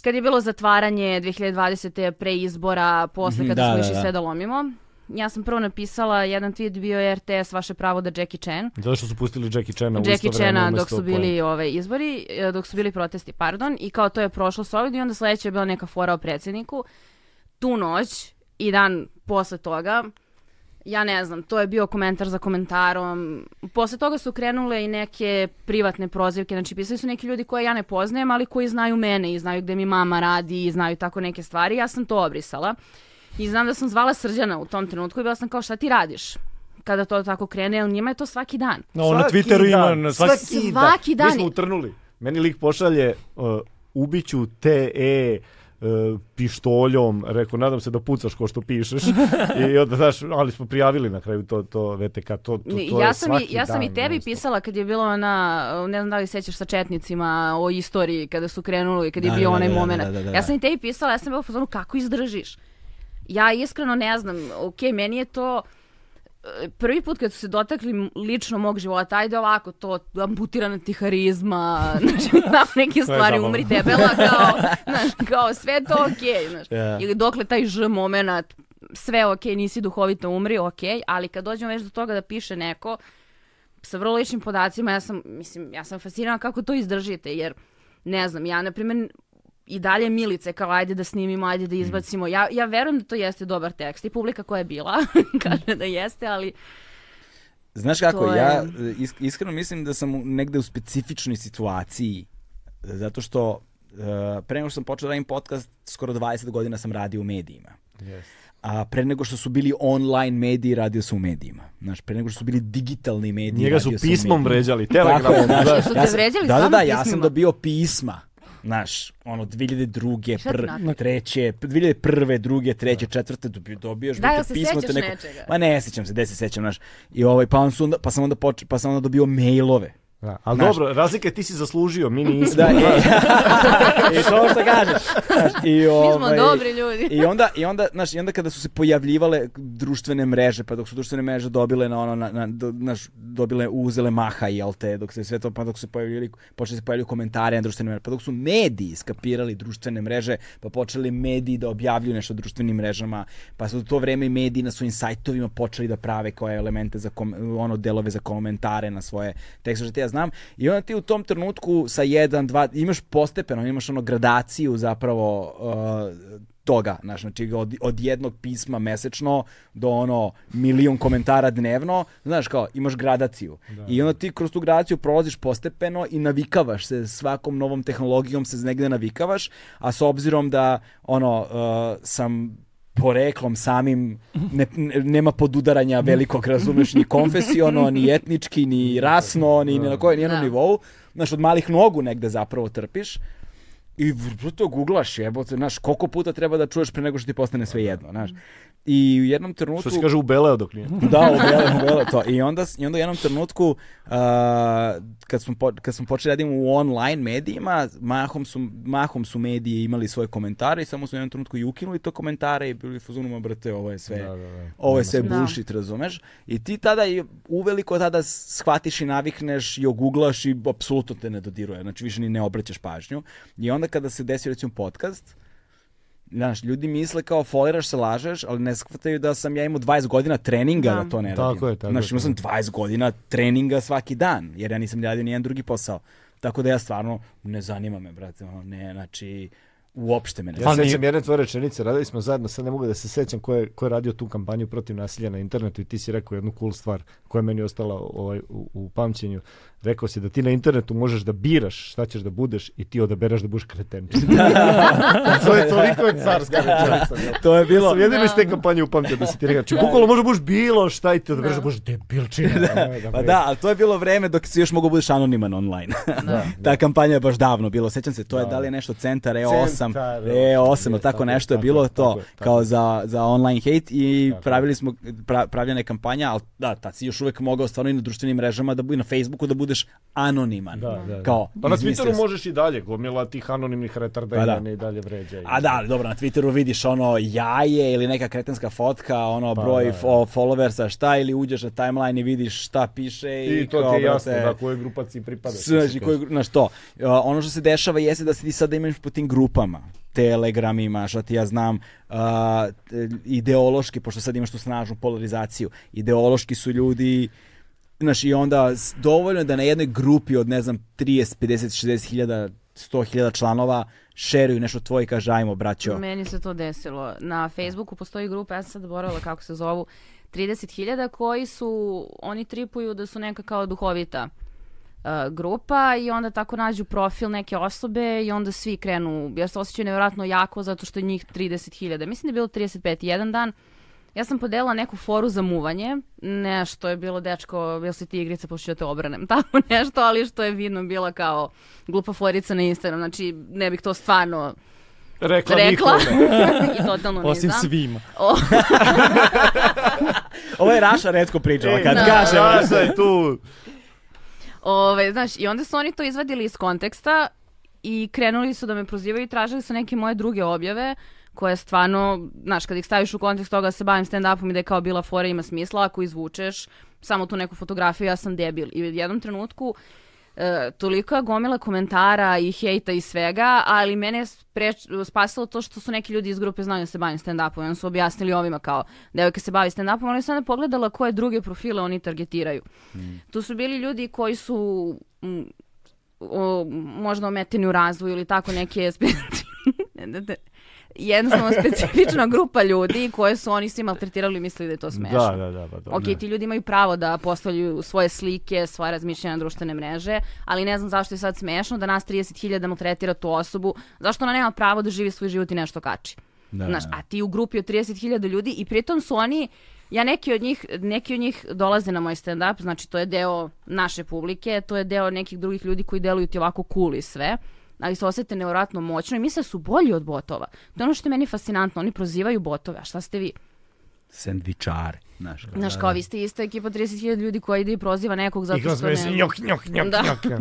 [SPEAKER 3] kad je bilo zatvaranje 2020. pre izbora, posle
[SPEAKER 1] Mhm,
[SPEAKER 3] kada
[SPEAKER 1] da,
[SPEAKER 3] smo
[SPEAKER 1] da,
[SPEAKER 3] išli
[SPEAKER 1] da.
[SPEAKER 3] sve da lomimo. Ja sam prvo napisala, jedan tweet bio je RTS, vaše pravo da Jackie Chan.
[SPEAKER 2] Zato što su pustili Jackie Chana u isto
[SPEAKER 3] Jackie
[SPEAKER 2] vreme
[SPEAKER 3] Chana dok
[SPEAKER 2] umesto
[SPEAKER 3] su bili ove izbori, e, dok su bili protesti, pardon, i kao to je prošlo s ovdje i onda sledeća je bila neka fora o predsjedniku. Tu noć i dan posle toga, ja ne znam, to je bio komentar za komentarom. Posle toga su krenule i neke privatne prozivke, znači pisali su neki ljudi koje ja ne poznajem, ali koji znaju mene i znaju gde mi mama radi i znaju tako neke stvari. Ja sam to obrisala i znam da sam zvala Srđana u tom trenutku i bila sam kao šta ti radiš? kada to tako krene, jer njima je to svaki dan.
[SPEAKER 4] No, Ono na
[SPEAKER 2] Svaki
[SPEAKER 4] Twitteru ima,
[SPEAKER 2] dan,
[SPEAKER 4] na svaki...
[SPEAKER 3] Svaki dan
[SPEAKER 2] Mi smo
[SPEAKER 3] je-
[SPEAKER 2] utrnuli. Meni lik pošalje uh, ubiću te e uh, pištoljom, rekao, nadam se da pucaš ko što pišeš. I onda, znaš, ali smo prijavili na kraju to, to VTK, to, to,
[SPEAKER 3] Ne,
[SPEAKER 2] to
[SPEAKER 3] ja
[SPEAKER 2] je
[SPEAKER 3] sam, i,
[SPEAKER 2] svaki
[SPEAKER 3] ja sam i
[SPEAKER 2] dan,
[SPEAKER 3] tebi
[SPEAKER 2] non stop.
[SPEAKER 3] pisala kad je bilo ona, ne znam da li se sećaš sa Četnicima o istoriji kada su krenuli, kad je
[SPEAKER 1] Da,
[SPEAKER 3] bio
[SPEAKER 1] da,
[SPEAKER 3] onaj
[SPEAKER 1] da, da,
[SPEAKER 3] moment.
[SPEAKER 1] da, da, da,
[SPEAKER 3] Ja
[SPEAKER 1] da.
[SPEAKER 3] sam i tebi pisala, ja sam bila u fazonu kako izdržiš. Ja iskreno ne znam, ok, meni je to e, prvi put kad su se dotakli m- lično mog života, ajde ovako, to amputirana ti harizma, znači, znam neke stvari,
[SPEAKER 4] zabavno.
[SPEAKER 3] umri debela, kao, znaš, kao sve je to ok, znaš. Ili dokle taj ž moment, sve ok, nisi duhovito umri, ok, ali kad dođemo već do toga da piše neko sa vrlo ličnim podacima, ja sam, mislim, ja sam fascinirana kako to izdržite, jer ne znam, ja na primjer i dalje Milice kao ajde da snimimo, ajde da izbacimo. Ja, ja verujem da to jeste dobar tekst i publika koja je bila kaže da jeste, ali
[SPEAKER 1] Znaš kako,
[SPEAKER 3] To je-
[SPEAKER 1] ja e, isk- iskreno mislim da sam u- negde u specifičnoj situaciji, e, zato što e, pre nego što sam počeo da radim podcast, skoro 20 godina sam radio u medijima. A pre nego što su bili online mediji, radio sam u medijima. Znaš, pre nego što su bili digitalni mediji,
[SPEAKER 2] Njega su
[SPEAKER 1] radio sam u
[SPEAKER 2] pismom
[SPEAKER 1] medijima.
[SPEAKER 2] vređali,
[SPEAKER 1] Tako je,
[SPEAKER 2] telegramom.
[SPEAKER 1] znaš,
[SPEAKER 3] Jesu te
[SPEAKER 1] ja sam-
[SPEAKER 3] vređali
[SPEAKER 1] da, da,
[SPEAKER 3] stvarno
[SPEAKER 1] da, ja sam
[SPEAKER 3] pismima?
[SPEAKER 1] dobio pisma. Znaš, ono, 2002.
[SPEAKER 3] Šta ti
[SPEAKER 1] Pr,
[SPEAKER 3] napisao?
[SPEAKER 1] treće, 2001. druge, treće, četvrte, dobi- dobiješ
[SPEAKER 3] Da,
[SPEAKER 1] brate,
[SPEAKER 3] jel se
[SPEAKER 1] pismo
[SPEAKER 3] sećaš
[SPEAKER 1] te neko...
[SPEAKER 3] nečega?
[SPEAKER 1] Ma ne, sećam se, gde se sećam, znaš. I ovaj, pa, on su onda, pa sam onda, poč, pa sam onda dobio mailove.
[SPEAKER 2] Da, ali
[SPEAKER 1] Znaš.
[SPEAKER 2] dobro, razlika je ti si zaslužio, mi nismo.
[SPEAKER 1] Da, i, i to što kažeš. Znaš, i,
[SPEAKER 3] mi
[SPEAKER 1] ovaj,
[SPEAKER 3] smo dobri ljudi.
[SPEAKER 1] I onda, i, onda, znaš, I onda kada su se pojavljivale društvene mreže, pa dok su društvene mreže dobile na ono, na, na, do, znaš, dobile, uzele maha, jel te, dok se sve to, pa dok su se pojavljivali, počeli se pojavljaju komentare na društvene mreže, pa dok su mediji skapirali društvene mreže, pa počeli mediji da objavljuju nešto o društvenim mrežama, pa su u to vreme i mediji na svojim sajtovima počeli da prave koje elemente za kom, ono delove za komentare na svoje tekste što ja znam i onda ti u tom trenutku sa 1 2 imaš postepeno imaš ono gradaciju zapravo uh, toga, znaš, znači od, od jednog pisma mesečno do ono milion komentara dnevno, znaš kao, imaš gradaciju. I onda ti kroz tu gradaciju prolaziš postepeno i navikavaš se svakom novom tehnologijom se negde navikavaš, a s obzirom da ono uh, sam poreklom samim ne, ne- nema podudaranja velikog, razumeš, ni konfesiono, ni etnički, ni rasno, ni na kojem jednom
[SPEAKER 3] Da.
[SPEAKER 1] nivou. Znaš, od malih nogu negde zapravo trpiš. I v- to googlaš, jebote, znaš, koliko puta treba da čuješ pre nego što ti postane sve jedno, znaš. I u jednom trenutku...
[SPEAKER 2] Što se kaže, ubeleo dok nije.
[SPEAKER 1] Da, u belom, u belom, to. I onda, s- i onda u jednom trenutku, a, kad, smo po, kad smo počeli raditi u online medijima, mahom su, mahom su mediji imali svoje komentare i samo su u jednom trenutku i ukinuli to komentare i bili u fazonu, "Ma, brate, ovo je sve,
[SPEAKER 2] Da, da, da.
[SPEAKER 1] ovo je sve
[SPEAKER 3] Da.
[SPEAKER 1] bullshit, razumeš? I ti tada, i uveliko tada shvatiš i navikneš i oguglaš i apsolutno te ne dodiruje, znači više ni ne obraćaš pažnju. I onda kada se desi recimo podcast, Znaš, ljudi misle kao foliraš se, lažeš, ali ne shvataju da sam ja imao 20 godina treninga da,
[SPEAKER 3] Da.
[SPEAKER 1] to ne
[SPEAKER 2] Tako
[SPEAKER 1] radim.
[SPEAKER 2] je, tako je,
[SPEAKER 1] Znaš, imao sam 20 godina treninga svaki dan, jer ja nisam radio nijedan drugi posao. Tako da ja stvarno, ne zanima me, brate, ono, ne, znači, uopšte me ne
[SPEAKER 2] Ja
[SPEAKER 4] Pa
[SPEAKER 2] se
[SPEAKER 4] ni-
[SPEAKER 2] sećam jedne tvoje rečenice, radili smo zajedno, sad ne mogu da se sećam ko je, ko je radio tu kampanju protiv nasilja na internetu i ti si rekao jednu cool stvar koja je meni ostala ovaj, u, u pamćenju. Rekao si da ti na internetu možeš da biraš šta ćeš da budeš i ti odabereš da budeš kreten. to je toliko je carska rečenica.
[SPEAKER 1] To je
[SPEAKER 2] Ja
[SPEAKER 1] bilo...
[SPEAKER 2] sam jedino iz te kampanje upamtio da si ti rekao, znači bukvalno možda budeš bilo šta i ti odabereš da budeš debilčina. nemoj
[SPEAKER 1] Pa
[SPEAKER 2] bre.
[SPEAKER 1] da, ali to je bilo vreme dok si još mogao budeš anoniman online. Ta kampanja je baš davno bilo. Sećam se, to je da li je nešto centar E E8,
[SPEAKER 2] Centar,
[SPEAKER 1] E8, ili tako
[SPEAKER 2] tako je,
[SPEAKER 1] nešto je
[SPEAKER 2] tako
[SPEAKER 1] bilo
[SPEAKER 2] je, tako
[SPEAKER 1] to
[SPEAKER 2] je, tako
[SPEAKER 1] kao
[SPEAKER 2] je.
[SPEAKER 1] za, za online hate i pravili smo pra, pravljena je kampanja, ali da, tad si još uvek mogao stvarno i na društvenim mrežama da bu- i na Facebooku da budeš anoniman.
[SPEAKER 2] Da, da, da.
[SPEAKER 1] Kao,
[SPEAKER 2] Pa na
[SPEAKER 1] izmislio
[SPEAKER 2] Twitteru
[SPEAKER 1] si-
[SPEAKER 2] možeš i dalje, gomila tih anonimnih retardajna
[SPEAKER 1] Pa da.
[SPEAKER 2] i dalje vređa.
[SPEAKER 1] A da, ali dobro, na Twitteru vidiš ono jaje ili neka kretenska fotka, ono broj da,
[SPEAKER 2] Pa da, da.
[SPEAKER 1] followersa, šta ili uđeš na timeline i vidiš šta piše i,
[SPEAKER 2] I to
[SPEAKER 1] kao,
[SPEAKER 2] ti je jasno
[SPEAKER 1] brate,
[SPEAKER 2] na kojoj grupaciji pripadaš.
[SPEAKER 1] Znači, koji, znaš to, e, ono što se dešava jeste da se ti sada imaš po tim grupama, Telegram imaš, a ti ja znam, a, te- ideološki, pošto sad imaš tu snažnu polarizaciju, ideološki su ljudi, znaš, i onda s- dovoljno je da na jednoj grupi od, ne znam, 30, 50, 60 hiljada, 100 hiljada članova šeruju nešto tvoje i kaže, ajmo, braćo.
[SPEAKER 3] Meni se to desilo. Na Facebooku postoji grupa, ja sam sad zaboravila kako se zovu, 30.000 koji su, oni tripuju da su neka kao duhovita e, grupa i onda tako nađu profil neke osobe i onda svi krenu. Ja se osjećaju nevjerojatno jako zato što je njih 30.000. Mislim da je bilo 35 jedan dan. Ja sam podelila neku foru za muvanje, nešto je bilo dečko, jel si ti igrica pošto ću da te obranem, tako nešto, ali što je vidno bila kao glupa forica na Instagram, znači ne bih to stvarno
[SPEAKER 2] Rekla,
[SPEAKER 3] rekla i totalno
[SPEAKER 4] Pa Osim
[SPEAKER 3] nisam.
[SPEAKER 4] svima.
[SPEAKER 3] O,
[SPEAKER 1] Ovo je Raša redko pričala, kad
[SPEAKER 3] da.
[SPEAKER 1] kaže.
[SPEAKER 2] Raša je tu.
[SPEAKER 3] ove, znaš, i onda su oni to izvadili iz konteksta i krenuli su da me prozivaju i tražili su neke moje druge objave koje stvarno, znaš, kad ih staviš u kontekst toga da se bavim stand-upom i da je kao bila fora ima smisla, ako izvučeš samo tu neku fotografiju, ja sam debil. I u jednom trenutku e, tolika gomila komentara i hejta i svega, ali mene je spreč- spasilo to što su neki ljudi iz grupe znaju da se bavim stand-upom i onda su objasnili ovima kao devojka se bavi stand-upom, ali sam onda pogledala koje druge profile oni targetiraju. Tu su bili ljudi koji su mm, o, možda ometeni u razvoju ili tako neke specifične jednostavno specifična grupa ljudi koje su oni svi maltretirali i mislili da je to smešno.
[SPEAKER 2] Da, da, da. Pa, da.
[SPEAKER 3] Ok, ti ljudi imaju pravo da postavljaju svoje slike, svoje razmišljanja na društvene mreže, ali ne znam zašto je sad smešno da nas 30.000 maltretira tu osobu, zašto ona nema pravo da živi svoj život i nešto kači. Znaš, a ti u grupi od 30.000 ljudi i pritom su oni, ja neki od njih, neki od njih dolaze na moj stand-up, znači to je deo naše publike, to je deo nekih drugih ljudi koji deluju ti ovako cool i sve ali se osete nevjerojatno moćno i misle da su bolji od botova. To je ono što je meni fascinantno. Oni prozivaju botove, a šta ste vi?
[SPEAKER 1] Sendvičare. Znaš, kao.
[SPEAKER 3] Znaš, kao vi ste isto ekipa 30.000 ljudi koja ide i proziva nekog zato
[SPEAKER 2] I kroz
[SPEAKER 3] što
[SPEAKER 2] me se
[SPEAKER 3] ne...
[SPEAKER 2] njok, njok, njok,
[SPEAKER 3] Da.
[SPEAKER 2] njok.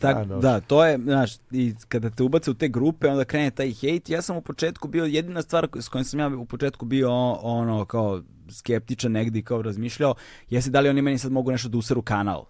[SPEAKER 1] Tak,
[SPEAKER 2] A, dobro.
[SPEAKER 1] da, to je, znaš, i kada te ubace u te grupe, onda krene taj hejt. Ja sam u početku bio, jedina stvar s kojom sam ja u početku bio ono kao skeptičan negdje i kao razmišljao, jeste da li oni meni sad mogu nešto da useru kanal.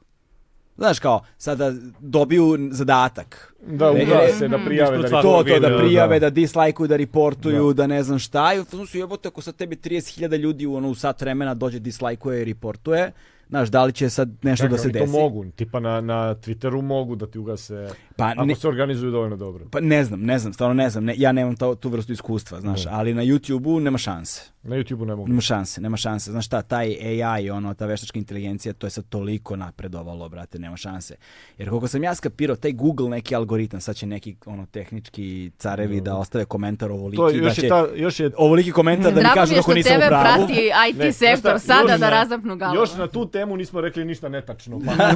[SPEAKER 1] Znaš kao, sada dobiju zadatak.
[SPEAKER 2] Da,
[SPEAKER 1] Ne,
[SPEAKER 2] ugra
[SPEAKER 1] ne, Znači,
[SPEAKER 2] se, da prijave. Da,
[SPEAKER 4] Ispred svakog
[SPEAKER 1] To, to, da
[SPEAKER 4] video,
[SPEAKER 1] prijave, da dislajkuju, da reportuju, da, ne znam šta. I u fazonu su jebote, ako sad tebi 30.000 ljudi u ono, u sat vremena dođe dislajkuje i reportuje, znaš, da li će sad nešto da se
[SPEAKER 2] To
[SPEAKER 1] desi?
[SPEAKER 2] mogu, tipa na, na Twitteru mogu da ti ugase,
[SPEAKER 1] Pa
[SPEAKER 2] ako
[SPEAKER 1] ne-
[SPEAKER 2] se organizuju dovoljno dobro.
[SPEAKER 1] Pa ne znam, ne znam, stvarno ne znam. Ne, ja nemam to, tu vrstu iskustva, znaš, ali na YouTubeu nema šanse.
[SPEAKER 2] Na YouTubeu ne mogu.
[SPEAKER 1] Nema šanse, nema šanse. Znaš šta, taj AI, ono, ta veštačka inteligencija, to je sad toliko napredovalo, brate, nema šanse. Jer koliko sam ja skapirao, taj Google neki algoritam, sad će neki, ono, tehnički carevi da ostave komentar ovoliki,
[SPEAKER 2] To je,
[SPEAKER 1] da
[SPEAKER 2] još je
[SPEAKER 1] će...
[SPEAKER 2] ta, još je
[SPEAKER 1] Ovoliki komentar da mi
[SPEAKER 3] Drago
[SPEAKER 1] kažu
[SPEAKER 3] mi je
[SPEAKER 1] kako
[SPEAKER 3] što
[SPEAKER 1] nisam u
[SPEAKER 3] tebe
[SPEAKER 1] pravu.
[SPEAKER 3] prati IT
[SPEAKER 2] Ne, znaš
[SPEAKER 3] sektor
[SPEAKER 2] šta,
[SPEAKER 3] sada
[SPEAKER 2] još
[SPEAKER 3] da
[SPEAKER 2] ne.
[SPEAKER 3] razapnu gavu.
[SPEAKER 2] Još na tu temu nismo rekli ništa netačno. Pa,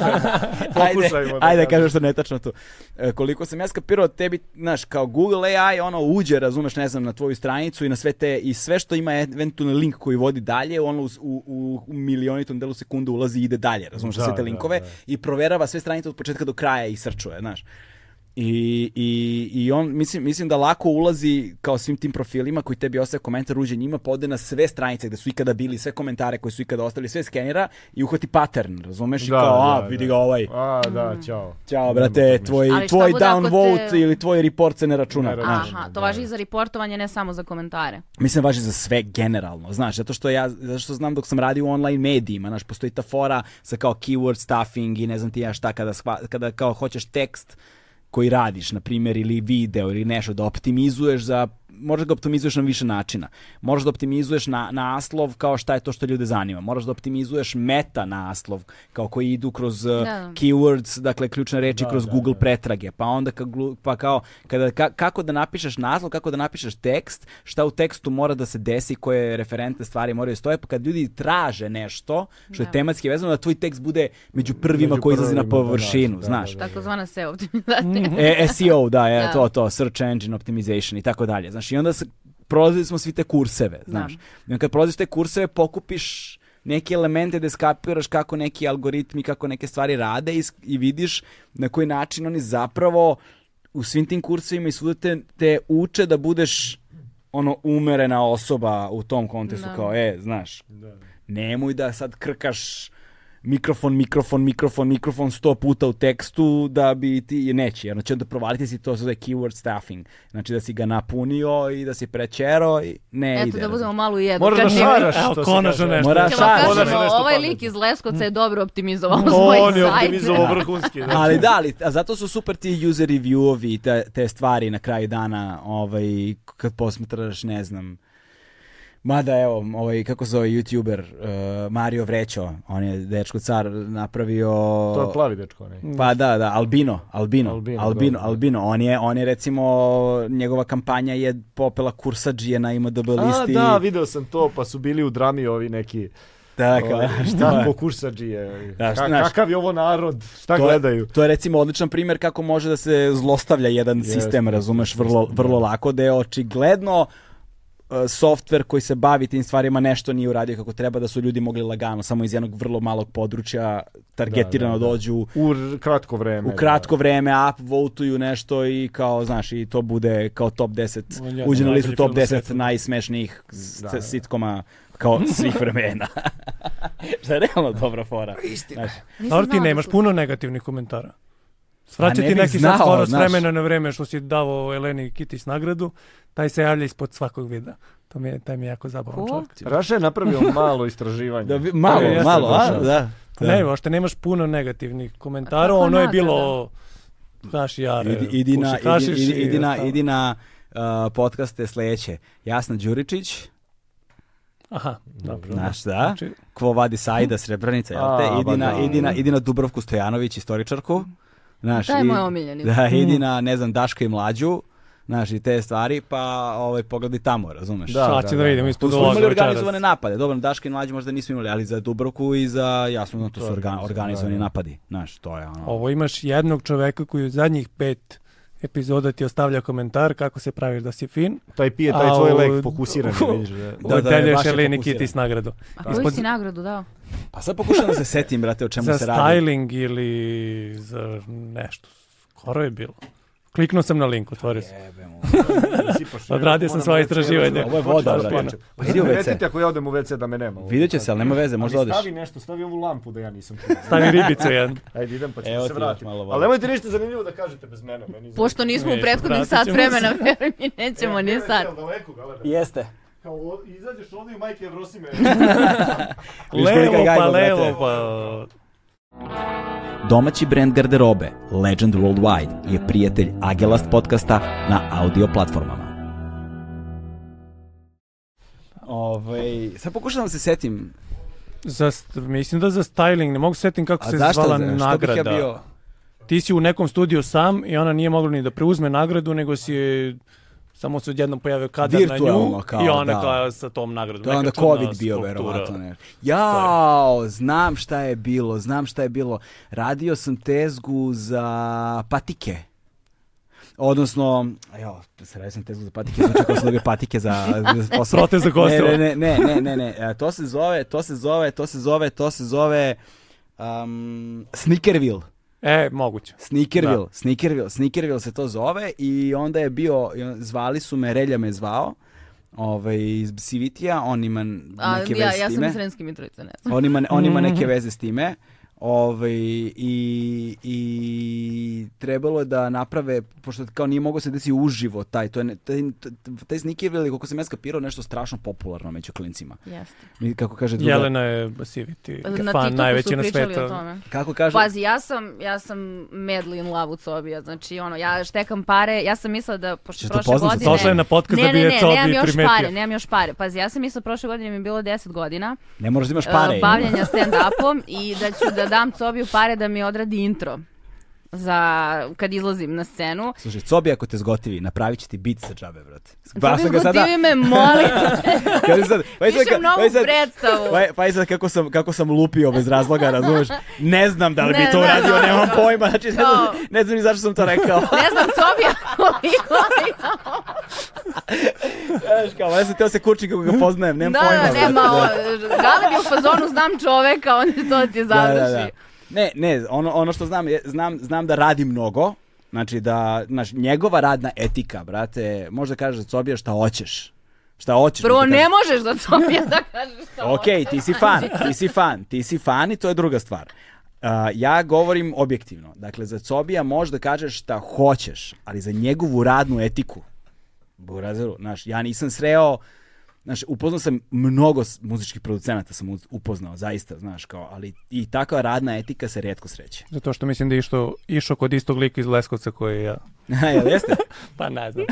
[SPEAKER 1] Ajde,
[SPEAKER 2] Pokušajmo da
[SPEAKER 1] ajde
[SPEAKER 2] kažem.
[SPEAKER 1] kažem što je netačno tu. E, koliko sam ja skapirao tebi, znaš, kao Google AI, ono uđe, razumeš, ne znam, na tvoju stranicu i na sve te, i sve što ima eventualni link koji vodi dalje, ono uz- u, u, u milionitom delu sekunde ulazi i ide dalje, razumeš, na
[SPEAKER 2] Da,
[SPEAKER 1] sve te
[SPEAKER 2] da,
[SPEAKER 1] linkove
[SPEAKER 2] da.
[SPEAKER 1] i proverava sve stranice od početka do kraja i srčuje, znaš. I, i, i on, mislim, mislim da lako ulazi kao svim tim profilima koji tebi ostaje komentar uđe njima, pa ode na sve stranice gde su ikada bili, sve komentare koji su ikada ostavili, sve skenira i uhvati pattern, razumeš? I
[SPEAKER 2] Da,
[SPEAKER 1] kao, a,
[SPEAKER 2] da,
[SPEAKER 1] vidi
[SPEAKER 2] da.
[SPEAKER 1] ga ovaj,
[SPEAKER 2] A, da,
[SPEAKER 3] Mm.
[SPEAKER 2] ćao.
[SPEAKER 1] Ćao, brate, tvoj,
[SPEAKER 3] Ali šta
[SPEAKER 1] tvoj
[SPEAKER 3] bude ako
[SPEAKER 1] downvote
[SPEAKER 3] te-
[SPEAKER 1] ili tvoj report se ne računa.
[SPEAKER 2] Ne računa.
[SPEAKER 1] znaš.
[SPEAKER 3] Aha, to
[SPEAKER 2] da.
[SPEAKER 3] važi i za reportovanje, ne samo za komentare.
[SPEAKER 1] Mislim, važi za sve generalno, znaš, zato što ja, zato što znam dok sam radio u online medijima, znaš, postoji ta fora sa kao keyword stuffing i ne znam ti ja šta, kada, shva- kada kao hoćeš tekst koji radiš, na primjer, ili video ili nešto, da optimizuješ za moraš da ga optimizuješ na više načina. Moraš da optimizuješ na naslov kao šta je to što ljude zanima. Moraš da optimizuješ meta naslov kao koji idu kroz uh,
[SPEAKER 3] Da.
[SPEAKER 1] keywords, dakle ključne reči kroz Google pretrage, pa onda ka, glu- pa kao kada, ka- kako da napišeš naslov, kako da napišeš tekst, šta u tekstu mora da se desi, koje referentne stvari moraju stoje, pa kad ljudi traže nešto što je
[SPEAKER 3] Da.
[SPEAKER 1] tematski vezano, da tvoj tekst bude među prvima
[SPEAKER 2] Među
[SPEAKER 1] koji izlazi na
[SPEAKER 2] prvima, da, da,
[SPEAKER 1] površinu,
[SPEAKER 2] da, da,
[SPEAKER 1] znaš.
[SPEAKER 2] da.
[SPEAKER 3] Takozvana se optimizacija.
[SPEAKER 1] E, SEO, da, je,
[SPEAKER 3] Da.
[SPEAKER 1] to, to, search engine optimization i tako dalje. Znaš, i onda se, prolazili smo svi te kurseve, znaš. I onda kad prolaziš te kurseve, pokupiš neke elemente da skapiraš kako neki algoritmi, kako neke stvari rade i, s- i vidiš na koji način oni zapravo u svim tim kursevima i svuda te, te uče da budeš ono umerena osoba u tom kontekstu
[SPEAKER 3] Da.
[SPEAKER 1] kao e, znaš, nemoj da sad krkaš mikrofon, mikrofon, mikrofon, mikrofon sto puta u tekstu da bi ti, je neće, jer znači onda provaliti si to se zove keyword stuffing, znači da si ga napunio i da si prečero i ne
[SPEAKER 3] Eto
[SPEAKER 1] ide.
[SPEAKER 3] da budemo
[SPEAKER 1] razumeš.
[SPEAKER 3] malo u jednu.
[SPEAKER 2] Moraš da
[SPEAKER 4] Pa
[SPEAKER 3] Kad je-
[SPEAKER 2] šaraš,
[SPEAKER 4] Evo,
[SPEAKER 2] što se
[SPEAKER 4] konačno
[SPEAKER 2] kaže.
[SPEAKER 4] nešto.
[SPEAKER 1] Moraš
[SPEAKER 3] Ćemo
[SPEAKER 1] šaraš.
[SPEAKER 2] Moraš
[SPEAKER 3] kažemo,
[SPEAKER 2] nešto
[SPEAKER 3] ovaj
[SPEAKER 2] pametno.
[SPEAKER 3] lik iz Leskovca je dobro optimizovao svoj sajt.
[SPEAKER 2] On je optimizovao vrhunski. da.
[SPEAKER 1] Ali da, ali, a zato su super ti user reviewovi i te, te stvari na kraju dana, ovaj, kad posmetraš, ne znam, Mada evo, ovaj, kako se zove youtuber, eh, Mario Vrećo, on je dečko car napravio...
[SPEAKER 2] To je plavi dečko, ne?
[SPEAKER 1] Pa da, da, Albino, Albino, Albino,
[SPEAKER 2] Albino,
[SPEAKER 1] Albino,
[SPEAKER 2] dobro.
[SPEAKER 1] On je, on je recimo, njegova kampanja je popela kursadžije na IMDB
[SPEAKER 2] A,
[SPEAKER 1] listi.
[SPEAKER 2] da, video sam to, pa su bili u drami ovi neki...
[SPEAKER 1] Tako,
[SPEAKER 2] ovi,
[SPEAKER 1] šta
[SPEAKER 2] šta po kursadžije,
[SPEAKER 1] Da,
[SPEAKER 2] ka-
[SPEAKER 1] znaš-
[SPEAKER 2] kakav je ovo narod, šta
[SPEAKER 1] to je-
[SPEAKER 2] Pa gledaju.
[SPEAKER 1] To je recimo odličan primjer kako može da se zlostavlja jedan
[SPEAKER 2] Jeste,
[SPEAKER 1] sistem, razumeš, vrlo, vrlo lako, da je očigledno e, softver koji se bavi tim stvarima nešto nije uradio kako treba, da su ljudi mogli lagano, samo iz jednog vrlo malog područja targetirano
[SPEAKER 2] da.
[SPEAKER 1] dođu
[SPEAKER 2] U r- kratko vreme.
[SPEAKER 1] u kratko vreme upvoteuju nešto i kao, znaš, i to bude kao top 10,
[SPEAKER 4] Ja,
[SPEAKER 1] uđe na
[SPEAKER 4] najbolji
[SPEAKER 1] listu top
[SPEAKER 4] film na
[SPEAKER 1] 10
[SPEAKER 4] svetu.
[SPEAKER 1] najsmešnijih s-
[SPEAKER 2] Da,
[SPEAKER 1] s-
[SPEAKER 2] da.
[SPEAKER 1] sitkoma kao svih vremena. Što je realno dobra fora. Istina.
[SPEAKER 4] Dobro, ti nemaš puno negativnih komentara. Svraća
[SPEAKER 1] ne
[SPEAKER 4] ti
[SPEAKER 1] bih
[SPEAKER 4] neki sad
[SPEAKER 1] znao,
[SPEAKER 4] skoro s
[SPEAKER 1] znaš.
[SPEAKER 4] vremena na vreme što si davo Eleni Kitis nagradu, taj se javlja ispod svakog videa. To mi je, taj mi je jako zabavan
[SPEAKER 3] Ko?
[SPEAKER 4] čovjek.
[SPEAKER 2] Raša je napravio malo istraživanje.
[SPEAKER 1] Da, bi- malo,
[SPEAKER 4] To je-
[SPEAKER 1] malo, a?
[SPEAKER 2] jeste,
[SPEAKER 1] Da.
[SPEAKER 4] Pa Ne, uopšte nemaš puno negativnih
[SPEAKER 3] A
[SPEAKER 4] komentara,
[SPEAKER 3] kako
[SPEAKER 4] ono je
[SPEAKER 3] nagrada?
[SPEAKER 4] bilo Haš jare,
[SPEAKER 1] Idi, idi na,
[SPEAKER 4] puši hašiš
[SPEAKER 1] idi, idi,
[SPEAKER 4] E, i
[SPEAKER 1] idi na,
[SPEAKER 4] ostalo.
[SPEAKER 1] idi na uh, podcaste sledeće. Jasna Đuričić,
[SPEAKER 4] Aha, dobro.
[SPEAKER 1] znaš da,
[SPEAKER 4] Znači,
[SPEAKER 1] Kvo Vadi Sajda Srebrenica, jel
[SPEAKER 2] A,
[SPEAKER 1] te?
[SPEAKER 2] ba
[SPEAKER 1] Idi na,
[SPEAKER 2] da.
[SPEAKER 1] idi, na, idi na Dubrovku Stojanović, istoričarku. Znaš,
[SPEAKER 3] Taj je
[SPEAKER 1] i-
[SPEAKER 3] moj omiljeni.
[SPEAKER 1] Da, idi na, ne znam, Daška i Mlađu, znaš, i te stvari, pa ovaj, pogledaj tamo, razumeš?
[SPEAKER 2] Da,
[SPEAKER 4] sad će da,
[SPEAKER 2] da,
[SPEAKER 4] vidimo
[SPEAKER 2] da.
[SPEAKER 1] Tu
[SPEAKER 4] ispod
[SPEAKER 1] smo
[SPEAKER 4] ovoga
[SPEAKER 1] imali
[SPEAKER 4] večeras.
[SPEAKER 1] organizovane napade. Dobro, na Daška i Mlađu možda nismo imali, ali za Dubrovku i za, jasno, to su organ, organizovani napadi. Znaš, to je ono.
[SPEAKER 4] Pa. Ovo imaš jednog čoveka koji u zadnjih pet epizoda ti ostavlja komentar kako se praviš da si fin.
[SPEAKER 2] Taj pije, taj
[SPEAKER 4] A,
[SPEAKER 2] tvoj
[SPEAKER 4] u-
[SPEAKER 2] lek fokusiran, vidiš. Da.
[SPEAKER 1] Da, da,
[SPEAKER 4] Da,
[SPEAKER 1] je
[SPEAKER 4] da,
[SPEAKER 1] baš je
[SPEAKER 4] Eleni
[SPEAKER 1] fokusiran.
[SPEAKER 4] Kitis nagradu.
[SPEAKER 3] A koju
[SPEAKER 4] Ispod-
[SPEAKER 3] si nagradu dao?
[SPEAKER 1] Pa sad pokušam da se setim, brate, o čemu
[SPEAKER 4] za
[SPEAKER 1] se radi.
[SPEAKER 4] styling ili za nešto. Skoro je bilo. Kliknuo sam na link, otvorio sam. Odradio sam svoje istraživanje.
[SPEAKER 1] Ovo je voda, brate. Pa idi u WC.
[SPEAKER 2] Recite ako ja odem u WC da me nema. ovaj.
[SPEAKER 1] Vidjet će se, ali nema veze, možda
[SPEAKER 2] Ali
[SPEAKER 1] odeš.
[SPEAKER 2] Stavi nešto, stavi ovu lampu da ja nisam čuo.
[SPEAKER 4] Stavi ribicu jedan.
[SPEAKER 2] Ajde, idem pa ću
[SPEAKER 1] Evo
[SPEAKER 2] se
[SPEAKER 1] ti još
[SPEAKER 2] vratiti.
[SPEAKER 1] malo vode.
[SPEAKER 2] Ali nemojte ništa zanimljivo da kažete bez mene. Meni
[SPEAKER 3] Pošto nismo u
[SPEAKER 4] Ne,
[SPEAKER 3] prethodnih
[SPEAKER 4] vratit
[SPEAKER 3] sat
[SPEAKER 4] ćemo
[SPEAKER 3] vremena, veruj mi, nećemo ni sad.
[SPEAKER 2] Jel daleko, galera?
[SPEAKER 1] Jeste.
[SPEAKER 2] Kao o- izađeš ovdje i majke Evrosime.
[SPEAKER 1] Vidiš kolika je
[SPEAKER 4] Levo pa
[SPEAKER 1] gajba, brate.
[SPEAKER 4] levo pa...
[SPEAKER 5] Domaći brend garderobe Legend Worldwide je prijatelj Agelast podcasta na audio platformama.
[SPEAKER 1] Ovaj, sad pokušam da se setim.
[SPEAKER 4] Za, st- mislim da za styling, ne mogu se setim kako
[SPEAKER 1] A
[SPEAKER 4] se
[SPEAKER 1] zašto?
[SPEAKER 4] zvala
[SPEAKER 1] Što
[SPEAKER 4] nagrada.
[SPEAKER 1] bih ja bio?
[SPEAKER 4] Ti si u nekom studiju sam i ona nije mogla ni da preuzme nagradu, nego si je- samo se odjednom pojavio kadar na
[SPEAKER 1] Virtualno
[SPEAKER 4] nju
[SPEAKER 1] kao,
[SPEAKER 4] i ona
[SPEAKER 1] da.
[SPEAKER 4] kao sa tom nagradom.
[SPEAKER 1] To je
[SPEAKER 4] Neka
[SPEAKER 1] onda
[SPEAKER 4] čudna
[SPEAKER 1] COVID bio,
[SPEAKER 4] struktura.
[SPEAKER 1] verovatno. Ne. Jao, znam šta je bilo, znam šta je bilo. Radio sam tezgu za patike. Odnosno, evo, sredio sam tezgu za patike, zvuči kao su dobio patike za, za posao.
[SPEAKER 4] Prote za Kosovo.
[SPEAKER 1] Ne, ne, ne, ne, ne, ne, e, to se zove, to se zove, to se zove, to se zove um, Snickerville.
[SPEAKER 4] E, moguće.
[SPEAKER 1] Snickerville, Snickerville, Snickerville se to zove i onda je bio, i on- zvali su me, Relja me zvao, ovaj, iz CVT-a, on ima
[SPEAKER 3] A,
[SPEAKER 1] neke
[SPEAKER 3] ja,
[SPEAKER 1] veze
[SPEAKER 3] ja
[SPEAKER 1] s
[SPEAKER 3] sam
[SPEAKER 1] time.
[SPEAKER 3] iz Srenske Mitrovice, ne znam.
[SPEAKER 1] On ima, on ima neke veze s time. Ovaj, i, I trebalo je da naprave, pošto kao nije mogao se desi uživo taj, to je, ne- taj, taj sneaker je, koliko sam ja skapirao, nešto strašno popularno među klincima.
[SPEAKER 3] Jeste.
[SPEAKER 1] Mi, kako kaže druga,
[SPEAKER 4] Jelena je Siviti,
[SPEAKER 3] Na
[SPEAKER 4] fan
[SPEAKER 3] TikToku
[SPEAKER 4] najveći
[SPEAKER 3] su
[SPEAKER 4] na
[SPEAKER 3] pričali o
[SPEAKER 4] svetu.
[SPEAKER 3] tome.
[SPEAKER 1] kako kaže,
[SPEAKER 3] Pazi, ja sam, ja sam medli in love u sobi, ja, znači ono, ja štekam pare, ja sam mislila da, pošto
[SPEAKER 1] Ćeš da
[SPEAKER 3] prošle
[SPEAKER 1] upoznaš se
[SPEAKER 3] godine...
[SPEAKER 1] sa
[SPEAKER 4] Došla je na podcast
[SPEAKER 3] ne,
[SPEAKER 4] da bi
[SPEAKER 3] ne,
[SPEAKER 4] je
[SPEAKER 3] ne,
[SPEAKER 4] Cobi
[SPEAKER 3] nemam još
[SPEAKER 4] primetio.
[SPEAKER 3] pare, nemam još pare. Pazi, ja sam mislila prošle godine mi je bilo 10 godina
[SPEAKER 1] ne moraš da imaš
[SPEAKER 3] e,
[SPEAKER 1] pare.
[SPEAKER 3] bavljenja stand-upom i da ću da dam Cobiju pare da mi odradi intro za kad izlazim na scenu.
[SPEAKER 1] Slušaj, Cobi ako te zgotivi, napravit će ti bit sa džabe, brate.
[SPEAKER 3] Pa
[SPEAKER 1] sam ga sada,
[SPEAKER 3] me, molim,
[SPEAKER 1] Kaže sad, pa i sad,
[SPEAKER 3] pišem
[SPEAKER 1] ka- pa i
[SPEAKER 3] novu
[SPEAKER 1] sad,
[SPEAKER 3] predstavu.
[SPEAKER 1] pa, i- pa i sad kako sam, kako sam lupio bez razloga, razumeš? Ne znam da li bi
[SPEAKER 3] Ne,
[SPEAKER 1] to
[SPEAKER 3] ne,
[SPEAKER 1] uradio,
[SPEAKER 3] ne,
[SPEAKER 1] nemam
[SPEAKER 3] ne.
[SPEAKER 1] pojma, znači ne znam, ne znam ni zašto sam to rekao.
[SPEAKER 3] Ne znam Cobija koliko je.
[SPEAKER 1] Znaš kao, ja sam teo se kući kako ga poznajem, nemam
[SPEAKER 3] Da,
[SPEAKER 1] pojma.
[SPEAKER 3] da,
[SPEAKER 1] brate.
[SPEAKER 3] nema, o, Gale bi u fazonu znam čoveka, on je to ti
[SPEAKER 1] Da,
[SPEAKER 3] završi.
[SPEAKER 1] da, da. Ne, ne, ono, ono što znam, je, znam, znam da radi mnogo, znači da, znaš, njegova radna etika, brate, možda kažeš od sobija šta hoćeš. Šta hoćeš.
[SPEAKER 3] Prvo,
[SPEAKER 1] neka
[SPEAKER 3] ne možeš za Cobija da kažeš to.
[SPEAKER 1] Ok, ti si fan, ti si fan, ti si fan i to je druga stvar. A, ja govorim objektivno. Dakle, za Cobija možda kažeš šta hoćeš, ali za njegovu radnu etiku, Burazeru, znaš, ja nisam sreo, znaš, upoznao sam mnogo s- muzičkih producenata, sam uz- upoznao, zaista, znaš, kao, ali i takva radna etika se redko sreće.
[SPEAKER 4] Zato što mislim da je išto, išao kod istog lika iz Leskovca koji je ja.
[SPEAKER 1] Jel jeste?
[SPEAKER 4] Pa ne znam.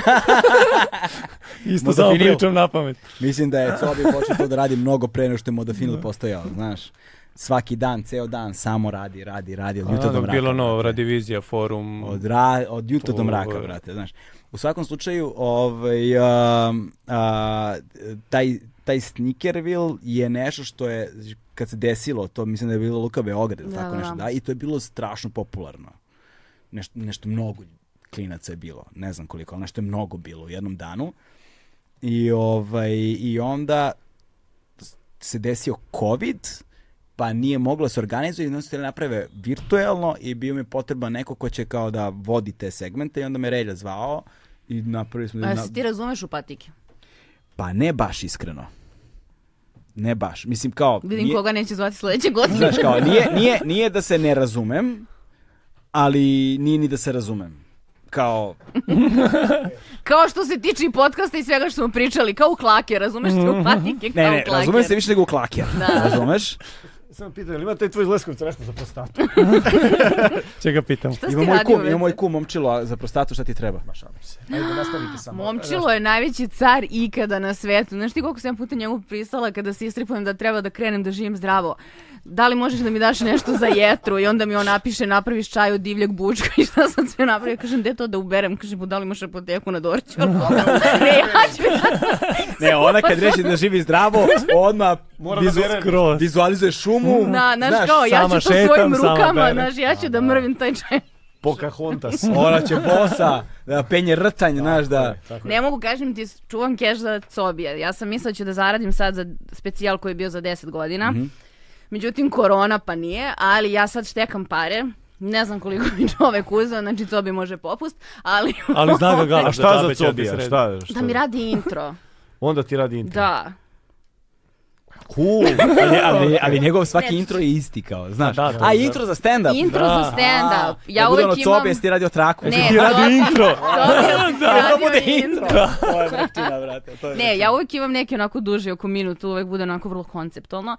[SPEAKER 4] Isto
[SPEAKER 1] Možda
[SPEAKER 4] samo
[SPEAKER 1] Finil.
[SPEAKER 4] pričam na pamet.
[SPEAKER 1] Mislim da je Cobi počeo to da radi mnogo pre nego što je Modafinil postojao, znaš. Svaki dan, ceo dan, samo radi, radi, radi, od jutra do
[SPEAKER 4] Ono
[SPEAKER 1] mraka.
[SPEAKER 4] bilo novo,
[SPEAKER 1] brate.
[SPEAKER 4] Radivizija, forum.
[SPEAKER 1] Od, ra, od jutra do
[SPEAKER 4] To,
[SPEAKER 1] mraka,
[SPEAKER 4] ovaj.
[SPEAKER 1] brate, znaš. U svakom slučaju, ovaj, um, a, taj, taj Snickerville je nešto što je, kad se desilo, to mislim da je bilo Luka Beograd, ili
[SPEAKER 3] Da,
[SPEAKER 1] tako
[SPEAKER 3] da.
[SPEAKER 1] nešto, da, i to je bilo strašno popularno. Nešto, nešto mnogo klinaca je bilo, ne znam koliko, ali nešto je mnogo bilo u jednom danu. I, ovaj, i onda se desio COVID, pa nije moglo da se organizuje i onda su htjeli naprave virtuelno i bio mi potreban neko ko će kao da vodi te segmente i onda me Relja zvao i napravili smo...
[SPEAKER 3] A
[SPEAKER 1] na-
[SPEAKER 3] se Pa ti razumeš u patike?
[SPEAKER 1] Pa ne baš iskreno. Ne baš. Mislim kao...
[SPEAKER 3] Vidim
[SPEAKER 1] nije-
[SPEAKER 3] koga neće zvati sledeće godine.
[SPEAKER 1] Znaš kao, nije, nije, nije da se ne razumem, ali nije ni da se razumem. Kao,
[SPEAKER 3] Kao što se tiče i podcasta i svega što smo pričali, kao u klake, razumeš se u patike kao
[SPEAKER 1] Mhm. ne,
[SPEAKER 3] u
[SPEAKER 1] ne,
[SPEAKER 3] klake.
[SPEAKER 1] razumem se više nego u klaker. Razumeš?
[SPEAKER 2] Samo pitan, jel ima taj tvoj iz Leskovca nešto za prostatu?
[SPEAKER 4] Će ga pitam.
[SPEAKER 3] Šta si
[SPEAKER 1] Ima
[SPEAKER 3] ti
[SPEAKER 1] moj
[SPEAKER 3] radio
[SPEAKER 1] kum,
[SPEAKER 3] u
[SPEAKER 1] ima moj
[SPEAKER 3] WC?
[SPEAKER 1] kum, momčilo, a za prostatu šta ti treba? Ma šalim se. Ajde, nastavite samo.
[SPEAKER 3] Momčilo je najveći car ikada na svetu. Znaš ti koliko sam ja puta njemu pristala kada se istripujem da treba da krenem da živim zdravo. Da li možeš da mi daš nešto za jetru? I onda mi on napiše napraviš čaj od divljeg bučka i šta sam sve napravio. Kažem, gde to da uberem? Kaže, "Pa da li imaš apoteku na Dorću? ne, ja ću
[SPEAKER 1] Ne, ona kad reši da živi zdravo, odmah
[SPEAKER 2] Mora da
[SPEAKER 1] vizu-
[SPEAKER 2] bere.
[SPEAKER 4] Skroz.
[SPEAKER 1] vizualizuje šumu.
[SPEAKER 3] Na, znaš,
[SPEAKER 1] Znaš,
[SPEAKER 3] kao, ja ću
[SPEAKER 4] sama
[SPEAKER 3] to
[SPEAKER 4] šetam,
[SPEAKER 3] svojim
[SPEAKER 4] sama
[SPEAKER 3] rukama,
[SPEAKER 4] berem.
[SPEAKER 3] znaš, ja ću da mrvim taj čaj.
[SPEAKER 2] Pocahontas.
[SPEAKER 1] Ona će bosa, da penje rtanj, znaš da...
[SPEAKER 3] Ne mogu, kažem ti, čuvam keš za Cobija. Ja sam mislila da ću da zaradim sad za specijal koji je bio za 10 godina. Međutim, korona pa nije, ali ja sad štekam pare. Ne znam koliko mi čovek uzeo, znači Cobi može popust, ali...
[SPEAKER 4] Ali zna ga ga.
[SPEAKER 2] A šta za Cobija? Šta, šta?
[SPEAKER 3] Da mi radi intro.
[SPEAKER 2] Onda ti radi internet.
[SPEAKER 3] Da.
[SPEAKER 1] Cool. ali, ali, ali njegov svaki
[SPEAKER 3] Ne.
[SPEAKER 1] intro je isti kao, znaš.
[SPEAKER 4] Da, da,
[SPEAKER 1] A
[SPEAKER 4] da.
[SPEAKER 1] intro za stand-up.
[SPEAKER 3] Intro za stand-up. Ja
[SPEAKER 1] da bude ono
[SPEAKER 3] uvek imam...
[SPEAKER 1] cobe, jesi ti radio traku.
[SPEAKER 3] Ne, pa
[SPEAKER 1] Jesi ti
[SPEAKER 3] to-
[SPEAKER 4] Radi intro.
[SPEAKER 3] Cobi- radio
[SPEAKER 1] to je vrućina, brate. To je
[SPEAKER 3] Ne, ja uvijek imam neki onako duži oko minut, uvijek bude onako vrlo konceptualno.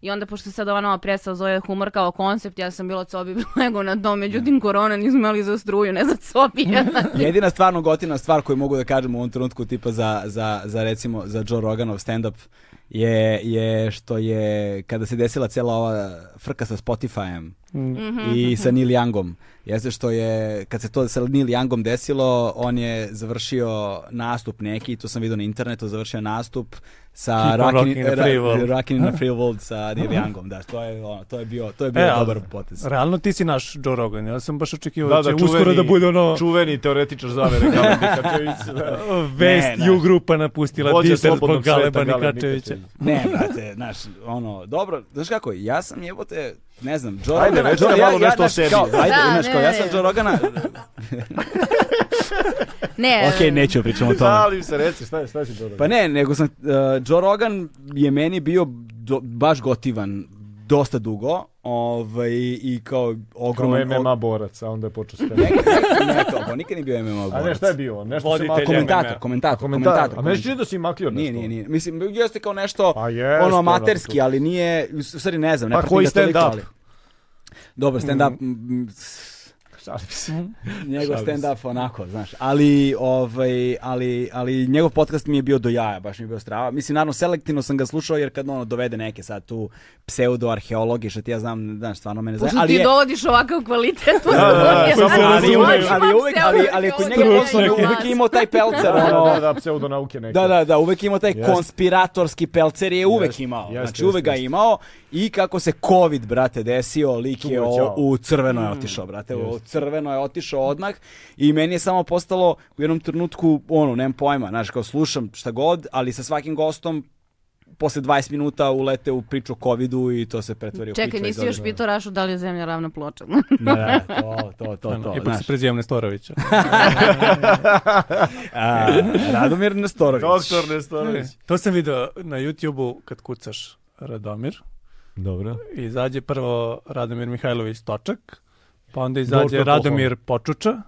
[SPEAKER 3] I onda, pošto se sad ova nova predstava zove humor kao koncept, ja sam bila cobi lego na dom, međutim korona nismo imali za struju, ne za cobi.
[SPEAKER 1] Jedina stvarno gotina stvar koju mogu da kažem u ovom trenutku tipa za, za, za recimo za Joe Roganov stand-up je, je što je kada se desila cijela ova frka sa Spotifyem i sa Neil Youngom jeste što je kad se to sa Neil Youngom desilo on je završio nastup neki to sam vidio na internetu završio je nastup sa
[SPEAKER 4] Keep on rocking the free world.
[SPEAKER 1] Rockin' in the Free World sa Neil Youngom da to je ono, to je bio to je bio
[SPEAKER 4] E, ali-
[SPEAKER 1] dobar potez
[SPEAKER 4] Realno ti si naš Joe Rogan. Ja sam baš očekivao
[SPEAKER 2] Da,
[SPEAKER 4] da,
[SPEAKER 2] da,
[SPEAKER 4] će
[SPEAKER 2] čuveni,
[SPEAKER 4] uskoro da bude ono...
[SPEAKER 2] čuveni teoretičar zavere Gale Nikačević. Da.
[SPEAKER 1] Ne,
[SPEAKER 4] Vest
[SPEAKER 1] ne.
[SPEAKER 4] U grupa napustila
[SPEAKER 2] Vođa
[SPEAKER 4] Diter zbog
[SPEAKER 2] slobodnog sveta
[SPEAKER 4] Galeba
[SPEAKER 2] Gale
[SPEAKER 4] Nikačevića.
[SPEAKER 2] Nikačević.
[SPEAKER 1] Ne, brate, znaš, ono, dobro, znaš kako, ja sam jebote, ne znam, Joe
[SPEAKER 2] Ajde,
[SPEAKER 1] Rogana-
[SPEAKER 2] reci nam
[SPEAKER 1] Joe- ja-
[SPEAKER 2] malo
[SPEAKER 1] ja,
[SPEAKER 2] nešto o
[SPEAKER 1] znaš,
[SPEAKER 2] sebi.
[SPEAKER 1] Kao, ajde,
[SPEAKER 3] Da,
[SPEAKER 1] znaš, kao,
[SPEAKER 3] ne,
[SPEAKER 1] ja
[SPEAKER 3] ne.
[SPEAKER 1] sam Joe Rogana,
[SPEAKER 3] ne,
[SPEAKER 1] ok, neću pričam o tome.
[SPEAKER 2] Šalim se, reci, šta, je- šta si dobro?
[SPEAKER 1] e, Pa ne, nego sam, uh, Joe Rogan je meni bio do- baš gotivan dosta dugo ovaj, i kao ogroman...
[SPEAKER 2] Kao MMA borac, a onda je počeo stand.
[SPEAKER 1] ne, to, on nikad nije bio MMA borac.
[SPEAKER 2] A ne, šta je bio? Nešto
[SPEAKER 4] Voditelj
[SPEAKER 2] se malo...
[SPEAKER 4] je.
[SPEAKER 1] Komentator,
[SPEAKER 4] MMA.
[SPEAKER 1] komentator,
[SPEAKER 2] Komentar.
[SPEAKER 1] komentator.
[SPEAKER 2] A meni se čini da si maklio nešto.
[SPEAKER 1] Nije, nije, nije. Mislim, jeste kao nešto
[SPEAKER 2] Pa jeste,
[SPEAKER 1] ono amaterski,
[SPEAKER 2] brate.
[SPEAKER 1] ali nije, u stvari ne znam, ne
[SPEAKER 2] Pa
[SPEAKER 1] pratim
[SPEAKER 2] koji
[SPEAKER 1] ga toliko,
[SPEAKER 2] stand-up? Mm-hmm.
[SPEAKER 1] ali- Dobar stand-up, mm,
[SPEAKER 2] Šalim
[SPEAKER 1] Mhm.
[SPEAKER 2] se.
[SPEAKER 1] njegov
[SPEAKER 2] Šalim se.
[SPEAKER 1] stand up onako, znaš. Ali ovaj ali ali njegov podcast mi je bio do jaja, baš mi je bio strava. Mislim naravno selektivno sam ga slušao jer kad ono dovede neke sad tu pseudo arheologe što ti ja znam, znaš, stvarno mene zanima,
[SPEAKER 3] Pošto
[SPEAKER 1] ali
[SPEAKER 3] ti
[SPEAKER 1] je
[SPEAKER 3] dovodiš ovakav kvalitet.
[SPEAKER 2] da, da,
[SPEAKER 3] Ja
[SPEAKER 2] sad se
[SPEAKER 3] sam-
[SPEAKER 1] ali je uvek,
[SPEAKER 2] razumeš.
[SPEAKER 1] ali je uvek, ali, ali kod njega je
[SPEAKER 4] Stručnjak je.
[SPEAKER 1] uvek je imao taj pelcer,
[SPEAKER 2] Da,
[SPEAKER 1] ono,
[SPEAKER 2] da, da, pseudonauke neke.
[SPEAKER 1] Da, da, da, uvek je imao taj
[SPEAKER 2] Jeste.
[SPEAKER 1] konspiratorski pelcer je uvek
[SPEAKER 2] Jeste,
[SPEAKER 1] imao.
[SPEAKER 2] jeste,
[SPEAKER 1] znači uvek
[SPEAKER 2] jeste,
[SPEAKER 1] ga
[SPEAKER 2] jeste.
[SPEAKER 1] imao i kako se covid brate desio, lik je
[SPEAKER 2] Čuo Mm. je,
[SPEAKER 1] o-
[SPEAKER 2] ćao.
[SPEAKER 1] u crveno je otišao brate, u crveno je otišao odmah i meni je samo postalo u jednom trenutku ono, nemam pojma, znaš, kao slušam šta god, ali sa svakim gostom posle 20 minuta ulete u priču o covidu i to se pretvori u
[SPEAKER 3] Čekaj,
[SPEAKER 1] priču o
[SPEAKER 3] nisi još
[SPEAKER 1] izolaciji.
[SPEAKER 3] pitao Rašu da li je zemlja ravna ploča.
[SPEAKER 1] Da, da, to, to, to, to,
[SPEAKER 4] Ipak se
[SPEAKER 1] znaš.
[SPEAKER 4] prezivam Nestorovića.
[SPEAKER 1] A, Radomir Nestorović.
[SPEAKER 2] E, Doktor Nestorović.
[SPEAKER 4] to sam video na YouTube-u kad kucaš Radomir.
[SPEAKER 2] Dobro.
[SPEAKER 4] I izađe prvo Radomir Mihajlović Točak, pa onda izađe
[SPEAKER 2] Doktor
[SPEAKER 4] Radomir Počuča,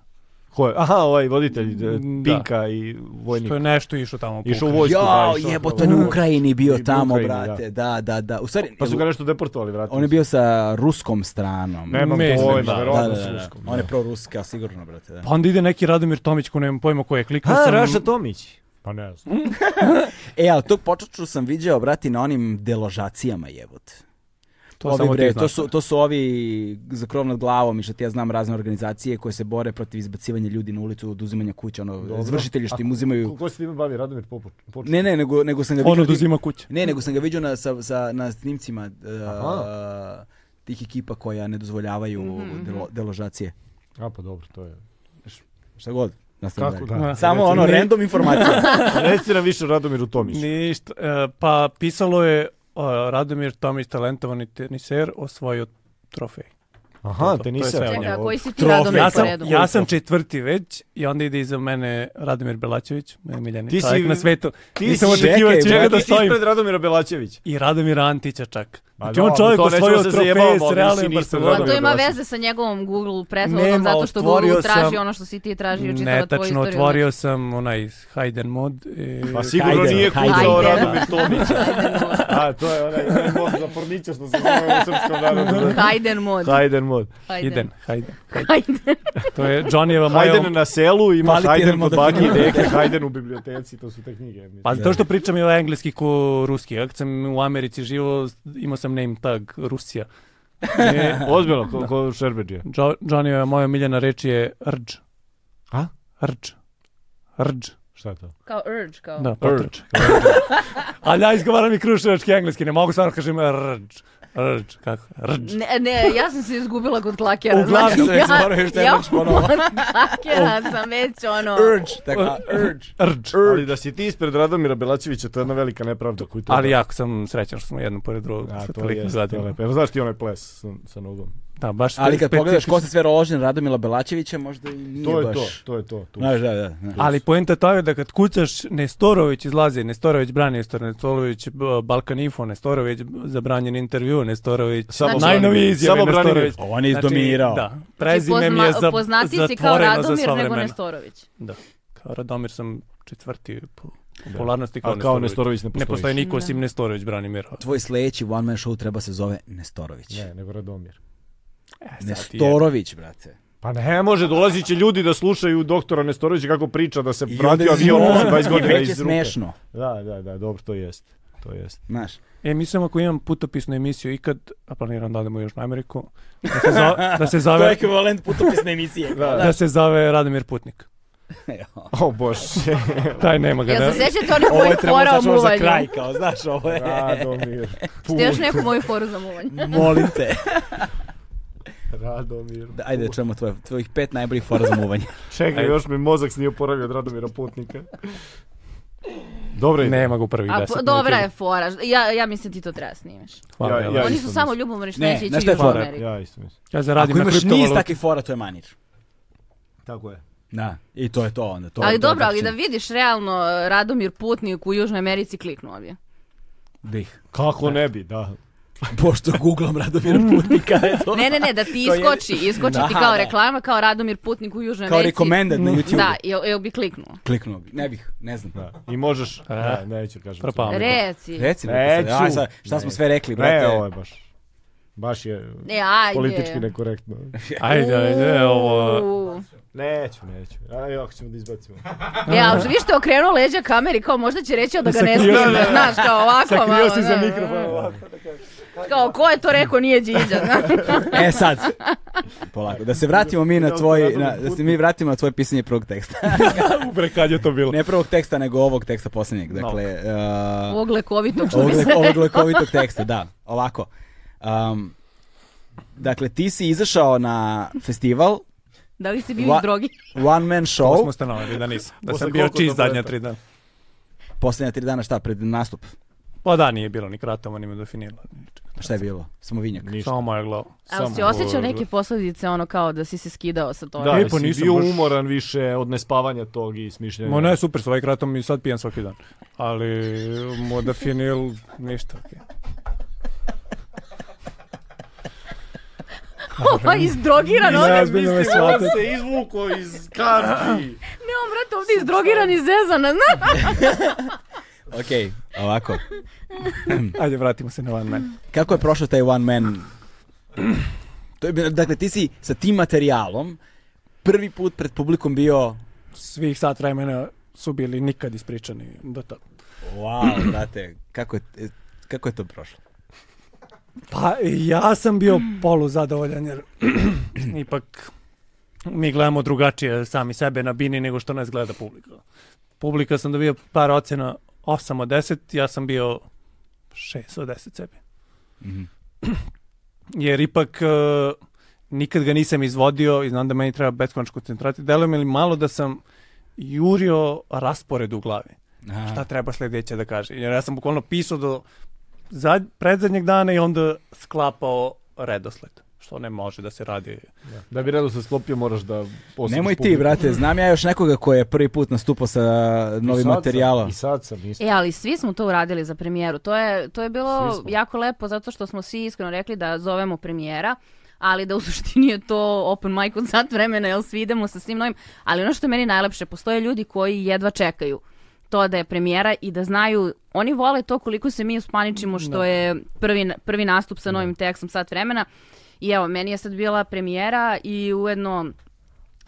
[SPEAKER 2] Ko je? Aha, ovaj voditelj e,
[SPEAKER 4] Mm, da.
[SPEAKER 2] Pinka i vojnik.
[SPEAKER 4] što je nešto išao tamo. po
[SPEAKER 2] Išao u
[SPEAKER 4] Ukrajini.
[SPEAKER 2] vojsku. da,
[SPEAKER 1] Jao,
[SPEAKER 2] išao
[SPEAKER 1] jebote,
[SPEAKER 2] upravo.
[SPEAKER 1] na Ukrajini bio
[SPEAKER 2] I u
[SPEAKER 1] tamo,
[SPEAKER 2] Ukrajini,
[SPEAKER 1] brate. Da, da, da. U stvari,
[SPEAKER 2] Pa su ga nešto deportovali, vratili.
[SPEAKER 1] on je bio sa ruskom stranom.
[SPEAKER 2] Nemam
[SPEAKER 4] Mislim,
[SPEAKER 2] pojma,
[SPEAKER 1] da,
[SPEAKER 4] da.
[SPEAKER 1] da,
[SPEAKER 2] verovatno
[SPEAKER 1] da,
[SPEAKER 2] s
[SPEAKER 1] da.
[SPEAKER 2] Ruskom.
[SPEAKER 1] On
[SPEAKER 2] da.
[SPEAKER 1] je proruska, sigurno, brate. Da.
[SPEAKER 4] Pa onda ide neki Radomir Tomić ko nemam pojma ko je kliknuo
[SPEAKER 2] A,
[SPEAKER 4] sam.
[SPEAKER 2] Raša Tomić. Pa ne znam.
[SPEAKER 1] E, ali tog počaču sam viđao, brate, na onim deložacijama jebot.
[SPEAKER 4] To
[SPEAKER 1] Ovi,
[SPEAKER 4] samo ti
[SPEAKER 1] bre,
[SPEAKER 4] znaš.
[SPEAKER 1] to, su, to su ovi za krov nad glavom i što ti ja znam razne organizacije koje se bore protiv izbacivanja ljudi na ulicu, oduzimanja kuća, ono, izvršitelji što im uzimaju...
[SPEAKER 2] Ko, ko se time bavi? Radomir Popoč. Popoč.
[SPEAKER 1] Ne, ne, nego, nego sam ga
[SPEAKER 4] On
[SPEAKER 1] vidio-
[SPEAKER 4] oduzima kuće.
[SPEAKER 1] Ne, nego sam ga vidio na, sa, sa, na snimcima uh,
[SPEAKER 2] Aha.
[SPEAKER 1] tih ekipa koja ne dozvoljavaju delo- deložacije.
[SPEAKER 2] A pa dobro, to je.
[SPEAKER 1] Šta god. nastavljamo
[SPEAKER 2] Kako
[SPEAKER 1] dalje.
[SPEAKER 2] da?
[SPEAKER 1] Samo ono, random informacija.
[SPEAKER 2] Reci nam više o Radomiru Tomiću.
[SPEAKER 4] Ništa. e, pa pisalo je e, Radomir Tomić talentovani teniser osvojio trofej.
[SPEAKER 2] Aha,
[SPEAKER 4] to- to je sve
[SPEAKER 2] teniser.
[SPEAKER 4] od njega.
[SPEAKER 3] Čekaj, a koji si ti
[SPEAKER 1] Trofej.
[SPEAKER 3] radom
[SPEAKER 1] Trofej.
[SPEAKER 4] Ja
[SPEAKER 3] po
[SPEAKER 4] sam,
[SPEAKER 3] redu?
[SPEAKER 4] ja sam četvrti već i onda ide iza mene Radomir Belačević, moj miljeni
[SPEAKER 2] Ti si-
[SPEAKER 4] čovjek na svetu.
[SPEAKER 2] Ti
[SPEAKER 4] Nisam
[SPEAKER 2] si-
[SPEAKER 4] očekivao
[SPEAKER 1] Čekaj,
[SPEAKER 4] od njega
[SPEAKER 1] brate,
[SPEAKER 4] da
[SPEAKER 2] ti si
[SPEAKER 4] stojim.
[SPEAKER 2] ispred Radomira Belačevića.
[SPEAKER 4] I Radomir Antića čak.
[SPEAKER 2] Ma
[SPEAKER 4] Znači
[SPEAKER 2] da,
[SPEAKER 4] on
[SPEAKER 2] ali
[SPEAKER 4] čovjek
[SPEAKER 2] to nećemo
[SPEAKER 4] osvojio
[SPEAKER 2] se
[SPEAKER 4] trofeje
[SPEAKER 2] zajebamo,
[SPEAKER 4] s
[SPEAKER 2] ali nisi
[SPEAKER 4] Realem
[SPEAKER 2] ni ispred
[SPEAKER 4] Barcelonom.
[SPEAKER 3] Pa to ima
[SPEAKER 2] Radomir
[SPEAKER 3] veze sa njegovom Google prethodom,
[SPEAKER 4] Nema,
[SPEAKER 3] zato što
[SPEAKER 4] otvorio
[SPEAKER 3] Google traži
[SPEAKER 4] sam-
[SPEAKER 3] ono što si ti tražio čitava tvoju istoriju.
[SPEAKER 4] Netačno, otvorio sam onaj Hayden mod. E,
[SPEAKER 2] Pa sigurno
[SPEAKER 1] Hajde,
[SPEAKER 2] nije
[SPEAKER 1] hajde.
[SPEAKER 2] kucao
[SPEAKER 3] Hajde.
[SPEAKER 2] Radomir Tomić. A, to je onaj onaj mod za pornića što se zove u srpskom narodu.
[SPEAKER 3] Hajden mod.
[SPEAKER 2] Hajden mod.
[SPEAKER 4] Hayden, Hayden.
[SPEAKER 3] Hajden.
[SPEAKER 4] To je Johnnyeva moja...
[SPEAKER 2] Hajden na selu, ima
[SPEAKER 1] Kvalitetno
[SPEAKER 2] Hajden kod
[SPEAKER 1] da
[SPEAKER 2] baki i
[SPEAKER 1] filmira.
[SPEAKER 2] deke, Hajden u biblioteci, to su te knjige. mislim.
[SPEAKER 4] Pa to što pričam je engleski ko ruski. Kako sam u Americi živo, imao sam name tag Rusija. E,
[SPEAKER 2] Ozbiljno, ko, ko Šerbeđija.
[SPEAKER 4] jo, Johnnyeva moja miljena reč je rđ.
[SPEAKER 2] A?
[SPEAKER 4] Rđ. Rđ.
[SPEAKER 2] Šta je to?
[SPEAKER 3] Kao urge, kao.
[SPEAKER 4] Da, potrč. Ali ja izgovaram i kruševački engleski, ne mogu stvarno kažem rđ. Rđ, kako? Rđ.
[SPEAKER 3] Ne, ne, ja sam se izgubila kod klakera.
[SPEAKER 4] Uglavnom
[SPEAKER 3] znači,
[SPEAKER 1] sam zaboravio šta je
[SPEAKER 3] ja,
[SPEAKER 1] reč ponovo.
[SPEAKER 3] klakera sam već ono...
[SPEAKER 1] Urge, tako, urge.
[SPEAKER 4] Rđ.
[SPEAKER 2] Ali da si ti ispred Radomira Belačevića, to je jedna velika nepravda koju treba.
[SPEAKER 4] Ali jako sam srećan što smo jedno pored drugog.
[SPEAKER 2] A,
[SPEAKER 4] sa
[SPEAKER 2] to
[SPEAKER 4] toliko
[SPEAKER 2] je, to je
[SPEAKER 4] zadnjima.
[SPEAKER 2] lepo. Jel znaš ti onaj ples sa, sa nogom?
[SPEAKER 4] Da, baš
[SPEAKER 1] Ali kad
[SPEAKER 4] specifično.
[SPEAKER 1] pogledaš ko se sve rožen Radomila Belačevića, možda i nije
[SPEAKER 2] To je
[SPEAKER 1] baš... Znači,
[SPEAKER 2] to, to je to. Znači, Tu.
[SPEAKER 1] Znaš, da, da. znaš.
[SPEAKER 4] Ali poenta toga je da kad kucaš Nestorović izlazi, Nestorović brani, Nestorović b- Balkan Info, Nestorović b- zabranjen intervju, Nestorović
[SPEAKER 2] Samo
[SPEAKER 4] najnovije
[SPEAKER 2] Branimir.
[SPEAKER 4] izjave
[SPEAKER 2] Samo Branimir.
[SPEAKER 4] Nestorović.
[SPEAKER 1] Ovo on je
[SPEAKER 2] Znači,
[SPEAKER 1] izdominirao.
[SPEAKER 4] Da,
[SPEAKER 3] Znači,
[SPEAKER 4] prezime mi
[SPEAKER 3] pozna-
[SPEAKER 4] je za,
[SPEAKER 3] poznatiji si kao
[SPEAKER 4] zatvoreno za
[SPEAKER 3] Radomir
[SPEAKER 4] sva
[SPEAKER 3] nego
[SPEAKER 4] vremena.
[SPEAKER 3] Nestorović.
[SPEAKER 4] Da, kao Radomir sam četvrti po popularnosti kao,
[SPEAKER 2] A kao Nestorović
[SPEAKER 4] Nestorović.
[SPEAKER 2] ne postoji.
[SPEAKER 4] Ne postoji niko osim Nestorović Branimira.
[SPEAKER 1] Tvoj sledeći one man show treba se zove Nestorović.
[SPEAKER 2] Ne, nego Radomir.
[SPEAKER 4] E, sad ti je.
[SPEAKER 1] Nestorović, brate.
[SPEAKER 2] Pa ne može, dolazit će ljudi da slušaju doktora Nestorovića kako priča da se vratio
[SPEAKER 1] onda
[SPEAKER 2] avion
[SPEAKER 1] je-
[SPEAKER 2] posle 20 godina
[SPEAKER 1] I već je
[SPEAKER 2] iz ruke.
[SPEAKER 1] smešno.
[SPEAKER 2] Da, da, da, dobro, to jest. To jest.
[SPEAKER 1] Znaš,
[SPEAKER 4] E, mislim ako imam putopisnu emisiju ikad, a planiram da odemo još na Ameriku, da se, zo- da se zove,
[SPEAKER 1] ekvivalent putopisne emisije.
[SPEAKER 2] Da, da.
[SPEAKER 4] da se zove Radomir Putnik.
[SPEAKER 2] O bože,
[SPEAKER 4] Taj nema ga.
[SPEAKER 3] Ja
[SPEAKER 4] da-
[SPEAKER 3] se sjećate onih
[SPEAKER 1] Ovo je
[SPEAKER 3] mojih
[SPEAKER 1] trebalo
[SPEAKER 3] fora o
[SPEAKER 1] sad možda za
[SPEAKER 3] muvanju.
[SPEAKER 1] kraj, kao, znaš, ovo je...
[SPEAKER 2] Radomir. Put,
[SPEAKER 3] Ste još neku moju foru za muvanje?
[SPEAKER 1] Molim te.
[SPEAKER 2] Radomir.
[SPEAKER 1] Da, Ajde, da čujemo tvoje, tvojih pet najboljih fora za muvanje.
[SPEAKER 2] Čekaj,
[SPEAKER 4] Ajde.
[SPEAKER 2] još mi mozak nije oporavio od Radomira Putnika. Dobro ide.
[SPEAKER 4] Nema ga u prvih
[SPEAKER 3] A,
[SPEAKER 4] deset.
[SPEAKER 3] po- dobra je fora. Ja, ja mislim ti to treba snimiš.
[SPEAKER 4] Hvala.
[SPEAKER 2] Ja-
[SPEAKER 4] Ja,
[SPEAKER 2] ja-
[SPEAKER 4] ja.
[SPEAKER 3] Oni
[SPEAKER 2] isto
[SPEAKER 3] su samo ljubomorni što
[SPEAKER 1] Ne,
[SPEAKER 3] neće ići
[SPEAKER 1] znaš šta je
[SPEAKER 3] u
[SPEAKER 1] fora?
[SPEAKER 3] Ameriku.
[SPEAKER 2] Ja isto mislim.
[SPEAKER 4] zaradim
[SPEAKER 1] Ako
[SPEAKER 4] na
[SPEAKER 1] imaš niz
[SPEAKER 4] kriptovalutu.
[SPEAKER 1] takvih fora, to je manir.
[SPEAKER 2] Tako je.
[SPEAKER 1] Da. I to je to onda. To
[SPEAKER 3] Ali
[SPEAKER 1] to je znači
[SPEAKER 3] dobro, ali da
[SPEAKER 1] način
[SPEAKER 3] vidiš realno e, Radomir Putnik u Južnoj Americi kliknuo bi.
[SPEAKER 1] Da ih.
[SPEAKER 2] Kako ne bi, da.
[SPEAKER 1] Pošto googlam Radomir Putnika, eto.
[SPEAKER 3] Ne, ne, ne, da ti
[SPEAKER 1] To je-
[SPEAKER 3] iskoči, iskoči
[SPEAKER 1] Da,
[SPEAKER 3] ti kao
[SPEAKER 1] da.
[SPEAKER 3] reklama, kao Radomir Putnik u Južnoj
[SPEAKER 1] Kao
[SPEAKER 3] Americi.
[SPEAKER 1] recommended na YouTube.
[SPEAKER 3] Da, jel, jel bi kliknuo?
[SPEAKER 1] Kliknuo bi. Ne bih, ne znam.
[SPEAKER 2] Da. I možeš...
[SPEAKER 4] E.
[SPEAKER 2] Ne, neću kažem.
[SPEAKER 4] Propao. Ali-
[SPEAKER 3] Reci.
[SPEAKER 1] Reci mi, pa
[SPEAKER 2] Neću.
[SPEAKER 1] sad, aj, sad, šta smo
[SPEAKER 2] Ne.
[SPEAKER 1] sve rekli, brate?
[SPEAKER 2] Ne, ovo je baš... Baš je
[SPEAKER 3] Ne, E, ajde.
[SPEAKER 2] politički nekorektno.
[SPEAKER 4] Ajde,
[SPEAKER 1] e,
[SPEAKER 4] ajde, ovo...
[SPEAKER 3] Uuu.
[SPEAKER 2] Neću, neću. Aj, ako ćemo da izbacimo.
[SPEAKER 3] E, ali što- vi što je okrenuo leđa kameri, kao možda će reći ali da ga ne
[SPEAKER 2] Sakrio
[SPEAKER 3] snime,
[SPEAKER 2] se.
[SPEAKER 3] znaš, kao ovako malo.
[SPEAKER 2] Sakrio si za
[SPEAKER 3] da.
[SPEAKER 2] mikrofon. ovako.
[SPEAKER 3] Kao, ko je to rekao, nije Điđa, znaš.
[SPEAKER 1] E sad, polako, da se vratimo mi na
[SPEAKER 2] Da,
[SPEAKER 1] tvoj,
[SPEAKER 2] da,
[SPEAKER 1] na, da se mi vratimo na tvoje pisanje prvog teksta.
[SPEAKER 4] Bre, kad je to bilo?
[SPEAKER 1] Ne prvog teksta, nego ovog teksta posljednjeg. Dakle, uh,
[SPEAKER 3] Ovog lekovitog što
[SPEAKER 1] ovog,
[SPEAKER 3] bi se...
[SPEAKER 1] leko- ovog lekovitog teksta, da. Ovako. Um, dakle, ti si izašao na festival
[SPEAKER 3] Da li si bio
[SPEAKER 1] Va-
[SPEAKER 3] iz drogi?
[SPEAKER 1] One Man
[SPEAKER 4] To
[SPEAKER 1] Show.
[SPEAKER 4] smo stanovali da nisam. Da
[SPEAKER 2] Posle
[SPEAKER 4] sam bio
[SPEAKER 2] koliko
[SPEAKER 4] čist zadnja
[SPEAKER 2] tableta?
[SPEAKER 4] tri dana.
[SPEAKER 1] Posljednja tri dana šta, pred nastup? Pa
[SPEAKER 4] Pa da, nije bilo ni kratamo, ni me dofinilo.
[SPEAKER 1] Šta je bilo? Samo vinjak.
[SPEAKER 4] Samo moja glava.
[SPEAKER 3] Ali si
[SPEAKER 4] Samo-
[SPEAKER 3] osjećao neke posljedice, ono kao da si se skidao sa toga?
[SPEAKER 2] Da,
[SPEAKER 4] E,
[SPEAKER 2] e,
[SPEAKER 4] pa nisam
[SPEAKER 2] bio
[SPEAKER 4] baš-
[SPEAKER 2] umoran više od nespavanja tog i smišljanja.
[SPEAKER 4] Ma ne, super, s ovaj kratom i sad pijem svaki dan. Ali modafinil, ništa. okej.
[SPEAKER 3] Ovo je izdrogiran, ono...
[SPEAKER 4] ozbiljno me shvatite.
[SPEAKER 2] se izvuko iz karti.
[SPEAKER 3] Ne, on, brate, ovdje je izdrogiran i zezana, znaš?
[SPEAKER 1] Ok, ovako.
[SPEAKER 4] Ajde, vratimo se na One Man.
[SPEAKER 1] Kako je prošao taj One Man? To je, bilo- dakle, ti si sa tim materijalom prvi put pred publikom bio
[SPEAKER 4] Svih sat vremena su bili nikad ispričani do tada.
[SPEAKER 1] Wow, brate, kako je, e, kako je to prošlo?
[SPEAKER 4] Pa ja sam bio poluzadovoljan jer Mm. ipak mi gledamo drugačije sami sebe na bini nego što nas gleda publika. Publika sam dobio par ocena 8 od 10, ja sam bio 6 od 10 sebi. Jer ipak e, nikad ga nisam izvodio i znam da meni treba beskonačno koncentrati. Deluje mi li malo da sam jurio raspored u glavi
[SPEAKER 1] A,
[SPEAKER 4] šta treba sljedeće da kaže. Jer ja sam bukvalno pisao do zad, predzadnjeg dana i onda sklapao redosled. Što ne može da se radi.
[SPEAKER 2] Da bi redu se sklopio moraš da posjetiš
[SPEAKER 1] Nemoj ti,
[SPEAKER 2] publiku.
[SPEAKER 1] brate, znam ja još nekoga koji je prvi put nastupao sa
[SPEAKER 2] I
[SPEAKER 1] novim
[SPEAKER 2] sad sam-
[SPEAKER 1] materijalom.
[SPEAKER 2] I sad sam isto.
[SPEAKER 3] E, ali svi smo to uradili za premijeru. To je, to je
[SPEAKER 2] Svi
[SPEAKER 3] bilo
[SPEAKER 2] smo.
[SPEAKER 3] jako lepo zato što smo svi iskreno rekli da zovemo premijera, ali da u suštini je to open mic od sat vremena, jel svi idemo sa svim novim. Ali ono što je meni najlepše, postoje ljudi koji jedva čekaju to da je premijera i da znaju, oni vole to koliko se mi uspaničimo što je prvi, prvi nastup sa novim tekstom sat vremena. I evo, meni je sad bila premijera i ujedno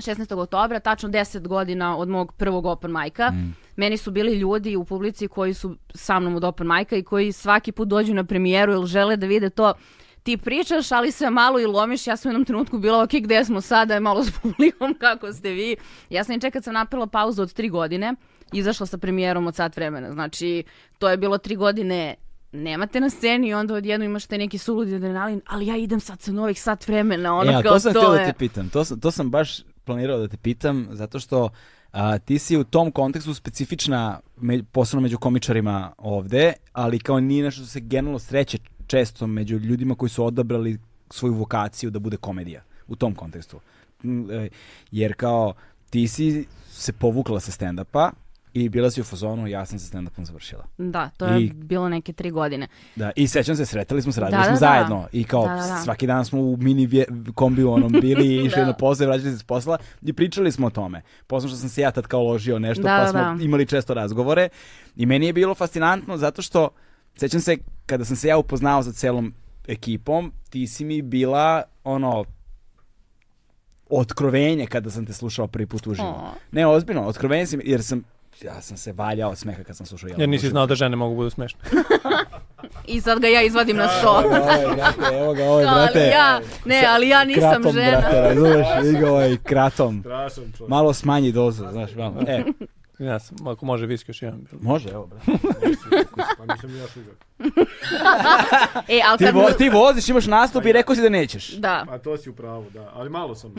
[SPEAKER 3] 16. oktobra, tačno 10 godina od mog prvog open majka.
[SPEAKER 1] Mm.
[SPEAKER 3] Meni su bili ljudi u publici koji su sa mnom od open majka i koji svaki put dođu na premijeru ili žele da vide to ti pričaš, ali se malo i lomiš. Ja sam u jednom trenutku bila, ok, gde smo sada, je malo s publikom, kako ste vi. Ja sam i kad sam napila pauzu od tri godine, izašla sa premijerom od sat vremena. Znači, to je bilo tri godine nemate na sceni i onda odjedno imaš taj neki suludi adrenalin, ali ja idem sad sa novih sat vremena, ono
[SPEAKER 1] E, a
[SPEAKER 3] kao
[SPEAKER 1] to sam
[SPEAKER 3] to
[SPEAKER 1] htio
[SPEAKER 3] je.
[SPEAKER 1] da te pitam, to sam, to sam baš planirao da te pitam, zato što a, ti si u tom kontekstu specifična, me, posebno među komičarima ovde, ali kao nije nešto što se generalno sreće često među ljudima koji su odabrali svoju vokaciju da bude komedija, u tom kontekstu. Mm, e, Jer kao, ti si se povukla sa stand-upa i bila si u fazonu, ja sam sa stand-upom završila.
[SPEAKER 3] Da, to je
[SPEAKER 1] I-
[SPEAKER 3] bilo neke tri godine.
[SPEAKER 1] Da, i sećam se, sretali smo se, radili
[SPEAKER 3] Da,
[SPEAKER 1] smo
[SPEAKER 3] da, da.
[SPEAKER 1] zajedno. I kao,
[SPEAKER 3] Da, da, da.
[SPEAKER 1] svaki dan smo u mini vje- kombiju onom bili i išli
[SPEAKER 3] Da.
[SPEAKER 1] na posao, vraćali se s posla i pričali smo o tome. Posledno što sam se ja tad kao ložio nešto,
[SPEAKER 3] Da,
[SPEAKER 1] pa
[SPEAKER 3] da,
[SPEAKER 1] smo
[SPEAKER 3] da.
[SPEAKER 1] imali često razgovore. I meni je bilo fascinantno zato što, sećam se, kada sam se ja upoznao sa celom ekipom, ti si mi bila, ono, otkrovenje kada sam te slušao prvi put uživo.
[SPEAKER 3] O.
[SPEAKER 1] Ne, ozbiljno, otkrovenje si mi, jer sam, ja sam se valjao od smeha kad sam slušao Jelenu
[SPEAKER 4] Jer nisi
[SPEAKER 1] uživo.
[SPEAKER 4] znao da žene mogu budu smešne.
[SPEAKER 3] I sad ga ja izvadim na sto.
[SPEAKER 1] Evo ga ovaj, brate, evo ga ovaj, brate.
[SPEAKER 3] ali ja, ne, ali ja nisam
[SPEAKER 1] kratom,
[SPEAKER 3] žena.
[SPEAKER 1] brate, razumeš, vidi ga ovaj kratom.
[SPEAKER 2] Strašan čovjek.
[SPEAKER 1] Malo smanji dozu, znaš, malo. E,
[SPEAKER 4] Ja sam, ako može viski još jedan. bilo.
[SPEAKER 1] može, evo, brate.
[SPEAKER 2] Pa nisam ja šugar.
[SPEAKER 3] E, ali
[SPEAKER 1] Ti,
[SPEAKER 3] kad...
[SPEAKER 1] vo, ti voziš, imaš nastup i rekao si da nećeš.
[SPEAKER 3] Da. E,
[SPEAKER 2] Pa to si u pravu, da. Ali malo sam.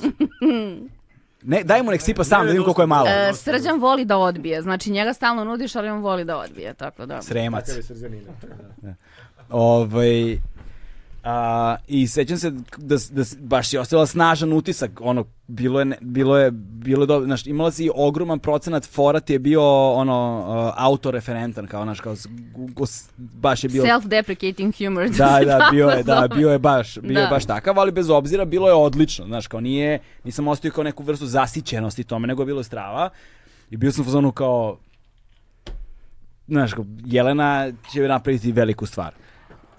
[SPEAKER 1] Ne, daj mu nek sipa sam, da vidim koliko je malo.
[SPEAKER 3] E, srđan voli da odbije. Znači, njega stalno nudiš, ali on voli da odbije, tako da.
[SPEAKER 1] Sremac.
[SPEAKER 2] Tebe srđanina.
[SPEAKER 1] Ovaj, A, I sećam se da, s- da s- baš je ostala snažan utisak, ono, bilo je, ne- bilo je, bilo je dobro, znaš, imala si ogroman procenat, fora ti je bio, ono, uh, autoreferentan, kao, znaš, kao, s- gu- gu- s- baš je bio...
[SPEAKER 3] Self-deprecating humor.
[SPEAKER 1] Da,
[SPEAKER 3] se
[SPEAKER 1] da,
[SPEAKER 3] tako
[SPEAKER 1] bio je, da,
[SPEAKER 3] zove.
[SPEAKER 1] bio je baš, bio je
[SPEAKER 3] Da.
[SPEAKER 1] baš takav, ali bez obzira bilo je odlično, znaš, kao nije, nisam ostio kao neku vrstu zasićenosti tome, nego je bilo strava i bio sam u fazonu kao, znaš, kao, Jelena će napraviti veliku stvar.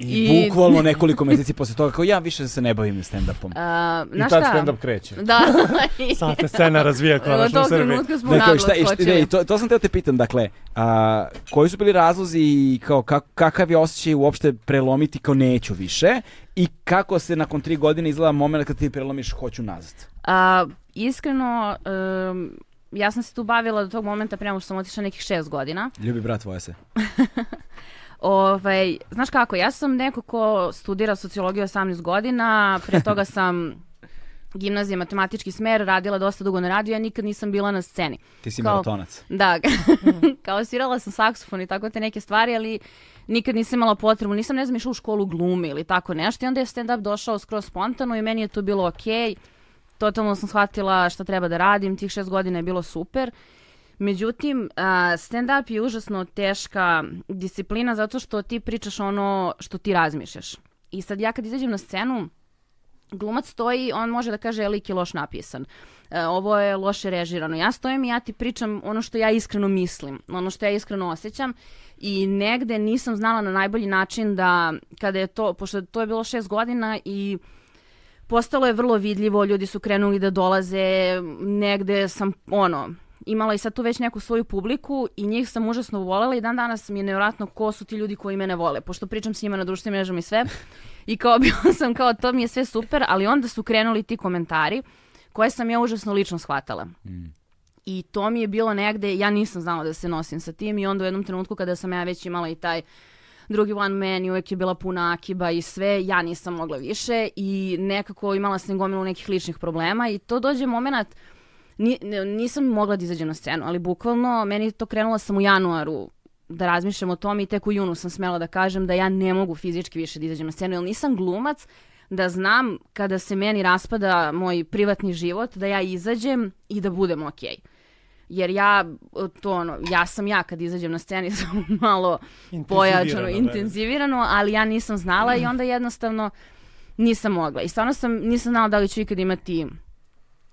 [SPEAKER 1] I,
[SPEAKER 3] I-
[SPEAKER 1] bukvalno nekoliko meseci posle toga kao ja više se ne bavim stand-upom.
[SPEAKER 3] A,
[SPEAKER 2] I
[SPEAKER 3] znaš
[SPEAKER 2] tad
[SPEAKER 3] E, šta?
[SPEAKER 2] stand-up kreće.
[SPEAKER 3] Da. I-
[SPEAKER 4] Sad se scena razvija
[SPEAKER 3] Od
[SPEAKER 4] konačno u
[SPEAKER 3] tog
[SPEAKER 4] Srbiji.
[SPEAKER 3] trenutka smo
[SPEAKER 1] Ne, kao,
[SPEAKER 3] naglo
[SPEAKER 1] šta, i šta- ne, i
[SPEAKER 3] skočili.
[SPEAKER 1] to, to sam teo te pitam, dakle, a, koji su bili razlozi i kao kak- kakav je osjećaj uopšte prelomiti kao neću više i kako se nakon tri godine izgleda moment kad ti prelomiš hoću nazad?
[SPEAKER 3] A, iskreno, em, ja sam se tu bavila do tog momenta prema što sam otišla nekih šest godina.
[SPEAKER 1] Ljubi brat tvoje se.
[SPEAKER 3] Ovaj, znaš kako, ja sam neko ko studira sociologiju 18 godina, pre toga sam gimnazija, matematički smer, radila dosta dugo na radiju, ja nikad nisam bila na sceni.
[SPEAKER 1] Ti si
[SPEAKER 3] Kao-
[SPEAKER 1] maratonac.
[SPEAKER 3] Da, kao svirala sam saksofon i tako te neke stvari, ali nikad nisam imala potrebu, nisam ne znam išla u školu glume ili tako nešto i onda je stand-up došao skroz spontano i meni je to bilo okej. Totalno sam shvatila šta treba da radim, tih šest godina je bilo super. Međutim, a, stand-up je užasno teška disciplina zato što ti pričaš ono što ti razmišljaš. I sad ja kad izađem na scenu, glumac stoji, on može da kaže "E, lik je loš napisan. E, ovo je loše režirano. Ja stojim i ja ti pričam ono što ja iskreno mislim, ono što ja iskreno osjećam i negde nisam znala na najbolji način da kada je to, pošto to je bilo šest godina i postalo je vrlo vidljivo, ljudi su krenuli da dolaze, negde sam, ono, imala i sad tu već neku svoju publiku i njih sam užasno volela i dan danas mi je nevjerojatno ko su ti ljudi koji mene vole, pošto pričam s njima na društvenim mrežama i sve. I kao bila sam kao, to mi je sve super, ali onda su krenuli ti komentari koje sam ja užasno lično shvatala. I to mi je bilo negde, ja nisam znala da se nosim sa tim i onda u jednom trenutku kada sam ja već imala i taj drugi one man i uvek je bila puna akiba i sve, ja nisam mogla više i nekako imala sam gomilu nekih ličnih problema i to dođe moment, ni- ne- nisam mogla da izađem na scenu, ali bukvalno meni je to krenula sam u januaru da razmišljam o tome i tek u junu sam smela da kažem da ja ne mogu fizički više da izađem na scenu, jer nisam glumac da znam kada se meni raspada moj privatni život, da ja izađem i da budem okej. Jer ja, to ono, ja sam ja kad izađem na sceni sam malo pojačano,
[SPEAKER 4] da.
[SPEAKER 3] intenzivirano, ali ja nisam znala i onda jednostavno nisam mogla. I stvarno sam, nisam znala da li ću ikad imati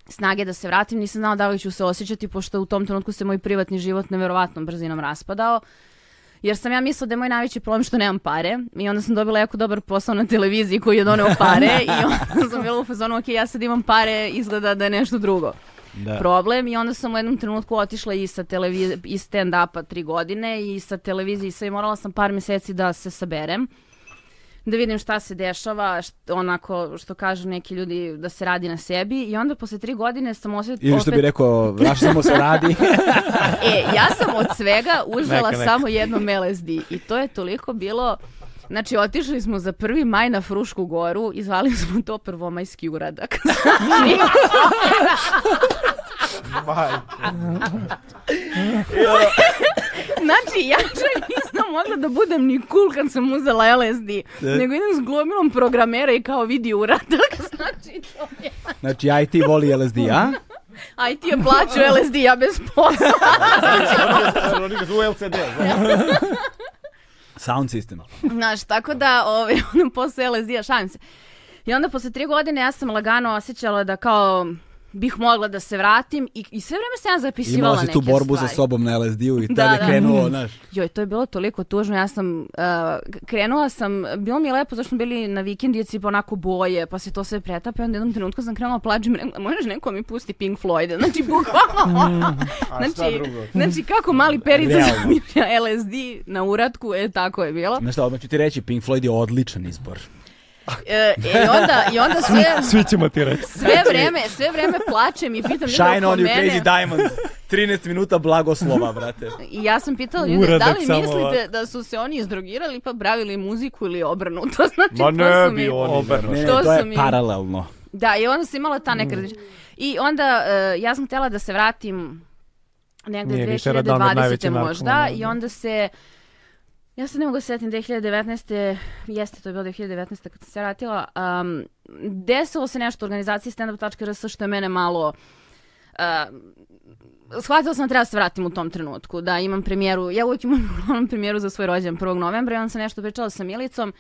[SPEAKER 3] snage da se vratim, nisam znala da li ću se osjećati, pošto u tom trenutku se moj privatni život neverovatnom brzinom raspadao. Jer sam ja mislila da je moj najveći problem što nemam pare i onda sam dobila jako dobar posao na televiziji koji je doneo pare i onda sam bila u fazonu, ok, ja sad imam pare, izgleda da je nešto drugo problem i onda sam u jednom trenutku otišla i sa televiz- i stand-upa tri godine i sa televizije i sve i morala sam par mjeseci da se saberem da vidim šta se dešava, št- onako što kažu neki ljudi da se radi na sebi i onda posle tri godine sam osjetila...
[SPEAKER 1] Ili što bi rekao, vraš samo se radi.
[SPEAKER 3] E, ja sam od svega užala
[SPEAKER 4] Neka, neka.
[SPEAKER 3] samo jednom LSD i to je toliko bilo... Znači, otišli smo za prvi maj na Frušku goru i zvali smo to prvomajski uradak.
[SPEAKER 2] Ovaj, ono
[SPEAKER 3] Znači, ja čak nisam mogla da budem ni cool kad sam uzela LSD,
[SPEAKER 4] E.
[SPEAKER 3] nego idem s glomilom programera i kao vidi uradak, znači to je...
[SPEAKER 1] znači, ja i ti voli LSD, a?
[SPEAKER 3] A i ti je plaću LSD, ja bez posla.
[SPEAKER 2] Oni ga zovu LCD, znaš.
[SPEAKER 1] Sound system.
[SPEAKER 3] Znaš, tako da, ovaj, ono, posle LSD-a, šalim se. I onda posle tri godine ja sam lagano osjećala da kao bih mogla da se vratim i, i sve vreme sam ja zapisivala
[SPEAKER 1] Imala
[SPEAKER 3] neke
[SPEAKER 1] si tu borbu
[SPEAKER 3] stvari.
[SPEAKER 1] sa sobom na LSD-u i
[SPEAKER 3] Da,
[SPEAKER 1] tada je
[SPEAKER 3] da.
[SPEAKER 1] krenulo, znaš.
[SPEAKER 3] Joj, to je bilo toliko tužno. Ja sam, uh, k- krenula sam, bilo mi je lepo zašto smo bili na vikendici pa onako boje, pa se to sve pretape. Onda u jednom trenutku sam krenula plađim, rekla, možeš neko mi pusti Pink Floyd. Znači, bukvalno. ono.
[SPEAKER 2] A šta
[SPEAKER 3] znači,
[SPEAKER 2] drugo?
[SPEAKER 3] znači, kako mali perica
[SPEAKER 1] Realno.
[SPEAKER 3] zamišlja LSD na uratku, e, tako je bilo.
[SPEAKER 1] Znaš šta, odmah ću ti reći, Pink Floyd je odličan izbor.
[SPEAKER 3] E, i onda, i onda sve,
[SPEAKER 4] Svi ćemo ti reći.
[SPEAKER 3] sve vreme, sve vreme plačem i pitam ljude
[SPEAKER 1] Znači, Shine
[SPEAKER 3] oko
[SPEAKER 1] on you
[SPEAKER 3] mene.
[SPEAKER 1] crazy diamond. 13 minuta blagoslova, brate.
[SPEAKER 3] I ja sam pitala ljude, da
[SPEAKER 4] Uradak
[SPEAKER 3] li
[SPEAKER 4] samo
[SPEAKER 3] mislite da su se oni izdrogirali pa bravili muziku ili obrnuto? Znači,
[SPEAKER 2] Ma
[SPEAKER 3] to
[SPEAKER 2] ne
[SPEAKER 3] su mi-
[SPEAKER 2] bi oni.
[SPEAKER 4] Obrnuto.
[SPEAKER 1] Ne, ne,
[SPEAKER 3] To
[SPEAKER 1] to
[SPEAKER 3] sam
[SPEAKER 1] je
[SPEAKER 3] i-
[SPEAKER 1] paralelno.
[SPEAKER 3] Da, i onda sam imala ta
[SPEAKER 1] Mm.
[SPEAKER 3] neka... I onda e, ja sam htjela da se vratim negde
[SPEAKER 4] Nije više Radanović najveći
[SPEAKER 3] 2020.
[SPEAKER 4] narkoman,
[SPEAKER 3] možda
[SPEAKER 4] ono,
[SPEAKER 3] i
[SPEAKER 4] da.
[SPEAKER 3] onda se Ja se ne mogu sjetiti 2019. Jeste, to je bilo 2019. kad sam se vratila. Um, desilo se nešto u organizaciji standup.rs što je mene malo... Um, shvatila sam da treba da se vratim u tom trenutku, da imam premijeru, ja uvijek imam uglavnom premijeru za svoj rođen 1. novembra i onda sam nešto pričala sa Milicom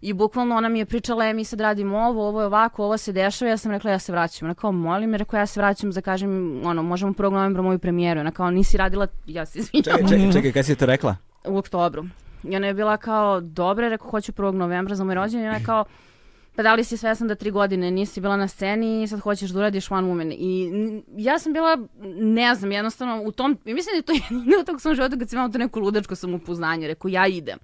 [SPEAKER 3] i bukvalno ona mi je pričala, e, mi sad radimo ovo, ovo je ovako, ovo se dešava, ja sam rekla, ja se vraćam. Ona kao, molim, rekao, ja se vraćam, za kažem, ono, možemo 1. novembra moju premijeru. Ona kao, nisi radila, ja se izvinjam,
[SPEAKER 1] Čekaj, čekaj, čekaj, kada si to rekla?
[SPEAKER 3] u oktobru. I ona je bila kao, dobre, rekao, hoću 1. novembra za moj rođendan. I ona je kao, pa da li si svesna da tri godine nisi bila na sceni i sad hoćeš da uradiš One Woman. I n- ja sam bila, ne znam, jednostavno u tom, i mislim da je to jedino u tog svom životu kad sam imala to neko ludačko samoupuznanje. Rekao, ja idem.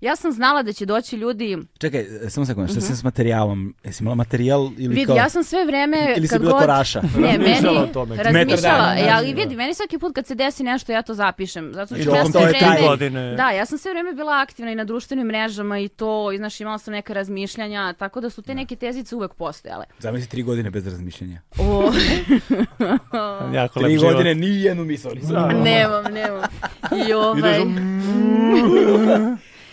[SPEAKER 3] Ja sam znala da će doći ljudi,
[SPEAKER 1] Čekaj, e, samo sekund, šta si s materijalom? Jesi imala materijal ili
[SPEAKER 3] vidi,
[SPEAKER 1] kao...
[SPEAKER 3] ja sam sve vreme...
[SPEAKER 1] Ili si
[SPEAKER 3] kad
[SPEAKER 1] bila
[SPEAKER 3] god-
[SPEAKER 1] koraša?
[SPEAKER 3] Ne,
[SPEAKER 2] Razmišljala o
[SPEAKER 3] meni,
[SPEAKER 2] tome.
[SPEAKER 3] razmišljala,
[SPEAKER 1] Metar dana,
[SPEAKER 3] e, ali
[SPEAKER 2] znači,
[SPEAKER 3] vidi, meni svaki put kad se desi nešto, ja to zapišem, zato
[SPEAKER 1] I
[SPEAKER 3] što ja
[SPEAKER 1] tokom
[SPEAKER 3] sve
[SPEAKER 1] te tri
[SPEAKER 3] vreme,
[SPEAKER 4] godine.
[SPEAKER 3] da, ja sam sve vreme bila aktivna i na društvenim mrežama i to, i znaš, imala sam neka razmišljanja, tako da su te neke tezice uvek postojale.
[SPEAKER 1] Zamisli tri godine bez razmišljenja.
[SPEAKER 3] O,
[SPEAKER 4] Jako lep
[SPEAKER 1] Tri
[SPEAKER 4] život.
[SPEAKER 1] godine ni jednu misao nisam. imao.
[SPEAKER 3] nemam, nemam. I ovaj...
[SPEAKER 2] Ideš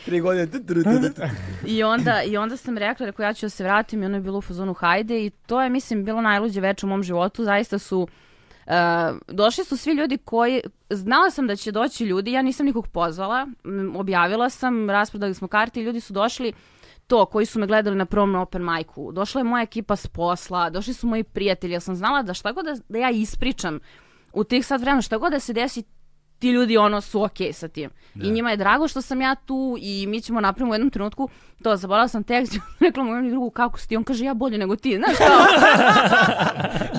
[SPEAKER 1] Tri godine... tu, tu, tu, tu, tu.
[SPEAKER 3] I onda, I onda sam rekla, rekao ja ću da se vratim i ono je bilo u fazonu hajde i to je mislim bilo najluđe veče u mom životu, zaista su Uh, došli su svi ljudi koji znala sam da će doći ljudi, ja nisam nikog pozvala m, objavila sam, rasprodali smo karte i ljudi su došli to koji su me gledali na prvom open majku došla je moja ekipa s posla, došli su moji prijatelji, ja sam znala da šta god da, da ja ispričam u tih sat vremena šta god da se desi, ti ljudi ono su okej sa tim. I njima je drago što sam ja tu i mi ćemo napravimo u jednom trenutku, to zaboravila sam tekst, rekla mu jednu drugu kako si ti, on kaže ja bolje nego ti, znaš kao.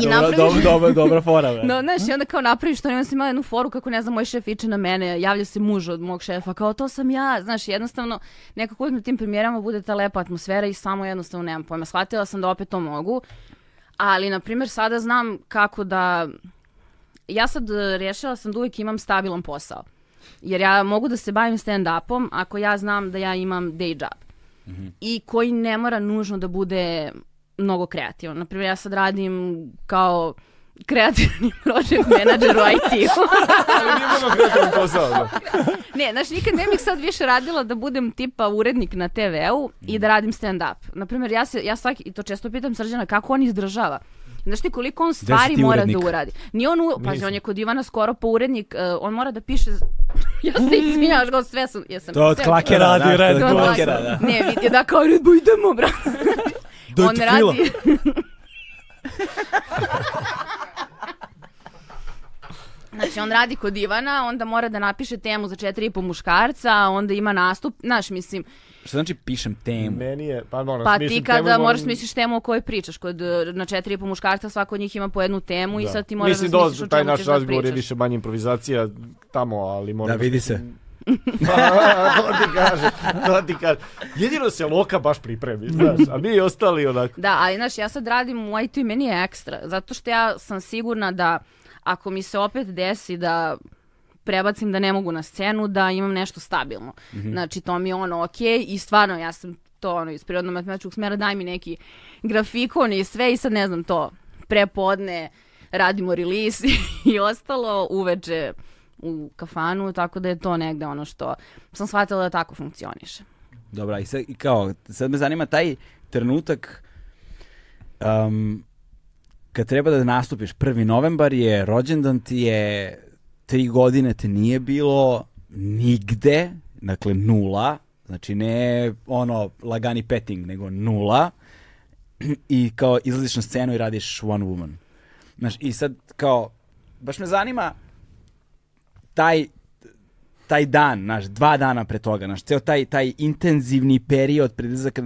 [SPEAKER 3] I
[SPEAKER 1] Dobra,
[SPEAKER 3] napraviš,
[SPEAKER 1] dobra, dobra, dobra fora, bre.
[SPEAKER 3] no, znaš, i onda kao napraviš to, i onda sam imala jednu foru kako ne znam, moj šef iče na mene, javlja se muž od mog šefa, kao to sam ja, znaš, jednostavno, nekako uvijek na tim premijerama bude ta lepa atmosfera i samo jednostavno nemam pojma. Shvatila sam da opet to mogu, ali, na primjer, sada znam kako da... Ja sad e, rješila sam da uvijek imam stabilan posao. Jer ja mogu da se bavim stand-upom ako ja znam da ja imam day job. I koji ne mora nužno da bude mnogo kreativan. Naprimjer, ja sad radim kao kreativni project manager u IT-u.
[SPEAKER 2] Ali nije mnogo kretan
[SPEAKER 3] Pa
[SPEAKER 2] posao. Da.
[SPEAKER 3] ne, znaš, nikad ne bih sad više radila da budem tipa urednik na TV-u i da radim stand-up. Naprimjer, ja, se, ja svaki, i to često pitam Srđana, kako on izdržava? Znaš ti koliko on stvari
[SPEAKER 1] ti
[SPEAKER 3] mora
[SPEAKER 1] urednik?
[SPEAKER 3] da uradi? Nije on, u, pazi, on je kod Ivana skoro pa urednik, eh, on mora da piše, ja se izvinjaš, kao sve sam, jesam.
[SPEAKER 1] To od
[SPEAKER 3] sve-
[SPEAKER 1] klakera,
[SPEAKER 4] Radi
[SPEAKER 1] da,
[SPEAKER 4] Red
[SPEAKER 1] to od
[SPEAKER 4] Bull.
[SPEAKER 1] klakera, da.
[SPEAKER 3] Ne, vidi, da kao Red Bull idemo, brate.
[SPEAKER 1] Do
[SPEAKER 3] on
[SPEAKER 1] tequila.
[SPEAKER 3] radi... Znači, on radi kod Ivana, onda mora da napiše temu za četiri i po muškarca, onda ima nastup, znaš, mislim,
[SPEAKER 1] Što znači pišem temu?
[SPEAKER 2] Meni je, pa, ono,
[SPEAKER 3] pa
[SPEAKER 2] smišljam
[SPEAKER 3] ti kada
[SPEAKER 2] Pa temu,
[SPEAKER 3] moraš
[SPEAKER 2] moram-
[SPEAKER 3] misliš temu o kojoj pričaš, kod, e, na četiri i po muškarca svako od njih ima po jednu temu i
[SPEAKER 2] Da.
[SPEAKER 3] sad ti moraš
[SPEAKER 2] Mislim
[SPEAKER 3] da
[SPEAKER 2] da
[SPEAKER 3] razmisliš
[SPEAKER 2] ozbiljno,
[SPEAKER 3] o
[SPEAKER 2] taj
[SPEAKER 3] čemu
[SPEAKER 2] naš
[SPEAKER 3] ćeš da
[SPEAKER 2] razgovor
[SPEAKER 3] pričaš.
[SPEAKER 2] je više manje improvizacija tamo, ali
[SPEAKER 1] Da
[SPEAKER 4] ono
[SPEAKER 2] moram...
[SPEAKER 1] vidi se.
[SPEAKER 2] to ti kaže, to ti kaže. Jedino se Loka baš pripremi, znaš, a mi ostali onako.
[SPEAKER 3] Da, ali znaš, ja sad radim u IT i meni je ekstra, zato što ja sam sigurna da ako mi se opet desi da prebacim da ne mogu na scenu, da imam nešto stabilno.
[SPEAKER 2] Mhm.
[SPEAKER 3] Znači, to mi je ono ok i stvarno ja sam to ono iz prirodno-matematičkog smera, daj mi neki grafikon i sve i sad ne znam to, prepodne radimo release i ostalo, uveče u kafanu, tako da je to negde ono što sam shvatila da tako funkcioniše.
[SPEAKER 2] Mhm.
[SPEAKER 1] Dobra, i sad, i kao, sad me zanima taj trenutak um, kad treba da nastupiš. 1. novembar je, rođendan ti je, tri godine te nije bilo nigde, dakle nula, znači ne ono lagani petting, nego nula i kao izlaziš na scenu i radiš One Woman. Znaš, i sad kao, baš me zanima taj taj dan, naš, dva dana pre toga, naš, ceo taj, taj intenzivni period predizaka,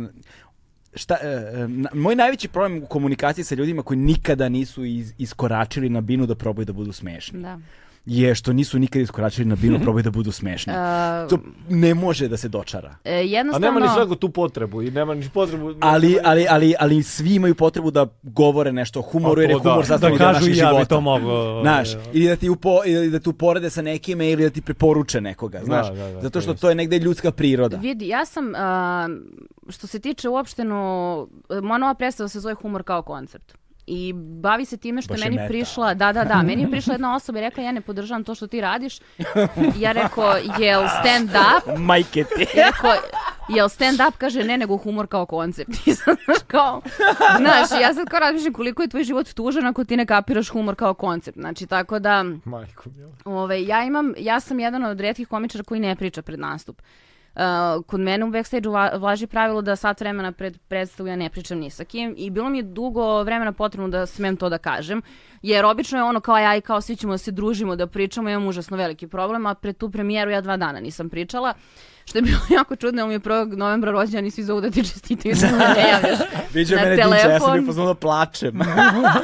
[SPEAKER 1] šta, e, e, na- moj najveći problem u komunikaciji sa ljudima koji nikada nisu iz- iskoračili na binu da probaju da budu smešni
[SPEAKER 3] Da.
[SPEAKER 1] je što nisu nikada iskoračili na binu probaju da budu smešni.
[SPEAKER 3] E,
[SPEAKER 1] To ne može da se dočara.
[SPEAKER 3] e,
[SPEAKER 2] A
[SPEAKER 3] jednostavno...
[SPEAKER 2] nema ni svako tu potrebu i nema ni potrebu...
[SPEAKER 1] Ali, ali, ali, ali svi imaju potrebu da govore nešto o humoru,
[SPEAKER 2] A
[SPEAKER 1] jer je
[SPEAKER 2] to da.
[SPEAKER 1] humor sastavni
[SPEAKER 4] Pa Da
[SPEAKER 1] deo
[SPEAKER 4] kažu
[SPEAKER 1] naših
[SPEAKER 4] i ja
[SPEAKER 1] života.
[SPEAKER 4] bi to mogao.
[SPEAKER 1] Znaš, ili da ti upo, ili da tu porede sa nekime ili da ti preporuče nekoga, znaš.
[SPEAKER 2] da, da,
[SPEAKER 1] Zato
[SPEAKER 2] to
[SPEAKER 1] što
[SPEAKER 2] jest.
[SPEAKER 1] to je negde ljudska priroda.
[SPEAKER 3] Vidi, ja sam, a, što se tiče uopšteno, moja nova predstava se zove Humor kao koncept. I bavi se time što
[SPEAKER 1] Baš
[SPEAKER 3] je
[SPEAKER 1] je
[SPEAKER 3] meni
[SPEAKER 1] meta.
[SPEAKER 3] prišla, da, da, da, meni je prišla jedna osoba i rekla ja ne podržavam to što ti radiš. Ja rekao, jel stand up?
[SPEAKER 1] Majke ti.
[SPEAKER 3] Rekao, jel stand up? Kaže, ne, nego humor kao koncept. I sad, znaš, kao, znaš, ja sad kao razmišljam koliko je tvoj život tužan ako ti ne kapiraš humor kao koncept. Znači, tako da,
[SPEAKER 2] Majko, mila.
[SPEAKER 3] Ove, Ovaj, ja, imam, ja sam jedan od redkih komičara koji ne priča pred nastup. Uh, kod mene u backstage vlaži pravilo da sat vremena pred predstavu ja ne pričam ni sa kim i bilo mi je dugo vremena potrebno da smem to da kažem jer obično je ono kao ja i kao svi ćemo da se družimo da pričamo imam užasno veliki problem a pred tu premijeru ja dva dana nisam pričala što je bilo jako čudno jer mi je 1. novembra rođendan i svi zovu da ti čestitaju da se ne javljaš
[SPEAKER 1] Viđa
[SPEAKER 3] Na
[SPEAKER 1] mene Dinče, ja sam
[SPEAKER 3] telefon.
[SPEAKER 1] bio pozvano da plačem.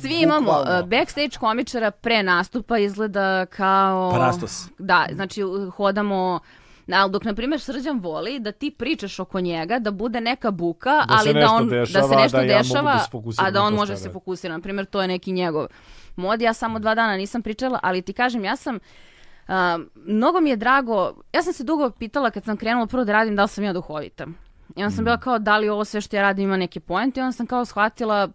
[SPEAKER 3] svi imamo
[SPEAKER 1] Bukvalno.
[SPEAKER 3] uh, backstage komičara pre nastupa izgleda kao
[SPEAKER 1] Parastos.
[SPEAKER 3] Da, znači uh, hodamo Ali dok, na primjer, Srđan voli da ti pričaš oko njega, da bude neka buka,
[SPEAKER 2] se
[SPEAKER 3] ali da
[SPEAKER 2] nešto
[SPEAKER 3] on da
[SPEAKER 2] dešava,
[SPEAKER 3] se nešto
[SPEAKER 2] da ja mogu
[SPEAKER 3] dešava,
[SPEAKER 2] da se fokusiram
[SPEAKER 3] a da
[SPEAKER 2] na
[SPEAKER 3] on
[SPEAKER 2] to
[SPEAKER 3] može
[SPEAKER 2] šta
[SPEAKER 3] se
[SPEAKER 2] radi.
[SPEAKER 3] fokusira. Na primjer, to je neki njegov mod. Ja samo dva dana nisam pričala, ali ti kažem, ja sam Um, mnogo mi je drago, ja sam se dugo pitala kad sam krenula prvo da radim da li sam ja duhovita. I
[SPEAKER 2] Mm.
[SPEAKER 3] onda sam bila kao da li ovo sve što ja radim ima neke poente i onda sam kao shvatila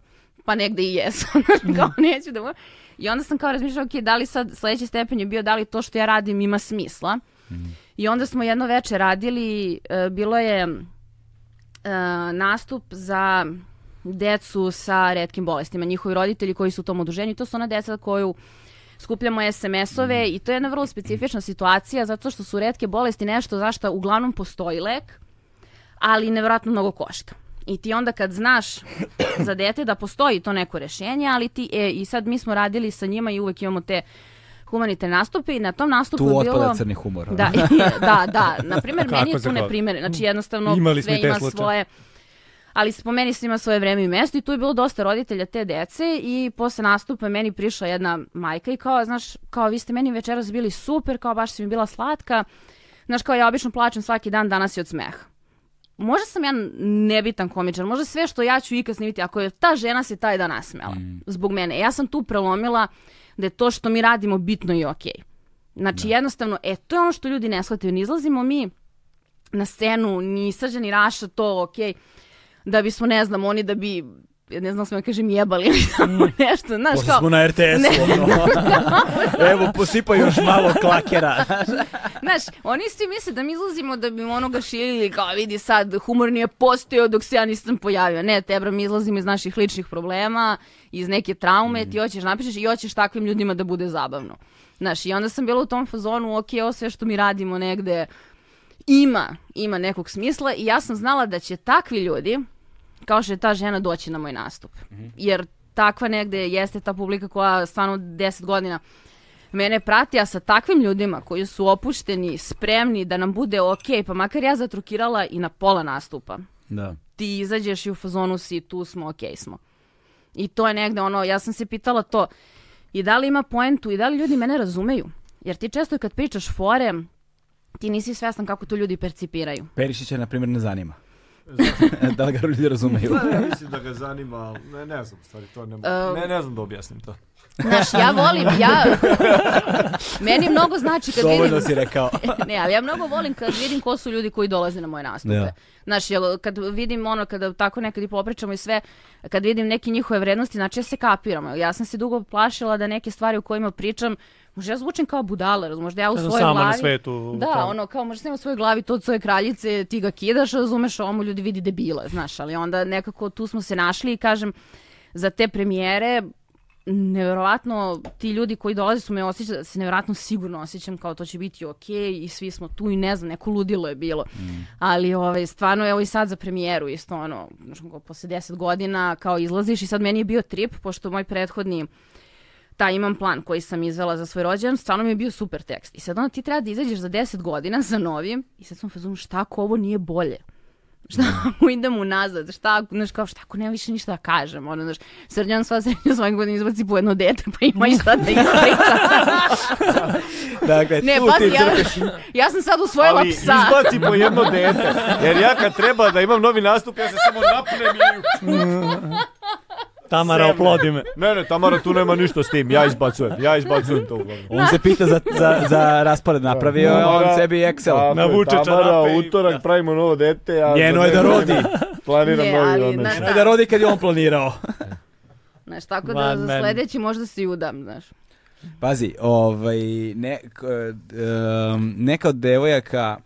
[SPEAKER 3] pa negde i jesam, Znaš, kao
[SPEAKER 2] Mm.
[SPEAKER 3] neću da... bu- I onda sam kao razmišljala, ok, da li sad sledeći stepen je bio da li to što ja radim ima smisla.
[SPEAKER 2] Mm.
[SPEAKER 3] I onda smo jedno veče radili, e, bilo je e, nastup za decu sa redkim bolestima, njihovi roditelji koji su u tom oduženju. I To su ona deca koju skupljamo SMS-ove
[SPEAKER 1] Mhm.
[SPEAKER 3] i to je jedna vrlo specifična situacija zato što su redke bolesti nešto zašto uglavnom postoji lek, ali nevjerojatno mnogo košta. I ti onda kad znaš za dete da postoji to neko rešenje, ali ti, e, i sad mi smo radili sa njima i uvek imamo te humanitarne nastupe i na tom nastupu
[SPEAKER 1] Tu
[SPEAKER 3] je bilo...
[SPEAKER 1] otpada crni humor.
[SPEAKER 3] Da, da, da. Naprimer, meni je
[SPEAKER 4] Kako
[SPEAKER 3] tu
[SPEAKER 4] se gleda?
[SPEAKER 3] neprimeren. Znači, jednostavno,
[SPEAKER 4] Imali smo
[SPEAKER 3] sve
[SPEAKER 4] i te
[SPEAKER 3] ima
[SPEAKER 4] slučaje.
[SPEAKER 3] svoje... Ali spomeni se ima svoje vreme i mesto i tu je bilo dosta roditelja te dece i posle nastupa je meni prišla jedna majka i kao, znaš, kao vi ste meni večeras bili super, kao baš si mi bila slatka. Znaš, kao ja obično plačem svaki dan, danas je od smeha. Možda sam ja nebitan komičar, možda sve što ja ću ikad snimiti, ako je ta žena se taj dan nasmela
[SPEAKER 4] Mm.
[SPEAKER 3] zbog mene. Ja sam tu prelomila da je to što mi radimo bitno i okej. Znači jednostavno, e, to je ono što ljudi ne shvataju. Ne izlazimo mi na scenu, ni Srđan, ni Raša, to okej, da bismo, ne znam, oni da bi, ne znam smo da kažem jebali ili tako nešto, znaš
[SPEAKER 1] Mm. Pošto
[SPEAKER 3] kao,
[SPEAKER 1] smo na RTS-u, ono. Evo, posipaj još malo klakera.
[SPEAKER 3] znaš, oni svi misle da mi izlazimo da bi onoga širili, kao vidi sad, humor nije postojao dok se ja nisam pojavio. Ne, tebra, mi izlazimo iz naših ličnih problema, iz neke traume, ti hoćeš napišeš i hoćeš takvim ljudima da bude zabavno. Znaš, i onda sam bila u tom fazonu, ok, ovo sve što mi radimo negde, ima, ima nekog smisla i ja sam znala da će takvi ljudi, kao što je ta žena, doći na moj nastup. Jer takva negde jeste ta publika koja stvarno 10 godina mene prati, a sa takvim ljudima koji su opušteni, spremni da nam bude ok, pa makar ja zatrukirala i na pola nastupa.
[SPEAKER 1] Da.
[SPEAKER 3] Ti izađeš i u fazonu si tu smo, ok smo. I to je negde ono, ja sam se pitala to i da li ima poentu i da li ljudi mene razumeju. Jer ti često kad pričaš fore, ti nisi svestan kako to ljudi percipiraju.
[SPEAKER 1] Perišića, na primjer, ne zanima. da li ga ljudi razumeju?
[SPEAKER 2] Pa, ja mislim da ga zanima, ali ne, ne znam, u stvari, to ne, mogu. ne, ne znam da objasnim to.
[SPEAKER 3] Znaš, ja volim, ja... Meni mnogo znači kad
[SPEAKER 1] Dovoljno
[SPEAKER 3] vidim...
[SPEAKER 1] si rekao.
[SPEAKER 3] ne, ali ja mnogo volim kad vidim ko su ljudi koji dolaze na moje nastupe.
[SPEAKER 1] Da.
[SPEAKER 3] Znaš, jel, kad vidim ono, kada tako nekad i popričamo i sve, kad vidim neke njihove vrednosti, znači ja se kapiram. Ja sam se dugo plašila da neke stvari o kojima pričam, možda ja zvučim kao budala, razumiješ, možda ja u
[SPEAKER 4] Ja sam
[SPEAKER 3] svojoj
[SPEAKER 4] sama
[SPEAKER 3] glavi...
[SPEAKER 4] na svetu.
[SPEAKER 3] Da,
[SPEAKER 4] kao-
[SPEAKER 3] ono, kao možda sam ja u svojoj glavi to od svoje kraljice, ti ga kidaš, razumeš, ovo mu ljudi vidi debila, znaš, ali onda nekako tu smo se našli i kažem, za te premijere, nevjerovatno, ti ljudi koji dolaze su me osjećali, da se nevjerovatno sigurno osjećam kao to će biti okej i svi smo tu i ne znam, neko ludilo je bilo.
[SPEAKER 4] Mm.
[SPEAKER 3] Ali ovaj, stvarno, evo i sad za premijeru isto ono, znaš, kao posle 10 godina kao izlaziš i sad meni je bio trip, pošto moj prethodni ta imam plan koji sam izvela za svoj rođendan, stvarno mi je bio super tekst. I sad onda ti treba da izađeš za 10 godina sa novim i sad sam u fazonu šta ako ovo nije bolje? Šta ako idem unazad? Šta ako, znaš, kao šta ako nema više ništa da kažem? Ono, znaš, srđan sva srednja svake godine izbaci po jedno dete, pa ima i šta da ispriča.
[SPEAKER 1] Dakle,
[SPEAKER 3] ne,
[SPEAKER 1] tu
[SPEAKER 3] pazi,
[SPEAKER 1] ti
[SPEAKER 3] ja,
[SPEAKER 1] crpiš.
[SPEAKER 3] ja sam sad usvojila
[SPEAKER 2] Ali
[SPEAKER 3] psa.
[SPEAKER 2] izbaci po jedno dete, jer ja kad treba da imam novi nastup, ja se samo napnem i...
[SPEAKER 4] Tamara,
[SPEAKER 2] Severne.
[SPEAKER 4] oplodi me.
[SPEAKER 2] Ne, ne, Tamara, tu nema ništa s tim, ja izbacujem, ja izbacujem to uglavnom.
[SPEAKER 1] On se pita za, za, za raspored, napravio je on
[SPEAKER 2] Tamara-
[SPEAKER 1] sebi Excel.
[SPEAKER 2] Tako je,
[SPEAKER 4] Navuče
[SPEAKER 2] Tamara,
[SPEAKER 4] čarape i-
[SPEAKER 2] utorak pravimo novo dete, a...
[SPEAKER 1] Njeno
[SPEAKER 2] za
[SPEAKER 1] je da
[SPEAKER 2] nekoliko
[SPEAKER 1] rodi.
[SPEAKER 2] dana Planiram
[SPEAKER 3] Ne,
[SPEAKER 2] novi
[SPEAKER 3] ali,
[SPEAKER 2] rođendan.
[SPEAKER 3] znaš-
[SPEAKER 1] Da. da rodi kad je on planirao.
[SPEAKER 3] Znaš, tako da
[SPEAKER 4] One
[SPEAKER 3] za
[SPEAKER 4] man.
[SPEAKER 3] sledeći možda se i udam, znaš.
[SPEAKER 1] Pazi, ovaj, ne, k- em, neka od devojaka,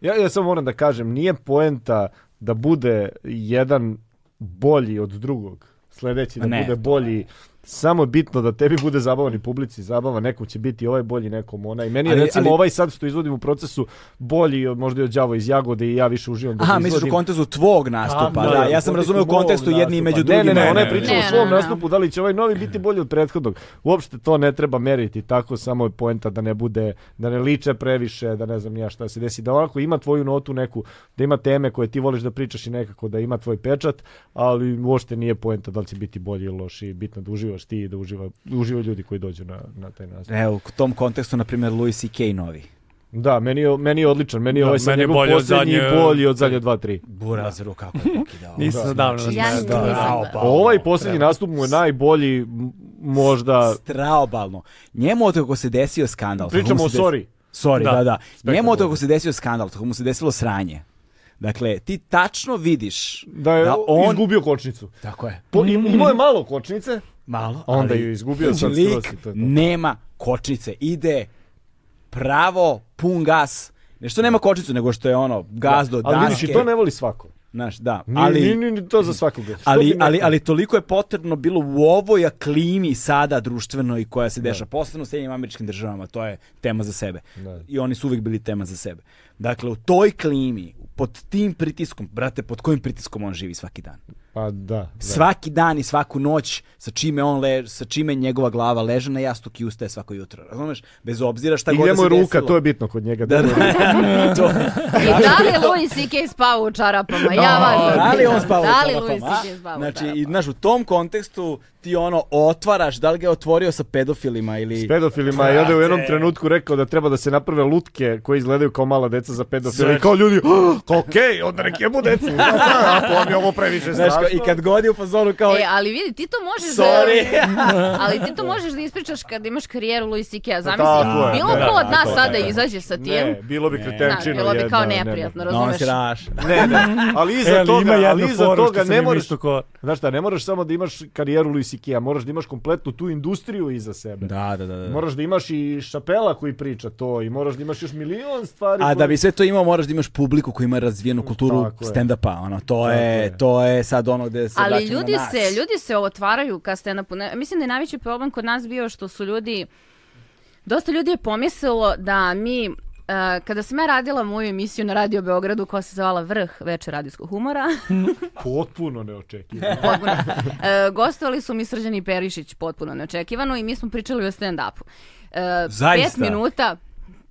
[SPEAKER 2] Ja, ja samo moram da kažem, nije poenta da bude jedan bolji od drugog, sledeći da
[SPEAKER 1] Ne.
[SPEAKER 2] bude bolji, samo je bitno da tebi bude zabavan i publici zabava, nekom će biti ovaj bolji, nekom onaj. Meni je
[SPEAKER 1] Ali-
[SPEAKER 2] recimo
[SPEAKER 1] ali-
[SPEAKER 2] ovaj sad što izvodim u procesu bolji od, možda i od đavo iz Jagode i ja više uživam da
[SPEAKER 1] aha,
[SPEAKER 2] ga
[SPEAKER 1] misliš u
[SPEAKER 2] izvodim.
[SPEAKER 1] kontekstu tvog nastupa,
[SPEAKER 2] Da,
[SPEAKER 1] da,
[SPEAKER 2] da,
[SPEAKER 1] ja sam
[SPEAKER 2] u
[SPEAKER 1] razumeo u
[SPEAKER 2] kontekstu mog
[SPEAKER 1] kontekstu jedni i među
[SPEAKER 2] nastupa.
[SPEAKER 1] drugima.
[SPEAKER 2] Ne, ne, ne, ona je
[SPEAKER 4] Pa ne,
[SPEAKER 2] pričala
[SPEAKER 3] ne.
[SPEAKER 2] o svom
[SPEAKER 3] Ne, ne, ne.
[SPEAKER 2] nastupu, da li će ovaj novi biti bolji od prethodnog. Uopšte to ne treba meriti, tako samo je poenta da ne bude, da ne liče previše, da ne znam ni ja šta se desi, da ovako ima tvoju notu neku, da ima teme koje ti voliš da pričaš i nekako da ima tvoj pečat, ali uopšte nije poenta da li će biti bolji ili loši, bitno da uživaš ti i da uživa, uživaju ljudi koji dođu na, na taj nastup.
[SPEAKER 1] Evo, u tom kontekstu, na primjer, Louis C.K. novi.
[SPEAKER 2] Da, meni je, meni je odličan, meni je
[SPEAKER 4] Da,
[SPEAKER 2] ovaj sad
[SPEAKER 4] meni je
[SPEAKER 2] njegov
[SPEAKER 4] bolji od
[SPEAKER 2] poslednji
[SPEAKER 4] zadnje-
[SPEAKER 2] bolji od zadnje 2-3.
[SPEAKER 1] Burazeru, kako je pokidao.
[SPEAKER 4] Nisam se davno
[SPEAKER 3] Ja
[SPEAKER 4] nasmejao.
[SPEAKER 3] nisam.
[SPEAKER 1] Straobalno.
[SPEAKER 3] Pa,
[SPEAKER 2] Ovaj
[SPEAKER 4] ono,
[SPEAKER 2] posljednji nastup mu je najbolji m- možda...
[SPEAKER 1] Straobalno. Njemu od kako se desio skandal.
[SPEAKER 2] Pričamo
[SPEAKER 1] kako
[SPEAKER 2] o
[SPEAKER 1] mu se des-
[SPEAKER 2] sorry.
[SPEAKER 1] Sorry, da,
[SPEAKER 4] Da.
[SPEAKER 1] da. Njemu od kako se desio skandal, od kako mu se desilo sranje. Dakle, ti tačno vidiš
[SPEAKER 2] Da je
[SPEAKER 1] on...
[SPEAKER 2] izgubio kočnicu.
[SPEAKER 1] Tako je.
[SPEAKER 2] Po, im- imao je malo kočnice,
[SPEAKER 1] Malo.
[SPEAKER 2] a onda
[SPEAKER 1] ali-
[SPEAKER 2] ju je izgubio sad skroz
[SPEAKER 1] lik
[SPEAKER 2] i to je to.
[SPEAKER 1] nema kočnice. Ide pravo, pun gas. Ne što nema kočnicu, nego što je ono, gas do
[SPEAKER 2] Ali vidiš,
[SPEAKER 1] daske.
[SPEAKER 2] i to ne voli svako.
[SPEAKER 1] Znaš, da.
[SPEAKER 2] Ni,
[SPEAKER 1] Ali,
[SPEAKER 2] ni, ni, ni to za svakog.
[SPEAKER 1] ali, ali, ali toliko je potrebno bilo u ovoj klimi sada društvenoj koja se deša, posebno u Sjedinjim američkim državama, to je tema za sebe.
[SPEAKER 2] Da.
[SPEAKER 1] I oni su uvijek bili tema za sebe. Dakle, u toj klimi, pod tim pritiskom, brate, pod kojim pritiskom on živi svaki dan?
[SPEAKER 2] Pa da. da.
[SPEAKER 1] Svaki dan i svaku noć sa čime on leže, sa čime njegova glava leže na jastuk i ustaje svako jutro. Razumeš? Bez obzira šta
[SPEAKER 2] I
[SPEAKER 1] god da
[SPEAKER 2] njemu
[SPEAKER 1] se
[SPEAKER 2] je ruka,
[SPEAKER 1] desilo.
[SPEAKER 2] to je bitno kod njega.
[SPEAKER 1] Da,
[SPEAKER 2] Da,
[SPEAKER 1] da. to,
[SPEAKER 3] I da li Louis C.K. spava u čarapama? Ja vas
[SPEAKER 1] da li on spava u
[SPEAKER 3] Da li
[SPEAKER 1] čarapama,
[SPEAKER 3] Louis
[SPEAKER 1] a?
[SPEAKER 3] C.K. spava u
[SPEAKER 1] Znači, i,
[SPEAKER 3] čarapama?
[SPEAKER 1] znaš, u tom kontekstu ti ono otvaraš, da li ga je otvorio sa pedofilima ili...
[SPEAKER 2] S pedofilima i onda je u jednom trenutku rekao da treba da se naprave lutke koje izgledaju kao mala deca za pedofile. I kao ljudi, "Ah, kao okej, onda nek jebu decu. Ja znam, Ako vam je ovo previše
[SPEAKER 1] Znaš, kao,
[SPEAKER 2] strašno.
[SPEAKER 1] i kad godi u fazonu kao...
[SPEAKER 3] E, ali vidi, ti to možeš
[SPEAKER 1] Sorry.
[SPEAKER 3] da... Ali ti to možeš da ispričaš kad imaš karijeru Louis C.K.
[SPEAKER 2] Tako
[SPEAKER 3] Zamisli,
[SPEAKER 2] je,
[SPEAKER 3] bilo
[SPEAKER 2] da,
[SPEAKER 3] ko od
[SPEAKER 2] tako
[SPEAKER 3] nas
[SPEAKER 2] je,
[SPEAKER 3] sada
[SPEAKER 2] tako je.
[SPEAKER 3] izađe sa tim.
[SPEAKER 2] Ne, bilo bi
[SPEAKER 3] Da,
[SPEAKER 2] kretenčino.
[SPEAKER 3] bilo bi kao
[SPEAKER 2] jedna, ne, ne.
[SPEAKER 3] neprijatno,
[SPEAKER 1] No, on
[SPEAKER 3] razumeš?
[SPEAKER 1] se raša.
[SPEAKER 2] Ne, ne, ali
[SPEAKER 4] E,
[SPEAKER 2] iza
[SPEAKER 4] ali
[SPEAKER 2] toga,
[SPEAKER 4] ima
[SPEAKER 2] ali
[SPEAKER 4] jednu
[SPEAKER 2] iza
[SPEAKER 4] foru
[SPEAKER 2] toga
[SPEAKER 4] što sam
[SPEAKER 2] ne
[SPEAKER 4] im
[SPEAKER 2] moraš
[SPEAKER 4] isto ko-
[SPEAKER 2] Znaš šta, ne moraš samo da imaš karijeru Luis Ikea, moraš da imaš kompletnu tu industriju iza sebe.
[SPEAKER 1] Da, da, da. da.
[SPEAKER 2] Moraš da imaš i šapela koji priča to i moraš da imaš još milion stvari.
[SPEAKER 1] A da
[SPEAKER 2] koje-
[SPEAKER 1] bi sve to imao, moraš da imaš publiku koja ima razvijenu kulturu
[SPEAKER 2] Tako je.
[SPEAKER 1] stand-upa. Ono, to,
[SPEAKER 2] Tako
[SPEAKER 1] je,
[SPEAKER 2] je.
[SPEAKER 1] to je sad ono gde se
[SPEAKER 3] Ali
[SPEAKER 1] vraćamo
[SPEAKER 3] ljudi
[SPEAKER 1] na nas.
[SPEAKER 3] se, ljudi se otvaraju ka stand-upu. Ne, Mislim da je najveći problem kod nas bio što su ljudi, dosta ljudi je pomislilo da mi, e, kada sam ja radila moju emisiju na Radio Beogradu koja se zvala Vrh večer radijskog humora,
[SPEAKER 2] Potpuno neočekivano.
[SPEAKER 3] potpuno, e, gostovali su mi Srđan i Perišić potpuno neočekivano i mi smo pričali o stand-upu. E,
[SPEAKER 1] Zaista?
[SPEAKER 3] Pet minuta,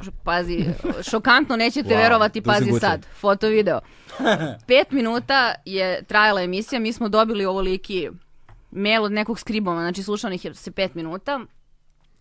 [SPEAKER 3] š- pazi, šokantno nećete
[SPEAKER 1] Wow,
[SPEAKER 3] verovati,
[SPEAKER 1] to se
[SPEAKER 3] pazi
[SPEAKER 1] guca.
[SPEAKER 3] sad, foto video. Pet minuta je trajala emisija, mi smo dobili ovoliki mail od nekog skriboma, znači slušanih je se pet minuta,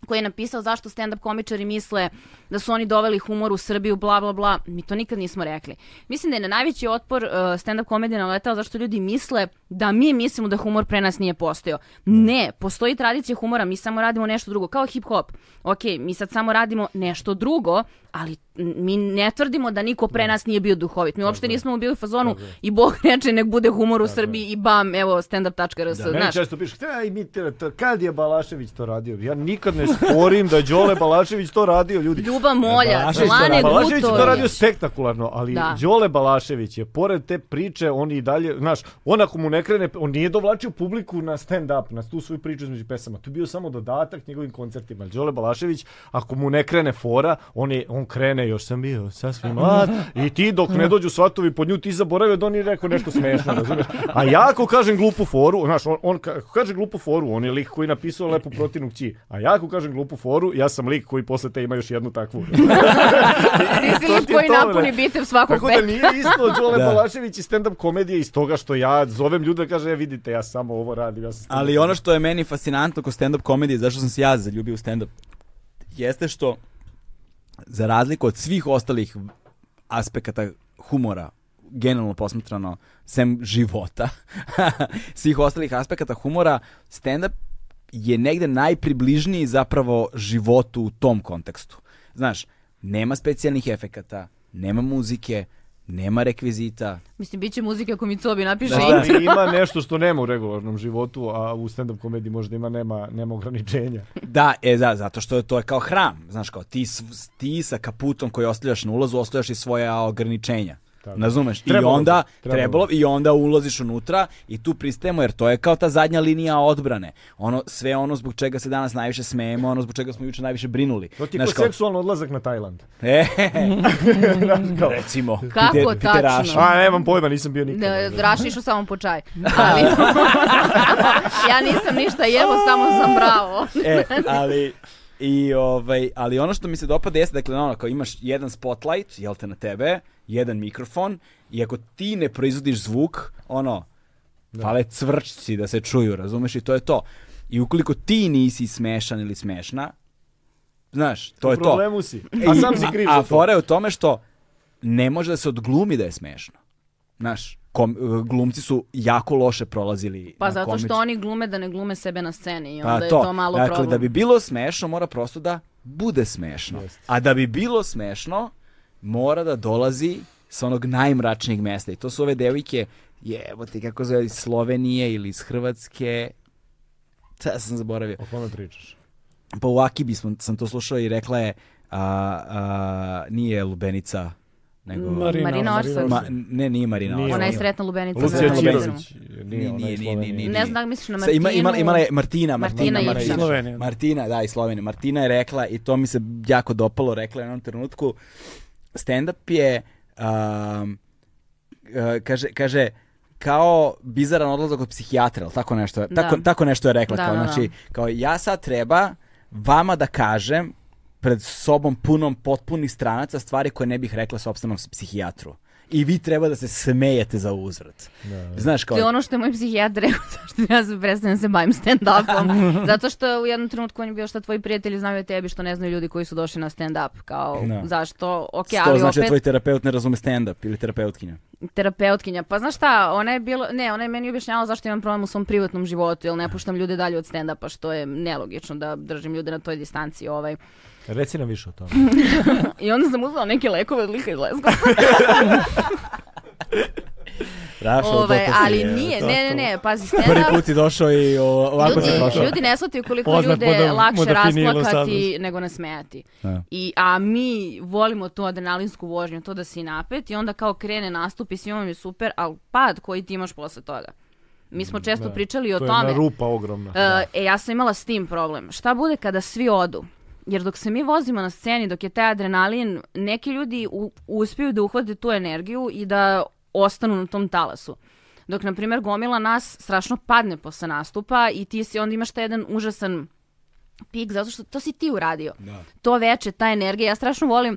[SPEAKER 3] koji je napisao zašto stand-up komičari misle da su oni doveli humor u Srbiju, bla, bla, bla. Mi to nikad nismo rekli. Mislim da je na najveći otpor uh, stand-up komedija naletao zašto ljudi misle da mi mislimo da humor pre nas nije postojao. Ne, postoji tradicija humora, mi samo radimo nešto drugo, kao hip-hop. Ok, mi sad samo radimo nešto drugo, ali n- mi ne tvrdimo da niko pre nas nije bio duhovit. Mi uopšte nismo bili u fazonu i Bog reče nek bude humor u Srbiji i bam, evo stand-up.rs.
[SPEAKER 2] Meni
[SPEAKER 3] Znaš,
[SPEAKER 2] često piše, i mi te, te- kad je Balašević to radio? Ja nikad ne sporim da je Đole Balašević to radio, ljudi.
[SPEAKER 3] Ljuba Molja,
[SPEAKER 1] Balašević to
[SPEAKER 3] Selane
[SPEAKER 1] radi.
[SPEAKER 2] Pa Balašević je to
[SPEAKER 3] Gutović.
[SPEAKER 2] radio spektakularno, ali
[SPEAKER 3] Da.
[SPEAKER 2] Đole Balašević je, pored te priče, on i dalje, znaš, on ako mu ne krene, on nije dovlačio publiku na stand-up, na tu svoju priču između pesama, to je bio samo dodatak njegovim koncertima. Đole Balašević, ako mu ne krene fora, on, je, on krene, još sam bio sasvim mlad, i ti dok ne dođu svatovi pod nju, ti zaboravio da on je rekao nešto smešno, razumiješ? A ja ako kažem glupu foru, znaš, on, on ka- ako kaže glupu foru, on je lik koji je napisao lepu protivnu kći, a ja ako kažem glupu foru, ja sam lik koji posle te ima još jednu takvu.
[SPEAKER 3] Ti si
[SPEAKER 2] To
[SPEAKER 3] lik
[SPEAKER 2] ti je
[SPEAKER 3] koji
[SPEAKER 2] to, bre.
[SPEAKER 3] napuni bitev svakog
[SPEAKER 2] Tako da
[SPEAKER 3] petka.
[SPEAKER 2] nije isto Đole
[SPEAKER 1] Da.
[SPEAKER 2] Balašević i stand-up komedije iz toga što ja zovem ljude i kaže, e, vidite, ja samo ovo radim. Ja sam stand-up
[SPEAKER 1] Ali ono što je meni fascinantno kod stand-up komedije, zašto sam se ja zaljubio u stand-up, jeste što za razliku od svih ostalih aspekata humora, generalno posmatrano, sem života, svih ostalih aspekata humora, stand-up je negde najpribližniji zapravo životu u tom kontekstu. Znaš, nema specijalnih efekata, nema muzike, nema rekvizita.
[SPEAKER 3] Mislim, bit će muzika ako mi Cobi napiše
[SPEAKER 2] Da,
[SPEAKER 3] intro.
[SPEAKER 2] ali Znači, ima nešto što nema u regularnom životu, a u stand-up komediji možda ima, nema, nema ograničenja.
[SPEAKER 1] Da, e, da, zato što je to je kao hram, znaš, kao ti, s- ti sa kaputom koji ostavljaš na ulazu, ostavljaš i svoja ograničenja.
[SPEAKER 2] Tako.
[SPEAKER 1] Razumeš?
[SPEAKER 2] Trebalo
[SPEAKER 1] I onda
[SPEAKER 2] bi, trebalo
[SPEAKER 1] trebalo, bi, i onda ulaziš unutra i tu pristajemo jer to je kao ta zadnja linija odbrane. Ono sve ono zbog čega se danas najviše smejemo, ono zbog čega smo juče najviše brinuli.
[SPEAKER 2] To ti je
[SPEAKER 1] Znaš,
[SPEAKER 2] kao seksualno odlazak na Tajland.
[SPEAKER 1] E,
[SPEAKER 2] Znaš, kao,
[SPEAKER 1] recimo.
[SPEAKER 3] Kako
[SPEAKER 1] Peter- Peter
[SPEAKER 3] tačno?
[SPEAKER 1] Ašin.
[SPEAKER 2] a nemam pojma, nisam bio nikad.
[SPEAKER 3] Ne, Raša je išao samo po čaj. Ali, ja nisam ništa jebo, samo sam bravo.
[SPEAKER 1] e, ali i ovaj, ali ono što mi se dopada jeste dakle ono kao imaš jedan spotlight, jel te na tebe, jedan mikrofon i ako ti ne proizvodiš zvuk, ono fale cvrčci da se čuju, razumeš i to je to. I ukoliko ti nisi smešan ili smešna, znaš, to
[SPEAKER 2] U
[SPEAKER 1] je to.
[SPEAKER 2] problemu si. A sam si kriv
[SPEAKER 1] a,
[SPEAKER 2] za
[SPEAKER 1] a
[SPEAKER 2] to.
[SPEAKER 1] fora je u tome što ne može da se odglumi da je smešno. Znaš, kom- glumci su jako loše prolazili
[SPEAKER 3] Pa
[SPEAKER 1] na
[SPEAKER 3] zato
[SPEAKER 1] komič-
[SPEAKER 3] što oni glume da ne glume sebe na sceni i
[SPEAKER 1] pa
[SPEAKER 3] onda je to malo
[SPEAKER 1] dakle,
[SPEAKER 3] problem.
[SPEAKER 1] da bi bilo smešno, mora prosto da bude smešno. A da bi bilo smešno, mora da dolazi sa onog najmračnijeg mesta. I to su ove devojke, jebote, kako zove, iz Slovenije ili iz Hrvatske. Sada sam zaboravio.
[SPEAKER 2] O kome pričaš?
[SPEAKER 1] Pa u Akibi smo, sam to slušao i rekla je, a, a, nije Lubenica, nego...
[SPEAKER 4] Marina,
[SPEAKER 3] Marina Orsović.
[SPEAKER 1] Ma, ne, nije Marina.
[SPEAKER 2] Nije
[SPEAKER 1] Orsović.
[SPEAKER 3] Ona je
[SPEAKER 2] ona.
[SPEAKER 3] sretna lubenica.
[SPEAKER 2] Lucija
[SPEAKER 3] na
[SPEAKER 1] Lubenica.
[SPEAKER 2] Ćirović.
[SPEAKER 1] Nije,
[SPEAKER 2] ona
[SPEAKER 1] nije,
[SPEAKER 2] iz
[SPEAKER 1] nije,
[SPEAKER 2] Slovenije.
[SPEAKER 1] nije,
[SPEAKER 3] Ne znam da li misliš na
[SPEAKER 1] Sa-
[SPEAKER 3] Martinu.
[SPEAKER 1] ima, imala, imala je Martina,
[SPEAKER 3] Martina
[SPEAKER 1] Martina, Martina,
[SPEAKER 3] Ivšić.
[SPEAKER 4] Slovenija.
[SPEAKER 1] Martina, da, iz Slovenije. Martina je rekla, i to mi se jako dopalo, rekla je u jednom trenutku, stand-up je, um, e, kaže, kaže, kao bizaran odlazak od psihijatra, ili tako nešto,
[SPEAKER 3] Da.
[SPEAKER 1] tako, tako nešto je rekla.
[SPEAKER 3] Da,
[SPEAKER 1] kao,
[SPEAKER 3] da, da.
[SPEAKER 1] znači, kao ja sad treba vama da kažem pred sobom punom potpunih stranaca stvari koje ne bih rekla sopstvenom psihijatru. I vi treba da se smejete za uzvrat. Znaš, kao,
[SPEAKER 3] To je ono što je moj psihijatar rekao, zašto ja se prestanem da se bavim stand-upom. Zato što u jednom trenutku on je bio šta tvoji prijatelji znaju o tebi, što ne znaju ljudi koji su došli na stand-up. Kao,
[SPEAKER 1] Da.
[SPEAKER 3] zašto? Ok,
[SPEAKER 1] to
[SPEAKER 3] ali
[SPEAKER 1] znači da
[SPEAKER 3] opet
[SPEAKER 1] tvoj terapeut ne razume stand-up ili terapeutkinja.
[SPEAKER 3] terapeutkinja. Pa znaš šta, ona je bilo, ne, ona je meni objašnjavala zašto imam problem u svom privatnom životu, jer ne puštam ljude dalje od stand-upa, što je nelogično da držim ljude na toj distanci. Ovaj.
[SPEAKER 2] Reci nam više o tome.
[SPEAKER 3] I onda sam uzela neke lekove od lika iz Leskovca.
[SPEAKER 1] Rašao
[SPEAKER 3] Ovaj, ali nije, ne, ne, ne, pazi,
[SPEAKER 1] e, Prvi
[SPEAKER 3] stand-up...
[SPEAKER 1] put si došao i o- ovako se
[SPEAKER 3] Ljudi,
[SPEAKER 1] prošao.
[SPEAKER 3] ljudi ne shvataju koliko
[SPEAKER 4] Poznat
[SPEAKER 3] ljude je
[SPEAKER 4] moda-
[SPEAKER 3] lakše
[SPEAKER 4] modafinilo
[SPEAKER 3] rasplakati
[SPEAKER 4] sadnost.
[SPEAKER 3] nego nasmejati.
[SPEAKER 1] Da.
[SPEAKER 3] I, a mi volimo tu adrenalinsku vožnju, to da si napet i onda kao krene nastup i svima mi je super, ali pad koji ti imaš posle toga. Mi smo često pričali o
[SPEAKER 2] to je
[SPEAKER 3] tome.
[SPEAKER 2] na rupa ogromna.
[SPEAKER 3] E, e, ja sam imala s tim problem. Šta bude kada svi odu? Jer dok se mi vozimo na sceni, dok je taj adrenalin, neki ljudi u, uspiju da uhvate tu energiju i da ostanu na tom talasu. Dok, na primjer, gomila nas strašno padne posle nastupa i ti si onda imaš taj jedan užasan pik, zato što to si ti uradio. To veče, ta energija, ja strašno volim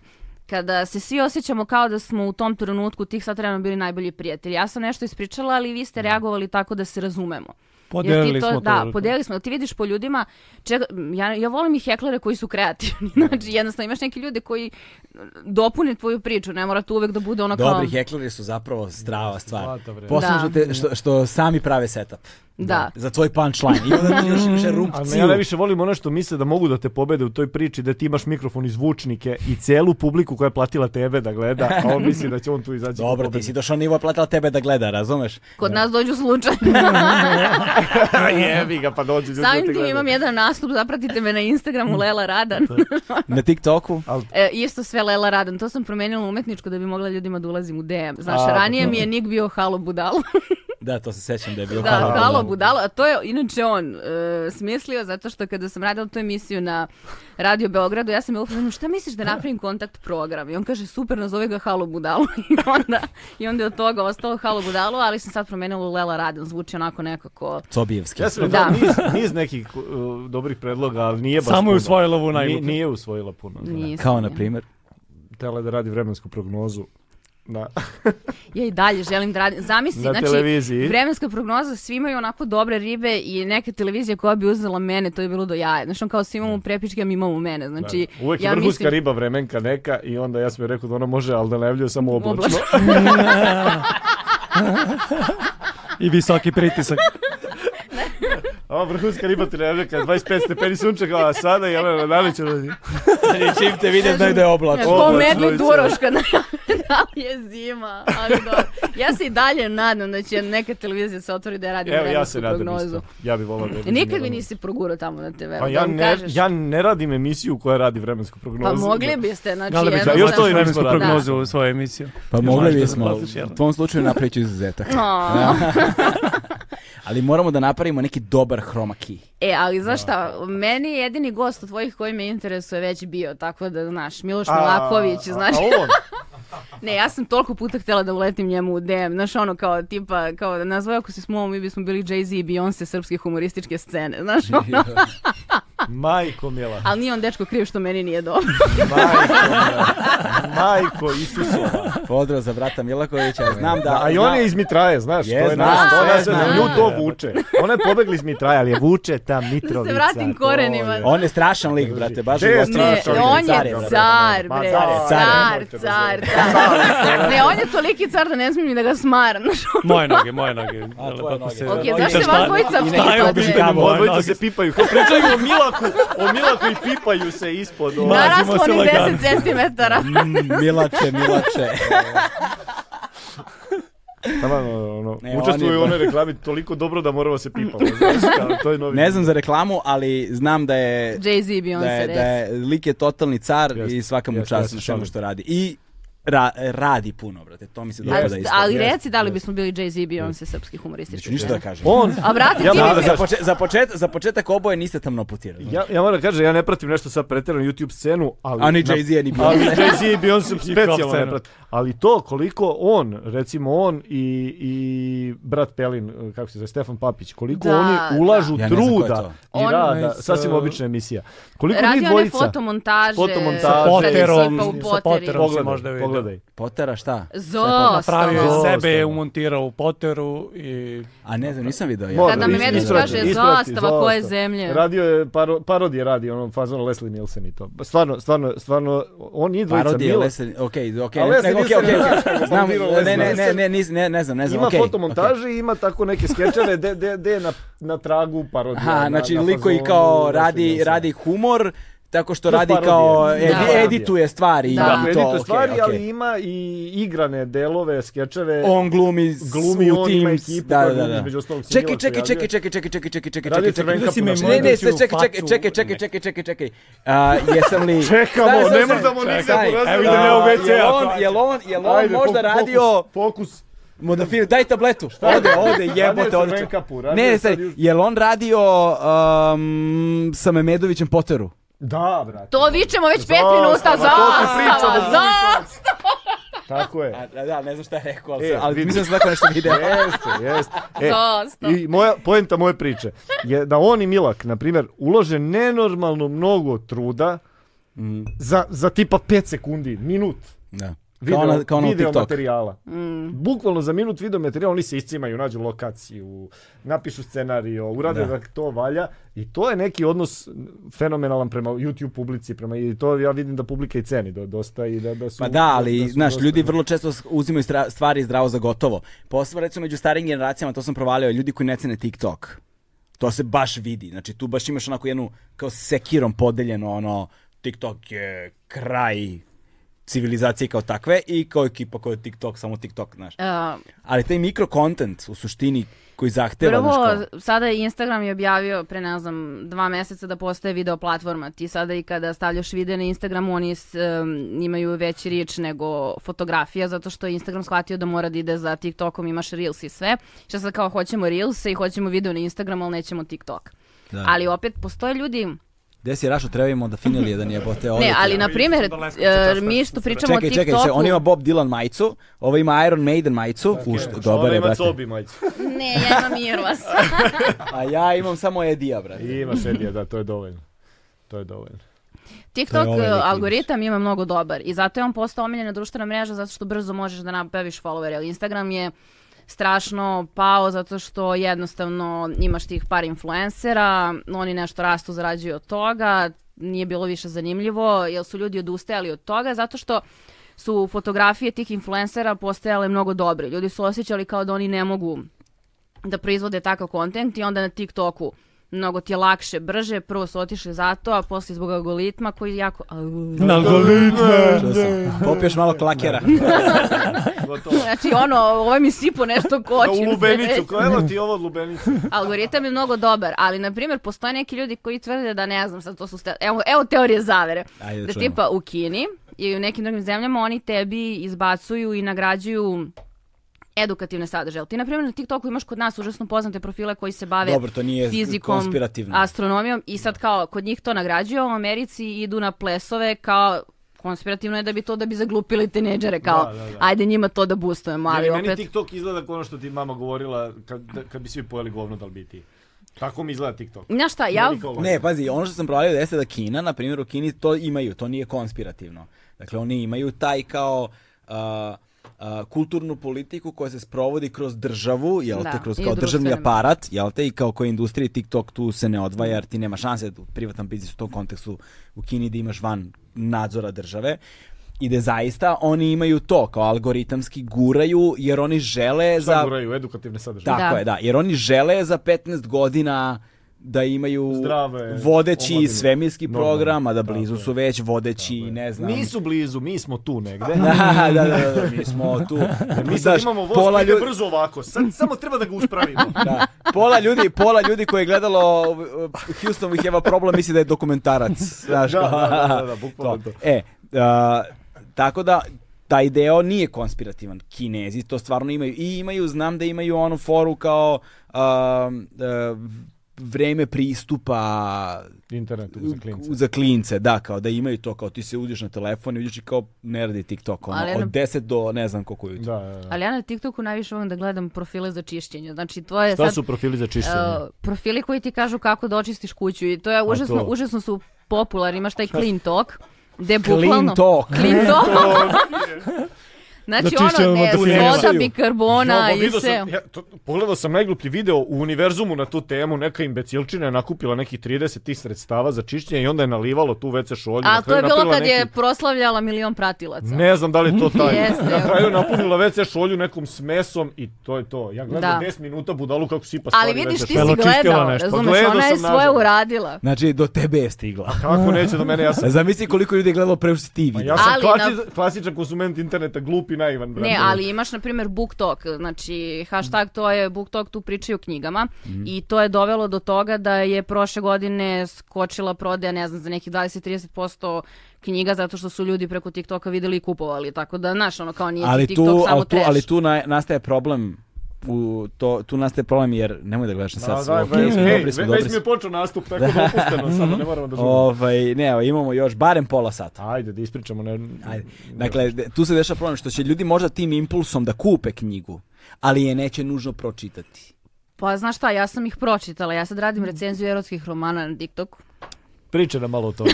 [SPEAKER 3] kada se svi osjećamo kao da smo u tom trenutku tih sat vremena bili najbolji prijatelji. Ja sam nešto ispričala, ali vi ste reagovali tako da se razumemo. Jer ti
[SPEAKER 4] Podelili
[SPEAKER 3] to,
[SPEAKER 4] smo to.
[SPEAKER 3] Da, podelili smo. Ti vidiš po ljudima, čega, ja, ja volim i heklere koji su kreativni. Znači, jednostavno imaš neke ljude koji mm, dopune tvoju priču. Ne mora to uvek da bude ono kao...
[SPEAKER 1] Dobri hekleri su zapravo strava stvar.
[SPEAKER 2] Zlata vrednost.
[SPEAKER 1] Posledno
[SPEAKER 3] Da.
[SPEAKER 1] što, te- što, što sami prave setup.
[SPEAKER 3] Da.
[SPEAKER 1] Za tvoj punchline. I onda ti još imaš
[SPEAKER 2] Ali ja
[SPEAKER 1] erupciju.
[SPEAKER 2] najviše volim ono što misle da mogu da te pobede u toj priči, da ti imaš mikrofon i zvučnike i celu publiku koja je platila tebe da gleda, a on misli da će on tu izaći.
[SPEAKER 1] Dobro, ti si došao na nivo, platila tebe da gleda, razumeš?
[SPEAKER 3] Kod nas dođu slučaj.
[SPEAKER 2] Jebi ga, pa dođi ljudi da
[SPEAKER 3] Samim
[SPEAKER 2] te
[SPEAKER 3] tim
[SPEAKER 2] gledaju.
[SPEAKER 3] imam jedan nastup, zapratite me na Instagramu Lela Radan.
[SPEAKER 1] Na TikToku?
[SPEAKER 3] E, isto sve Lela Radan. To sam promenila umetničko da bi mogla ljudima da ulazim u DM. Znaš,
[SPEAKER 2] A,
[SPEAKER 3] ranije mi je nik bio Halo Budalo.
[SPEAKER 1] Da, to se sećam da je bilo.
[SPEAKER 3] da, Halo, Budalo. A to je inače on e, smislio zato što kada sam radila tu emisiju na Radio Beogradu, ja sam je upravo, šta misliš da napravim kontakt program? I on kaže, super, nazove ga Halo Budalo. I onda, I onda je od toga ostalo Halo Budalo, ali sam sad promenila u Lela Radan. Zvuči onako nekako...
[SPEAKER 1] Cobijevski.
[SPEAKER 2] Ja sam
[SPEAKER 3] Da.
[SPEAKER 2] da. niz, niz nekih uh, dobrih predloga, ali nije baš
[SPEAKER 4] Samo je
[SPEAKER 2] puno.
[SPEAKER 4] usvojila ovu najgluplju.
[SPEAKER 2] Ni- Nije usvojila puno. da.
[SPEAKER 3] Nisam
[SPEAKER 1] Kao
[SPEAKER 3] ja.
[SPEAKER 1] na primjer.
[SPEAKER 2] Htela je da radi vremensku prognozu. Na,
[SPEAKER 3] Ja i dalje želim da radim. Zamisli,
[SPEAKER 2] Na
[SPEAKER 3] znači,
[SPEAKER 2] televiziji.
[SPEAKER 3] vremenska prognoza, svi imaju onako dobre ribe i neka televizija koja bi uzela mene, to je bilo do jaja. Znači, on kao svi imamo prepičke, a mi imamo mene. Znači,
[SPEAKER 2] Mm. da. Uvek
[SPEAKER 3] ja
[SPEAKER 2] je vrhunska
[SPEAKER 3] mislim,
[SPEAKER 2] riba vremenka neka i onda ja sam joj rekao da ona može, ali da najavljaju samo oblačno.
[SPEAKER 3] Oblačno.
[SPEAKER 4] I visoki pritisak.
[SPEAKER 2] Ova vrhunska riba ti najavljaka, 25 stepeni sunčega, a sada Jelena Dalić rodi.
[SPEAKER 1] Znači, Čim te vidim da ide oblak.
[SPEAKER 2] O,
[SPEAKER 3] Ko
[SPEAKER 2] Oblač,
[SPEAKER 3] medni
[SPEAKER 2] dvojica.
[SPEAKER 3] duroš kad najavlja da li je zima, ali dobro. Ja se i dalje nadam da će neka televizija se otvori da je radi
[SPEAKER 2] Evo, ja
[SPEAKER 3] vremensku
[SPEAKER 2] se nadam
[SPEAKER 3] prognozu. E,
[SPEAKER 2] isto. Ja bih volao da je
[SPEAKER 3] Nikad mi
[SPEAKER 2] Jelena.
[SPEAKER 3] nisi progurao tamo na TV-u,
[SPEAKER 2] Pa
[SPEAKER 3] da
[SPEAKER 2] ja
[SPEAKER 3] vam
[SPEAKER 2] ne,
[SPEAKER 3] kažeš.
[SPEAKER 2] ja ne radim emisiju koja radi vremensku prognozu.
[SPEAKER 3] Pa mogli biste, znači
[SPEAKER 4] Gale bi
[SPEAKER 2] Da, još to i nismo
[SPEAKER 4] vremensku
[SPEAKER 2] radili.
[SPEAKER 4] prognozu u svoju emisiju.
[SPEAKER 1] Pa mogli
[SPEAKER 4] možda da
[SPEAKER 1] bismo,
[SPEAKER 4] platiš, jel?
[SPEAKER 1] u tvom slučaju napraviti izuzetak.
[SPEAKER 3] No.
[SPEAKER 1] Ali moramo da napravimo neki dobar chroma key.
[SPEAKER 3] E, ali znaš šta, meni je jedini gost od tvojih koji me interesuje već bio, tako da, znaš, Miloš
[SPEAKER 2] A-
[SPEAKER 3] Milaković,
[SPEAKER 2] a-
[SPEAKER 3] znaš,
[SPEAKER 2] A on,
[SPEAKER 3] ne, ja sam toliko puta htjela da uletim njemu u DM, znaš, ono, kao, tipa, kao, da nazvoj ako si s mom, mi bismo bili Jay-Z i Beyoncé srpske humorističke scene, znaš, ono,
[SPEAKER 2] majko mila,
[SPEAKER 3] ali nije on dečko kriv što meni nije dobro.
[SPEAKER 2] majko mila, majko Isusova.
[SPEAKER 1] Pozdrav za brata Milakovića. Znam da...
[SPEAKER 2] A i on je iz Mitraje, znaš,
[SPEAKER 1] Je,
[SPEAKER 2] to je
[SPEAKER 1] znam,
[SPEAKER 2] nas, to
[SPEAKER 1] sve
[SPEAKER 2] nas,
[SPEAKER 1] znam.
[SPEAKER 2] nju to vuče. Ona je pobegla iz Mitraje, ali je vuče ta Mitrovica.
[SPEAKER 3] vratim
[SPEAKER 2] to
[SPEAKER 3] korenima.
[SPEAKER 2] je.
[SPEAKER 1] On je strašan lik, brate, baš
[SPEAKER 2] Gde je
[SPEAKER 1] je
[SPEAKER 3] Ne,
[SPEAKER 2] strašan lik?
[SPEAKER 3] on
[SPEAKER 2] Car je,
[SPEAKER 3] je
[SPEAKER 2] brate.
[SPEAKER 3] car,
[SPEAKER 2] Ma,
[SPEAKER 3] bre,
[SPEAKER 2] car
[SPEAKER 1] je, car je.
[SPEAKER 2] Nemojte me
[SPEAKER 3] car, car, car. Ne, on je toliki car da ne smijem ni da ga smaram, znaš, ono.
[SPEAKER 4] Moje noge, moje noge.
[SPEAKER 1] tvoje
[SPEAKER 4] Kako
[SPEAKER 1] noge.
[SPEAKER 4] se-
[SPEAKER 3] Ok,
[SPEAKER 1] Moje
[SPEAKER 3] zašto
[SPEAKER 1] noge.
[SPEAKER 3] se
[SPEAKER 1] Šta-
[SPEAKER 3] vas dvojica
[SPEAKER 1] i neki
[SPEAKER 3] pitate?
[SPEAKER 1] običaj
[SPEAKER 4] Tamo,
[SPEAKER 2] Ovo
[SPEAKER 4] noge.
[SPEAKER 2] dvojice se pipaju, kao pričaju o Milaku, o Milaku i pipaju se ispod. ono. ovo.
[SPEAKER 4] Ma-
[SPEAKER 3] Naraslo
[SPEAKER 4] Mazimo se
[SPEAKER 3] ni
[SPEAKER 4] lagano.
[SPEAKER 3] 10 centimetara.
[SPEAKER 1] Mm, Milače, Milače.
[SPEAKER 2] Taman, ono,
[SPEAKER 1] Ne, on
[SPEAKER 2] učestvuju
[SPEAKER 1] je-
[SPEAKER 2] u onoj reklami toliko dobro da moramo se pipamo. Znaš, kao, to je novi
[SPEAKER 1] Ne znam za reklamu, ali znam da je...
[SPEAKER 3] Jay-Z i
[SPEAKER 1] Da je,
[SPEAKER 3] Beyoncé,
[SPEAKER 1] da
[SPEAKER 3] reci.
[SPEAKER 1] je lik je totalni car
[SPEAKER 2] Jeste,
[SPEAKER 1] i svaka mu
[SPEAKER 2] jeste,
[SPEAKER 1] čast
[SPEAKER 2] jeste,
[SPEAKER 1] na svemu
[SPEAKER 2] šalim.
[SPEAKER 1] što radi. I ra- radi puno, brate. To mi se dopada
[SPEAKER 3] Ali,
[SPEAKER 1] isto.
[SPEAKER 3] ali
[SPEAKER 2] jeste,
[SPEAKER 3] reci da li bismo bili Jay-Z i Beyoncé srpski humoristički.
[SPEAKER 1] Neću ništa da
[SPEAKER 3] scene.
[SPEAKER 1] kažem.
[SPEAKER 2] On,
[SPEAKER 3] A brate,
[SPEAKER 2] Ja
[SPEAKER 3] ti
[SPEAKER 2] moram
[SPEAKER 1] Za-
[SPEAKER 2] da
[SPEAKER 1] za, počet- za, počet- za početak oboje niste tamno putirali.
[SPEAKER 2] ja, ja moram da kažem, ja ne pratim nešto sad pretjerano YouTube scenu, ali...
[SPEAKER 1] A ni
[SPEAKER 2] na-
[SPEAKER 1] Jay-Z, ni
[SPEAKER 2] Ali
[SPEAKER 1] Beyoncé.
[SPEAKER 2] Jay-Z i Beyoncé specijalno ne
[SPEAKER 4] scenu.
[SPEAKER 2] pratim. Ali to koliko on, recimo on i, i brat Pelin, kako se zove, Stefan Papić, koliko
[SPEAKER 3] Da,
[SPEAKER 2] oni ulažu
[SPEAKER 1] da. Ja ne znam ko je
[SPEAKER 2] truda
[SPEAKER 1] to.
[SPEAKER 2] i
[SPEAKER 3] On-
[SPEAKER 2] rada,
[SPEAKER 4] Sa-
[SPEAKER 2] sasvim obična emisija. Koliko njih
[SPEAKER 3] Radio one
[SPEAKER 2] dvojica...
[SPEAKER 3] fotomontaže.
[SPEAKER 2] Fotomontaže.
[SPEAKER 4] Sa
[SPEAKER 3] kad
[SPEAKER 4] poterom,
[SPEAKER 3] surfa u
[SPEAKER 4] sa
[SPEAKER 3] poteri.
[SPEAKER 4] poterom.
[SPEAKER 2] Pogledaj,
[SPEAKER 4] možda vidio.
[SPEAKER 2] pogledaj.
[SPEAKER 1] Potara šta?
[SPEAKER 4] Napravio
[SPEAKER 3] Zostalo.
[SPEAKER 2] Ostalo.
[SPEAKER 4] sebe, je umontirao u poteru i...
[SPEAKER 1] A ne znam, nisam video. ja.
[SPEAKER 2] Može,
[SPEAKER 3] Kada mi
[SPEAKER 2] isprati,
[SPEAKER 3] Medić kaže,
[SPEAKER 2] isprati,
[SPEAKER 3] "Zastava koje
[SPEAKER 2] zastava."
[SPEAKER 3] zemlje?
[SPEAKER 2] Radio je, paro, parodije radi, ono, fazon Leslie Nielsen i to. Ba, Stvarno, stvarno, stvarno, on i dvojica
[SPEAKER 1] Parodije,
[SPEAKER 2] Mil-
[SPEAKER 1] Lesen, okej, okej,
[SPEAKER 2] A
[SPEAKER 1] ne-
[SPEAKER 2] Lesen
[SPEAKER 1] ne, okej,
[SPEAKER 2] nisam
[SPEAKER 1] okej,
[SPEAKER 2] rekao
[SPEAKER 1] okej.
[SPEAKER 2] kako
[SPEAKER 1] Znam,
[SPEAKER 2] je bilo
[SPEAKER 1] ne, ne,
[SPEAKER 2] Lesen.
[SPEAKER 1] ne, ne, nis- ne, ne znam, ne znam,
[SPEAKER 2] Ima
[SPEAKER 1] okej,
[SPEAKER 2] fotomontaže
[SPEAKER 1] okej.
[SPEAKER 2] i ima tako neke skečeve de, de, de na, na tragu parodija.
[SPEAKER 1] Aha,
[SPEAKER 2] na-
[SPEAKER 1] znači
[SPEAKER 2] na
[SPEAKER 1] liko i
[SPEAKER 2] fazonu
[SPEAKER 1] kao
[SPEAKER 2] Leslie
[SPEAKER 1] radi,
[SPEAKER 2] Nielsena.
[SPEAKER 1] radi humor, tako što
[SPEAKER 2] Plus
[SPEAKER 1] radi
[SPEAKER 2] parodije.
[SPEAKER 1] kao
[SPEAKER 2] Da.
[SPEAKER 1] edi-
[SPEAKER 3] Parodije.
[SPEAKER 1] edituje stvari
[SPEAKER 3] Da.
[SPEAKER 1] i
[SPEAKER 2] Edituje
[SPEAKER 1] to, okej,
[SPEAKER 2] stvari,
[SPEAKER 1] okej.
[SPEAKER 2] ali ima i igrane delove, skečeve.
[SPEAKER 1] on glumi, s-
[SPEAKER 2] glumi,
[SPEAKER 1] u
[SPEAKER 2] on
[SPEAKER 1] tim,
[SPEAKER 2] ima ekipu
[SPEAKER 1] da,
[SPEAKER 2] koja
[SPEAKER 1] da, da,
[SPEAKER 2] glumi,
[SPEAKER 1] da.
[SPEAKER 2] između ostalog se
[SPEAKER 1] Čekaj,
[SPEAKER 2] Miloš
[SPEAKER 1] čekaj,
[SPEAKER 2] pojavljuje.
[SPEAKER 1] čekaj, čekaj, čekaj, čekaj, čekaj, čekaj,
[SPEAKER 2] Radio
[SPEAKER 1] čekaj, čekaj,
[SPEAKER 2] Crvenka
[SPEAKER 1] čekaj,
[SPEAKER 2] po
[SPEAKER 1] čekaj,
[SPEAKER 2] našem.
[SPEAKER 1] ne, ne,
[SPEAKER 4] Možda
[SPEAKER 1] sve,
[SPEAKER 4] ću
[SPEAKER 1] čekaj,
[SPEAKER 4] u
[SPEAKER 1] čekaj,
[SPEAKER 4] facu-
[SPEAKER 1] čekaj, čekaj, čekaj, čekaj, čekaj, A, jesam li...
[SPEAKER 2] Čekamo,
[SPEAKER 1] Staj, staj,
[SPEAKER 2] ne
[SPEAKER 1] staj,
[SPEAKER 2] možemo
[SPEAKER 1] staj,
[SPEAKER 2] nigde
[SPEAKER 1] staj.
[SPEAKER 2] poraziti
[SPEAKER 1] Evo,
[SPEAKER 2] da nema
[SPEAKER 1] jel
[SPEAKER 2] WC-a,
[SPEAKER 1] on-
[SPEAKER 2] ajde.
[SPEAKER 1] Jel on, jel on
[SPEAKER 2] Ajde,
[SPEAKER 1] možda
[SPEAKER 2] fo- fokus,
[SPEAKER 1] radio...
[SPEAKER 2] Fokus.
[SPEAKER 1] Modafil, daj tabletu. Ode, ode, jebote,
[SPEAKER 2] Radio
[SPEAKER 1] ode.
[SPEAKER 2] Crvenka
[SPEAKER 1] čak.
[SPEAKER 2] pu, radio
[SPEAKER 1] Ne, ne,
[SPEAKER 2] sad
[SPEAKER 1] staj,
[SPEAKER 2] juž-
[SPEAKER 1] jel on radio um, sa Memedovićem Poteru?
[SPEAKER 2] Da, brate.
[SPEAKER 3] To vičemo već pet
[SPEAKER 2] Zastava, to
[SPEAKER 3] minuta,
[SPEAKER 2] ti pričamo,
[SPEAKER 3] zastava, zastava.
[SPEAKER 2] Tako je.
[SPEAKER 1] da, ne znam šta je rekao,
[SPEAKER 2] E,
[SPEAKER 1] ali
[SPEAKER 2] vidi.
[SPEAKER 1] mislim da sam tako nešto video.
[SPEAKER 2] Jeste, jeste. E,
[SPEAKER 3] Dosta.
[SPEAKER 2] I moja, poenta moje priče je da on i Milak, na primjer, ulože nenormalno mnogo truda za, za tipa 5 sekundi, minut
[SPEAKER 1] Da.
[SPEAKER 2] video,
[SPEAKER 1] Kao na, kao ono na
[SPEAKER 2] video
[SPEAKER 1] TikTok.
[SPEAKER 2] materijala. Bukvalno za minut video materijala oni se iscimaju, nađu lokaciju, napišu scenarijo, urade da. to valja i to je neki odnos fenomenalan prema YouTube publici, prema i to ja vidim da publika i ceni do- dosta i da, da su
[SPEAKER 1] Pa da, ali
[SPEAKER 2] su
[SPEAKER 1] znaš,
[SPEAKER 2] dosta-
[SPEAKER 1] ljudi vrlo često s- uzimaju stra- stvari zdravo za gotovo. Posebno recimo među starim generacijama, to sam provalio, ljudi koji ne cene TikTok. To se baš vidi. Znači tu baš imaš onako jednu kao sekirom podeljeno ono TikTok je kraj civilizacije kao takve i kao ekipa koja je TikTok, samo TikTok, znaš.
[SPEAKER 3] A,
[SPEAKER 4] Ehm,
[SPEAKER 1] Ali taj mikro content u suštini koji zahteva
[SPEAKER 3] Prvo,
[SPEAKER 1] znaš, kao-
[SPEAKER 3] sada je Instagram je objavio pre, ne znam, dva meseca da postaje video platforma. Ti sada i kada stavljaš video na Instagramu, oni s, em, imaju veći rič nego fotografija, zato što je Instagram shvatio da mora da ide za TikTokom, imaš Reels i sve. Što sad kao hoćemo Reels i hoćemo video na Instagram, ali nećemo TikTok. Ali opet postoje ljudi,
[SPEAKER 1] Gde si Rašo, treba imamo da finili jedan jebote. ovdje
[SPEAKER 3] ne,
[SPEAKER 1] ti-
[SPEAKER 3] ali na primjer, e, mi što pričamo
[SPEAKER 1] ono. Čekaj,
[SPEAKER 3] o TikToku,
[SPEAKER 1] čekaj, se, on ima Bob Dylan majicu, ovo ima Iron Maiden majicu. Uš, dobar
[SPEAKER 2] Ona
[SPEAKER 1] je,
[SPEAKER 2] ima
[SPEAKER 1] brate.
[SPEAKER 2] cobi majicu.
[SPEAKER 3] ne, ja imam Irvas.
[SPEAKER 1] A ja imam samo Edija, brate.
[SPEAKER 2] I ima sedija, da, to je dovoljno. To je dovoljno.
[SPEAKER 3] TikTok
[SPEAKER 1] To je ovaj lik,
[SPEAKER 3] eh, algoritam ima mnogo dobar i zato je on postao omiljena društvena mreža zato što brzo možeš da nabaviš followere. Ali Instagram je strašno pao zato što jednostavno imaš tih par influencera, oni nešto rastu, zarađuju od toga, nije bilo više zanimljivo, jer su ljudi odustajali od toga zato što su fotografije tih influencera postajale mnogo dobre. Ljudi su osjećali kao da oni ne mogu da proizvode takav kontent i onda na TikToku mnogo ti je lakše, brže, prvo su otišli zato, a posle zbog algoritma koji jako...
[SPEAKER 1] Čuo sam. Popiješ malo klakera.
[SPEAKER 2] Gotovo.
[SPEAKER 3] Znači ono, ovo mi sipo nešto koči.
[SPEAKER 2] U lubenicu, kao evo ti ovo od lubenice.
[SPEAKER 3] Algoritam je mnogo dobar, ali na primjer postoje neki ljudi koji tvrde da ne znam, sad to su ste- evo, evo teorije zavere.
[SPEAKER 1] Ajde, da
[SPEAKER 3] da
[SPEAKER 1] čujemo.
[SPEAKER 3] tipa u Kini i u nekim drugim zemljama oni tebi izbacuju i nagrađuju edukativne sadržaje. Ali ti, na primjer, na TikToku imaš kod nas užasno poznate profile koji se bave
[SPEAKER 1] Dobro, to nije
[SPEAKER 3] fizikom,
[SPEAKER 1] konspirativno.
[SPEAKER 3] astronomijom i sad kao kod njih to nagrađuju, a u Americi idu na plesove kao konspirativno je da bi to da bi zaglupili tineđere kao
[SPEAKER 2] Da, da, da.
[SPEAKER 3] ajde njima to da boostujemo, ali
[SPEAKER 2] Meni
[SPEAKER 3] opet
[SPEAKER 2] TikTok izgleda kao ono što ti mama govorila, kad, da- kad bi svi pojeli govno, da li bi i ti. Tako mi izgleda TikTok.
[SPEAKER 3] Znaš šta, ja,
[SPEAKER 2] Meni kao ovo.
[SPEAKER 1] Ne, pazi, ono što sam provalio jeste da Kina, na primjer u Kini to imaju, to nije konspirativno. Dakle, oni imaju taj kao a, a, kulturnu politiku koja se sprovodi kroz državu, jel
[SPEAKER 3] Da,
[SPEAKER 1] te, kroz
[SPEAKER 3] i
[SPEAKER 1] kao državni
[SPEAKER 3] društvene.
[SPEAKER 1] aparat, jel te, i kao koji industriji TikTok tu se ne odvaja jer ti nema šanse da u privatan biznis u tom kontekstu u Kini da imaš van nadzora države. I da zaista oni imaju to, kao algoritamski guraju, jer oni žele
[SPEAKER 2] Šta
[SPEAKER 1] za...
[SPEAKER 2] guraju, edukativne sadržaje.
[SPEAKER 1] Tako
[SPEAKER 3] Da.
[SPEAKER 1] je, da. Jer oni žele za 15 godina da imaju
[SPEAKER 2] Zdrave
[SPEAKER 1] vodeći
[SPEAKER 2] omladine.
[SPEAKER 1] svemirski
[SPEAKER 2] Normalno.
[SPEAKER 1] program, a da blizu
[SPEAKER 2] Tako
[SPEAKER 1] su već vodeći, ne znam.
[SPEAKER 2] Nisu blizu, mi smo tu negde.
[SPEAKER 1] da, da, da, da, mi smo tu.
[SPEAKER 2] Mi sad
[SPEAKER 1] Znaš,
[SPEAKER 2] imamo voz
[SPEAKER 1] pola
[SPEAKER 2] koji ide
[SPEAKER 1] ljudi,
[SPEAKER 2] brzo ovako, sad samo treba da ga uspravimo.
[SPEAKER 1] da, pola ljudi, pola ljudi koji je gledalo uh, Houston We Have a Problem misli da je dokumentarac. Znaš,
[SPEAKER 2] Da,
[SPEAKER 1] kao-
[SPEAKER 2] da, da, da, da, bukvalno to.
[SPEAKER 1] E, a, tako da taj deo nije konspirativan. Kinezi to stvarno imaju. I imaju, znam da imaju onu foru kao um, e, vreme pristupa
[SPEAKER 2] Internet za klince.
[SPEAKER 1] za klince, da, kao da imaju to, kao ti se uđeš na telefon i uđeš i kao ne radi TikTok, ono,
[SPEAKER 3] Ali
[SPEAKER 1] od
[SPEAKER 3] ono-
[SPEAKER 1] 10 do ne znam koliko jutro.
[SPEAKER 2] Da, da, da.
[SPEAKER 3] ali ja na TikToku najviše volim da gledam profile za čišćenje. Znači, to je
[SPEAKER 2] Šta
[SPEAKER 3] sad
[SPEAKER 2] su profili za čišćenje?
[SPEAKER 3] Uh, profili koji ti kažu kako da očistiš kuću i to je užasno,
[SPEAKER 2] to?
[SPEAKER 3] užasno su popularni, imaš taj clean talk, gde
[SPEAKER 1] Clean
[SPEAKER 3] bukvalno...
[SPEAKER 1] talk.
[SPEAKER 3] Clean talk. znači
[SPEAKER 4] Da čišćemo
[SPEAKER 3] ono, ne,
[SPEAKER 4] materijal.
[SPEAKER 3] soda, bikarbona
[SPEAKER 2] Jo, ma,
[SPEAKER 3] i
[SPEAKER 2] vidio
[SPEAKER 3] sve.
[SPEAKER 2] sam, ja, to, pogledao sam najgluplji video u univerzumu na tu temu, neka imbecilčina je nakupila nekih 30 tih sredstava za čišćenje i onda je nalivalo tu WC šolju.
[SPEAKER 3] A
[SPEAKER 2] na
[SPEAKER 3] to je
[SPEAKER 2] kraju
[SPEAKER 3] bilo
[SPEAKER 2] napravila
[SPEAKER 3] kad je
[SPEAKER 2] neki-
[SPEAKER 3] proslavljala milion pratilaca.
[SPEAKER 2] Ne znam da li je to taj.
[SPEAKER 3] Jeste.
[SPEAKER 2] Na kraju napunila WC šolju nekom smesom i to je to. Ja gledam
[SPEAKER 3] Da.
[SPEAKER 2] 10 minuta budalu kako sipa stvari
[SPEAKER 3] Ali
[SPEAKER 2] u
[SPEAKER 3] vidiš,
[SPEAKER 2] WC
[SPEAKER 3] ti
[SPEAKER 2] šolju.
[SPEAKER 4] školu.
[SPEAKER 3] si
[SPEAKER 4] Očistila
[SPEAKER 3] gledao,
[SPEAKER 4] nešto.
[SPEAKER 3] razumeš,
[SPEAKER 2] Gledao
[SPEAKER 3] ona je
[SPEAKER 2] sam,
[SPEAKER 3] svoje
[SPEAKER 2] nažalost.
[SPEAKER 3] uradila.
[SPEAKER 1] Znači, do tebe je stigla.
[SPEAKER 2] Kako neće do mene, ja sam...
[SPEAKER 1] E, Zamisli koliko ljudi je gledalo pre što si ti
[SPEAKER 2] Ma
[SPEAKER 1] vidio.
[SPEAKER 2] ja sam
[SPEAKER 3] Ali
[SPEAKER 2] klasi, klasičan konsument interneta, glup i naivan. brate.
[SPEAKER 3] Ne, ali imaš na primjer book talk, znači hashtag to je book talk tu pričaju o knjigama
[SPEAKER 1] Mhm.
[SPEAKER 3] i to je dovelo do toga da je prošle godine skočila prodaja, ne znam, za nekih 20-30% knjiga zato što su ljudi preko TikToka videli i kupovali, tako da, znaš, ono kao nije
[SPEAKER 1] ali
[SPEAKER 3] ti TikTok
[SPEAKER 1] tu,
[SPEAKER 3] samo
[SPEAKER 1] ali tu,
[SPEAKER 3] trash.
[SPEAKER 1] ali tu na- nastaje problem u to, tu nastaje problem jer nemoj da gledaš na
[SPEAKER 2] Da,
[SPEAKER 1] sad
[SPEAKER 2] da,
[SPEAKER 1] sve, okej,
[SPEAKER 2] već-
[SPEAKER 1] smo,
[SPEAKER 2] ej,
[SPEAKER 1] dobri smo,
[SPEAKER 2] ve-
[SPEAKER 1] dobri
[SPEAKER 2] Već mi
[SPEAKER 1] smo.
[SPEAKER 2] je počeo nastup, tako da opušteno sada, ne moramo da žurimo.
[SPEAKER 1] Ovaj, ne, evo, imamo još barem pola sata.
[SPEAKER 2] Ajde, da ispričamo. Ne,
[SPEAKER 1] Ajde. Dakle, de- tu se dešava problem što će ljudi možda tim impulsom da kupe knjigu, ali je neće nužno pročitati.
[SPEAKER 3] Pa znaš šta, ja sam ih pročitala, ja sad radim recenziju erotskih romana na TikToku.
[SPEAKER 2] Priča nam malo o tome.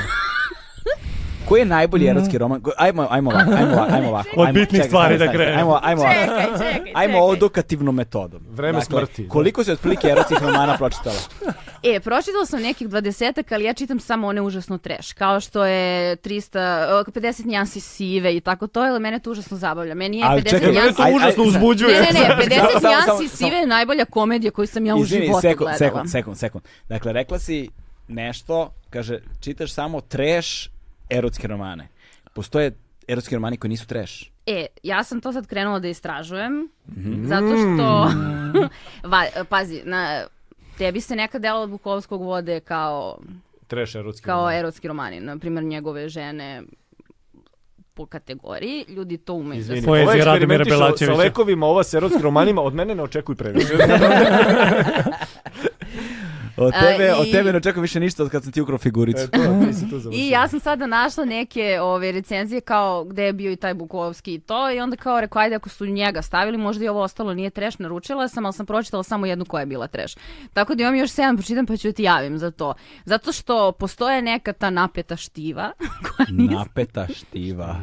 [SPEAKER 1] Koji je najbolji erotski roman? Ko- Ajmo, ajmo ovako, ajmo ovako, ajmo ovako.
[SPEAKER 4] Od
[SPEAKER 1] ajmo,
[SPEAKER 4] bitnih
[SPEAKER 1] čekaj,
[SPEAKER 4] stvari
[SPEAKER 1] stani,
[SPEAKER 4] da
[SPEAKER 1] stani, stani, Ajmo, ajmo ovako.
[SPEAKER 3] čekaj,
[SPEAKER 1] Ajmo odokativnom metodom. Dakle,
[SPEAKER 2] Vreme smrti, da.
[SPEAKER 1] Koliko si otprilike erotskih romana pročitala?
[SPEAKER 3] E, pročitala sam nekih dvadesetak, ali ja čitam samo one užasno treš, kao što je 300, e, 50 njansi sive i tako to, ali mene to užasno zabavlja. Meni je 50 njansi...
[SPEAKER 2] to užasno uzbuđuje.
[SPEAKER 3] Ne, ne, ne, 50
[SPEAKER 1] Samo, samo,
[SPEAKER 3] njansi
[SPEAKER 1] samo.
[SPEAKER 3] sive je najbolja komedija koju sam ja u
[SPEAKER 1] Izvini,
[SPEAKER 3] životu
[SPEAKER 1] sekund,
[SPEAKER 3] gledala.
[SPEAKER 1] sekund, sekund, sekund. Dakle, rekla si nešto, kaže, čitaš samo trash erotske romane. Postoje erotski romani koji nisu trash.
[SPEAKER 3] E, ja sam to sad krenula da istražujem,
[SPEAKER 1] Mhm.
[SPEAKER 3] zato što, Va, pazi, na, tebi se neka dela od Bukovskog vode kao,
[SPEAKER 2] Treš erotski.
[SPEAKER 3] kao
[SPEAKER 2] roman.
[SPEAKER 3] erotski romani, na primjer njegove žene po kategoriji, ljudi to umeju da
[SPEAKER 2] Izvini,
[SPEAKER 3] se-
[SPEAKER 4] Poezija
[SPEAKER 2] ovo
[SPEAKER 4] Radomira
[SPEAKER 2] eksperimentiš sa-
[SPEAKER 4] Belačevića.
[SPEAKER 2] Sa lekovima, ova sa erotskim romanima, od mene ne očekuj previše.
[SPEAKER 1] Od
[SPEAKER 3] A,
[SPEAKER 1] tebe,
[SPEAKER 3] i-
[SPEAKER 1] od tebe ne očekujem više ništa od kad sam ti ukrao figuricu.
[SPEAKER 2] E, to, ti si tu završila.
[SPEAKER 3] I ja sam sada našla neke ove recenzije kao gde je bio i taj Bukovski i to i onda kao rekao ajde ako su njega stavili možda i ovo ostalo nije treš, naručila sam ali sam pročitala samo jednu koja je bila treš. Tako da imam još sedam pročitam pa ću ti javim za to. Zato što postoje neka ta napeta štiva koja nije...
[SPEAKER 1] Napeta štiva.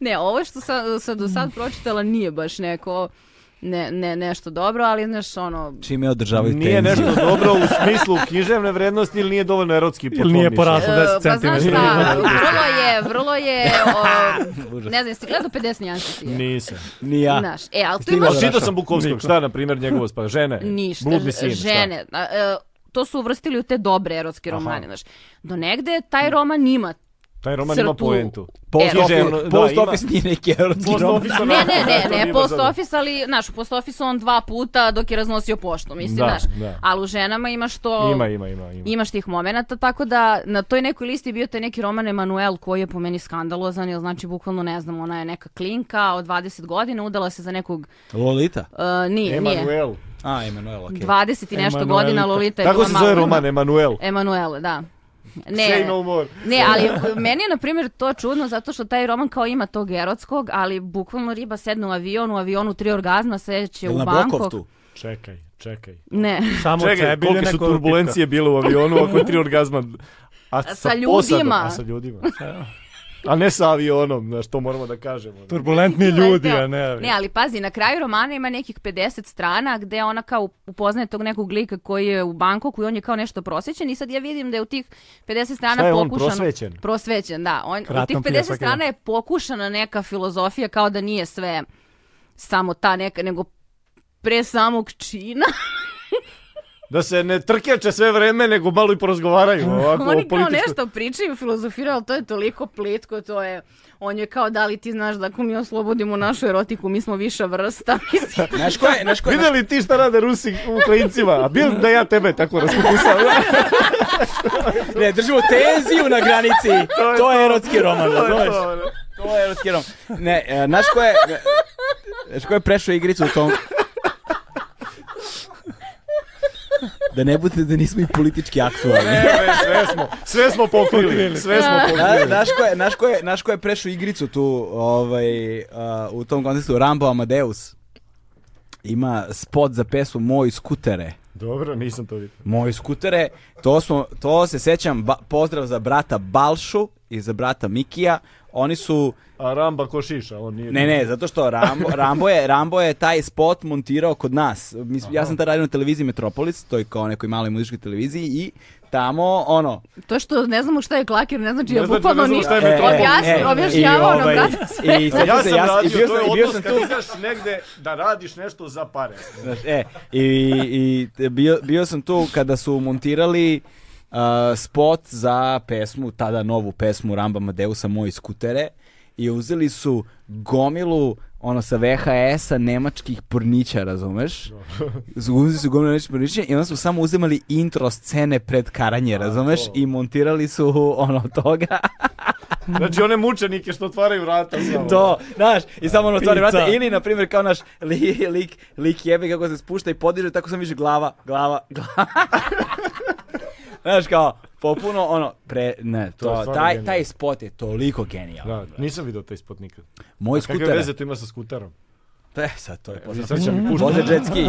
[SPEAKER 3] Ne, ovo što sam, sam do sad pročitala nije baš neko ne, ne, nešto dobro, ali znaš ono...
[SPEAKER 1] Čime održavaju tenziju.
[SPEAKER 2] Nije nešto dobro u smislu književne vrednosti ili nije dovoljno erotski po
[SPEAKER 4] Ili
[SPEAKER 2] tvom
[SPEAKER 4] nije
[SPEAKER 2] mišljenju.
[SPEAKER 4] poraslo
[SPEAKER 3] e,
[SPEAKER 4] 10
[SPEAKER 3] pa znaš
[SPEAKER 4] centimetara.
[SPEAKER 3] šta, vrlo je, vrlo je, o, ne znam, jeste gledao 50 nijansi ti je?
[SPEAKER 2] Nisam.
[SPEAKER 1] Ni ja.
[SPEAKER 3] Znaš, e, ali tu
[SPEAKER 1] Stigla
[SPEAKER 3] imaš
[SPEAKER 2] Ali čitao sam Bukovskog, šta na primjer njegovo spa? Žene,
[SPEAKER 3] ništa,
[SPEAKER 2] bludni
[SPEAKER 3] ž-
[SPEAKER 2] sin, šta?
[SPEAKER 3] žene. a, e, to su uvrstili u te dobre erotske
[SPEAKER 2] Aha.
[SPEAKER 3] romane, znaš. Do negde taj roman ima
[SPEAKER 2] Taj roman
[SPEAKER 3] crtu.
[SPEAKER 2] ima poentu.
[SPEAKER 1] Post,
[SPEAKER 3] Evo.
[SPEAKER 1] office,
[SPEAKER 2] Književno, da,
[SPEAKER 1] post
[SPEAKER 2] ima-
[SPEAKER 1] office nije neki erotski
[SPEAKER 2] Post
[SPEAKER 1] roman.
[SPEAKER 2] office-a
[SPEAKER 3] Ne,
[SPEAKER 2] naravno,
[SPEAKER 3] ne,
[SPEAKER 2] to
[SPEAKER 3] ne, ne,
[SPEAKER 2] nije
[SPEAKER 3] post
[SPEAKER 2] zadovoljno.
[SPEAKER 3] office, ali, znaš, u post office on dva puta dok je raznosio poštu, mislim,
[SPEAKER 2] Da,
[SPEAKER 3] znaš.
[SPEAKER 2] da.
[SPEAKER 3] Ali u ženama imaš to...
[SPEAKER 2] Ima, ima, ima. ima.
[SPEAKER 3] Imaš tih momenata, tako da na toj nekoj listi je bio taj neki roman Emanuel koji je po meni skandalozan, jer znači bukvalno ne znam, ona je neka klinka od 20 godina, udala se za nekog,
[SPEAKER 1] Lolita?
[SPEAKER 3] uh, nije, nije,
[SPEAKER 2] Emanuel.
[SPEAKER 1] A, Emanuel, okej.
[SPEAKER 3] 20 i nešto
[SPEAKER 2] Emanuelita.
[SPEAKER 3] godina Lolita je
[SPEAKER 2] Tako
[SPEAKER 3] bila
[SPEAKER 2] se zove
[SPEAKER 3] malo-
[SPEAKER 2] roman, Emanuel.
[SPEAKER 3] Emanuele, da.
[SPEAKER 2] Say no more.
[SPEAKER 3] Ne, ali meni je na primjer to čudno zato što taj roman kao ima tog erotskog, ali bukvalno riba sedne u avion, u avionu tri orgazma, seće
[SPEAKER 1] Jel
[SPEAKER 3] u
[SPEAKER 1] na
[SPEAKER 3] Bangkok.
[SPEAKER 1] Bokovtu?
[SPEAKER 2] Čekaj, čekaj.
[SPEAKER 3] Ne,
[SPEAKER 4] Samo od
[SPEAKER 2] Čekaj,
[SPEAKER 4] sebe ili
[SPEAKER 2] kolike su
[SPEAKER 4] neko tipka.
[SPEAKER 2] turbulencije bile u avionu, ako je tri orgazma... A sa,
[SPEAKER 3] ljudima.
[SPEAKER 2] posadom, a sa ljudima. A ne sa avionom, znaš, to moramo da kažemo.
[SPEAKER 4] Turbulentni ljudi, a ne. avi.
[SPEAKER 3] ne, ali pazi, na kraju romana ima nekih 50 strana gde ona kao upoznaje tog nekog lika koji je u Bangkoku i on je kao nešto prosvećen i sad ja vidim da je u tih 50 strana
[SPEAKER 2] Šta je on,
[SPEAKER 3] pokušano...
[SPEAKER 2] prosvećen?
[SPEAKER 3] Prosvećen, da. On, u tih
[SPEAKER 4] Kratno
[SPEAKER 3] 50
[SPEAKER 4] pije svaki
[SPEAKER 3] strana je pokušana neka filozofija kao da nije sve samo ta neka, nego pre samog čina
[SPEAKER 2] Da se ne trkeče sve vreme, nego malo i porazgovaraju. Ovako, o
[SPEAKER 3] Oni kao
[SPEAKER 2] političkoj-
[SPEAKER 3] nešto pričaju, filozofiraju, ali to je toliko plitko, to je... On je kao, da li ti znaš da ako mi oslobodimo našu erotiku, mi smo viša vrsta. Mislim,
[SPEAKER 1] Znaš ko je, znaš ko je,
[SPEAKER 2] Videli li ti šta rade Rusi Ukrajincima? A bil da ja tebe tako raskukusam.
[SPEAKER 1] ne, držimo tenziju na granici. to, je erotski roman, razumeš?
[SPEAKER 2] ono,
[SPEAKER 1] To je erotski roman. Ne, e, znaš ko je, znaš ko je prešao igricu u tom... Da ne bude da nismo i politički aktualni.
[SPEAKER 2] sve smo, sve smo pokrili. Sve smo pokrili.
[SPEAKER 1] Na- Znaš ko je, znaš ko je, znaš ko je prešao igricu tu, ovaj, a, u tom kontekstu, Rambo Amadeus. Ima spot za pesmu Moj skutere.
[SPEAKER 2] Dobro, nisam to vidio.
[SPEAKER 1] Moj skutere, to, smo, to se sećam, ba- pozdrav za brata Balšu i za brata Mikija. Oni su,
[SPEAKER 2] A Ramba ko šiša, on nije...
[SPEAKER 1] ne ne, zato što Rambo, Rambo, je, Rambo je taj spot montirao kod nas. Mis- ja sam tad radio na televiziji Metropolis, to je kao nekoj maloj muzičkoj televiziji i tamo, ono,
[SPEAKER 3] to što ne znamo šta je klakir, ne znači
[SPEAKER 2] Ne
[SPEAKER 3] ja
[SPEAKER 2] znači da
[SPEAKER 3] bukvalno
[SPEAKER 2] ne znamo
[SPEAKER 3] ništa.
[SPEAKER 2] šta je metronom.
[SPEAKER 3] Objasni-
[SPEAKER 1] E, e,
[SPEAKER 3] objašnjavao
[SPEAKER 1] i
[SPEAKER 3] nam,
[SPEAKER 1] ovaj-
[SPEAKER 3] brate,
[SPEAKER 1] i sećam
[SPEAKER 2] Ja
[SPEAKER 1] se,
[SPEAKER 2] sam
[SPEAKER 1] i bio
[SPEAKER 2] radio, to
[SPEAKER 1] sam-
[SPEAKER 2] je
[SPEAKER 1] i bio
[SPEAKER 2] odnos
[SPEAKER 1] sam
[SPEAKER 2] kad
[SPEAKER 1] tu.
[SPEAKER 2] ideš negde da radiš nešto za pare.
[SPEAKER 1] Znaš, e, i, i te- bio, bio sam tu kada su montirali uh, spot za pesmu, tada novu pesmu Ramba Madeusa Moji skutere i uzeli su gomilu ono sa VHS-a nemačkih pornića, razumeš? Uzeli su gomilu nemačkih pornića i onda su samo uzimali intro scene pred karanje, razumeš? I montirali su ono toga.
[SPEAKER 2] Znači one mučenike što otvaraju vrata. samo.
[SPEAKER 1] To, znaš, i samo ono otvori
[SPEAKER 4] Pizza.
[SPEAKER 1] vrata. Ili, na primjer, kao naš li, lik, lik jebe kako se spušta i podiže, tako sam više glava, glava, glava. znaš, kao, popuno, ono, pre, ne, to,
[SPEAKER 2] je stvarno
[SPEAKER 1] taj,
[SPEAKER 2] genijalno.
[SPEAKER 1] taj spot je toliko genijalan.
[SPEAKER 2] Da, nisam vidio taj spot nikad.
[SPEAKER 1] Moj
[SPEAKER 2] Kakve
[SPEAKER 1] skuter,
[SPEAKER 2] veze to ima sa skuterom?
[SPEAKER 1] e, sad to je
[SPEAKER 2] Pa Mislim,
[SPEAKER 1] pozdrav.
[SPEAKER 2] sad će mi puštati.
[SPEAKER 1] Pozdrav jet ski.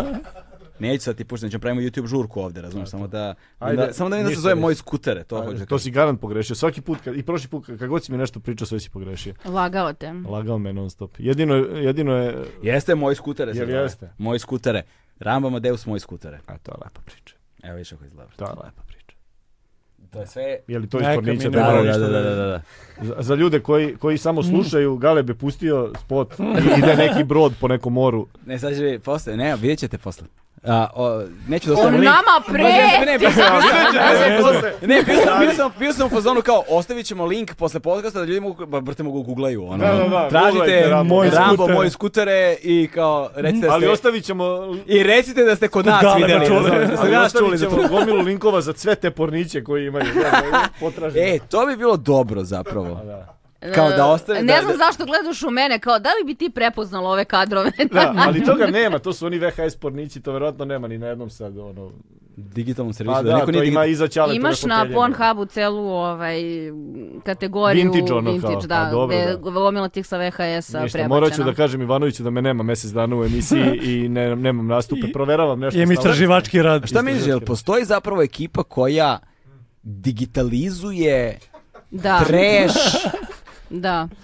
[SPEAKER 1] Neću sad ti puštati, ćemo pravimo YouTube žurku ovde, razumiješ, samo da,
[SPEAKER 2] Ajde,
[SPEAKER 1] da- samo da vidim da se
[SPEAKER 2] ništa
[SPEAKER 1] zove
[SPEAKER 2] nisi.
[SPEAKER 1] moj skutere, to hoću da
[SPEAKER 2] To
[SPEAKER 1] kažem.
[SPEAKER 2] si garant pogrešio. Svaki put, kad, i prošli put, kad god si mi nešto pričao, sve si pogrešio.
[SPEAKER 3] Lagao te.
[SPEAKER 2] Lagao me non stop. Jedino, jedino je...
[SPEAKER 1] Jeste moj skutere, se
[SPEAKER 2] Jel
[SPEAKER 1] zove.
[SPEAKER 2] jeste?
[SPEAKER 1] Moj skutere. Rambo Amadeus, moj skutere.
[SPEAKER 2] A to je lepa priča.
[SPEAKER 1] Evo više kako izgleda.
[SPEAKER 2] To je lepa priča.
[SPEAKER 1] To je sve...
[SPEAKER 2] Je li to iz
[SPEAKER 4] Neka
[SPEAKER 2] Kornića?
[SPEAKER 4] mi
[SPEAKER 2] Ne
[SPEAKER 1] Da,
[SPEAKER 2] moram
[SPEAKER 1] da,
[SPEAKER 2] ništa
[SPEAKER 1] da, da, Mm.
[SPEAKER 2] da-
[SPEAKER 1] da, da, da.
[SPEAKER 2] Za, za ljude koji, koji samo slušaju, Galeb je pustio spot i ide neki brod po nekom moru.
[SPEAKER 1] Ne, sad će posle, ne, vidjet ćete posle. A, o, neću da
[SPEAKER 3] On
[SPEAKER 1] ostavim link.
[SPEAKER 3] nama
[SPEAKER 1] Ne,
[SPEAKER 3] pre!
[SPEAKER 1] ne, bio sam,
[SPEAKER 2] Ne, posle.
[SPEAKER 1] ne, bio sam, bio sam, bio sam u fazonu kao, ostavit ćemo link posle podcasta da ljudi mogu, ba, brate, mogu googlaju, ono.
[SPEAKER 2] Da, da, da,
[SPEAKER 1] Tražite
[SPEAKER 2] googlajte Rambo.
[SPEAKER 1] moj Rambo,
[SPEAKER 2] skutere.
[SPEAKER 1] moji skutere i kao, recite da
[SPEAKER 2] Ali
[SPEAKER 1] ste,
[SPEAKER 2] ostavit ćemo...
[SPEAKER 1] i recite da ste kod nas
[SPEAKER 4] Galeba
[SPEAKER 1] videli.
[SPEAKER 4] čuli.
[SPEAKER 1] razumete, Da ste kod
[SPEAKER 2] Ali
[SPEAKER 1] nas čuli
[SPEAKER 2] ostavit
[SPEAKER 1] za
[SPEAKER 2] ćemo
[SPEAKER 1] to.
[SPEAKER 2] gomilu linkova za sve te porniće koji imaju. Da, da, potražimo.
[SPEAKER 1] E, to bi bilo dobro zapravo.
[SPEAKER 2] Da.
[SPEAKER 1] Kao da ostavi-
[SPEAKER 3] ostavim...
[SPEAKER 1] da-
[SPEAKER 3] E, Ne znam
[SPEAKER 1] da-
[SPEAKER 3] zašto gledaš u mene, kao da li bi ti prepoznala ove kadrove? Znači,
[SPEAKER 2] Da, ali toga nema, to su oni VHS pornići, to verovatno nema ni na jednom sad, ono...
[SPEAKER 1] Digitalnom servisu,
[SPEAKER 2] Pa
[SPEAKER 1] da,
[SPEAKER 2] da,
[SPEAKER 1] neko
[SPEAKER 2] to
[SPEAKER 1] nije
[SPEAKER 2] ima
[SPEAKER 1] digit-
[SPEAKER 2] iza ćale
[SPEAKER 3] Imaš na Pornhubu celu ovaj, kategoriju
[SPEAKER 2] Vintage ono kao,
[SPEAKER 3] vintage,
[SPEAKER 2] a
[SPEAKER 3] da,
[SPEAKER 2] dobro,
[SPEAKER 3] gde je
[SPEAKER 2] da.
[SPEAKER 3] gomila tih sa VHS-a
[SPEAKER 2] Ništa,
[SPEAKER 3] prebačena.
[SPEAKER 2] morat ću da kažem Ivanoviću da me nema mjesec dana u emisiji i ne, nemam nastupe, proveravam nešto.
[SPEAKER 4] Jem
[SPEAKER 2] stalno.
[SPEAKER 4] istraživački rad.
[SPEAKER 1] Šta misliš, jel postoji zapravo ekipa koja digitalizuje
[SPEAKER 3] Da,
[SPEAKER 1] trash
[SPEAKER 3] da.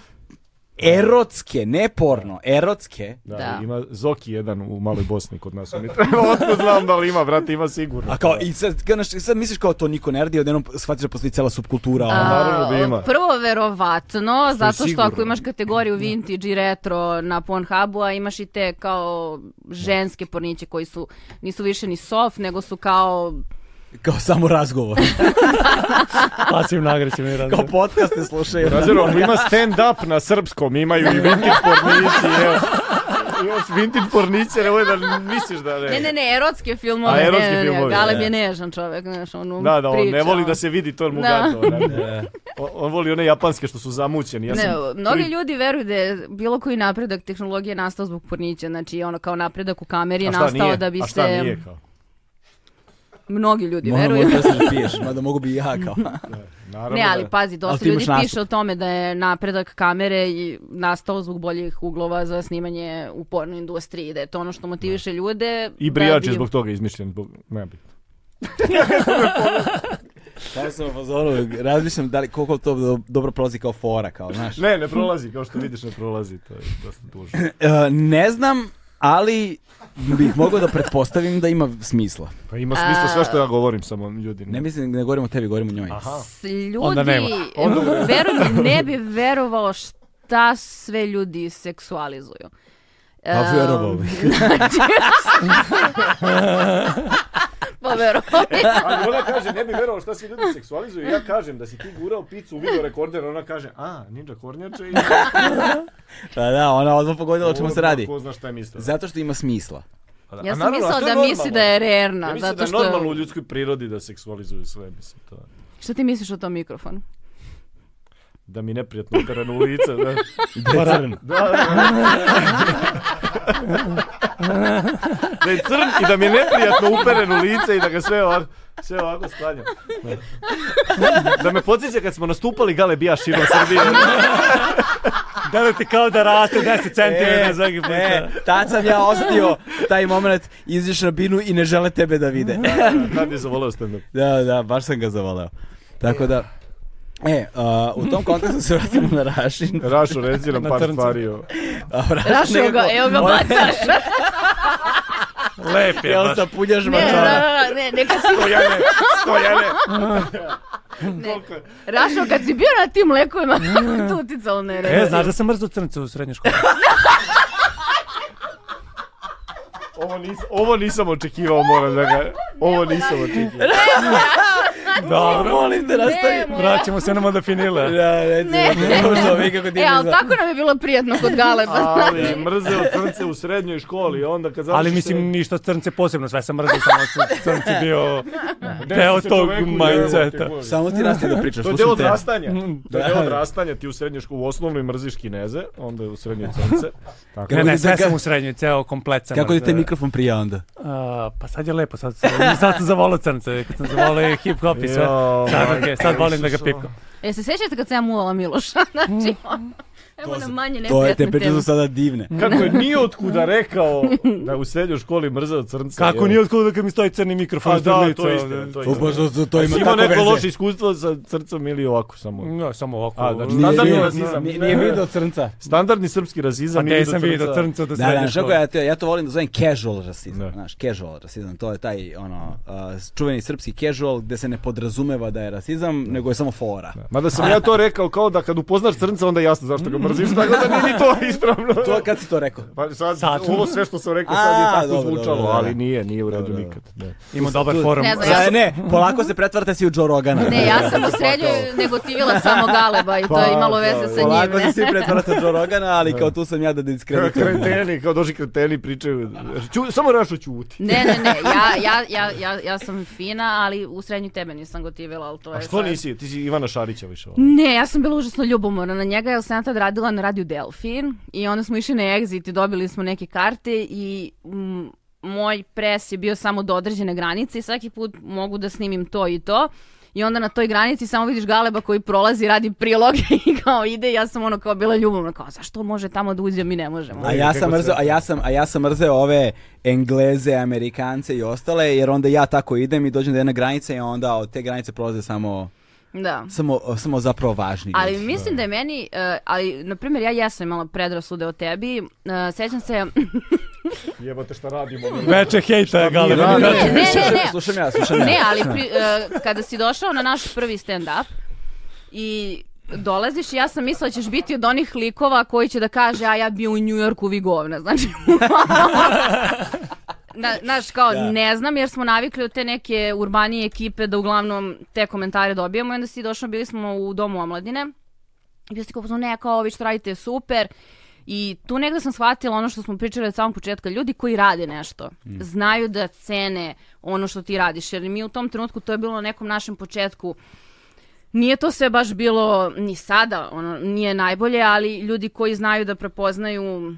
[SPEAKER 1] erotske, ne porno, erotske.
[SPEAKER 2] Da,
[SPEAKER 3] Da.
[SPEAKER 2] ima Zoki jedan u Maloj Bosni kod nas. On je treba, otko znam da li ima, brate, ima sigurno.
[SPEAKER 1] A kao, i sad, kao, znaš, sad misliš kao to niko ne radi, odjednom shvatiš da postoji cela subkultura. ono.
[SPEAKER 2] Pa naravno da ima.
[SPEAKER 3] Prvo verovatno, zato što
[SPEAKER 2] sigurno.
[SPEAKER 3] ako imaš kategoriju vintage i retro na Pornhubu, a imaš i te kao ženske porniće koji su, nisu više ni soft, nego su kao
[SPEAKER 1] Kao samo razgovor.
[SPEAKER 4] Pasivno agresivni
[SPEAKER 1] Kao
[SPEAKER 4] razgovor.
[SPEAKER 1] podcaste slušaju.
[SPEAKER 2] Razero, ima stand up na srpskom, imaju i vintage pornici, evo. Još vintage pornice, nemoj da misliš da ne.
[SPEAKER 3] Ne, ne, ne, erotske filmove.
[SPEAKER 2] E. A, erotske
[SPEAKER 3] ne, ne, ne,
[SPEAKER 2] filmove,
[SPEAKER 3] Galeb
[SPEAKER 2] ne.
[SPEAKER 3] je nežan čovek, znaš, on
[SPEAKER 2] Da, da, on ne
[SPEAKER 3] priča,
[SPEAKER 2] voli
[SPEAKER 3] on-
[SPEAKER 2] da se vidi, to je mu
[SPEAKER 3] Da.
[SPEAKER 2] gadno. ne. On, on voli one japanske što su zamućeni. Ja
[SPEAKER 3] ne,
[SPEAKER 2] sam
[SPEAKER 3] mnogi
[SPEAKER 2] tri-
[SPEAKER 3] ljudi veruju da je bilo koji napredak tehnologije nastao zbog pornića, znači ono kao napredak u kameri je
[SPEAKER 2] A šta
[SPEAKER 3] nastao
[SPEAKER 2] nije?
[SPEAKER 3] da bi
[SPEAKER 2] A šta
[SPEAKER 3] se...
[SPEAKER 2] nije kao?
[SPEAKER 3] Mnogi ljudi
[SPEAKER 1] Moram
[SPEAKER 3] veruju.
[SPEAKER 1] da se piješ, mada mogu bi i ja kao.
[SPEAKER 2] Naravno
[SPEAKER 3] Ne, ali pa-
[SPEAKER 2] da.
[SPEAKER 3] pazi,
[SPEAKER 1] Ali
[SPEAKER 3] dosta
[SPEAKER 1] ti imaš
[SPEAKER 3] ljudi
[SPEAKER 1] nastup.
[SPEAKER 3] piše o tome da je napredak kamere i nastao zbog boljih uglova za snimanje u porno industriji, da je to ono što motiviše ljude.
[SPEAKER 2] I brijač
[SPEAKER 3] da
[SPEAKER 2] je
[SPEAKER 3] bi-
[SPEAKER 2] zbog toga izmišljen, zbog... Ne bi.
[SPEAKER 1] Kao sam u fazonu, razmišljam da li, koliko to do- dobro prolazi kao fora, kao, znaš.
[SPEAKER 2] Ne, ne prolazi, kao što vidiš ne prolazi, to je dosta tužno.
[SPEAKER 1] E, ne znam, ali bih mogao da pretpostavim da ima smisla.
[SPEAKER 2] Pa ima smisla
[SPEAKER 3] A-
[SPEAKER 2] sve što ja govorim, samo ljudi.
[SPEAKER 1] Ne mislim, ne govorimo o tebi, govorimo o njoj.
[SPEAKER 2] Aha.
[SPEAKER 3] S- Ljudi,
[SPEAKER 4] Onda nema.
[SPEAKER 3] veruj mi, ne bi verovao šta sve ljudi seksualizuju.
[SPEAKER 1] Pa
[SPEAKER 3] Em,
[SPEAKER 1] verovao bih.
[SPEAKER 3] Pa verovao bih.
[SPEAKER 2] Ali ona kaže, ne bi verovao šta se ljudi seksualizuju. Ja kažem da si ti gurao picu u video rekorder, ona kaže, a, ninja kornjače i...
[SPEAKER 1] Pa da, ona odmah pogodila o čemu se radi.
[SPEAKER 2] Ko zna šta je mislila.
[SPEAKER 1] Zato što ima smisla.
[SPEAKER 2] Pa da.
[SPEAKER 3] Ja
[SPEAKER 2] A
[SPEAKER 3] sam
[SPEAKER 2] naravno, a
[SPEAKER 3] mislila
[SPEAKER 2] to je
[SPEAKER 3] da misli
[SPEAKER 2] normalno.
[SPEAKER 3] da je rerna.
[SPEAKER 2] Ja mislim
[SPEAKER 3] zato
[SPEAKER 2] da je
[SPEAKER 3] što...
[SPEAKER 2] normalno u ljudskoj prirodi da seksualizuju sve, mislim, to je.
[SPEAKER 3] Šta ti misliš o tom mikrofonu?
[SPEAKER 2] Da mi neprijatno udarano u lice, da.
[SPEAKER 4] Bararen.
[SPEAKER 2] Da, da. da je crn i da mi je neprijatno uperen u lice i da ga sve ovako, sve ovako sklanjam. Da. da me podsjeća kad smo nastupali Gale Bija širom Srbije.
[SPEAKER 4] Gleda ti kao da raste
[SPEAKER 2] E,
[SPEAKER 4] 10 cm svaki put.
[SPEAKER 1] e, tad sam ja ostio taj moment, iziš na binu i ne žele tebe da vide.
[SPEAKER 2] Tad je zavoleo stand-up.
[SPEAKER 1] da, da, baš sam ga zavoleo. Tako da, e, a, u tom kontekstu se vratimo na Rašin.
[SPEAKER 2] Rašo, reci nam
[SPEAKER 4] Na
[SPEAKER 2] par
[SPEAKER 4] crncu.
[SPEAKER 2] stvari. o-
[SPEAKER 1] A,
[SPEAKER 3] Rašio ga, evo ga bacaš.
[SPEAKER 4] Lep je.
[SPEAKER 1] Jel sa punjažma
[SPEAKER 3] Ne, da,
[SPEAKER 1] čora?
[SPEAKER 3] da, da, ne, neka si,
[SPEAKER 2] Stojane, stojane.
[SPEAKER 3] ne. Rašo, kad si bio na tim lekovima, to uticalo na
[SPEAKER 4] E,
[SPEAKER 3] rernu.
[SPEAKER 4] znaš da sam mrzao crnce u srednjoj školi?
[SPEAKER 2] Ovo, nis, ovo nisam očekivao, moram da ga... Ovo nisam očekivao.
[SPEAKER 4] Dobro.
[SPEAKER 1] Molim te, nastavi.
[SPEAKER 3] Ne,
[SPEAKER 4] Vraćamo se na modafinile.
[SPEAKER 1] Da, reci,
[SPEAKER 3] Ne.
[SPEAKER 1] što vi kako ti
[SPEAKER 3] E, ali tako nam je bilo prijatno kod Galeba.
[SPEAKER 2] Ali mrzeo crnce u srednjoj školi, onda kad završiš...
[SPEAKER 4] Znači- Ali mislim ništa crnce posebno, sve sam mrzao, samo su crnce bio deo tog mindseta.
[SPEAKER 1] Samo ti nastavi da pričaš,
[SPEAKER 2] To je deo
[SPEAKER 1] slušam te.
[SPEAKER 2] odrastanja.
[SPEAKER 4] Mm,
[SPEAKER 2] To je deo odrastanja. Ti u srednjoj školi, u osnovnoj mrziš kineze, onda je u srednjoj crnce. Tako.
[SPEAKER 4] Ne,
[SPEAKER 1] Kako
[SPEAKER 4] ne,
[SPEAKER 1] ti
[SPEAKER 4] sve
[SPEAKER 1] te-
[SPEAKER 4] sam u srednjoj, ceo komplet sam.
[SPEAKER 1] Kako ti taj
[SPEAKER 4] mrzeo.
[SPEAKER 1] mikrofon prija onda?
[SPEAKER 4] A, pa sad je lepo, sad, sam- sad sam zavolao crnce, kad sam zavolao i hip hop i sve.
[SPEAKER 2] Jao,
[SPEAKER 4] Sad,
[SPEAKER 2] majko
[SPEAKER 4] okej, sad volim da ga
[SPEAKER 2] Isusa.
[SPEAKER 4] pipkam.
[SPEAKER 3] E, se sjećate kad sam ja muvala Miloša? Znači, ono, evo nam manje
[SPEAKER 1] To je, te
[SPEAKER 3] neprijatne
[SPEAKER 1] priče
[SPEAKER 3] teme.
[SPEAKER 1] su sada divne.
[SPEAKER 2] Kako je nijotkuda rekao da je u srednjoj školi mrzeo crnce.
[SPEAKER 4] Kako
[SPEAKER 2] jel?
[SPEAKER 4] nije otkuda kad mi stoji crni mikrofon?
[SPEAKER 2] Pa
[SPEAKER 4] ispred
[SPEAKER 2] da,
[SPEAKER 4] lica
[SPEAKER 2] to je
[SPEAKER 4] ovde?
[SPEAKER 2] istina. To je
[SPEAKER 1] To
[SPEAKER 2] istina.
[SPEAKER 1] baš to, to ima
[SPEAKER 2] Ima
[SPEAKER 1] tako
[SPEAKER 2] neko loše
[SPEAKER 1] veze.
[SPEAKER 2] iskustvo sa crncom ili ovako samo.
[SPEAKER 4] Ne, samo ovako.
[SPEAKER 2] A, znači,
[SPEAKER 1] Nije,
[SPEAKER 2] Standardni
[SPEAKER 1] nije-
[SPEAKER 2] rasizam.
[SPEAKER 1] nije- nije video crnca.
[SPEAKER 2] Standardni srpski
[SPEAKER 4] Pa
[SPEAKER 2] rasizam je
[SPEAKER 4] nisam vidio crnca do
[SPEAKER 1] Da, da,
[SPEAKER 4] srednje
[SPEAKER 1] znaš kako
[SPEAKER 4] škole.
[SPEAKER 1] ja, to, ja to volim da zovem casual rasizam,
[SPEAKER 2] Da.
[SPEAKER 1] znaš, casual rasizam, to je taj, ono, uh, čuveni srpski casual gde se ne podrazumeva da je rasizam, nego je samo fora.
[SPEAKER 2] Mada sam ja to rekao kao da kad upoznaš crnca onda je jasno zašto ga mrziš, tako da nije ni to ispravno.
[SPEAKER 1] To, kad si to rekao?
[SPEAKER 2] Pa sad,
[SPEAKER 4] Sad.
[SPEAKER 2] ovo sve što sam rekao sad je
[SPEAKER 1] A,
[SPEAKER 2] tako
[SPEAKER 1] dobro,
[SPEAKER 2] zvučalo,
[SPEAKER 1] dobro, da,
[SPEAKER 2] ali
[SPEAKER 1] da.
[SPEAKER 2] nije, nije u redu nikad. Da.
[SPEAKER 4] Ima dobar forum.
[SPEAKER 3] Ne znam,
[SPEAKER 1] Ja, ne, polako se pretvarate si u Joe Rogana.
[SPEAKER 3] Ne, ja sam u srednjoj negotivila samo Galeba i to je imalo veze sa njim.
[SPEAKER 1] Polako se
[SPEAKER 3] ne?
[SPEAKER 1] svi pretvarate u Joe Rogana, ali kao tu sam ja da diskreditujem.
[SPEAKER 2] Kreteni, kao došli kreteni pričaju. Ću, samo Rašo ćuti.
[SPEAKER 3] Ne, ne, ne, ja, ja, ja, ja, ja sam fina, ali u srednju tebe nisam gotivila, ali to je...
[SPEAKER 2] A što
[SPEAKER 3] sad-
[SPEAKER 2] nisi? Ti si Ivana Šarića više. ovo.
[SPEAKER 3] Ne, ja sam bila užasno ljubomorna na njega, jer sam ja tad radila na radiju Delfin i onda smo išli na exit i dobili smo neke karte i mm, moj pres je bio samo do određene granice i svaki put mogu da snimim to i to i onda na toj granici samo vidiš Galeba koji prolazi, radi prilog i kao ide ja sam ono kao bila ljubomorna, kao zašto on može tamo da uđe, mi ne možemo.
[SPEAKER 1] A ja sam mrzeo, a ja sam, a ja sam mrzeo ove Engleze, Amerikance i ostale, jer onda ja tako idem i dođem do jedne granice i onda od te granice prolaze samo
[SPEAKER 3] Da.
[SPEAKER 1] samo samo zapravo važni
[SPEAKER 3] Ali
[SPEAKER 1] ljudi.
[SPEAKER 3] mislim da je meni, e, ali na primjer ja jesam imala predrasude o tebi, e, sjećam se...
[SPEAKER 2] Jebate šta radimo.
[SPEAKER 4] Veče hejta, gale.
[SPEAKER 2] radimo?
[SPEAKER 4] meni
[SPEAKER 3] Ne,
[SPEAKER 4] veče.
[SPEAKER 3] ne, ne, ne.
[SPEAKER 1] Slušam ja, slušam ja.
[SPEAKER 3] Ne, ali pri, e, kada si došao na naš prvi stand-up i dolaziš i ja sam mislila da ćeš biti od onih likova koji će da kaže a ja bio u Njujorku vi govna, znači Na, znaš, kao, ne znam, jer smo navikli od te neke urbanije ekipe da uglavnom te komentare dobijamo. I onda si došao, bili smo u Domu omladine. I bio si kao, ne, kao, ovi što radite je super. I tu negde sam shvatila ono što smo pričali od samog početka. Ljudi koji rade nešto znaju da cene ono što ti radiš. Jer mi u tom trenutku, to je bilo na nekom našem početku, nije to sve baš bilo ni sada, ono, nije najbolje, ali ljudi koji znaju da prepoznaju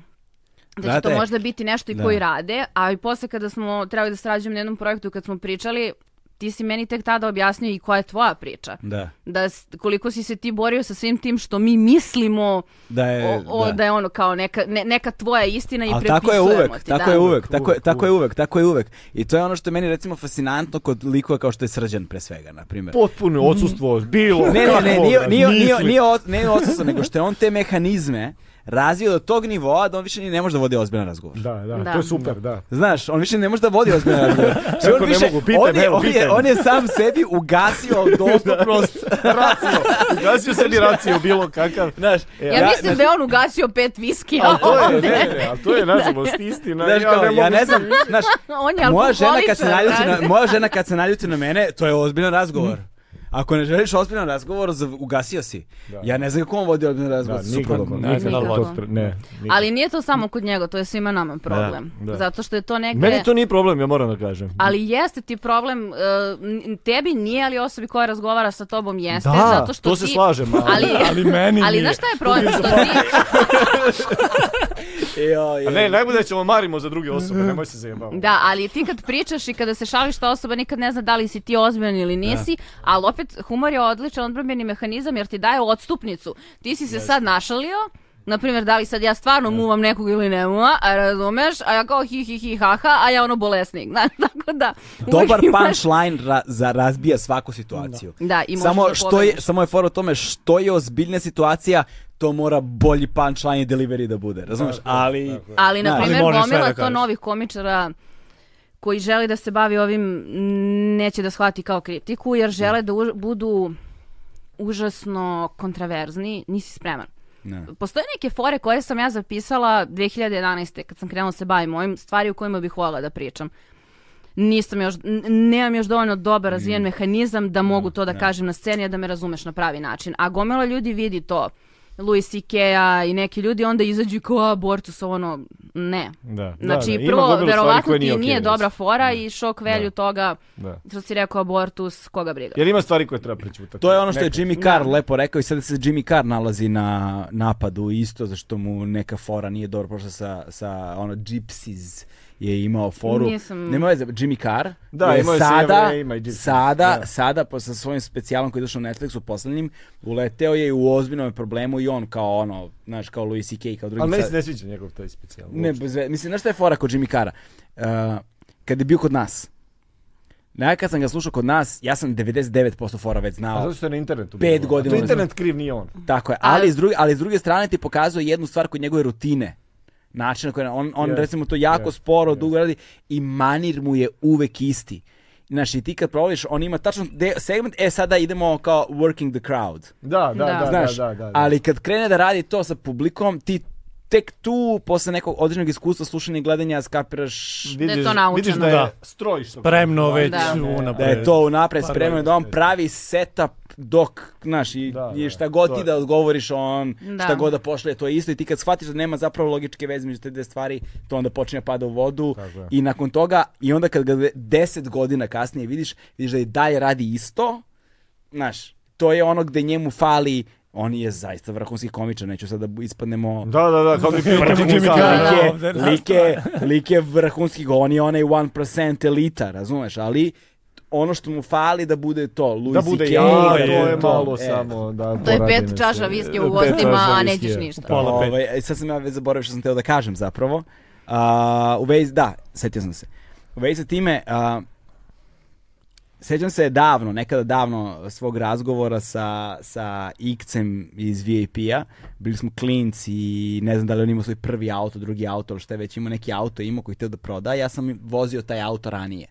[SPEAKER 3] da će
[SPEAKER 1] Znate,
[SPEAKER 3] to možda biti nešto i
[SPEAKER 1] da.
[SPEAKER 3] koji rade, a i posle kada smo trebali da srađujemo na jednom projektu kad smo pričali, ti si meni tek tada objasnio i koja je tvoja priča.
[SPEAKER 1] Da.
[SPEAKER 3] Da s- koliko si se ti borio sa svim tim što mi mislimo
[SPEAKER 1] E, Da je,
[SPEAKER 3] o, o, da. je ono kao neka, ne- neka tvoja istina i
[SPEAKER 1] Ali
[SPEAKER 3] prepisujemo
[SPEAKER 1] tako je uvek,
[SPEAKER 3] ti.
[SPEAKER 1] tako
[SPEAKER 3] da.
[SPEAKER 1] je uvek, tako, je-
[SPEAKER 2] uvek,
[SPEAKER 1] tako je uvek, tako je uvek. I to je ono što je meni recimo fascinantno kod likova kao što je Srđan pre svega, na primjer.
[SPEAKER 2] Potpuno odsustvo, bilo
[SPEAKER 1] Ne, ne,
[SPEAKER 2] kakvog
[SPEAKER 1] ne, nije, nije, nije,
[SPEAKER 2] misli.
[SPEAKER 1] nije, od- ne odsustvo, nego što je on te mehanizme razvio do tog nivoa da on više ni ne može da vodi ozbiljan razgovor.
[SPEAKER 2] Da, da,
[SPEAKER 3] Da.
[SPEAKER 2] to je super, da.
[SPEAKER 1] Znaš, on više ne može da vodi ozbiljan razgovor. Znači,
[SPEAKER 2] Kako
[SPEAKER 1] on
[SPEAKER 2] ne
[SPEAKER 1] više,
[SPEAKER 2] mogu? Pitam,
[SPEAKER 1] on, je,
[SPEAKER 2] evo,
[SPEAKER 1] on, je,
[SPEAKER 2] pitam.
[SPEAKER 1] on je sam sebi ugasio dostupnost.
[SPEAKER 2] Ugasio sebi raciju bilo kakav.
[SPEAKER 1] Znaš,
[SPEAKER 3] Ja, mislim da je on ugasio pet viskija
[SPEAKER 2] Ali to je,
[SPEAKER 3] ovde.
[SPEAKER 2] ne, ne, ne, ali to je nažalost istina.
[SPEAKER 1] znaš, kao, ja ne
[SPEAKER 2] mogu-
[SPEAKER 1] znam, znaš,
[SPEAKER 3] on je
[SPEAKER 1] moja žena kad se
[SPEAKER 3] alkoholičar,
[SPEAKER 1] naljuti
[SPEAKER 3] brate.
[SPEAKER 1] na, moja žena kad se naljuti na mene, to je ozbiljan razgovor.
[SPEAKER 3] Mhm.
[SPEAKER 1] Ako ne želiš ozbiljan razgovor, za- ugasio si. Ja ne znam kako on vodi ozbiljan
[SPEAKER 2] Da,
[SPEAKER 1] razgovor sa
[SPEAKER 2] nikako,
[SPEAKER 1] suprugom.
[SPEAKER 4] Ne,
[SPEAKER 2] nikako
[SPEAKER 3] nikako.
[SPEAKER 2] to spre- ne, nikako.
[SPEAKER 3] Ali nije to samo kod njega, to je svima nama problem.
[SPEAKER 2] Da, da.
[SPEAKER 3] Zato što je to negde...
[SPEAKER 2] Meni to nije problem, ja moram da kažem.
[SPEAKER 3] Ali jeste ti problem, e, n- tebi nije, ali osobi koja razgovara sa tobom jeste,
[SPEAKER 2] da,
[SPEAKER 3] zato što
[SPEAKER 2] to
[SPEAKER 3] ti...
[SPEAKER 2] se slažem, ali,
[SPEAKER 3] ali-
[SPEAKER 2] ali meni
[SPEAKER 3] Ali
[SPEAKER 2] nije.
[SPEAKER 3] znaš šta je problem? Što ti,
[SPEAKER 1] Jo,
[SPEAKER 2] A
[SPEAKER 1] jo.
[SPEAKER 2] ne, najbolje ćemo marimo za druge osobe, nemoj se zajebavamo.
[SPEAKER 3] da, ali ti kad pričaš i kada se šališ ta osoba nikad ne zna da li si ti ozbiljan ili nisi, ali opet humor je odličan odbrambeni mehanizam jer ti daje odstupnicu. Ti si se sad našalio, Na primjer, da li sad ja stvarno muvam nekog ili ne muva, a razumeš, a ja kao hi hi hi ha ha, a ja ono bolesnik. Znaš, tako da... uvek
[SPEAKER 1] Dobar
[SPEAKER 3] imaš-
[SPEAKER 1] punchline ra- za razbija svaku situaciju.
[SPEAKER 3] Da, i možeš
[SPEAKER 1] samo
[SPEAKER 3] da
[SPEAKER 1] što je
[SPEAKER 3] pobediš.
[SPEAKER 1] samo je fora u tome što je ozbiljna situacija, to mora bolji punchline i delivery da bude, razumeš? Ali
[SPEAKER 3] Ali,
[SPEAKER 1] Da,
[SPEAKER 3] na
[SPEAKER 1] ali
[SPEAKER 3] primjer,
[SPEAKER 4] moraš sve
[SPEAKER 3] gomila
[SPEAKER 4] da
[SPEAKER 3] to
[SPEAKER 4] kažeš.
[SPEAKER 3] novih komičara koji želi da se bavi ovim m, neće da shvati kao kritiku, jer žele da už- budu užasno kontraverzni, nisi spreman.
[SPEAKER 1] Ne.
[SPEAKER 3] Postoje neke fore koje sam ja zapisala 2011. kad sam krenula se bavim ovim stvari u kojima bih voljela da pričam. Nisam još, n- nemam još dovoljno dobar razvijen
[SPEAKER 2] Mm.
[SPEAKER 3] mehanizam da mogu to da kažem na sceni, a da me razumeš na pravi način. A gomila ljudi vidi to. Louis C.K.-a i neki ljudi onda izađu i kao, a, borcu su ono, ne.
[SPEAKER 2] Da,
[SPEAKER 3] Znači,
[SPEAKER 2] da, da. Ima
[SPEAKER 3] prvo,
[SPEAKER 2] gomilu stvari
[SPEAKER 3] verovatno
[SPEAKER 2] koje
[SPEAKER 3] ti nije,
[SPEAKER 2] okej, mislim.
[SPEAKER 3] dobra fora i šok velju toga,
[SPEAKER 2] Da.
[SPEAKER 3] što si rekao, abortus, koga briga.
[SPEAKER 2] Jer ima stvari koje treba prećutati.
[SPEAKER 1] To je ono što je
[SPEAKER 2] Neka.
[SPEAKER 1] Jimmy Carr lepo rekao i sad se Jimmy Carr nalazi na napadu isto zašto mu neka fora nije dobro prošla sa, sa ono Gypsies je imao foru.
[SPEAKER 3] Nisam-
[SPEAKER 1] Nema veze, Jimmy Carr
[SPEAKER 2] Da,
[SPEAKER 1] je
[SPEAKER 2] imao je
[SPEAKER 1] sada,
[SPEAKER 2] Sijeverne, ima i Gypsies.
[SPEAKER 1] sada,
[SPEAKER 2] Da.
[SPEAKER 1] sada po, sa svojim specijalom koji je došao na Netflixu poslednjim, uleteo je i u ozbiljnom problemu i on kao ono, znaš, kao Louis C.K. kao drugi
[SPEAKER 2] Ali meni
[SPEAKER 1] sad-
[SPEAKER 2] se ne sviđa njegov taj specijal.
[SPEAKER 1] ne, bez ve- mislim, znaš šta je fora kod Jimmy Cara? kad je bio kod nas, Nekad kad sam ga slušao kod nas, ja sam 99% fora već
[SPEAKER 2] A
[SPEAKER 1] znao.
[SPEAKER 2] Pa zato što je na internetu.
[SPEAKER 1] Pet
[SPEAKER 2] bilo.
[SPEAKER 1] godina
[SPEAKER 2] To
[SPEAKER 1] unazad.
[SPEAKER 2] internet kriv nije on.
[SPEAKER 1] Tako je, ali s druge, ali s druge strane ti pokazuje jednu stvar kod njegove rutine. Način na koji on, on
[SPEAKER 2] Yes,
[SPEAKER 1] recimo to jako
[SPEAKER 2] yes,
[SPEAKER 1] sporo, dugo radi i manir mu je uvek isti. Znaš, i ti kad provališ, on ima tačno de- segment, e sada idemo kao working the crowd.
[SPEAKER 2] Da, da,
[SPEAKER 3] Da.
[SPEAKER 2] da,
[SPEAKER 1] Znaš,
[SPEAKER 2] da, da, da.
[SPEAKER 1] ali kad krene da radi to sa publikom, ti tek tu, posle nekog određenog iskustva, slušanja i gledanja, skapiraš
[SPEAKER 3] Da je to naučeno.
[SPEAKER 2] Vidiš da je
[SPEAKER 4] Da.
[SPEAKER 2] strojiš. to.
[SPEAKER 4] Spremno
[SPEAKER 2] Da,
[SPEAKER 4] već
[SPEAKER 2] da, ne,
[SPEAKER 1] da
[SPEAKER 4] unapred.
[SPEAKER 1] je to unapred
[SPEAKER 4] Pa
[SPEAKER 1] spremno,
[SPEAKER 4] da,
[SPEAKER 1] da on
[SPEAKER 2] da.
[SPEAKER 1] pravi setup dok, znaš, i,
[SPEAKER 2] Da,
[SPEAKER 1] i
[SPEAKER 2] da,
[SPEAKER 1] šta god
[SPEAKER 2] to
[SPEAKER 1] ti
[SPEAKER 2] je.
[SPEAKER 1] da odgovoriš, on
[SPEAKER 3] Da.
[SPEAKER 1] šta god da pošle, to je isto i ti kad shvatiš da nema zapravo logičke veze među te dve stvari, to onda počinje da pada u vodu
[SPEAKER 2] Tako je.
[SPEAKER 1] i nakon toga, i onda kad ga de- deset godina kasnije vidiš, vidiš da i dalje radi isto, znaš, to je ono gde njemu fali, on je zaista vrhunski komičar, neću sad da bu- ispadnemo...
[SPEAKER 2] Da, da, da, kao mi pio
[SPEAKER 4] Prvi Jimmy
[SPEAKER 1] Lik
[SPEAKER 4] Carr, da,
[SPEAKER 1] je-
[SPEAKER 4] ovde, da.
[SPEAKER 1] lik je, lik je vrhunski, go- on je onaj 1% elita, razumeš, ali ono što mu fali da bude to, Louis
[SPEAKER 2] Da bude
[SPEAKER 1] CK,
[SPEAKER 2] ja, to je
[SPEAKER 1] bude to,
[SPEAKER 2] malo
[SPEAKER 1] e.
[SPEAKER 2] samo da
[SPEAKER 3] To je
[SPEAKER 2] poradi
[SPEAKER 3] pet
[SPEAKER 2] nešto.
[SPEAKER 3] čaša viske u
[SPEAKER 2] Pet
[SPEAKER 3] gostima,
[SPEAKER 2] čaša viskija.
[SPEAKER 3] a nećeš ništa.
[SPEAKER 4] Pola pet.
[SPEAKER 1] Ovaj, e, sad sam ja već zaboravio što sam teo da kažem zapravo. A, u vezi, da, setio sam se. U vezi sa time, a, Sećam se davno, nekada davno svog razgovora sa, sa Ikcem iz VIP-a. Bili smo klinci i ne znam da li on imao svoj prvi auto, drugi auto, ali šta je već imao neki auto imao koji je teo da proda. Ja sam vozio taj auto ranije.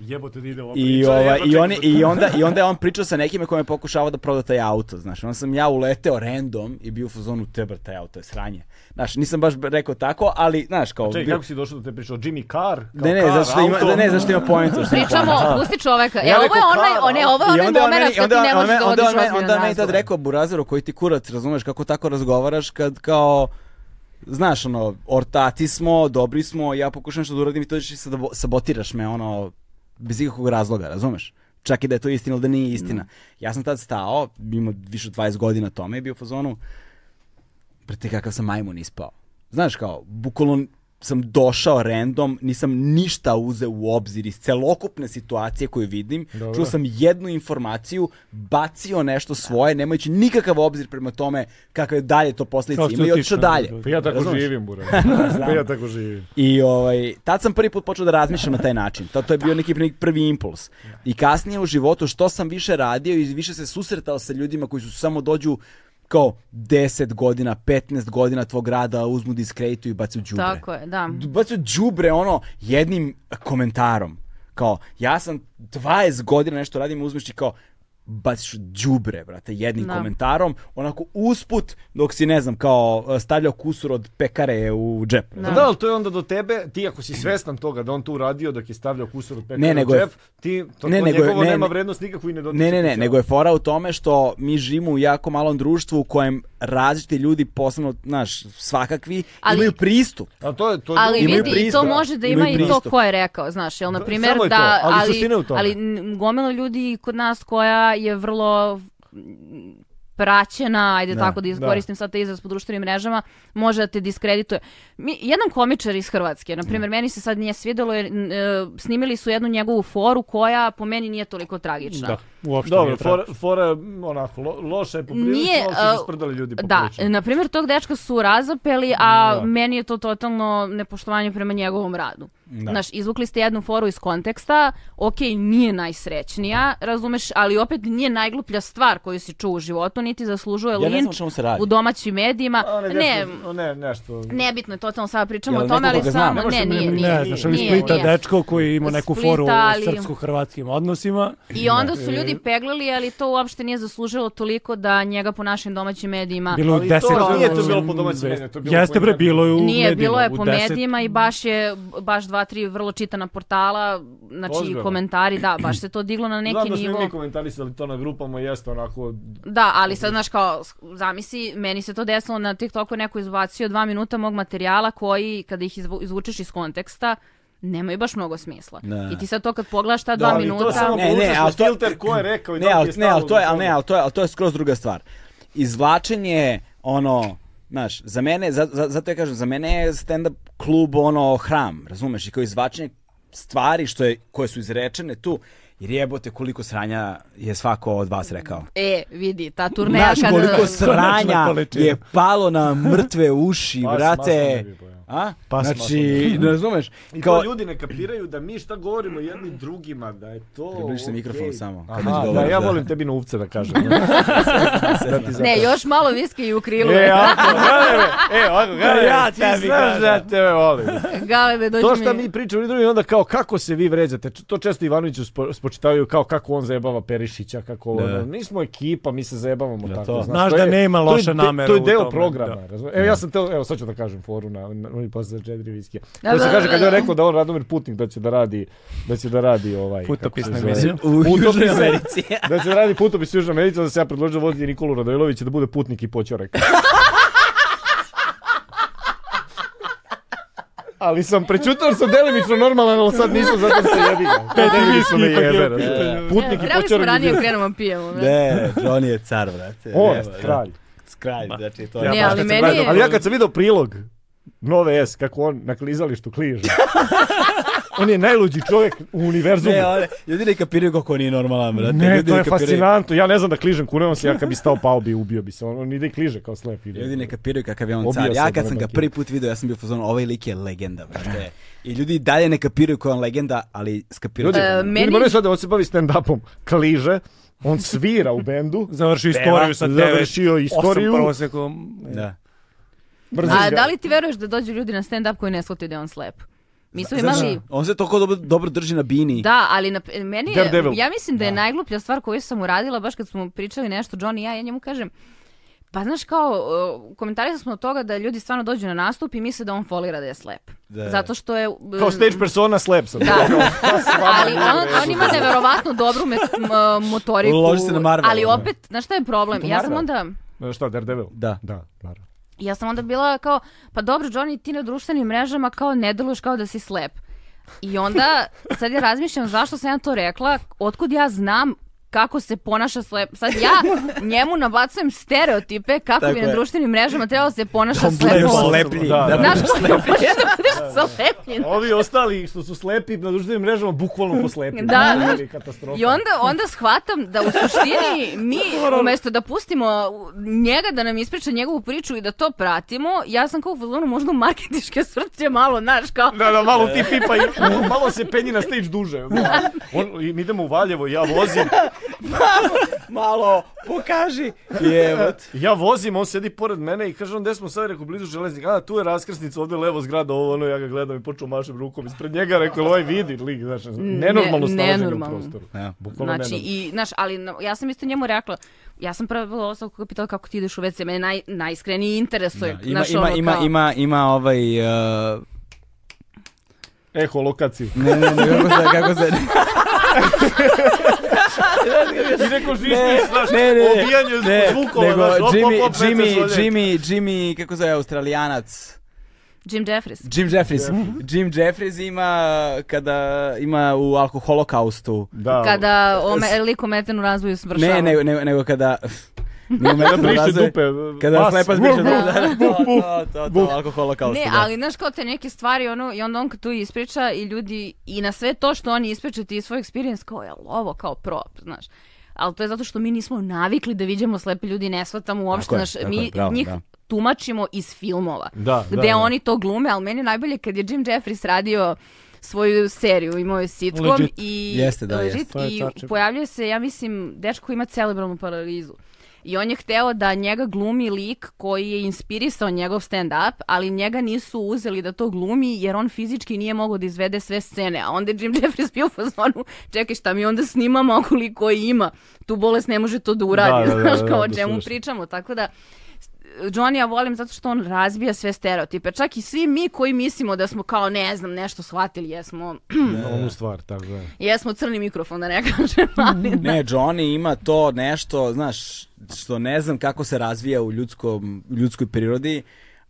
[SPEAKER 2] Jebote da ide ova
[SPEAKER 1] I,
[SPEAKER 2] priča,
[SPEAKER 1] ovaj,
[SPEAKER 2] jedva
[SPEAKER 1] i,
[SPEAKER 2] čekam
[SPEAKER 1] oni, i, onda, I onda je on pričao sa nekime kojima je pokušavao da proda taj auto, znaš. Onda sam ja uleteo random i bio u fazonu tebra taj auto je sranje. Znaš, nisam baš rekao tako, ali, znaš, kao...
[SPEAKER 2] Čekaj,
[SPEAKER 1] bio-
[SPEAKER 2] kako si došao do te priče? O Jimmy Carr? Kao
[SPEAKER 1] ne, ne,
[SPEAKER 2] Carr,
[SPEAKER 1] zato što ima,
[SPEAKER 2] auto?
[SPEAKER 1] da, ne, zato što ima pointu. zato što ima poentu.
[SPEAKER 3] Pričamo, pusti čoveka. E,
[SPEAKER 2] Ja
[SPEAKER 3] ovo je
[SPEAKER 2] rekao
[SPEAKER 3] onaj,
[SPEAKER 2] kara,
[SPEAKER 3] one, ovo Ono je
[SPEAKER 1] I onda je
[SPEAKER 3] onaj
[SPEAKER 1] on
[SPEAKER 3] moment
[SPEAKER 1] meni-
[SPEAKER 3] kad ti
[SPEAKER 1] onda-
[SPEAKER 3] ne možeš
[SPEAKER 1] onda-
[SPEAKER 3] da
[SPEAKER 1] onda
[SPEAKER 3] odiš
[SPEAKER 1] on meni- Onda
[SPEAKER 3] ozbiljno
[SPEAKER 1] on meni tad
[SPEAKER 3] razgovor.
[SPEAKER 1] rekao, Burazeru, koji ti kurac, razumeš kako tako razgovaraš kad kao... Znaš, ono, ortaci smo, dobri smo, ja pokušam što da uradim i to ćeš i sabo- sabotiraš me, ono, bez ikakvog razloga, razumeš? Čak i da je to istina ili da nije istina.
[SPEAKER 3] Mm.
[SPEAKER 1] Ja sam tad stao, imao više od 20 godina tome i bio u fazonu, brate kakav sam majmun ispao. Znaš kao, bukvalno sam došao random, nisam ništa uzeo u obzir iz celokupne situacije koju vidim.
[SPEAKER 2] Dobro.
[SPEAKER 1] Čuo sam jednu informaciju, bacio nešto svoje, nemajući nikakav obzir prema tome kakve dalje to posledice
[SPEAKER 4] Kao što
[SPEAKER 1] ima i
[SPEAKER 4] ti
[SPEAKER 1] otišao
[SPEAKER 4] kažem,
[SPEAKER 1] dalje.
[SPEAKER 4] da, da.
[SPEAKER 2] Pa ja tako
[SPEAKER 1] Razumeš?
[SPEAKER 2] živim, Burak. pa ja tako živim.
[SPEAKER 1] I ovaj, tad sam prvi put počeo da razmišljam na taj način. To, to je bio neki neki prvi impuls. I kasnije u životu što sam više radio i više se susretao sa ljudima koji su samo dođu kao 10 godina, 15 godina tvog rada, uzmu diskretu i bacu đubre.
[SPEAKER 3] Tako je, da.
[SPEAKER 1] Bacio đubre ono jednim komentarom. Kao, ja sam 20 godina nešto radim, uzmeš i kao, baciš đubre, brate, jednim
[SPEAKER 3] Da.
[SPEAKER 1] komentarom, onako usput, dok si, ne znam, kao stavljao kusur od pekare u džep.
[SPEAKER 2] Pa Da. da, ali to je onda do tebe, ti ako si svestan toga da on tu radio dok je stavljao kusur od pekara
[SPEAKER 1] Ne,
[SPEAKER 2] u
[SPEAKER 1] nego je-
[SPEAKER 2] džep, E, ti, to,
[SPEAKER 1] Ne,
[SPEAKER 2] to
[SPEAKER 1] nego je-
[SPEAKER 2] njegovo
[SPEAKER 1] ne,
[SPEAKER 2] nema
[SPEAKER 1] ne.
[SPEAKER 2] vrednost nikakvu i ne dotiče.
[SPEAKER 1] Ne, ne, ne,
[SPEAKER 2] ti
[SPEAKER 1] nego je fora u tome što mi živimo u jako malom društvu u kojem različiti ljudi, posebno, znaš, svakakvi,
[SPEAKER 3] Ali-
[SPEAKER 1] imaju pristup.
[SPEAKER 2] A to je, to je
[SPEAKER 3] Ali
[SPEAKER 2] drugo.
[SPEAKER 1] Imaju
[SPEAKER 3] vidi, i
[SPEAKER 1] pristup,
[SPEAKER 3] to može da ima
[SPEAKER 1] imaju
[SPEAKER 3] i to
[SPEAKER 1] pristup.
[SPEAKER 3] ko je rekao, znaš, jel, na
[SPEAKER 2] Da,
[SPEAKER 3] primjer,
[SPEAKER 2] samo je to,
[SPEAKER 3] da,
[SPEAKER 2] ali
[SPEAKER 3] ali,
[SPEAKER 2] suština je u tome.
[SPEAKER 3] ali n- gomila ljudi kod nas koja je vrlo m, praćena, ajde tako da iskoristim sad taj izraz po društvenim mrežama, može da te diskredituje. Mi, jedan komičar iz Hrvatske, na primjer, meni se sad nije svidelo jer n- e, snimili su jednu njegovu foru koja po meni nije toliko tragična.
[SPEAKER 4] Da, uopšte
[SPEAKER 2] Dobro,
[SPEAKER 4] nije
[SPEAKER 2] fora,
[SPEAKER 4] tragično.
[SPEAKER 2] fora je mm, onako, lo, loše je poprilično,
[SPEAKER 3] Nije,
[SPEAKER 2] ali su se
[SPEAKER 3] a,
[SPEAKER 2] sprdali ljudi
[SPEAKER 3] Da, e,
[SPEAKER 2] poprilično.
[SPEAKER 3] na primjer tog dečka su razapeli, a
[SPEAKER 2] Da.
[SPEAKER 3] meni je to totalno nepoštovanje prema njegovom radu. Znaš, izvukli ste jednu foru iz konteksta, ok, nije najsrećnija, razumeš, ali opet nije najgluplja stvar koju si čuo u životu, niti zaslužuje
[SPEAKER 1] Ja ne znam o
[SPEAKER 3] linč
[SPEAKER 1] čemu se radi.
[SPEAKER 3] u domaćim medijima.
[SPEAKER 2] A, ne,
[SPEAKER 3] ne,
[SPEAKER 2] nešto, ne, nešto.
[SPEAKER 3] nebitno je, totalno sada pričamo
[SPEAKER 1] Jel
[SPEAKER 3] o tome, ali
[SPEAKER 1] nekoga znam?
[SPEAKER 3] samo,
[SPEAKER 1] Ne
[SPEAKER 3] ne,
[SPEAKER 2] možete
[SPEAKER 3] nije,
[SPEAKER 2] mi-
[SPEAKER 3] nije,
[SPEAKER 4] Ne,
[SPEAKER 3] nije,
[SPEAKER 4] znaš,
[SPEAKER 2] ali
[SPEAKER 4] ovi
[SPEAKER 3] nije,
[SPEAKER 4] Splita dečko koji ima neku
[SPEAKER 3] Splita,
[SPEAKER 4] foru
[SPEAKER 3] ali-
[SPEAKER 4] o srpsko-hrvatskim odnosima.
[SPEAKER 3] I onda su ljudi peglali, ali to uopšte nije zaslužilo toliko da njega po našim domaćim medijima
[SPEAKER 4] Bilo je
[SPEAKER 2] Ali
[SPEAKER 4] u
[SPEAKER 2] to-
[SPEAKER 4] deset.
[SPEAKER 2] nije to bilo po domaćim medijima, to je bilo
[SPEAKER 4] Jeste
[SPEAKER 2] po
[SPEAKER 4] bre,
[SPEAKER 2] internetu.
[SPEAKER 4] bilo je u
[SPEAKER 3] Nije,
[SPEAKER 4] medijima,
[SPEAKER 3] bilo je
[SPEAKER 4] u
[SPEAKER 3] po
[SPEAKER 4] deset.
[SPEAKER 3] medijima i baš je, baš dva, tri vrlo čitana portala, znači
[SPEAKER 2] Ozbiljno?
[SPEAKER 3] komentari, da, baš se to diglo na neki
[SPEAKER 2] Znam da smo i
[SPEAKER 3] nivo.
[SPEAKER 2] mi komentarisali to na grupama, jeste onako,
[SPEAKER 3] Da, ali sad, znaš, kao, s- zamisli, meni se to desilo na TikToku, je neko izbacio dva minuta mog materijala koji, kada ih izvu, izvučeš iz konteksta, nemaju baš mnogo smisla.
[SPEAKER 1] Da.
[SPEAKER 3] I ti sad to kad pogledaš ta dva
[SPEAKER 2] ali to
[SPEAKER 3] minuta...
[SPEAKER 2] samo
[SPEAKER 1] Ne, ne,
[SPEAKER 2] Povučeš
[SPEAKER 1] ali
[SPEAKER 2] na
[SPEAKER 1] to
[SPEAKER 2] filter ko je rekao i
[SPEAKER 1] ne,
[SPEAKER 2] da li
[SPEAKER 1] ali,
[SPEAKER 2] je
[SPEAKER 1] ne,
[SPEAKER 2] stalo
[SPEAKER 1] ali to je,
[SPEAKER 2] do
[SPEAKER 1] ali ne,
[SPEAKER 2] toga.
[SPEAKER 1] ali to je, ali to je skroz druga stvar. Izvlačenje, ono, znaš, za mene, za, za- zato ja kažem, za mene je stand-up klub, ono, hram, razumeš, i kao izvlačenje stvari što je, koje su izrečene tu, jer jebote koliko sranja je svako od vas rekao.
[SPEAKER 3] E, vidi, ta turneja
[SPEAKER 1] Znaš
[SPEAKER 3] kad...
[SPEAKER 1] koliko
[SPEAKER 4] Konačna
[SPEAKER 1] sranja
[SPEAKER 4] količina.
[SPEAKER 1] je palo na mrtve uši,
[SPEAKER 2] Pas masno ne
[SPEAKER 1] brate.
[SPEAKER 2] bi pojeo.
[SPEAKER 1] A?
[SPEAKER 4] Pas
[SPEAKER 1] znači, ne razumeš?
[SPEAKER 2] I
[SPEAKER 1] Kao,
[SPEAKER 2] to ljudi ne kapiraju da mi šta govorimo jedni drugima, da je to...
[SPEAKER 1] Približi se
[SPEAKER 2] okej.
[SPEAKER 1] mikrofon samo, kad već
[SPEAKER 2] Aha, da,
[SPEAKER 1] govoriš,
[SPEAKER 2] ja
[SPEAKER 1] da.
[SPEAKER 2] volim tebi na uvce da kažem. E, da ti
[SPEAKER 3] Ne, još malo viske i u krilu.
[SPEAKER 2] E, ako, e, ako, ja ti znaš da tebe volim.
[SPEAKER 3] Galebe, dođi
[SPEAKER 2] To što
[SPEAKER 3] mi...
[SPEAKER 2] mi pričamo i drugi, onda kao kako se vi vređate, Č- to često Ivanoviću spo- spočitavaju kao kako on zajebava Perišića, kako ono, mi smo ekipa, mi se zajebavamo tako.
[SPEAKER 1] to.
[SPEAKER 4] Znaš
[SPEAKER 2] to
[SPEAKER 4] da
[SPEAKER 2] je-
[SPEAKER 4] nema
[SPEAKER 2] to je
[SPEAKER 4] loše
[SPEAKER 2] de-
[SPEAKER 4] namere
[SPEAKER 2] To je
[SPEAKER 4] u
[SPEAKER 2] deo
[SPEAKER 4] tome,
[SPEAKER 2] programa,
[SPEAKER 4] da.
[SPEAKER 2] razumeš? Evo ja sam teo, evo sad ću da kažem foru na, na oni posle četiri viskija.
[SPEAKER 3] Da,
[SPEAKER 2] To se
[SPEAKER 3] da,
[SPEAKER 2] kaže
[SPEAKER 3] da,
[SPEAKER 2] kad
[SPEAKER 3] da.
[SPEAKER 2] je on rekao da on Radomir Putnik da će da radi, da će da radi ovaj...
[SPEAKER 4] Putopisnu
[SPEAKER 2] kako se zove?
[SPEAKER 4] emisiju.
[SPEAKER 1] u Južnoj
[SPEAKER 2] Utopio se.
[SPEAKER 1] Americi.
[SPEAKER 2] Da će da radi putopis Južna America, da se ja predložio voziti Nikolu Radojlovića da bude putnik i poćorek. Ali sam prećutao jer sam delimično normalan, ali sad nisam zato što jebi ga. Peti
[SPEAKER 4] viski ipak je
[SPEAKER 2] jebe.
[SPEAKER 4] opet.
[SPEAKER 2] razumeš? Putnik i
[SPEAKER 3] Trebali smo
[SPEAKER 2] poćorek.
[SPEAKER 3] ranije
[SPEAKER 2] bi bio.
[SPEAKER 3] krenemo pijemo. ne?
[SPEAKER 1] Ne, Johnny je car, brate.
[SPEAKER 2] On,
[SPEAKER 1] Jeste,
[SPEAKER 2] kralj.
[SPEAKER 1] Kralj, znači to
[SPEAKER 4] Ja
[SPEAKER 1] je...
[SPEAKER 3] Ne, ali
[SPEAKER 4] baš kad sam
[SPEAKER 3] meni
[SPEAKER 4] gledao-
[SPEAKER 3] je-
[SPEAKER 2] Ali ja kad sam video prilog Nove S, kako on na klizalištu
[SPEAKER 1] E,
[SPEAKER 2] kliže. On je najluđi čovjek u univerzumu.
[SPEAKER 1] Ne, one, ljudi ne kapiraju kako nije normalan, brate.
[SPEAKER 2] Ne,
[SPEAKER 1] ljudi
[SPEAKER 2] to je
[SPEAKER 1] kapiraju-
[SPEAKER 2] fascinantno. Ja ne znam da kližem, kunevam se, ja kad bi stao pao bi ubio bi se. On, on ide i kliže kao slep. Ide.
[SPEAKER 1] Ljudi ne kapiraju kakav je on
[SPEAKER 2] Obio
[SPEAKER 1] car.
[SPEAKER 2] se
[SPEAKER 1] Ja
[SPEAKER 2] od
[SPEAKER 1] kad sam ga
[SPEAKER 2] Rebeke.
[SPEAKER 1] prvi put video, ja sam bio fazon, ovaj lik je legenda, brate. I ljudi i dalje ne kapiraju koja je on legenda, ali skapiraju.
[SPEAKER 2] Ljudi,
[SPEAKER 1] će.
[SPEAKER 3] E,
[SPEAKER 2] ljudi
[SPEAKER 3] meni-
[SPEAKER 2] moraju sad da on se bavi stand-upom. Kliže, on svira u bendu,
[SPEAKER 4] Završi istoriju sa 9,
[SPEAKER 2] završio istoriju.
[SPEAKER 4] prosekom.
[SPEAKER 1] Da.
[SPEAKER 2] brzo
[SPEAKER 3] A
[SPEAKER 2] ga-
[SPEAKER 3] da li ti veruješ da dođu ljudi na stand-up koji ne shvataju da je on slep? Mi smo
[SPEAKER 1] Znaš,
[SPEAKER 3] imali...
[SPEAKER 1] On se toliko dobro, dobro drži na bini.
[SPEAKER 3] Da, ali na, meni je,
[SPEAKER 2] Daredevil.
[SPEAKER 3] ja mislim da je najgluplja stvar koju sam uradila, baš kad smo pričali nešto, John i ja, ja njemu kažem, pa znaš kao, uh, komentarisali smo od toga da ljudi stvarno dođu na nastup i misle da on folira da je slep. Zato što je...
[SPEAKER 2] Kao stage persona, slep sam.
[SPEAKER 3] Da. ali on, on ima neverovatno dobru me, m- motoriku.
[SPEAKER 1] Loži se na Marvel,
[SPEAKER 3] Ali
[SPEAKER 1] ono.
[SPEAKER 3] opet, znaš šta je problem? Ja sam onda...
[SPEAKER 2] E, Šta, Daredevil?
[SPEAKER 1] Da.
[SPEAKER 2] Da, naravno.
[SPEAKER 3] Ja sam onda bila kao, pa dobro, Johnny, ti na društvenim mrežama kao ne deluješ kao da si slep. I onda, sad ja razmišljam zašto sam ja to rekla, otkud ja znam kako se ponaša slep. Sad ja njemu nabacujem stereotipe kako
[SPEAKER 1] Tako
[SPEAKER 3] bi
[SPEAKER 1] je.
[SPEAKER 3] na društvenim mrežama trebalo se ponaša
[SPEAKER 1] On bude
[SPEAKER 3] slep.
[SPEAKER 1] još sleplji.
[SPEAKER 2] Da, da.
[SPEAKER 3] Znaš kako možeš da budeš slepljen?
[SPEAKER 2] Ovi ostali što su slepi na društvenim mrežama bukvalno poslepi.
[SPEAKER 3] Da,
[SPEAKER 2] Ono je
[SPEAKER 3] znaš.
[SPEAKER 2] katastrofa.
[SPEAKER 3] I onda, onda shvatam da u suštini mi, umjesto da pustimo njega da nam ispriča njegovu priču i da to pratimo, ja sam kao u fazonu možda u marketiške srce malo, znaš, kao...
[SPEAKER 2] Da, da, malo ti pipa i malo se penji na stage duže. On, i mi idemo u Valjevo, ja vozim,
[SPEAKER 1] Malo, pokaži. Jevo.
[SPEAKER 2] ja vozim, on sedi pored mene i kaže on, gde smo sad, rekao, blizu železnika, a tu je raskrsnica, ovdje je levo zgrada, ovo, ono, ja ga gledam i počeo mašem rukom ispred njega, rekao, ovaj vidi, lik, znaš, nenormalno
[SPEAKER 3] Ne-
[SPEAKER 2] snalaženje u
[SPEAKER 3] nenormalno.
[SPEAKER 2] prostoru.
[SPEAKER 1] Ja.
[SPEAKER 2] Bukvalno
[SPEAKER 3] Znači,
[SPEAKER 2] nenormalno.
[SPEAKER 3] i, znaš, ali na- ja sam isto njemu rekla, ja sam prva bila osoba koja je pitala kako ti ideš u WC, mene naj, najiskreniji interesuje.
[SPEAKER 1] Ima,
[SPEAKER 3] znaš,
[SPEAKER 1] ima,
[SPEAKER 3] ono
[SPEAKER 1] ima,
[SPEAKER 3] kao-
[SPEAKER 1] ima, ima ovaj... Uh,
[SPEAKER 2] Eho, lokaciju.
[SPEAKER 1] ne, ne, ne, kako se, kako se...
[SPEAKER 2] I neko žišniš, znaš,
[SPEAKER 1] ne, ne, ne.
[SPEAKER 2] obijanje
[SPEAKER 1] Ne,
[SPEAKER 2] zvukova,
[SPEAKER 1] nego
[SPEAKER 2] znaš, op,
[SPEAKER 1] Jimmy,
[SPEAKER 2] op, op,
[SPEAKER 1] Jimmy,
[SPEAKER 2] meca zvolje.
[SPEAKER 1] Jimmy, Jimmy, kako se zove, australijanac?
[SPEAKER 3] Jim Jeffries.
[SPEAKER 1] Jim Jeffries. Jim Jeffries ima kada ima u alkoholokaustu.
[SPEAKER 2] Da,
[SPEAKER 3] Kada ome, lik ometen u razvoju svršava.
[SPEAKER 1] Ne, nego, nego, nego kada... Nije
[SPEAKER 2] kada
[SPEAKER 1] umetno
[SPEAKER 2] briše
[SPEAKER 1] razvoj-
[SPEAKER 2] dupe,
[SPEAKER 1] Kada
[SPEAKER 2] vas.
[SPEAKER 1] slepa
[SPEAKER 2] Vuh,
[SPEAKER 1] zbriše
[SPEAKER 2] vuh.
[SPEAKER 1] da, da, to, to, to, to, alkoholokaustu.
[SPEAKER 3] Ne,
[SPEAKER 1] da.
[SPEAKER 3] ali znaš kao te neke stvari ono, i onda on kad tu ispriča i ljudi i na sve to što oni ispričaju ti iz svoj experience kao je ovo kao prop, znaš. Ali to je zato što mi nismo navikli da viđamo slepe ljudi i ne shvatamo uopšte,
[SPEAKER 1] Tako je,
[SPEAKER 3] znaš,
[SPEAKER 1] tako
[SPEAKER 3] mi
[SPEAKER 1] je, bravo,
[SPEAKER 3] njih
[SPEAKER 1] da.
[SPEAKER 3] tumačimo iz filmova.
[SPEAKER 2] Da, da,
[SPEAKER 3] gde
[SPEAKER 2] da.
[SPEAKER 3] oni to glume, ali meni je najbolje kad je Jim Jeffries radio svoju seriju, imao je sitcom
[SPEAKER 4] Legit.
[SPEAKER 3] i,
[SPEAKER 1] Jeste, da, jeste.
[SPEAKER 3] legit,
[SPEAKER 4] To je
[SPEAKER 3] i
[SPEAKER 4] tačno.
[SPEAKER 3] pojavljuje se, ja mislim, dečko koji ima cerebralnu paralizu. I on je hteo da njega glumi lik koji je inspirisao njegov stand-up, ali njega nisu uzeli da to glumi jer on fizički nije mogao da izvede sve scene. A onda je Jim Jeffries bio u fazonu, čekaj šta mi onda snimamo ako lik koji ima tu bolest ne može to da uradi.
[SPEAKER 2] Da, da, da,
[SPEAKER 3] Znaš
[SPEAKER 2] da,
[SPEAKER 3] kao o
[SPEAKER 2] da,
[SPEAKER 3] čemu
[SPEAKER 2] slušam.
[SPEAKER 3] pričamo. Tako da, Johnny ja volim zato što on razbija sve stereotipe. Čak i svi mi koji mislimo da smo kao ne znam nešto shvatili, jesmo,
[SPEAKER 2] ono, Onu stvar, tako da.
[SPEAKER 3] jesmo crni mikrofon da ne kažem, ali
[SPEAKER 1] Ne, Johnny ima to nešto, znaš, što ne znam kako se razvija u ljudskom, ljudskoj prirodi,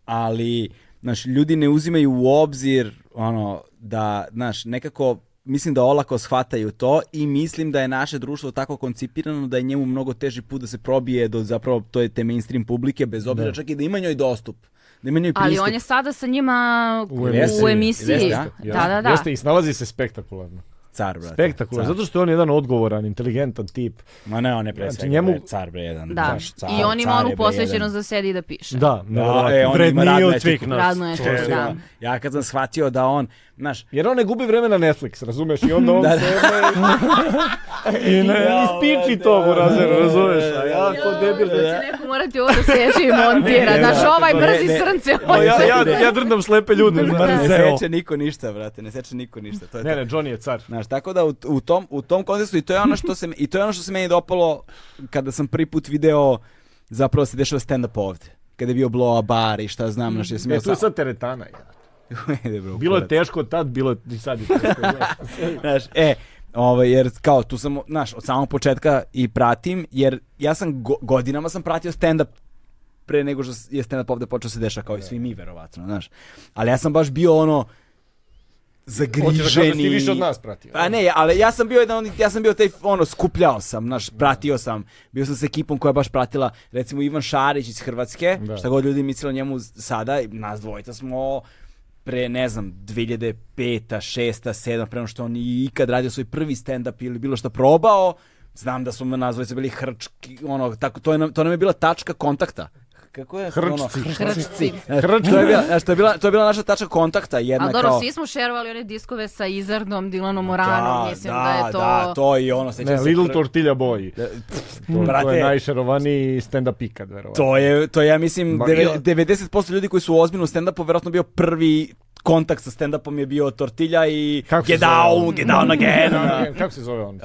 [SPEAKER 1] ali, znaš, ljudi ne uzimaju u obzir, ono, da, znaš, nekako, mislim da olako shvataju to i mislim da je naše društvo tako koncipirano da je njemu mnogo teži put da se probije do zapravo to je te mainstream publike, bez obzira čak i da ima njoj dostup. Da ima njoj
[SPEAKER 3] Ali
[SPEAKER 1] pristup.
[SPEAKER 3] on je sada sa njima
[SPEAKER 2] U
[SPEAKER 3] u
[SPEAKER 2] emisiji.
[SPEAKER 3] emisiji.
[SPEAKER 1] Jeste,
[SPEAKER 3] da,
[SPEAKER 1] jeste.
[SPEAKER 3] da, da.
[SPEAKER 2] Jeste i snalazi se spektakularno.
[SPEAKER 1] car, brate.
[SPEAKER 2] Spektakularno,
[SPEAKER 1] car.
[SPEAKER 2] zato što je on jedan odgovoran, inteligentan tip.
[SPEAKER 1] Ma ne, on je pre
[SPEAKER 2] Znači,
[SPEAKER 1] svega,
[SPEAKER 2] njemu-
[SPEAKER 1] bre, car bre jedan.
[SPEAKER 3] Da.
[SPEAKER 1] znaš, car,
[SPEAKER 3] I on ima
[SPEAKER 1] car
[SPEAKER 3] onu
[SPEAKER 1] je bre jedan.
[SPEAKER 3] posvećenost da sedi i da piše.
[SPEAKER 2] Da,
[SPEAKER 1] Da, e,
[SPEAKER 2] nevjerovatno.
[SPEAKER 1] on ima
[SPEAKER 2] Vredniji
[SPEAKER 1] radnu
[SPEAKER 2] od svih
[SPEAKER 1] etiku.
[SPEAKER 2] nas.
[SPEAKER 3] Radno je što,
[SPEAKER 1] E,
[SPEAKER 3] da.
[SPEAKER 1] Ja kad sam shvatio da on, znaš,
[SPEAKER 2] Jer on ne gubi vreme na Netflix, razumeš? I onda on
[SPEAKER 1] Da, da.
[SPEAKER 2] sebe i, i ne, ispiči to u razredu, razumeš? A ja ko debil.
[SPEAKER 3] Da će Znači, neko morati ovo da seče i montira.
[SPEAKER 1] Ne, ne,
[SPEAKER 3] Znaš,
[SPEAKER 1] da,
[SPEAKER 3] ovaj
[SPEAKER 1] ne,
[SPEAKER 3] brzi
[SPEAKER 1] ne.
[SPEAKER 3] srce,
[SPEAKER 2] Pa
[SPEAKER 3] ovaj
[SPEAKER 2] ja,
[SPEAKER 3] se-
[SPEAKER 2] ja, ja drndam slepe ljude. znaš.
[SPEAKER 1] ne
[SPEAKER 4] Zeo.
[SPEAKER 1] seče niko ništa, brate, ne seče niko ništa. To je
[SPEAKER 2] Ne,
[SPEAKER 1] to.
[SPEAKER 2] ne, Johnny je car.
[SPEAKER 1] Znaš, tako da u, u tom u tom kontekstu i to je ono što se i to je ono što se meni dopalo kada sam prvi put video zapravo se dešava stand up ovde. Kada je bio blow a bar i šta znam, znaš, ja sam
[SPEAKER 2] E,
[SPEAKER 1] ja
[SPEAKER 2] tu je
[SPEAKER 1] sam.
[SPEAKER 2] sad teretana. Ja.
[SPEAKER 1] Ide, bro,
[SPEAKER 2] Bilo je
[SPEAKER 1] kurac.
[SPEAKER 2] teško tad, bilo je i sad. je teško, znaš.
[SPEAKER 1] Znaš, e, ovaj, jer kao tu sam, znaš, od samog početka i pratim, jer ja sam go- godinama sam pratio stand-up pre nego što je stand-up ovde počeo se deša, kao i svi mi, verovatno, znaš. Ali ja sam baš bio ono, zagriženi.
[SPEAKER 2] Hoćeš da kažeš da si više od nas pratio?
[SPEAKER 1] Pa ne, ali ja sam bio jedan, od onih- ja sam bio taj, ono, skupljao sam, znaš, pratio sam. Bio sam s ekipom koja je baš pratila, recimo, Ivan Šarić iz Hrvatske,
[SPEAKER 2] Da.
[SPEAKER 1] šta god ljudi mislili o njemu sada, nas dvojica smo pre, ne znam, 2005 6 7 pre nego što je on i ikad radio svoj prvi stand-up ili bilo šta probao, znam da smo nas dvojica bili hrčki, ono, tako, to, je nam, to nam je bila tačka kontakta. Kako je?
[SPEAKER 2] Hrčci.
[SPEAKER 1] Ono,
[SPEAKER 3] Hrčci.
[SPEAKER 1] Znaš, To je, bila, znaš, to, je bila, to je bila naša tačka kontakta, jedna
[SPEAKER 3] Ali dobro,
[SPEAKER 1] kao...
[SPEAKER 3] svi smo šerovali one diskove sa Izardom, Dilanom
[SPEAKER 1] Da,
[SPEAKER 3] Moranom, mislim da je to...
[SPEAKER 1] Da, to i ono, sećam
[SPEAKER 2] Ne,
[SPEAKER 1] se
[SPEAKER 2] Little
[SPEAKER 1] prvi-
[SPEAKER 2] Tortilla Boy. To, to
[SPEAKER 1] Brate,
[SPEAKER 2] je najšarovaniji stand-up ikad, verovatno.
[SPEAKER 1] To je, to je, ja mislim,
[SPEAKER 2] Ma,
[SPEAKER 1] deve-
[SPEAKER 2] ja-
[SPEAKER 1] 90% ljudi koji su ozbiljno u stand-upu verovatno bio prvi kontakt sa stand-upom je bio tortilja i
[SPEAKER 2] Kako se
[SPEAKER 1] get
[SPEAKER 2] zove
[SPEAKER 1] down,
[SPEAKER 2] on?
[SPEAKER 1] get down again. ono.
[SPEAKER 2] Ne, Kako se zove on?
[SPEAKER 1] Uh,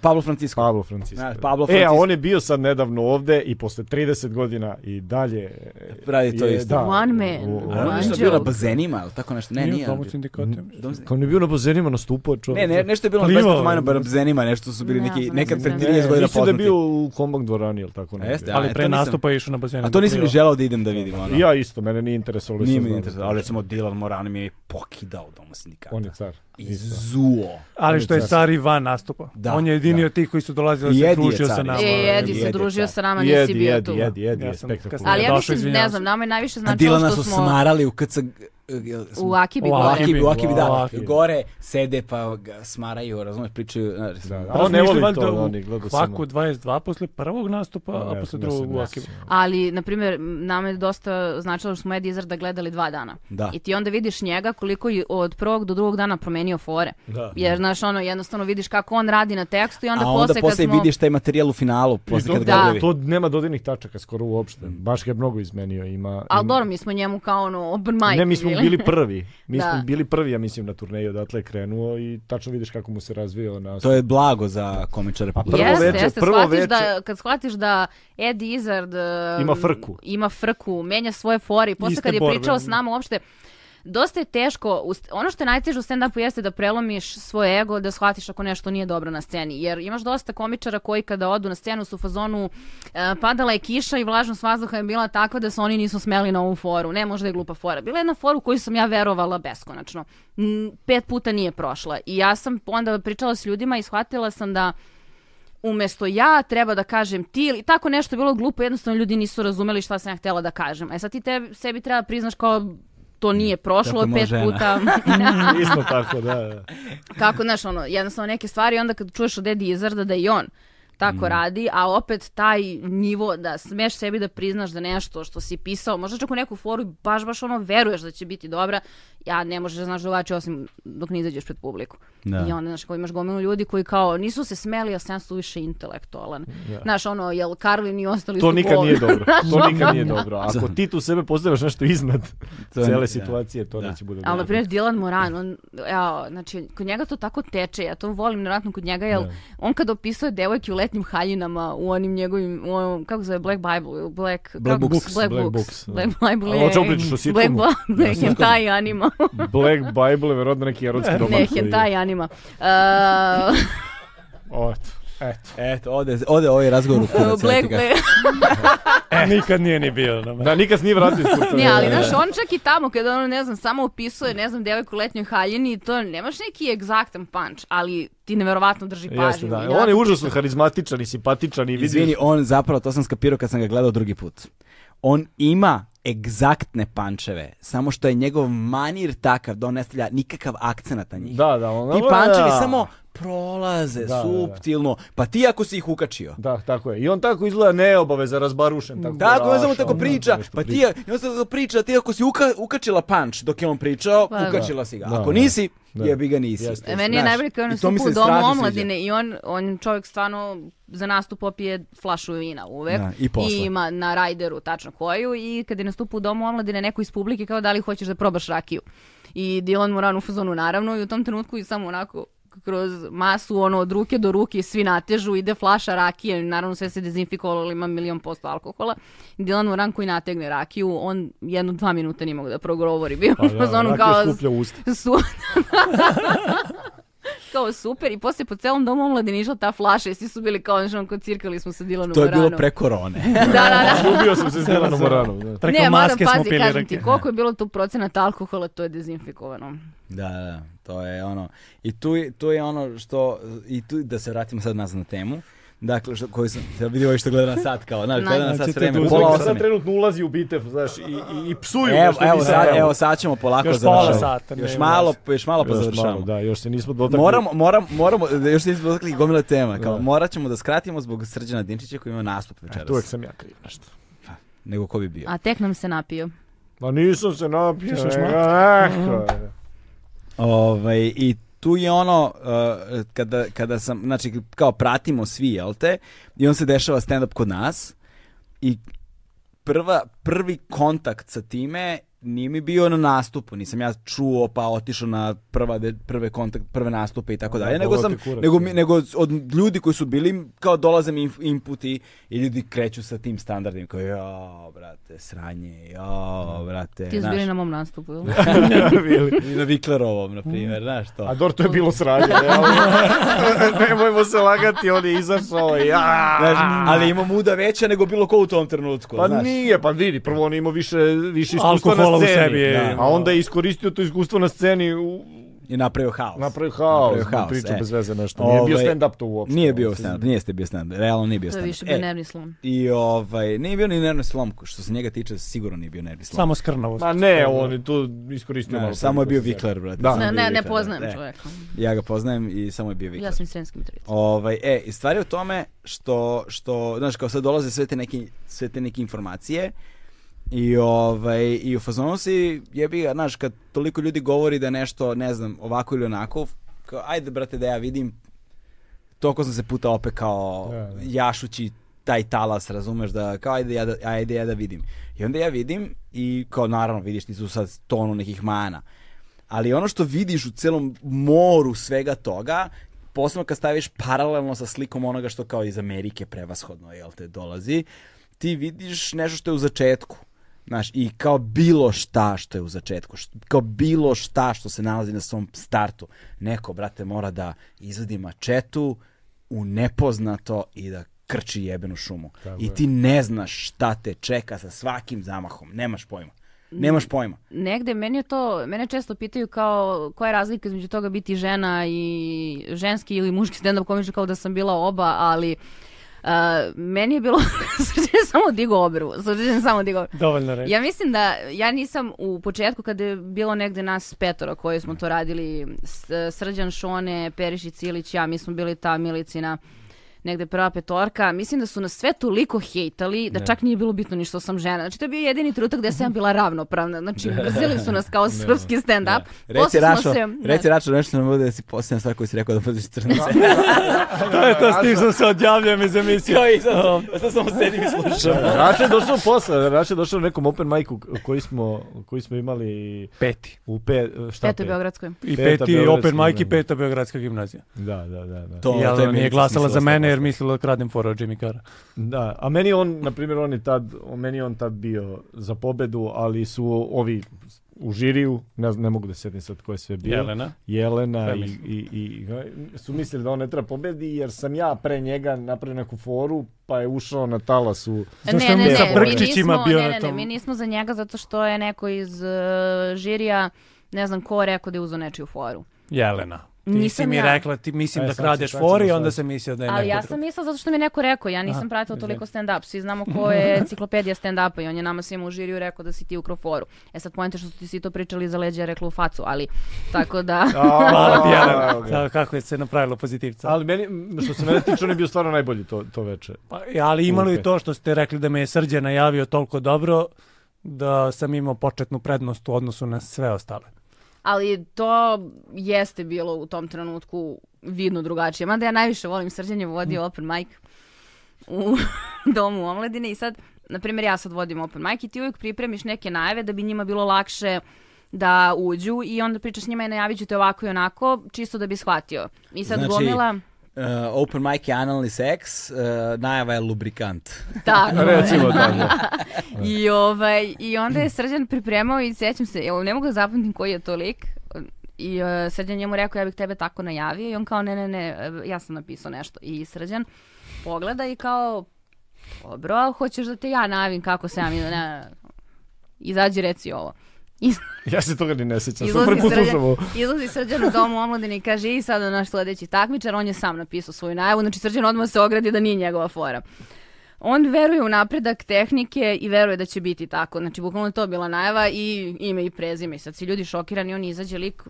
[SPEAKER 1] Pablo Francisco.
[SPEAKER 2] Pablo Francisco.
[SPEAKER 1] Da, Pablo
[SPEAKER 2] E, a
[SPEAKER 1] Francisco.
[SPEAKER 2] on je bio sad nedavno ovde i posle 30 godina i dalje... e,
[SPEAKER 1] Radi to
[SPEAKER 2] je-
[SPEAKER 1] isto.
[SPEAKER 2] da,
[SPEAKER 3] One man,
[SPEAKER 2] u- u-
[SPEAKER 1] A ono
[SPEAKER 3] one
[SPEAKER 1] nešto je
[SPEAKER 3] Anđeo.
[SPEAKER 1] bilo na bazenima, ili tako nešto? Ne,
[SPEAKER 4] Nije u
[SPEAKER 1] nije.
[SPEAKER 4] tomu
[SPEAKER 1] bio.
[SPEAKER 4] sindikatu.
[SPEAKER 1] Dom-
[SPEAKER 2] Kao on je bio na bazenima nastupao
[SPEAKER 1] Ne,
[SPEAKER 2] čovjek.
[SPEAKER 1] ne, nešto je bilo na
[SPEAKER 2] Plivao.
[SPEAKER 1] 25 majna bazenima, nešto su bili
[SPEAKER 3] Ne
[SPEAKER 1] neki,
[SPEAKER 3] znam,
[SPEAKER 1] neka
[SPEAKER 3] ne
[SPEAKER 1] pred
[SPEAKER 3] znam.
[SPEAKER 1] 30 godina
[SPEAKER 2] Mislim da je
[SPEAKER 1] poznati.
[SPEAKER 2] bio u kombang dvorani, ili tako? negdje.
[SPEAKER 1] Jeste,
[SPEAKER 4] Ali
[SPEAKER 1] e,
[SPEAKER 4] pre
[SPEAKER 1] to nisam-
[SPEAKER 4] nastupa je išao na bazenu.
[SPEAKER 1] A to nisam ni
[SPEAKER 4] Plivao.
[SPEAKER 1] želao da idem da vidim, ono.
[SPEAKER 2] Ja isto, mene nije interesovalo.
[SPEAKER 1] Nije
[SPEAKER 2] nisam
[SPEAKER 1] mi
[SPEAKER 2] znao.
[SPEAKER 1] interesantno, ali recimo Dylan Moran mi je pokidao doma sindikata.
[SPEAKER 2] On je car.
[SPEAKER 1] I
[SPEAKER 2] Isto.
[SPEAKER 1] zuo.
[SPEAKER 4] Ali što je Sari van nastupa.
[SPEAKER 1] Da,
[SPEAKER 4] On je jedini
[SPEAKER 1] da.
[SPEAKER 4] od tih koji su dolazili
[SPEAKER 1] I
[SPEAKER 4] da se
[SPEAKER 1] Edi je
[SPEAKER 4] družio sa
[SPEAKER 1] car,
[SPEAKER 4] nama.
[SPEAKER 1] isto.
[SPEAKER 3] E, Edi
[SPEAKER 1] Jedi,
[SPEAKER 3] se družio
[SPEAKER 1] čar.
[SPEAKER 3] sa nama, nisi
[SPEAKER 2] Jedi,
[SPEAKER 3] bio
[SPEAKER 2] jedi,
[SPEAKER 3] tu.
[SPEAKER 2] jedi, jedi,
[SPEAKER 4] Ja
[SPEAKER 2] je
[SPEAKER 4] sam
[SPEAKER 2] spektakularno.
[SPEAKER 3] Ali ja
[SPEAKER 4] Došao,
[SPEAKER 3] mislim, ne
[SPEAKER 4] izvinjavam
[SPEAKER 3] znam,
[SPEAKER 4] se.
[SPEAKER 3] nama je najviše
[SPEAKER 1] A
[SPEAKER 3] značilo
[SPEAKER 1] Dilana
[SPEAKER 3] Znači, ono što
[SPEAKER 1] su
[SPEAKER 3] smo
[SPEAKER 1] smarali u KC...
[SPEAKER 3] u Akibi
[SPEAKER 4] U
[SPEAKER 1] U
[SPEAKER 3] gore.
[SPEAKER 4] Akibi.
[SPEAKER 1] Akibi, u Akibi,
[SPEAKER 2] U
[SPEAKER 1] da.
[SPEAKER 2] Akibi.
[SPEAKER 1] Gore sede pa ga smaraju, razumeš, pričaju. znaš,
[SPEAKER 2] Da, da. A on ne
[SPEAKER 4] Razmišljaju
[SPEAKER 2] voli
[SPEAKER 4] valjda
[SPEAKER 2] to,
[SPEAKER 4] u
[SPEAKER 2] oni gleda samo.
[SPEAKER 4] Kvaku 22 posle prvog nastupa, a posle drugog u Akibu.
[SPEAKER 3] Ali, na primjer, m, nama je dosta značilo što smo Ed Izarda gledali dva dana.
[SPEAKER 1] Da.
[SPEAKER 3] I ti onda vidiš njega koliko je od prvog do drugog dana promenio fore.
[SPEAKER 2] Da.
[SPEAKER 3] Jer, znaš, ono, jednostavno vidiš kako on radi na tekstu i onda,
[SPEAKER 1] A onda
[SPEAKER 3] posle,
[SPEAKER 1] posle
[SPEAKER 3] kad smo...
[SPEAKER 1] vidiš taj materijal u finalu, posle kad Mm.
[SPEAKER 3] da.
[SPEAKER 1] ga objavi.
[SPEAKER 2] To nema dodirnih tačaka skoro uopšte. Baš ga je mnogo izmenio. Ima,
[SPEAKER 3] Ali
[SPEAKER 2] ima-
[SPEAKER 3] dobro, mi smo njemu kao ono open mic
[SPEAKER 2] Ne, mi smo
[SPEAKER 3] bili.
[SPEAKER 2] bili prvi. Mi
[SPEAKER 3] Da.
[SPEAKER 2] smo bili prvi, ja mislim, na turneju odatle je krenuo i tačno vidiš kako mu se razvio na...
[SPEAKER 1] To je blago za komičare.
[SPEAKER 2] A prvo
[SPEAKER 3] jeste,
[SPEAKER 2] veče,
[SPEAKER 3] jeste,
[SPEAKER 2] prvo
[SPEAKER 3] shvatiš
[SPEAKER 2] veče-
[SPEAKER 3] da, kad shvatiš da Eddie Izzard e,
[SPEAKER 2] Ima frku.
[SPEAKER 3] ima frku, menja svoje fore i posle
[SPEAKER 4] Iste
[SPEAKER 3] kad je
[SPEAKER 4] borbe,
[SPEAKER 3] pričao
[SPEAKER 4] ono.
[SPEAKER 3] s nama uopšte, dosta je teško, ust- ono što je najteže u stand-upu jeste da prelomiš svoj ego, da shvatiš ako nešto nije dobro na sceni, jer imaš dosta komičara koji kada odu na scenu su u fazonu e, padala je kiša i vlažnost vazduha je bila takva da se oni nisu smeli na ovu foru, ne možda je glupa fora, bila je jedna fora u koju sam ja verovala beskonačno, Mm, pet puta nije prošla i ja sam onda pričala s ljudima i shvatila sam da umesto ja treba da kažem ti ili tako nešto je bilo glupo, jednostavno ljudi nisu razumeli šta sam ja htjela da kažem. E sad ti tebi, sebi treba priznaš kao to nije prošlo
[SPEAKER 1] Tako je moja
[SPEAKER 3] pet
[SPEAKER 1] žena.
[SPEAKER 3] puta.
[SPEAKER 2] Isto tako, da, da.
[SPEAKER 3] Kako, znaš, ono, jednostavno neke stvari, onda kad čuješ od Edi Izarda da i on
[SPEAKER 2] Mm.
[SPEAKER 3] tako radi, a opet taj nivo da smeš sebi da priznaš da nešto što si pisao, možda čak u neku foru i baš, baš ono veruješ da će biti dobra, ja ne možeš da znaš drugačije osim dok ne izađeš pred publiku.
[SPEAKER 1] Da.
[SPEAKER 3] I onda, znaš, kao imaš gomilu ljudi koji kao nisu se smeli, a sam su više intelektualan. Znaš, ono, jel Karlin i ostali
[SPEAKER 2] To
[SPEAKER 3] su
[SPEAKER 2] nikad
[SPEAKER 3] gol.
[SPEAKER 2] nije dobro. To nikad nije dobro. Ako ti tu sebe postavljaš nešto iznad
[SPEAKER 1] To je-
[SPEAKER 2] cele
[SPEAKER 1] da.
[SPEAKER 2] situacije, to neće bude
[SPEAKER 3] Ali,
[SPEAKER 2] dobro.
[SPEAKER 3] na primjer, Dylan Moran, on, jao, znači, kod njega to tako teče, ja to volim, vjerojatno kod njega, jel, on kad opisuje devojke u letnjim haljinama, u onim njegovim, u onom, kako se zove, Black Bible, u Black...
[SPEAKER 1] Black
[SPEAKER 3] kako-
[SPEAKER 1] Books,
[SPEAKER 3] Black,
[SPEAKER 2] Black
[SPEAKER 3] Books.
[SPEAKER 2] Books, da.
[SPEAKER 3] Black Bible
[SPEAKER 2] Ali
[SPEAKER 3] je...
[SPEAKER 2] o čemu pričaš, o
[SPEAKER 3] Black,
[SPEAKER 2] sitcomu?
[SPEAKER 3] Black, Black Hentai anima.
[SPEAKER 2] Black Bible je verovatno neki erotski roman.
[SPEAKER 3] ne,
[SPEAKER 2] koji-
[SPEAKER 3] Hentai anima. Uh,
[SPEAKER 2] O, Eto. Eto.
[SPEAKER 1] Eto, ode, ode ovaj razgovor u kurac. ja ti
[SPEAKER 3] Black,
[SPEAKER 1] kažem.
[SPEAKER 3] Black,
[SPEAKER 4] Nikad nije ni bio. na me.
[SPEAKER 2] E. Da, nikad se nije vratio iz kurca.
[SPEAKER 3] Ne, ali znaš, on čak i tamo kada ono, ne znam, samo opisuje, ne znam, devojku u letnjoj haljini, to nemaš neki egzaktan punch, ali ti neverovatno drži pažnju.
[SPEAKER 2] Jeste, da.
[SPEAKER 3] I
[SPEAKER 2] On je
[SPEAKER 3] onako-
[SPEAKER 2] užasno harizmatičan i simpatičan i vidiš...
[SPEAKER 1] Izvini, on zapravo, to sam skapirao kad sam ga gledao drugi put. On ima egzaktne pančeve, samo što je njegov manir takav da on ne stavlja nikakav akcenat na njih.
[SPEAKER 2] Da, da, on...
[SPEAKER 1] Ti pančevi samo prolaze
[SPEAKER 2] da, da.
[SPEAKER 1] suptilno, pa ti ako si ih ukačio.
[SPEAKER 2] Da, tako je. I on tako izgleda neobaveza, razbarušen. Tako,
[SPEAKER 1] Tako, on
[SPEAKER 2] raš,
[SPEAKER 1] samo tako
[SPEAKER 2] ono,
[SPEAKER 1] priča,
[SPEAKER 2] nešto
[SPEAKER 1] pa ti,
[SPEAKER 2] priča.
[SPEAKER 1] je- i on samo tako priča, ti ako si uka, ukačila panč dok je on pričao,
[SPEAKER 3] Pa da.
[SPEAKER 1] ukačila si ga.
[SPEAKER 2] Da,
[SPEAKER 1] Ako
[SPEAKER 2] da.
[SPEAKER 1] nisi,
[SPEAKER 2] Da.
[SPEAKER 1] jebi ga nisi.
[SPEAKER 2] Jeste,
[SPEAKER 3] E, Meni je
[SPEAKER 1] Znaš,
[SPEAKER 3] najbolje kad je
[SPEAKER 1] i
[SPEAKER 3] on
[SPEAKER 1] to mi
[SPEAKER 3] stupa
[SPEAKER 1] se
[SPEAKER 3] u domu
[SPEAKER 1] strašno sviđa.
[SPEAKER 3] omladine i on, on čovjek stvarno za nastup popije flašu vina uvek.
[SPEAKER 1] Da, i posle.
[SPEAKER 3] ima na rajderu tačno koju i kad je nastupa u domu omladine neko iz publike kao da li hoćeš da probaš rakiju. I Dylan Moran u fazonu naravno i u tom trenutku i samo onako kroz masu ono od ruke do ruke svi natežu ide flaša rakije naravno sve se dezinfikovalo ali ima milion posto alkohola Dylan Moran koji nategne rakiju on jedno dva minuta nije mogu da progovori bio
[SPEAKER 2] Pa
[SPEAKER 3] u
[SPEAKER 2] da,
[SPEAKER 3] fazonu
[SPEAKER 2] rakija
[SPEAKER 3] Ono kao
[SPEAKER 2] skuplja usta.
[SPEAKER 3] su... kao super i poslije po celom domu omladine išla ta flaša i svi su bili kao nešto kod cirkali smo sa Dilanom
[SPEAKER 1] To je bilo
[SPEAKER 3] Moranom.
[SPEAKER 1] pre korone.
[SPEAKER 3] Da, da, da.
[SPEAKER 2] Ubio sam se s Dilanom Moranom. znaš.
[SPEAKER 4] Preko
[SPEAKER 3] Ne, moram
[SPEAKER 4] maske smo
[SPEAKER 3] pazi,
[SPEAKER 4] pili
[SPEAKER 3] kažem
[SPEAKER 4] rakije.
[SPEAKER 3] ti, koliko je bilo tu procenata alkohola, to je dezinfikovano.
[SPEAKER 1] Da, da, to je ono. I tu, je- tu je ono što, i tu da se vratimo sad nazad na temu, dakle, što, koju sam, da vidio ovo što gleda na sat kao, znaš, gleda na
[SPEAKER 4] Znači,
[SPEAKER 1] sat
[SPEAKER 4] to
[SPEAKER 1] vreme,
[SPEAKER 4] je
[SPEAKER 1] pola
[SPEAKER 4] tu-
[SPEAKER 2] Sad
[SPEAKER 1] osam je.
[SPEAKER 2] trenutno ulazi u bitev, znaš, i, i, i psuju.
[SPEAKER 1] Evo,
[SPEAKER 2] nešto
[SPEAKER 1] evo,
[SPEAKER 2] mi
[SPEAKER 1] sad,
[SPEAKER 2] znamo.
[SPEAKER 1] evo, sad ćemo polako
[SPEAKER 4] Još pola
[SPEAKER 1] završavamo.
[SPEAKER 4] sata, ne,
[SPEAKER 1] Još
[SPEAKER 4] ne,
[SPEAKER 1] malo, još malo pa
[SPEAKER 2] Još malo,
[SPEAKER 1] završavamo.
[SPEAKER 2] da, još se nismo dotakli.
[SPEAKER 1] Moramo, moram, moramo, još nismo dotakli gomile tema, kao morat ćemo da skratimo zbog Srđana Dinčića koji ima nastup
[SPEAKER 2] Tu uvek
[SPEAKER 1] večeras.
[SPEAKER 2] sam ja kriv nešto.
[SPEAKER 1] Nego ko bi bio.
[SPEAKER 3] A tek nam se napio.
[SPEAKER 2] Ma nisam se napio.
[SPEAKER 4] Ti ćeš
[SPEAKER 2] nego,
[SPEAKER 4] mati.
[SPEAKER 2] onako.
[SPEAKER 1] Ovaj, I tu je ono, uh, kada, kada sam, znači, kao pratimo svi, jel te, i on se dešava stand-up kod nas i prva, prvi kontakt sa time nije mi bio na nastupu, nisam ja čuo pa otišao na prva, de- prve, kontakt, prve nastupe i tako
[SPEAKER 2] Da,
[SPEAKER 1] dalje, nego,
[SPEAKER 2] bolo
[SPEAKER 1] sam,
[SPEAKER 2] ti kurac,
[SPEAKER 1] nego, mi,
[SPEAKER 2] da.
[SPEAKER 1] nego od ljudi koji su bili, kao dolaze mi inf- inputi i ljudi kreću sa tim standardima, kao jo, brate, sranje, jo, brate,
[SPEAKER 3] Ti su
[SPEAKER 1] znaš.
[SPEAKER 3] bili na mom nastupu, ili?
[SPEAKER 1] I na Viklerovom, na primjer, znaš to.
[SPEAKER 2] A Dor, to je bilo sranje, realno. Nemojmo se lagati, on je izašao, ja.
[SPEAKER 1] Znaš, ali ima muda veća nego bilo ko u tom trenutku,
[SPEAKER 2] Pa
[SPEAKER 1] znaš.
[SPEAKER 2] nije, pa vidi, prvo on ima više, više iskustva
[SPEAKER 4] Alkohola
[SPEAKER 2] na
[SPEAKER 4] u
[SPEAKER 2] sceni.
[SPEAKER 4] sebi je,
[SPEAKER 2] da.
[SPEAKER 4] ima.
[SPEAKER 2] A onda je iskoristio to iskustvo na sceni u...
[SPEAKER 1] I napravio haos.
[SPEAKER 2] Napravio haos,
[SPEAKER 1] Napravio haos,
[SPEAKER 2] priča
[SPEAKER 1] e.
[SPEAKER 2] bez veze nešto. Nije bio
[SPEAKER 1] Ovaj,
[SPEAKER 2] stand-up to uopšte.
[SPEAKER 1] Nije
[SPEAKER 2] ono,
[SPEAKER 1] bio
[SPEAKER 2] se-
[SPEAKER 1] stand-up, nije ste bio stand-up, realno nije bio
[SPEAKER 3] To je
[SPEAKER 1] stand-up.
[SPEAKER 3] više bio
[SPEAKER 1] E,
[SPEAKER 3] nervni slom.
[SPEAKER 1] I ovaj, nije bio ni nervni slom, što se njega tiče, sigurno nije bio nervni slom.
[SPEAKER 4] Samo skrnavost.
[SPEAKER 2] Ma ne, on je tu iskoristio
[SPEAKER 1] Znaš,
[SPEAKER 2] malo.
[SPEAKER 1] samo je bio
[SPEAKER 2] toliko se-
[SPEAKER 1] viklar, brate.
[SPEAKER 2] Da.
[SPEAKER 1] samo je
[SPEAKER 3] Ne,
[SPEAKER 1] bio
[SPEAKER 3] ne, ne
[SPEAKER 1] viklar,
[SPEAKER 3] poznajem
[SPEAKER 1] brate. E,
[SPEAKER 3] čoveka.
[SPEAKER 1] Ja ga poznajem i samo je bio viklar.
[SPEAKER 3] Ja sam iz Sremske Mitrovice.
[SPEAKER 1] Ovaj, e, i stvar je u tome što, što, znaš, kao sad dolaze sve te neke, sve te neke informacije i, ovaj, i u fazonu si jebi ga, znaš, kad toliko ljudi govori da je nešto, ne znam, ovako ili onako, kao, ajde, brate, da ja vidim, toliko sam se puta opet kao
[SPEAKER 2] Da, da.
[SPEAKER 1] jašući taj talas, razumeš, da kao ajde ja da, ajde ja da vidim. I onda ja vidim i kao naravno vidiš ti su sad tonu nekih mana. Ali ono što vidiš u celom moru svega toga, posebno kad staviš paralelno sa slikom onoga što kao iz Amerike prevashodno, jel te, dolazi, ti vidiš nešto što je u začetku. Znaš, i kao bilo šta što je u začetku, št- kao bilo šta što se nalazi na svom startu. Neko, brate, mora da izvadi mačetu u nepoznato i da krči jebenu šumu. I ti ne znaš šta te čeka sa svakim zamahom. Nemaš pojma.
[SPEAKER 3] Mm.
[SPEAKER 1] Nemaš pojma.
[SPEAKER 3] Negde, meni je to, mene često pitaju kao koja je razlika između toga biti žena i ženski ili muški stand-up komičar kao da sam bila oba, ali uh, meni je bilo, Srđan je samo digo obru, Srđan je samo digo obru.
[SPEAKER 4] Dovoljno reći.
[SPEAKER 3] Ja mislim da, ja nisam u početku kada je bilo negde nas petora koji smo to radili, S- Srđan Šone, Perišić Ilić, ja, mi smo bili ta milicina negde prva petorka, mislim da su nas sve toliko hejtali da čak nije bilo bitno ni što sam žena. Znači to je bio jedini trenutak gde sam ja bila ravnopravna. Znači brzili su nas kao srpski stand-up.
[SPEAKER 1] Reci
[SPEAKER 3] Posle smo
[SPEAKER 1] Rašo,
[SPEAKER 3] se-
[SPEAKER 1] reci Rašo nešto nam bude da si posljedna stvar koju si rekao da budeš crnice.
[SPEAKER 4] To je to, s tim sam se odjavljam iz emisije.
[SPEAKER 1] Sad samo sedim i slušam.
[SPEAKER 2] Rače je došao posle, Rače je došao na nekom open micu koji smo, koji smo imali
[SPEAKER 4] Peti.
[SPEAKER 2] u pe, šta
[SPEAKER 3] Petoj
[SPEAKER 2] pe-
[SPEAKER 3] Beogradskoj.
[SPEAKER 4] I
[SPEAKER 2] Peta
[SPEAKER 4] peti, i
[SPEAKER 2] Beogradska
[SPEAKER 4] open mic i
[SPEAKER 2] gimnazija.
[SPEAKER 4] peta Beogradska gimnazija.
[SPEAKER 2] Da, da, da. da.
[SPEAKER 1] To,
[SPEAKER 4] I ona
[SPEAKER 1] to je
[SPEAKER 4] ono, nije
[SPEAKER 1] Milica
[SPEAKER 4] glasala za
[SPEAKER 1] smislila
[SPEAKER 4] mene
[SPEAKER 1] stavak.
[SPEAKER 4] jer mislila da kradem foru od Jimmy Cara.
[SPEAKER 2] Da, a meni on, na primjer, on je tad, meni je on tad bio za pobedu, ali su ovi u žiriju, ne, znam, ne mogu da se sjetim sad ko je sve bio,
[SPEAKER 4] Jelena.
[SPEAKER 2] Jelena i,
[SPEAKER 4] Femis.
[SPEAKER 2] i, i, i- su mislili da on ne treba pobedi jer sam ja pre njega napravio neku foru pa je ušao na talasu.
[SPEAKER 4] Zašto mi je sa
[SPEAKER 3] mi
[SPEAKER 4] brkčićima
[SPEAKER 3] nismo-
[SPEAKER 4] bio
[SPEAKER 3] ne,
[SPEAKER 4] na
[SPEAKER 3] ne, ne,
[SPEAKER 4] tom?
[SPEAKER 3] mi nismo za njega zato što je neko iz uh, žirija, ne znam ko, rekao da je uzeo nečiju foru.
[SPEAKER 4] Jelena. Ti
[SPEAKER 3] Nisam
[SPEAKER 4] si mi
[SPEAKER 3] ja.
[SPEAKER 4] rekla, ti mislim
[SPEAKER 2] E,
[SPEAKER 4] da
[SPEAKER 2] sad ću-
[SPEAKER 4] kradeš
[SPEAKER 2] sad ćemo
[SPEAKER 4] foru i onda
[SPEAKER 2] sad.
[SPEAKER 4] sam mislio da je neko
[SPEAKER 3] Ali ja sam
[SPEAKER 4] drugi.
[SPEAKER 3] mislila zato što mi je neko rekao, ja nisam pratila toliko stand-up, svi znamo ko je enciklopedija stand-upa i on je nama svima u žiriju rekao da si ti u kroforu. E sad pojente što su ti svi to pričali iza leđa, ja rekla u facu, ali tako da...
[SPEAKER 4] Hvala ti,
[SPEAKER 2] A,
[SPEAKER 4] Jelena.
[SPEAKER 2] evo ga.
[SPEAKER 4] Sa- Kako je se napravilo pozitivca.
[SPEAKER 2] Ali meni, m, što se mene tiče, on je bio stvarno najbolji to, to veče.
[SPEAKER 4] Pa, e, ali imalo je
[SPEAKER 2] Lupe.
[SPEAKER 4] to što ste rekli da me je Srđan najavio toliko dobro da sam imao početnu prednost u odnosu na sve ostale.
[SPEAKER 3] Ali to jeste bilo u tom trenutku vidno drugačije. Mada ja najviše volim srđanje vodio open mic u domu omladine i sad, na primjer, ja sad vodim open mic i ti uvijek pripremiš neke najave da bi njima bilo lakše da uđu i onda pričaš s njima i najavit ću te ovako i onako, čisto da bi shvatio. I sad
[SPEAKER 1] Znači-
[SPEAKER 3] gomila...
[SPEAKER 1] Uh, open mic je analni seks, uh, najava je lubrikant.
[SPEAKER 3] Tako.
[SPEAKER 2] Recimo da.
[SPEAKER 3] I, ovaj, I onda je Srđan pripremao i sjećam se, evo, ne mogu da zapamtim koji je to lik. I e, Srđan njemu rekao ja bih tebe tako najavio i on kao ne, ne, ne, e, ja sam napisao nešto. I Srđan pogleda i kao dobro, a hoćeš da te ja najavim kako sam ja, ne, ne, izađi reci ovo. I
[SPEAKER 2] Ja se toga ni ne sjećam.
[SPEAKER 3] Izlazi
[SPEAKER 2] Super
[SPEAKER 3] srđan,
[SPEAKER 2] poslušamo.
[SPEAKER 3] izlazi srđan u domu omladine i kaže i sada naš sledeći takmičar, on je sam napisao svoju najavu, znači srđan odmah se ogradi da nije njegova fora. On veruje u napredak tehnike i veruje da će biti tako. Znači, bukvalno je to bila najava i ime i prezime. I sad si ljudi šokirani, on izađe lik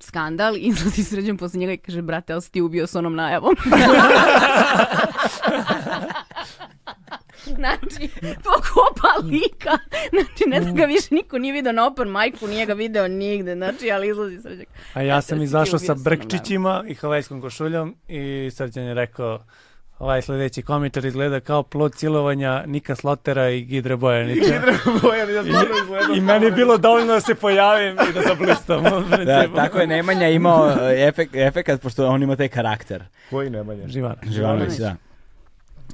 [SPEAKER 3] skandal i izlazi srđan posle njega i kaže, brate, ali si ti ubio s onom najavom. Znači, pokopa lika. Znači, ne da ga više niko nije video na open micu, nije ga video nigde. Znači, ali izlazi srđak.
[SPEAKER 4] A ja sam
[SPEAKER 3] si E, ti
[SPEAKER 4] izašao
[SPEAKER 3] ubio
[SPEAKER 4] sa
[SPEAKER 3] sa mnom,
[SPEAKER 4] brkčićima i havajskom košuljom i Srđan je rekao Ovaj sledeći komentar izgleda kao plod cilovanja Nika Slotera i Gidre Bojanića.
[SPEAKER 2] Bojan, ja stvarno izgledam.
[SPEAKER 4] I meni je bilo dovoljno da se pojavim i da zablistam.
[SPEAKER 1] Da, tako je Nemanja imao e, efek, efekat, pošto on ima taj karakter.
[SPEAKER 2] Koji Nemanja?
[SPEAKER 4] Živana.
[SPEAKER 1] Živanović, da.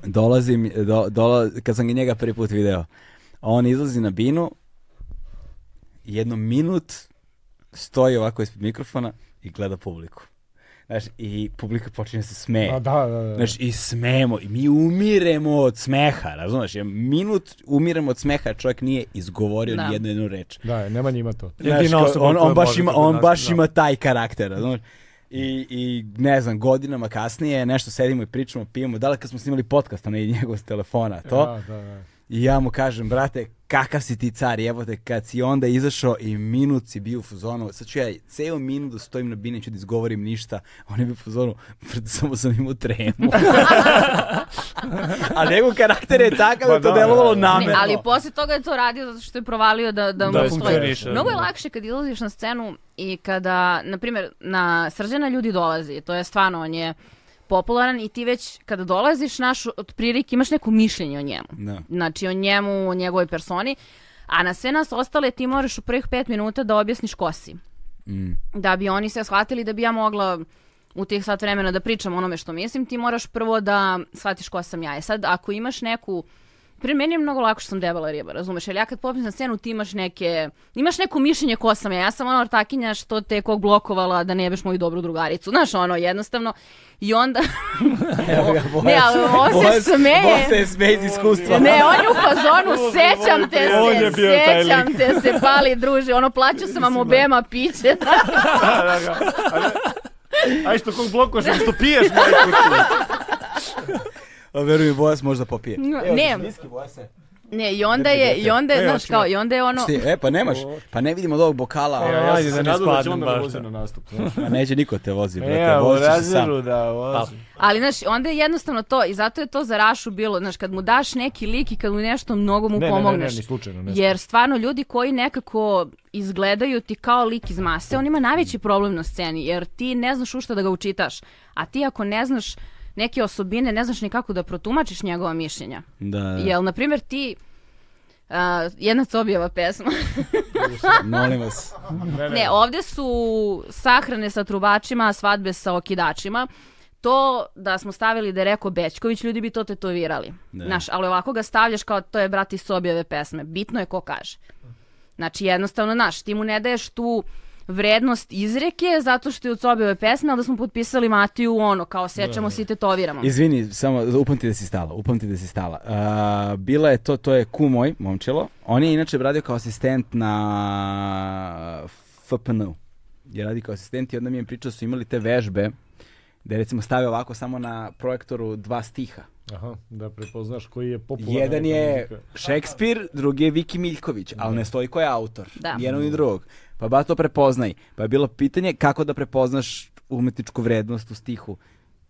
[SPEAKER 1] Dolazim, do, dola, kad sam ga njega prvi put video, on izlazi na binu, jedno minut stoji ovako ispred mikrofona i gleda publiku. Znaš, i publika počinje da se smeje.
[SPEAKER 2] A, da, da, da.
[SPEAKER 1] Znaš, i smemo, i mi umiremo od smeha, razumeš? Jer minut umiremo od smeha, čovjek nije izgovorio
[SPEAKER 3] Da.
[SPEAKER 1] ni jednu jednu reč.
[SPEAKER 2] Da, Nemanja ima to.
[SPEAKER 1] Znaš,
[SPEAKER 4] Jedina
[SPEAKER 1] kao,
[SPEAKER 4] osoba
[SPEAKER 1] on,
[SPEAKER 4] koja
[SPEAKER 1] on baš,
[SPEAKER 4] može
[SPEAKER 1] ima,
[SPEAKER 4] to da
[SPEAKER 1] on baš
[SPEAKER 4] nastavi,
[SPEAKER 1] ima taj karakter, razumeš? I, I ne znam, godinama kasnije nešto sedimo i pričamo, pijemo, da li kad smo snimali podcast, onaj njegov s telefona, to.
[SPEAKER 2] Da, da, da.
[SPEAKER 1] I ja mu kažem, brate, kakav si ti car, evo te, kad si onda izašao i minut si bio u fuzonu, sad ću ja ceo minut da stojim na bini, neću da izgovorim ništa, on je bio u fuzonu, "Brate, samo sam imao tremu. A njegov karakter je takav da
[SPEAKER 2] Pa
[SPEAKER 1] je to
[SPEAKER 2] da,
[SPEAKER 1] delovalo
[SPEAKER 2] da, da.
[SPEAKER 1] namerno.
[SPEAKER 3] Ne, ali posle toga je to radio zato što je provalio da, da, mu
[SPEAKER 4] Da,
[SPEAKER 3] stoji.
[SPEAKER 4] funkcioniše.
[SPEAKER 3] Mnogo je lakše kad izlaziš na scenu i kada, na primjer, na srđana ljudi dolazi. To je stvarno, on je popularan i ti već kada dolaziš naš otprilike imaš neko mišljenje o njemu.
[SPEAKER 1] Da.
[SPEAKER 3] Znači o njemu, o njegovoj personi. A na sve nas ostale ti moraš u prvih pet minuta da objasniš ko si.
[SPEAKER 1] Mm.
[SPEAKER 3] Da bi oni sve shvatili, da bi ja mogla u tih sat vremena da pričam o onome što mislim, ti moraš prvo da shvatiš ko sam ja. E sad, ako imaš neku... Pri meni je mnogo lako što sam debela riba, razumeš? Jer ja kad popim na scenu ti imaš neke... Imaš neko mišljenje ko sam ja. Ja sam ona ortakinja što te kog blokovala da ne jebeš moju dobru drugaricu. Znaš, ono, jednostavno. I onda...
[SPEAKER 1] Evo ga, Bojan.
[SPEAKER 3] Ne, ali on se
[SPEAKER 1] Bojan-
[SPEAKER 3] smeje.
[SPEAKER 1] Bojan se smeje iz
[SPEAKER 2] Pa
[SPEAKER 1] iskustva.
[SPEAKER 3] Ne, on je u fazonu, sećam te se,
[SPEAKER 4] On je bio taj lik.
[SPEAKER 3] sećam te se, pali druže, ono, plaćao sam vam obema piće.
[SPEAKER 2] da, da. Ajde, Aj što kog blokoš, što piješ moju kuću.
[SPEAKER 1] A Pa veruj mi, Bojas možda popije.
[SPEAKER 3] ne, ne, i onda je, i onda je, znaš, kao, i onda je ono,
[SPEAKER 1] Šti, e, pa nemaš, pa ne vidimo od ovog bokala,
[SPEAKER 4] Evo.
[SPEAKER 2] E, Ja
[SPEAKER 4] Ajde,
[SPEAKER 2] sam
[SPEAKER 4] da
[SPEAKER 2] se nadao
[SPEAKER 4] ne
[SPEAKER 2] da će
[SPEAKER 4] spadnem
[SPEAKER 2] onda
[SPEAKER 4] baš,
[SPEAKER 2] me vozi
[SPEAKER 4] da.
[SPEAKER 2] na nastup.
[SPEAKER 1] pa neće niko te vozi, brate,
[SPEAKER 2] Ja, u
[SPEAKER 1] vozi će se sam.
[SPEAKER 2] razredu, da, vozi.
[SPEAKER 3] ali, znaš, onda je jednostavno to, i zato je to za Rašu bilo, znaš, kad mu daš neki lik i kad mu nešto mnogo
[SPEAKER 2] Ne,
[SPEAKER 3] mu
[SPEAKER 2] ne, ne, ne,
[SPEAKER 3] pomogneš.
[SPEAKER 2] ni slučajno. Ne,
[SPEAKER 3] Jer stvarno ljudi koji nekako izgledaju ti kao lik iz mase, on ima najveći problem na sceni, jer ti ne znaš u šta da ga učitaš. A ti ako ne znaš neke osobine, ne znaš ni kako da protumačiš njegova mišljenja.
[SPEAKER 1] Da,
[SPEAKER 3] Jel, na primjer, ti... Uh, jedna cobijeva pesma.
[SPEAKER 1] molim vas.
[SPEAKER 3] ne, ovde su sahrane sa trubačima, svadbe sa okidačima. To da smo stavili da je rekao Bećković, ljudi bi to tetovirali.
[SPEAKER 1] Da.
[SPEAKER 3] Znaš, ali ovako ga stavljaš kao to je brati iz objave pesme. Bitno je ko kaže. Znači, jednostavno, znaš, ti mu ne daješ tu vrednost izreke zato što je od objave pesme, ali da smo potpisali Matiju ono, kao sećamo se i tetoviramo.
[SPEAKER 1] Izvini, samo upamti da si stala, upamti da si stala. A, bila je to, to je ku moj, momčilo. On je inače radio kao asistent na FPN. Je radio kao asistent i onda mi je pričao da su imali te vežbe da je recimo stave ovako samo na projektoru dva stiha.
[SPEAKER 2] Aha, da prepoznaš koji je popularan.
[SPEAKER 1] Jedan je Šekspir, drugi je Viki Miljković, ali ne stoji ko je autor.
[SPEAKER 3] Da.
[SPEAKER 1] Jednog i drugog. Pa ba to prepoznaj. Pa je bilo pitanje kako da prepoznaš umetničku vrednost u stihu.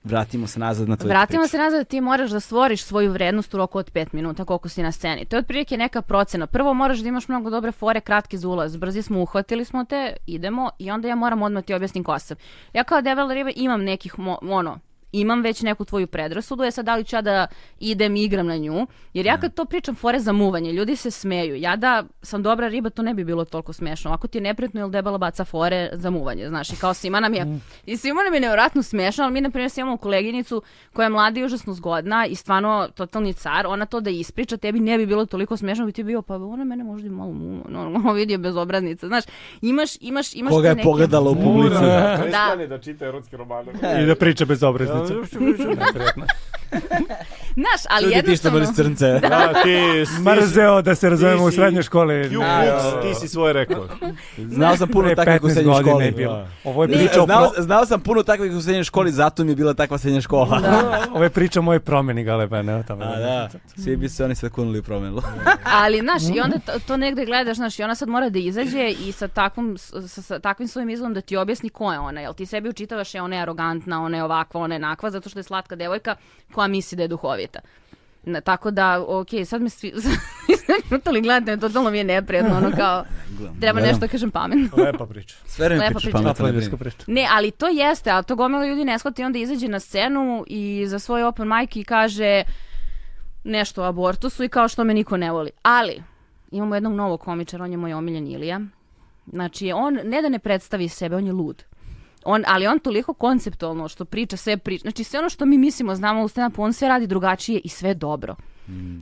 [SPEAKER 1] Vratimo se nazad na tvoju
[SPEAKER 3] Vratimo
[SPEAKER 1] priču.
[SPEAKER 3] se nazad da ti moraš da stvoriš svoju vrednost u roku od 5 minuta koliko si na sceni. To je otprilike neka procena. Prvo moraš da imaš mnogo dobre fore, kratki za ulaz. Brzi smo, uhvatili smo te, idemo i onda ja moram odmah ti objasnim ko sam. Ja kao debela riba imam nekih, mo- ono, imam već neku tvoju predrasudu, je sad da li ću ja da idem i igram na nju, jer ja kad to pričam fore za muvanje, ljudi se smeju. Ja da sam dobra riba, to ne bi bilo toliko smešno. Ovako ti je neprijatno jer debela baca fore za muvanje, znaš, i kao svima nam
[SPEAKER 1] Mm.
[SPEAKER 3] je, i svima nam je nevjerojatno smešno, ali mi, na primjer, sad imamo koleginicu koja je mlada i užasno zgodna i stvarno totalni car, ona to da ispriča, tebi ne bi bilo toliko smešno, bi ti bio, pa ona mene možda i malo muva, normalno vidi je bezobraznica, znaš, imaš, imaš, imaš
[SPEAKER 1] Koga
[SPEAKER 3] te
[SPEAKER 1] je
[SPEAKER 3] neke-
[SPEAKER 1] pogledala u publici.
[SPEAKER 2] Da,
[SPEAKER 3] prestani
[SPEAKER 2] da čita erotske romane.
[SPEAKER 4] I da priča bez obraznice.
[SPEAKER 3] Znaš, ali
[SPEAKER 1] Ljudi ti što
[SPEAKER 3] jednostavno...
[SPEAKER 1] mrz crnce.
[SPEAKER 2] Da, ti si...
[SPEAKER 4] Mrzeo da se razumemo u
[SPEAKER 2] si-
[SPEAKER 4] srednjoj školi.
[SPEAKER 2] Q
[SPEAKER 4] Ne,
[SPEAKER 2] Books, ti si svoje rekao.
[SPEAKER 1] Znao sam puno
[SPEAKER 4] Pre
[SPEAKER 1] takvih u
[SPEAKER 4] 15
[SPEAKER 1] srednjoj
[SPEAKER 4] godina
[SPEAKER 1] školi.
[SPEAKER 4] je bilo. Ovo je
[SPEAKER 1] Ne,
[SPEAKER 4] priča o
[SPEAKER 1] znao,
[SPEAKER 4] pro-
[SPEAKER 1] znao sam puno takvih u srednjoj školi, zato mi je bila takva srednja škola.
[SPEAKER 4] ovo je priča o mojoj promeni galeba, ne o tome.
[SPEAKER 1] A da, svi bi se oni sad kunuli u promenu.
[SPEAKER 3] Ali, znaš, i onda to, to negde gledaš, znaš, i ona sad mora da izađe i sa, takvom, sa, sa takvim svojim izgledom da ti objasni ko je ona, jel ti sebi učitavaš je ona je arogantna, ona je ovakva, ona je nakva, zato što je slatka devojka koja misli da je duhovita. Na, tako da, okej, sad me svi... Utali gledate me, totalno mi je neprijatno, ono kao, treba nešto da kažem pametno.
[SPEAKER 2] Lepa priča.
[SPEAKER 1] Sve vreme
[SPEAKER 3] Lepa
[SPEAKER 1] pričaš
[SPEAKER 3] priča.
[SPEAKER 1] pametno. ne brini.
[SPEAKER 4] Aplebeska priča.
[SPEAKER 3] Ne, ali to jeste, a to gomila ljudi ne shvata i onda izađe na scenu i za svoj open mic i kaže nešto o abortusu i kao što me niko ne voli. Ali, imamo jednog novog komičara, on je moj omiljen Ilija. Znači, on ne da ne predstavi sebe, on je lud. On, ali on toliko konceptualno što priča, sve priča. Znači, sve ono što mi mislimo, znamo u stand on sve radi drugačije i sve je dobro.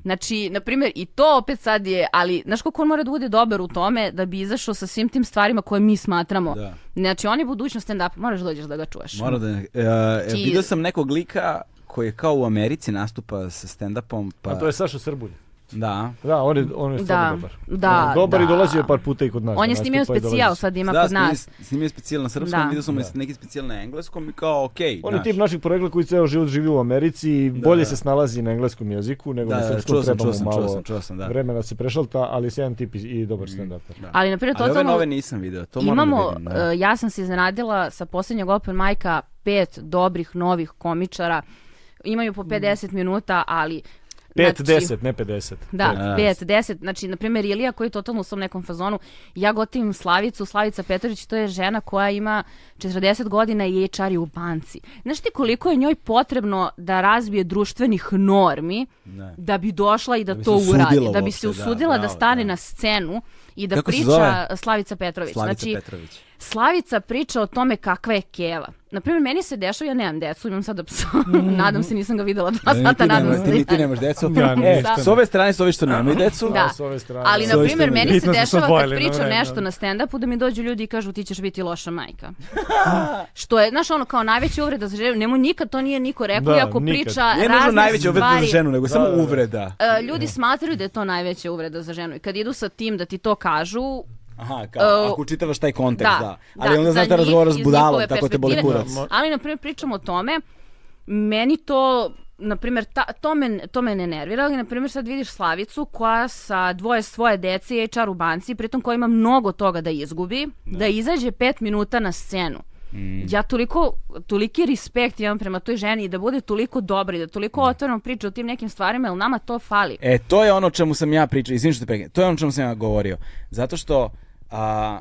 [SPEAKER 3] Znači, na primjer, i to opet sad je, ali znaš koliko on mora da bude dobar u tome da bi izašao sa svim tim stvarima koje mi smatramo.
[SPEAKER 1] Da.
[SPEAKER 3] Znači, on je budućnost stand-upa, moraš da dođeš da ga čuješ.
[SPEAKER 1] Mora da... e, e,
[SPEAKER 3] Ti-
[SPEAKER 1] vidio sam nekog lika koji je kao u Americi nastupa sa stand-upom, pa...
[SPEAKER 2] A to je Saša Srbulj.
[SPEAKER 1] Da.
[SPEAKER 2] Da, on je, on je stvarno
[SPEAKER 3] Da,
[SPEAKER 2] dobar.
[SPEAKER 3] da,
[SPEAKER 2] On je dobar i
[SPEAKER 3] da.
[SPEAKER 2] dolazio je par puta i kod nas.
[SPEAKER 3] On je
[SPEAKER 2] da
[SPEAKER 3] snimio
[SPEAKER 2] nastupa i
[SPEAKER 3] specijal,
[SPEAKER 2] dolazi.
[SPEAKER 3] sad ima
[SPEAKER 1] da,
[SPEAKER 3] kod nas.
[SPEAKER 1] snimio- snimio je specijal na srpskom,
[SPEAKER 3] Da.
[SPEAKER 1] vidio sam da. neki specijal na engleskom i kao okej.
[SPEAKER 2] On je
[SPEAKER 1] znaš.
[SPEAKER 2] tip naših porekla koji ceo život živi u Americi i bolje
[SPEAKER 1] da.
[SPEAKER 2] se snalazi na engleskom jeziku nego
[SPEAKER 1] Da,
[SPEAKER 2] na
[SPEAKER 1] da,
[SPEAKER 2] srpskom.
[SPEAKER 1] čuo sam,
[SPEAKER 2] Treba
[SPEAKER 1] čuo
[SPEAKER 2] mu
[SPEAKER 1] sam,
[SPEAKER 2] malo
[SPEAKER 1] čuo sam, čuo sam, da.
[SPEAKER 2] Vremena se prešalta, ali sjajan tip i, i dobar stand-up.
[SPEAKER 3] Ali, na primjer,
[SPEAKER 1] Ali ove
[SPEAKER 3] totalno...
[SPEAKER 1] nove nisam video, to moram da
[SPEAKER 3] Imamo,
[SPEAKER 1] vidim. da.
[SPEAKER 3] e, ja sam se iznenadila sa posljednjeg open majka pet dobrih novih komičara. Imaju
[SPEAKER 2] Mm.
[SPEAKER 3] po 50 minuta, ali...
[SPEAKER 2] 5,
[SPEAKER 3] znači,
[SPEAKER 2] 10, ne 50.
[SPEAKER 3] Da,
[SPEAKER 1] Da.
[SPEAKER 3] 5, 10, znači, na primjer, Ilija koji je totalno u svom nekom fazonu, ja gotivim Slavicu, Slavica Petrović, to je žena koja ima 40 godina i HR je u banci. Znaš ti koliko je njoj potrebno da razbije društvenih normi
[SPEAKER 1] Ne.
[SPEAKER 3] da bi došla i da,
[SPEAKER 1] bi se
[SPEAKER 3] to uradi,
[SPEAKER 1] usudila
[SPEAKER 3] da bi se
[SPEAKER 1] uopšte, da,
[SPEAKER 3] usudila da,
[SPEAKER 1] bravo,
[SPEAKER 3] stane
[SPEAKER 1] da.
[SPEAKER 3] na scenu i da
[SPEAKER 1] Kako se
[SPEAKER 3] priča
[SPEAKER 1] zove?
[SPEAKER 3] Slavica Petrović.
[SPEAKER 1] Slavica
[SPEAKER 3] znači,
[SPEAKER 1] Petrović.
[SPEAKER 3] Slavica priča o tome kakva je keva. Naprimjer, meni se dešava, ja nemam decu, imam sada psa, nadam se, nisam ga videla dva
[SPEAKER 1] Ni Mhm. ti
[SPEAKER 3] sata, nadam
[SPEAKER 1] nema-
[SPEAKER 3] se.
[SPEAKER 1] ti,
[SPEAKER 3] da
[SPEAKER 1] ni ti
[SPEAKER 3] je-
[SPEAKER 1] nemaš decu.
[SPEAKER 4] Ja ne,
[SPEAKER 1] e,
[SPEAKER 4] ništa
[SPEAKER 1] s ove strane su ovi što nemaju decu.
[SPEAKER 3] Da.
[SPEAKER 2] S ove strane.
[SPEAKER 3] Ali, na
[SPEAKER 1] Sve
[SPEAKER 3] primjer,
[SPEAKER 1] isto
[SPEAKER 4] mi.
[SPEAKER 3] meni se
[SPEAKER 4] Bitno smo se
[SPEAKER 3] dešava kad
[SPEAKER 4] odvojili na
[SPEAKER 3] pričam
[SPEAKER 4] vreme,
[SPEAKER 3] nešto
[SPEAKER 4] da.
[SPEAKER 3] na stand-upu da mi dođu ljudi i kažu ti ćeš biti loša majka. Što je, znaš, ono, kao najveća uvreda za ženu. Nemo nikad to nije niko rekao,
[SPEAKER 2] Da,
[SPEAKER 3] iako
[SPEAKER 2] nikad.
[SPEAKER 3] priča
[SPEAKER 1] Nije nužno
[SPEAKER 3] razne
[SPEAKER 1] najveće uvreda
[SPEAKER 3] stvari.
[SPEAKER 1] za ženu, nego samo
[SPEAKER 2] da, da.
[SPEAKER 1] uvreda.
[SPEAKER 3] E, ljudi smatraju da je to najveća uvreda za ženu i kad idu sa tim da ti to kažu,
[SPEAKER 1] Aha, kao,
[SPEAKER 3] E,
[SPEAKER 1] ako učitavaš taj kontekst, da.
[SPEAKER 3] da,
[SPEAKER 1] Ali
[SPEAKER 3] da,
[SPEAKER 1] onda
[SPEAKER 3] za
[SPEAKER 1] znaš da
[SPEAKER 3] njih,
[SPEAKER 1] razgovaraš s
[SPEAKER 3] iz
[SPEAKER 1] budalom,
[SPEAKER 3] njihove
[SPEAKER 1] tako te boli
[SPEAKER 3] perspektive.
[SPEAKER 1] kurac.
[SPEAKER 4] Da.
[SPEAKER 3] ali na primjer pričamo o tome, meni to na primjer ta, to, me, to me ne nervira, ali na primjer sad vidiš Slavicu koja sa dvoje svoje dece je čar u banci, pritom koja ima mnogo toga da izgubi, da izađe pet minuta na scenu. Ja toliko, toliki respekt imam prema toj ženi i da bude toliko dobra i da toliko otvoreno priča o tim nekim stvarima, jer nama to fali.
[SPEAKER 1] E, to je ono o čemu sam ja pričao, izvim što te prekinem, to je ono o čemu sam ja govorio. Zato što a,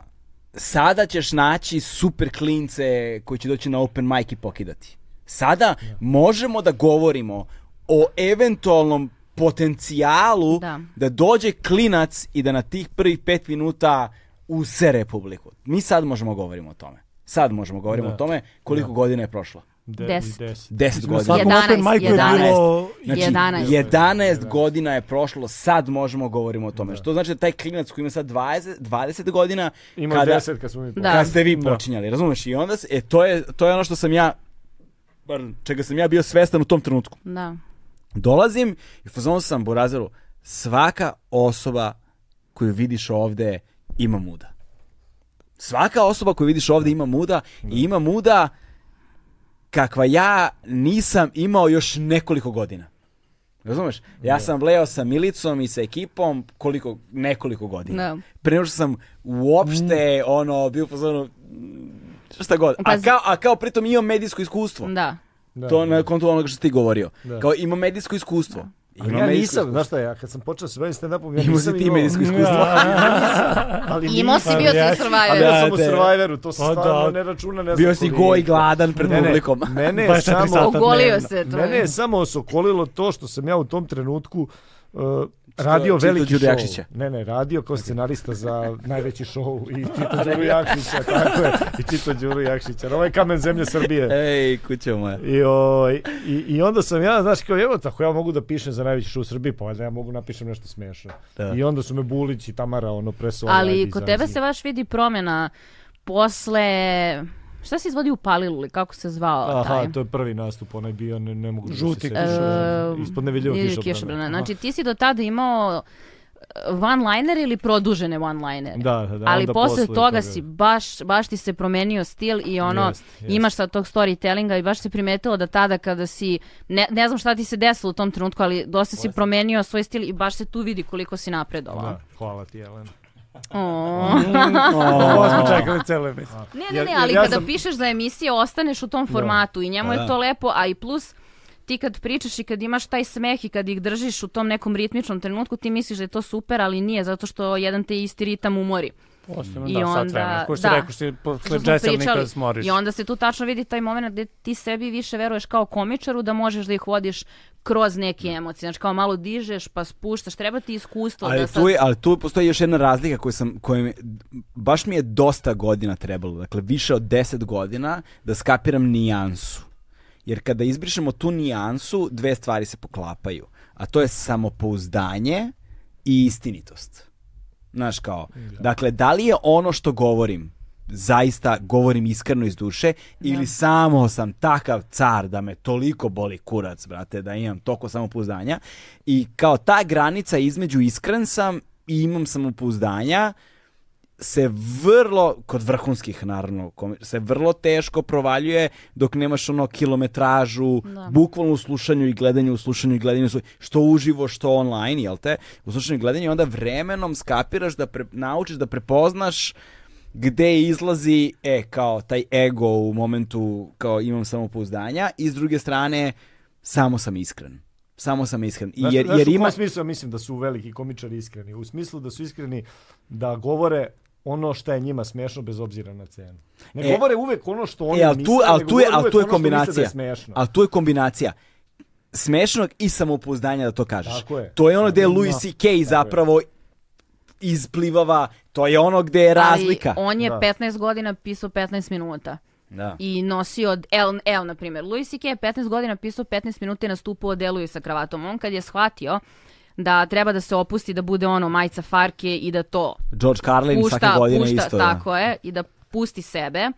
[SPEAKER 1] sada ćeš naći super klince koji će doći na open mic i pokidati. Sada možemo da govorimo o eventualnom potencijalu
[SPEAKER 3] Da.
[SPEAKER 1] dođe klinac i da na tih prvih pet minuta use Republiku. Mi sad možemo govorimo o tome. Sad možemo govorimo o tome koliko godina je prošlo.
[SPEAKER 2] De-
[SPEAKER 3] Deset.
[SPEAKER 2] deset.
[SPEAKER 1] Deset
[SPEAKER 4] Na
[SPEAKER 1] godina.
[SPEAKER 4] svakom
[SPEAKER 3] Jedanaest,
[SPEAKER 4] open micu je
[SPEAKER 3] jedanaest.
[SPEAKER 4] bilo...
[SPEAKER 1] Znači, 11.
[SPEAKER 3] 11.
[SPEAKER 1] godina je prošlo, sad možemo govorimo o tome. Što znači da taj klinac koji ima sad 20, 20 godina,
[SPEAKER 2] Ima
[SPEAKER 1] kada,
[SPEAKER 2] 10 kad smo mi počeli.
[SPEAKER 3] Da.
[SPEAKER 1] kad ste vi počinjali, razumeš? I onda, se- e, to je, to je ono što sam ja, pardon, čega sam ja bio svestan u tom trenutku.
[SPEAKER 3] Da.
[SPEAKER 1] Dolazim i u fazonu sam Burazeru, svaka osoba koju vidiš ovde ima muda. Svaka osoba koju vidiš ovde ima muda i ima muda kakva ja nisam imao još nekoliko godina. Razumeš? Ja sam leo sa Milicom i sa ekipom koliko, nekoliko godina.
[SPEAKER 3] Da.
[SPEAKER 1] Pre nego što sam uopšte ono, bio u fazonu mm, šta god. A
[SPEAKER 3] Pazi.
[SPEAKER 1] kao, a kao pritom imam medijsko iskustvo.
[SPEAKER 3] Da.
[SPEAKER 2] Da.
[SPEAKER 1] To na kontu onoga što si ti govorio.
[SPEAKER 2] Da.
[SPEAKER 1] Kao ima medijsko iskustvo.
[SPEAKER 2] Ali
[SPEAKER 1] Ima
[SPEAKER 2] ja
[SPEAKER 1] medijsko
[SPEAKER 2] nisam,
[SPEAKER 1] iskustvo.
[SPEAKER 2] znaš šta, ja kad sam počeo se bavim stand-upom, ja
[SPEAKER 1] Imao
[SPEAKER 2] nisam
[SPEAKER 1] si ti
[SPEAKER 2] imao.
[SPEAKER 1] medijsko iskustvo.
[SPEAKER 2] Ali
[SPEAKER 3] Imao
[SPEAKER 1] pa
[SPEAKER 3] si bio
[SPEAKER 4] ja-
[SPEAKER 3] si survivor.
[SPEAKER 2] Ali ja sam u
[SPEAKER 1] Brate.
[SPEAKER 2] Survivoru, to se
[SPEAKER 4] Pa
[SPEAKER 2] stvarno
[SPEAKER 4] da.
[SPEAKER 2] ne računa, ne znam
[SPEAKER 1] Bio si
[SPEAKER 2] koliko.
[SPEAKER 1] goj gladan pred
[SPEAKER 2] Ne, ne,
[SPEAKER 1] publikom.
[SPEAKER 2] Mene je
[SPEAKER 4] 24
[SPEAKER 2] samo...
[SPEAKER 4] sata.
[SPEAKER 3] Ogolio se to.
[SPEAKER 2] Mene
[SPEAKER 3] je.
[SPEAKER 2] je samo osokolilo to što sam ja u tom trenutku uh, radio
[SPEAKER 1] Tito
[SPEAKER 2] veliki
[SPEAKER 1] Đuro
[SPEAKER 2] show.
[SPEAKER 1] Jakšića.
[SPEAKER 2] Ne, ne, radio kao scenarista za najveći show i Tito Đuru Jakšića, tako je, i Tito Đuru Jakšića. Ovaj kamen zemlje Srbije.
[SPEAKER 1] Ej, kuća moja.
[SPEAKER 2] I, ovaj, i, I onda sam ja, znaš, kao evo tako, ja mogu da pišem za najveći show u Srbiji, pa valjda ja mogu napišem nešto smešno.
[SPEAKER 1] Da.
[SPEAKER 2] I onda su me Bulić i Tamara, ono, presovali.
[SPEAKER 3] Ali kod tebe se baš vidi promjena posle... Šta se izvodi u Palilu ili kako se zvao taj?
[SPEAKER 2] Aha, to je prvi nastup, onaj bio, ne, ne mogu da se
[SPEAKER 4] Žuti
[SPEAKER 2] setim.
[SPEAKER 3] kišobran.
[SPEAKER 2] Ispod nevidljivog
[SPEAKER 3] Ili
[SPEAKER 2] kišobrana.
[SPEAKER 3] kišobrana. Znači ti si do tada imao e, one-liner ili produžene one-linere.
[SPEAKER 2] Da, da, da,
[SPEAKER 3] Ali
[SPEAKER 2] onda
[SPEAKER 3] posle
[SPEAKER 2] posle toga.
[SPEAKER 3] toga, si baš, baš ti se promenio stil i ono,
[SPEAKER 2] Jest, jest.
[SPEAKER 3] imaš sad tog storytellinga i baš se primetilo da tada kada si, ne, ne znam šta ti se desilo u tom trenutku, ali dosta si promenio svoj stil i baš se tu vidi koliko si napredovao.
[SPEAKER 2] Da, hvala ti, Jelena.
[SPEAKER 3] O.
[SPEAKER 4] Ovo smo čekali celu epizodu.
[SPEAKER 3] Ne,
[SPEAKER 2] Jer-
[SPEAKER 3] ne, ne,
[SPEAKER 2] jer
[SPEAKER 3] ali
[SPEAKER 2] ja
[SPEAKER 3] kada
[SPEAKER 2] sam-
[SPEAKER 1] Pa
[SPEAKER 3] pišeš za emisije ostaneš u tom formatu i njemu je to lepo, a i plus ti kad pričaš i kad imaš taj smeh i kad ih držiš u tom nekom ritmičnom trenutku, ti misliš da je to super, ali nije, zato što jedan te isti ritam umori.
[SPEAKER 4] Posebno,
[SPEAKER 3] I
[SPEAKER 4] da,
[SPEAKER 3] onda-
[SPEAKER 4] sad vremena. Ko si
[SPEAKER 3] da.
[SPEAKER 4] rekao, si posle
[SPEAKER 3] Što smo
[SPEAKER 4] džeselnika
[SPEAKER 3] pričali.
[SPEAKER 4] smoriš.
[SPEAKER 3] I onda se tu tačno vidi taj moment gde ti sebi više veruješ kao komičaru da možeš da ih vodiš kroz neke emocije. Znači kao malo dižeš pa spuštaš. Treba ti iskustvo
[SPEAKER 1] ali,
[SPEAKER 3] da sad...
[SPEAKER 1] tu je, ali tu postoji još jedna razlika koju sam, koju mi, baš mi je dosta godina trebalo, dakle više od 10 godina da skapiram nijansu. Jer kada izbrišemo tu nijansu, dve stvari se poklapaju. A to je samopouzdanje i istinitost. Znaš kao, dakle, da li je ono što govorim zaista govorim iskreno iz duše ili samo sam takav car da me toliko boli kurac, brate, da imam toliko samopouzdanja i kao ta granica između iskren sam i imam samopouzdanja se vrlo, kod vrhunskih naravno, komi- se vrlo teško provaljuje dok nemaš ono kilometražu,
[SPEAKER 3] Da.
[SPEAKER 1] bukvalno u slušanju i gledanju, u slušanju i gledanju, slu- što uživo, što online, jel te? U slušanju i gledanju i onda vremenom skapiraš da pre- naučiš da prepoznaš gde izlazi, e, kao taj ego u momentu kao imam samopouzdanja i s druge strane samo sam iskren. Samo sam iskren. I
[SPEAKER 2] Znaš-
[SPEAKER 1] jer,
[SPEAKER 2] znaš
[SPEAKER 1] jer
[SPEAKER 2] u kom
[SPEAKER 1] ima...
[SPEAKER 2] smislu mislim da su veliki komičari iskreni? U smislu da su iskreni da govore ono što je njima smešno bez obzira na cenu. Ne
[SPEAKER 1] E,
[SPEAKER 2] govore uvek ono što oni
[SPEAKER 1] E, ali tu,
[SPEAKER 2] misle,
[SPEAKER 1] ali
[SPEAKER 2] nego
[SPEAKER 1] tu je,
[SPEAKER 2] govore
[SPEAKER 1] ali
[SPEAKER 2] uvek
[SPEAKER 1] tu je
[SPEAKER 2] ono što misle Da
[SPEAKER 1] kombinacija.
[SPEAKER 2] je smešno.
[SPEAKER 1] ali tu je kombinacija smešnog i samopouzdanja da to kažeš.
[SPEAKER 2] Tako je.
[SPEAKER 1] To je ono gde
[SPEAKER 2] Ima.
[SPEAKER 1] Louis C.K. zapravo izplivava, to je ono gde je razlika.
[SPEAKER 3] Ali on je
[SPEAKER 2] Da.
[SPEAKER 3] 15 godina pisao 15 minuta.
[SPEAKER 1] Da.
[SPEAKER 3] I nosio, evo, evo na primjer, Louis C.K. je 15 godina pisao 15 minuta i nastupao deluje sa kravatom. On kad je shvatio da treba da se opusti, da bude ono majca farke i da to
[SPEAKER 1] George Carlin svake godine
[SPEAKER 3] pušta,
[SPEAKER 1] isto. da.
[SPEAKER 3] tako je, i da pusti sebe.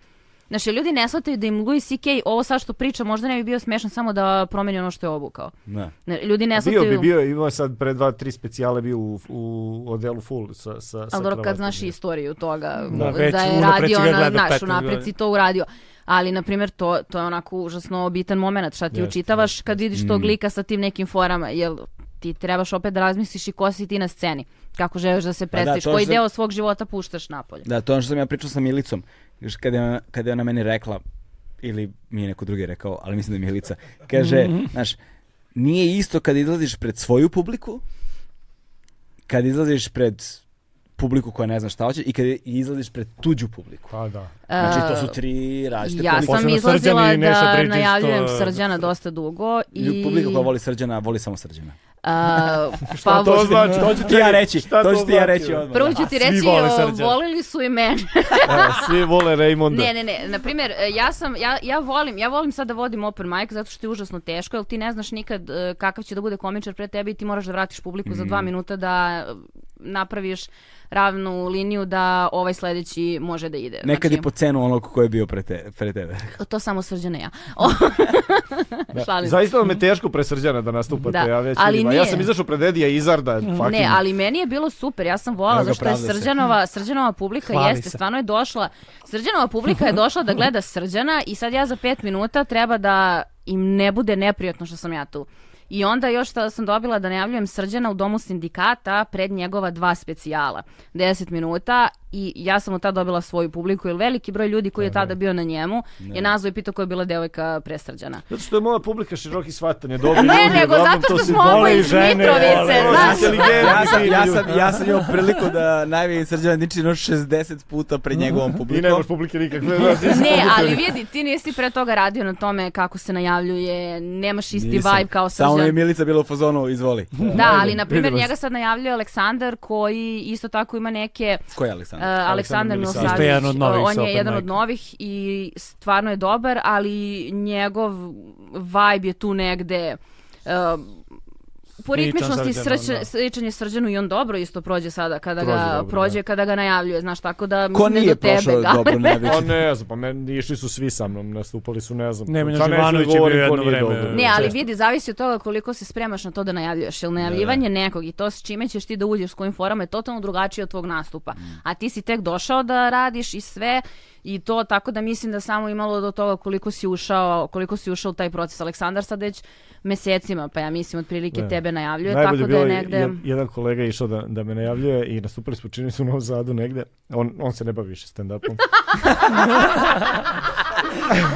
[SPEAKER 3] Znači, ljudi ne shvataju da im Louis C.K. ovo sad što priča možda ne bi bio smešan samo da promeni ono što je obukao.
[SPEAKER 1] Da.
[SPEAKER 3] Ne, Ljudi ne
[SPEAKER 2] Bio
[SPEAKER 3] shvataju...
[SPEAKER 2] bi bio, imao je sad pre dva, tri specijale bio u, u odelu full sa, sa, sa
[SPEAKER 3] Ali dobro, kad
[SPEAKER 2] kravatom.
[SPEAKER 3] znaš istoriju toga,
[SPEAKER 4] Da,
[SPEAKER 3] da,
[SPEAKER 4] već
[SPEAKER 3] je
[SPEAKER 4] unapred si
[SPEAKER 3] radio,
[SPEAKER 4] ga
[SPEAKER 3] na,
[SPEAKER 4] gledao
[SPEAKER 3] znaš,
[SPEAKER 4] 15
[SPEAKER 3] unapred si
[SPEAKER 4] godina.
[SPEAKER 3] to uradio. Ali, na primjer, to, to je onako užasno bitan moment, šta ti
[SPEAKER 2] Jeste,
[SPEAKER 3] učitavaš kad vidiš
[SPEAKER 1] Mm.
[SPEAKER 3] tog lika sa tim nekim forama, jel ti trebaš opet da razmisliš i ko si ti na sceni, kako želiš da se
[SPEAKER 4] Pa
[SPEAKER 1] da,
[SPEAKER 3] predstaviš,
[SPEAKER 1] to
[SPEAKER 3] koji
[SPEAKER 1] sam-
[SPEAKER 3] deo svog života puštaš napolje.
[SPEAKER 1] Da, to je ono što sam ja pričao sa Milicom. Još Kada je, ona- kada je ona meni rekla, ili mi je neko drugi rekao, ali mislim da je Milica, kaže, znaš, nije isto kad izlaziš pred svoju publiku, kad izlaziš pred publiku koja ne zna šta hoće i kad izlaziš pred tuđu publiku.
[SPEAKER 2] Pa da.
[SPEAKER 1] Znači, to su tri različite
[SPEAKER 3] Ja
[SPEAKER 1] publike.
[SPEAKER 3] sam
[SPEAKER 4] Posebno Srđan
[SPEAKER 3] izlazila
[SPEAKER 4] i Neša
[SPEAKER 3] da
[SPEAKER 4] Bridges, to-
[SPEAKER 3] najavljujem Srđana dosta dugo i...
[SPEAKER 1] Publika koja voli Srđana, voli samo Srđana.
[SPEAKER 3] a, pa,
[SPEAKER 2] Šta to znači?
[SPEAKER 1] To ću ti ja reći,
[SPEAKER 2] Šta
[SPEAKER 1] to
[SPEAKER 2] to
[SPEAKER 1] ću ti ja
[SPEAKER 2] znači,
[SPEAKER 1] reći ono.
[SPEAKER 2] bre?
[SPEAKER 1] odmah.
[SPEAKER 3] Prvo ću ti
[SPEAKER 4] A, svi
[SPEAKER 3] reći,
[SPEAKER 4] vole
[SPEAKER 3] o,
[SPEAKER 4] Srđana.
[SPEAKER 3] volili su i mene.
[SPEAKER 2] Evo, svi vole Raymonda.
[SPEAKER 3] Ne, ne, ne. Na primjer, e, ja sam ja, ja volim, ja volim sad da vodim open mic zato što je užasno teško, jer ti ne znaš nikad e, kakav će da bude komičar pre tebe i ti moraš da vratiš publiku za
[SPEAKER 1] Mm.
[SPEAKER 3] dva minuta da e, napraviš ravnu liniju da ovaj sljedeći može da ide.
[SPEAKER 1] Nekad i
[SPEAKER 3] znači,
[SPEAKER 1] po cenu onog ko je bio pre, te, pre tebe.
[SPEAKER 3] To samo srđane ja.
[SPEAKER 2] Da.
[SPEAKER 3] Šalim se.
[SPEAKER 2] Zaista vam je teško pre Srđana da nastupate,
[SPEAKER 3] Mhm. Da,
[SPEAKER 2] ja već
[SPEAKER 3] ali
[SPEAKER 2] vidim. A Ja
[SPEAKER 3] nije.
[SPEAKER 2] sam izašao pred Edija Izarda, fucking.
[SPEAKER 3] Ne, ali meni je bilo super, ja sam volala
[SPEAKER 1] Evo ga,
[SPEAKER 3] zašto je
[SPEAKER 1] pravda se.
[SPEAKER 3] Srđanova, Srđanova publika
[SPEAKER 4] Hvali
[SPEAKER 3] jeste,
[SPEAKER 4] se.
[SPEAKER 3] stvarno je došla, Srđanova publika je došla da gleda Srđana i sad ja za pet minuta treba da im ne bude neprijatno što sam ja tu. I onda još što sam dobila da najavljujem Srđana u domu sindikata pred njegova dva specijala, 10 minuta i ja sam od tada dobila svoju publiku jer veliki broj ljudi koji je tada bio na njemu je nazvao i pitao koja je bila devojka pre Srđana.
[SPEAKER 2] Zato što je moja publika široki shvatanje, dobri
[SPEAKER 3] Ne,
[SPEAKER 2] ljudi,
[SPEAKER 3] nego
[SPEAKER 2] uglavnom
[SPEAKER 3] zato
[SPEAKER 2] to
[SPEAKER 3] što
[SPEAKER 2] su
[SPEAKER 3] smo ovo
[SPEAKER 2] vole i
[SPEAKER 3] iz
[SPEAKER 2] žene,
[SPEAKER 3] Mitrovice,
[SPEAKER 2] vole,
[SPEAKER 3] znaš.
[SPEAKER 2] su inteligentni
[SPEAKER 1] ja, sam, ja, sam,
[SPEAKER 2] ljudi.
[SPEAKER 1] ja sam imao priliku da najvijem Srđana Ničinu 60 puta pred njegovom
[SPEAKER 2] I
[SPEAKER 1] publikom.
[SPEAKER 2] nemaš publike nikakve. znaš, ti si
[SPEAKER 3] Ne,
[SPEAKER 2] publika.
[SPEAKER 3] ali vidi, ti nisi pre toga radio na tome kako se najavljuje, nemaš isti
[SPEAKER 1] Nisam.
[SPEAKER 3] vibe kao
[SPEAKER 1] Samo je
[SPEAKER 3] Srđan.
[SPEAKER 1] Milica bila u fazonu, izvoli.
[SPEAKER 3] Da, ali na primjer
[SPEAKER 2] vidimo se.
[SPEAKER 3] njega sad najavljuje Aleksandar koji isto tako ima neke
[SPEAKER 1] Ko je
[SPEAKER 3] Uh,
[SPEAKER 1] Aleksandar?
[SPEAKER 3] Aleksandar
[SPEAKER 2] Aleksandar Milosavljević.
[SPEAKER 3] Milosavljević,
[SPEAKER 4] Isto je jedan od novih
[SPEAKER 3] uh,
[SPEAKER 4] sa
[SPEAKER 3] on je
[SPEAKER 4] open
[SPEAKER 3] jedan od novih i
[SPEAKER 4] mic-om.
[SPEAKER 3] stvarno je dobar, ali njegov vibe je tu negde uh, po
[SPEAKER 4] Sličan
[SPEAKER 3] ritmičnosti
[SPEAKER 4] Srđanu,
[SPEAKER 3] srđan,
[SPEAKER 4] da.
[SPEAKER 3] sličan je srđanu i on dobro isto prođe sada kada
[SPEAKER 2] Prođe
[SPEAKER 3] ga
[SPEAKER 2] dobro,
[SPEAKER 3] prođe
[SPEAKER 2] da.
[SPEAKER 3] kada ga najavljuje, znaš, tako da
[SPEAKER 1] Ko
[SPEAKER 3] mislim da je
[SPEAKER 1] nije
[SPEAKER 3] do tebe
[SPEAKER 1] prošao
[SPEAKER 3] ga.
[SPEAKER 1] dobro najveći?
[SPEAKER 2] Pa ne znam, pa meni išli su svi sa mnom, nastupali su, ne znam.
[SPEAKER 4] Nemanja
[SPEAKER 2] Sad neću da
[SPEAKER 4] Živanović je
[SPEAKER 2] govorim
[SPEAKER 4] bio
[SPEAKER 2] ko
[SPEAKER 4] jedno
[SPEAKER 2] nije
[SPEAKER 4] vreme.
[SPEAKER 2] dobro.
[SPEAKER 3] Ne, ali
[SPEAKER 4] Često.
[SPEAKER 3] vidi, zavisi od toga koliko se spremaš na to da najavljuješ. Jel najavljivanje nekog i to s čime ćeš ti da uđeš s kojim forama je totalno drugačije od tvog nastupa. A ti si tek došao da radiš i sve i to tako da mislim da samo imalo do toga koliko si ušao, koliko si ušao u taj proces. Aleksandar sad već mesecima, pa ja mislim otprilike
[SPEAKER 2] Ne.
[SPEAKER 3] tebe najavljuje,
[SPEAKER 2] Najbolje
[SPEAKER 3] tako da
[SPEAKER 2] bilo
[SPEAKER 3] je
[SPEAKER 2] je
[SPEAKER 3] negde...
[SPEAKER 2] jed- jedan kolega je išao da, da me najavljuje i nastupili smo čini se u Novom Zadu negde. On, on se ne bavi više stand-upom.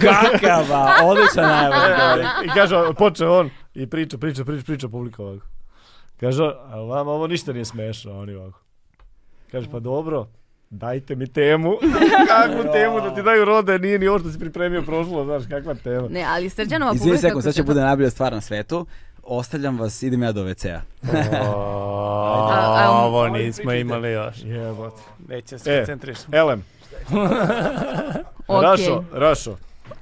[SPEAKER 1] Kakava, odličan najava.
[SPEAKER 2] E, I kaže, počne on i priča, priča, priča, priča publika ovako. Kaže, a vama ovo ništa nije smešno, a oni ovako. Kaže, pa dobro, dajte mi temu. Kakvu temu da ti daju rode, nije ni ovo što si pripremio prošlo, znaš, kakva tema.
[SPEAKER 3] Ne, ali srđanova publika...
[SPEAKER 1] Izvini sekund,
[SPEAKER 3] ako
[SPEAKER 1] sad će
[SPEAKER 3] se-
[SPEAKER 1] bude najbolja stvar na svetu. Ostavljam vas, idem ja do WC-a.
[SPEAKER 3] a-
[SPEAKER 4] Ovo nismo imali još.
[SPEAKER 2] Jebote.
[SPEAKER 4] Neće
[SPEAKER 2] E.
[SPEAKER 4] se koncentrišati.
[SPEAKER 2] Elem,
[SPEAKER 3] Okej.
[SPEAKER 2] Rašo, Rašo,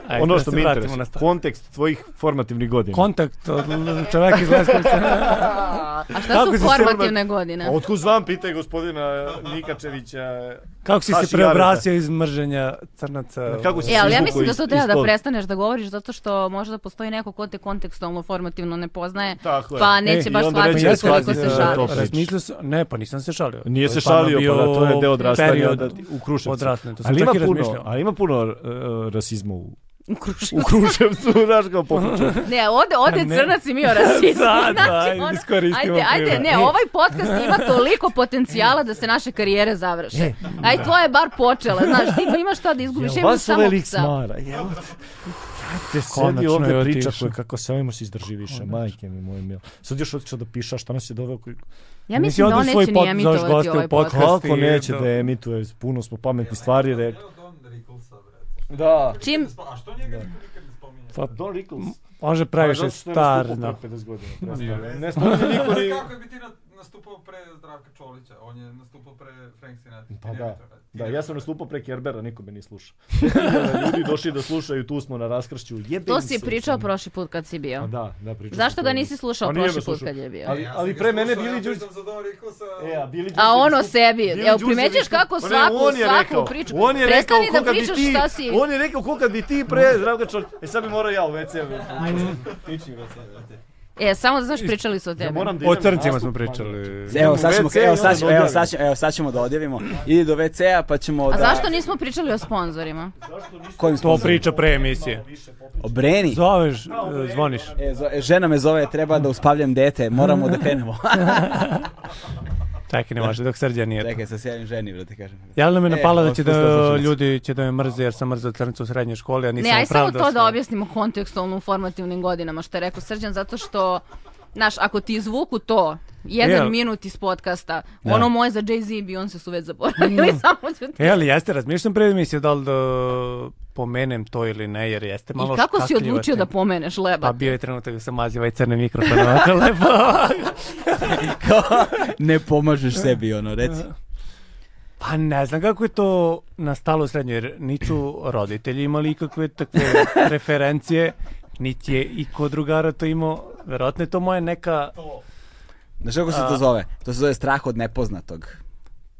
[SPEAKER 4] Ajde,
[SPEAKER 2] ono
[SPEAKER 4] da
[SPEAKER 2] što
[SPEAKER 4] se
[SPEAKER 2] mi
[SPEAKER 4] vratimo
[SPEAKER 2] interesuje,
[SPEAKER 4] na stvar.
[SPEAKER 2] kontekst tvojih formativnih godina.
[SPEAKER 4] Kontakt od l- čoveka iz Leskovca.
[SPEAKER 3] A šta
[SPEAKER 2] Kako se
[SPEAKER 3] su
[SPEAKER 2] Srba-
[SPEAKER 3] formativne godine?
[SPEAKER 2] A Otkud znam, pitaj gospodina Nikačevića.
[SPEAKER 4] Kako si
[SPEAKER 2] Saši
[SPEAKER 4] se preobrazio iz mrženja crnaca?
[SPEAKER 2] Kako si
[SPEAKER 3] E, ali ja
[SPEAKER 2] izvukao
[SPEAKER 3] mislim da
[SPEAKER 2] iz-
[SPEAKER 3] to
[SPEAKER 2] iz
[SPEAKER 3] treba da
[SPEAKER 2] toga?
[SPEAKER 3] prestaneš da govoriš zato što možda postoji neko ko te kontekstualno formativno ne poznaje,
[SPEAKER 2] Tako je.
[SPEAKER 3] pa
[SPEAKER 2] E,
[SPEAKER 3] neće
[SPEAKER 2] i
[SPEAKER 3] baš
[SPEAKER 2] onda
[SPEAKER 4] Pa
[SPEAKER 3] shvatiti
[SPEAKER 2] neće
[SPEAKER 4] jeste,
[SPEAKER 3] koliko
[SPEAKER 2] shvatiti
[SPEAKER 3] se
[SPEAKER 2] da je to
[SPEAKER 3] šali.
[SPEAKER 2] priča.
[SPEAKER 4] Razmislio sam, ne, pa nisam se šalio.
[SPEAKER 2] Nije
[SPEAKER 4] To
[SPEAKER 2] se
[SPEAKER 4] je stvarno
[SPEAKER 2] šalio,
[SPEAKER 4] bio
[SPEAKER 2] pa da, to je deo odrastanja
[SPEAKER 4] period
[SPEAKER 2] da, u Kruševcu.
[SPEAKER 4] Odrastanja, to sam
[SPEAKER 2] ali
[SPEAKER 4] čak
[SPEAKER 2] ima
[SPEAKER 4] i
[SPEAKER 2] puno,
[SPEAKER 4] razmišljao.
[SPEAKER 2] ali ima puno e, rasizma u,
[SPEAKER 3] U Kruševcu.
[SPEAKER 2] u Kruševcu, znaš kao pokuću.
[SPEAKER 3] Ne, ode, ode
[SPEAKER 2] Pa
[SPEAKER 4] Ne.
[SPEAKER 3] crnac i mi o rasizmu.
[SPEAKER 4] Sad, ajde,
[SPEAKER 3] ono,
[SPEAKER 4] iskoristimo
[SPEAKER 3] ajde, ajde,
[SPEAKER 4] priliku.
[SPEAKER 2] E.
[SPEAKER 3] ne, ovaj podcast ima toliko potencijala da se naše karijere
[SPEAKER 2] E.
[SPEAKER 3] završe. Aj, tvoja je bar počela, znaš, ti imaš šta da izgubiš, ja imam
[SPEAKER 2] Vas
[SPEAKER 3] samo
[SPEAKER 2] ovaj lik
[SPEAKER 3] psa.
[SPEAKER 2] smara, jel? Te sedi
[SPEAKER 4] Konačno
[SPEAKER 2] ovde
[SPEAKER 4] je
[SPEAKER 2] priča
[SPEAKER 4] otišao.
[SPEAKER 2] koje kako se ovima se izdrži više, majke mi moje mil. Sad još otišao da piša šta nas je doveo koji...
[SPEAKER 3] Ja mislim da on neće ni emitovati ovaj podcast.
[SPEAKER 2] Kako neće da emituje, puno smo pametni stvari rekli. Da.
[SPEAKER 3] Čim,
[SPEAKER 4] Pa,
[SPEAKER 2] Don Rickles.
[SPEAKER 4] može
[SPEAKER 2] Pa
[SPEAKER 4] previše starno.
[SPEAKER 2] 50 godina. Ne spominje niko
[SPEAKER 6] Ali
[SPEAKER 2] ni...
[SPEAKER 6] kako je bi ti na- nastupao pre Zdravka Čolića? On je nastupao pre Frank Sinatra.
[SPEAKER 2] Pa
[SPEAKER 6] Ti ne
[SPEAKER 2] da.
[SPEAKER 6] bi to radio. Ti
[SPEAKER 2] Da,
[SPEAKER 6] ne bi
[SPEAKER 2] ja
[SPEAKER 6] to
[SPEAKER 2] sam
[SPEAKER 6] radio.
[SPEAKER 2] nastupao pre Kerbera, niko me nije slušao. Ljudi došli da slušaju, tu smo na raskršću. Jebem
[SPEAKER 3] to
[SPEAKER 2] se
[SPEAKER 3] si
[SPEAKER 2] u
[SPEAKER 3] pričao
[SPEAKER 2] svemu.
[SPEAKER 3] prošli put kad si
[SPEAKER 2] A
[SPEAKER 3] bio.
[SPEAKER 2] Da, da, pričao.
[SPEAKER 3] Zašto
[SPEAKER 2] sam
[SPEAKER 3] ga
[SPEAKER 2] to.
[SPEAKER 3] nisi slušao
[SPEAKER 2] Pa nije me
[SPEAKER 3] prošli put
[SPEAKER 2] slušao.
[SPEAKER 3] kad je bio?
[SPEAKER 2] Ali-
[SPEAKER 6] Ja sam
[SPEAKER 2] ali
[SPEAKER 6] ga
[SPEAKER 2] pre mene
[SPEAKER 6] slušao,
[SPEAKER 2] Billy
[SPEAKER 6] ja
[SPEAKER 2] Đurđević-
[SPEAKER 6] pričam za Don Ricklesa.
[SPEAKER 2] E, a Billy
[SPEAKER 3] A ono
[SPEAKER 2] Đurđević-
[SPEAKER 3] sebi,
[SPEAKER 2] Billy
[SPEAKER 3] evo
[SPEAKER 2] Đurđević-
[SPEAKER 3] primećuješ kako
[SPEAKER 2] Pa ne,
[SPEAKER 3] svaku,
[SPEAKER 2] on je
[SPEAKER 3] svaku
[SPEAKER 2] rekao,
[SPEAKER 3] priču,
[SPEAKER 2] On je rekao,
[SPEAKER 3] prestani da
[SPEAKER 2] koga bi
[SPEAKER 3] pričaš
[SPEAKER 2] ti,
[SPEAKER 3] šta si-
[SPEAKER 2] on je rekao koga bi ti pre Zdravka Čolića. E sad bi morao ja u WC. Tiči u WC, brate.
[SPEAKER 3] E, samo da znaš, pričali su o
[SPEAKER 2] Ja
[SPEAKER 3] tebi.
[SPEAKER 2] moram da
[SPEAKER 4] O
[SPEAKER 2] idem na
[SPEAKER 4] crncima smo
[SPEAKER 2] nastup,
[SPEAKER 4] pričali.
[SPEAKER 1] Evo, sad ćemo,
[SPEAKER 2] WC i
[SPEAKER 1] evo,
[SPEAKER 2] onda
[SPEAKER 1] sad ćemo,
[SPEAKER 2] da
[SPEAKER 1] evo,
[SPEAKER 2] odjavimo.
[SPEAKER 1] sad ćemo, evo, sad ćemo da odjavimo. Idi do WC-a pa ćemo da...
[SPEAKER 3] A zašto nismo pričali o sponzorima?
[SPEAKER 1] Kojim
[SPEAKER 4] To
[SPEAKER 1] sponsorom?
[SPEAKER 4] priča pre emisije.
[SPEAKER 1] O Breni?
[SPEAKER 4] Zoveš, e, zvoniš.
[SPEAKER 1] E, zo- e, žena me zove, treba da uspavljam dete, moramo da krenemo.
[SPEAKER 4] Čekaj, ne može, dok srđan nije. tu.
[SPEAKER 1] Čekaj, sa sjajnim ženi, brate, kažem.
[SPEAKER 4] Ja li me napala da će
[SPEAKER 1] E, otpustila sam
[SPEAKER 4] da
[SPEAKER 1] se.
[SPEAKER 4] ljudi će da me mrze jer sam mrzao crnicu u srednjoj školi, a nisam
[SPEAKER 3] Ne, aj samo
[SPEAKER 4] opravdao
[SPEAKER 3] to da
[SPEAKER 4] svoje.
[SPEAKER 3] objasnimo kontekstualno u formativnim godinama, što je rekao Srđan, zato što, znaš, ako ti izvuku to, jedan
[SPEAKER 4] Jel.
[SPEAKER 3] minut iz podcasta, ono moje za Jay-Z i Beyoncé su već zaboravili, samo ću ti...
[SPEAKER 4] E, ali jeste, razmišljam pre emisije da li da pomenem to ili ne, jer jeste E, malo
[SPEAKER 3] I kako si
[SPEAKER 4] škakljiva
[SPEAKER 3] odlučio
[SPEAKER 4] tema.
[SPEAKER 3] da pomeneš leba?
[SPEAKER 4] Pa bio je trenutak da sam mazio ovaj crni mikrofon ovako lepo.
[SPEAKER 1] Kao, ne pomažeš sebi, ono, reci.
[SPEAKER 4] Pa ne znam kako je to nastalo u srednjoj, jer nisu roditelji imali ikakve takve referencije, niti je i kod drugara to imao. Verovatno je to moja neka,
[SPEAKER 1] Znaš kako se to zove? To se zove strah od nepoznatog.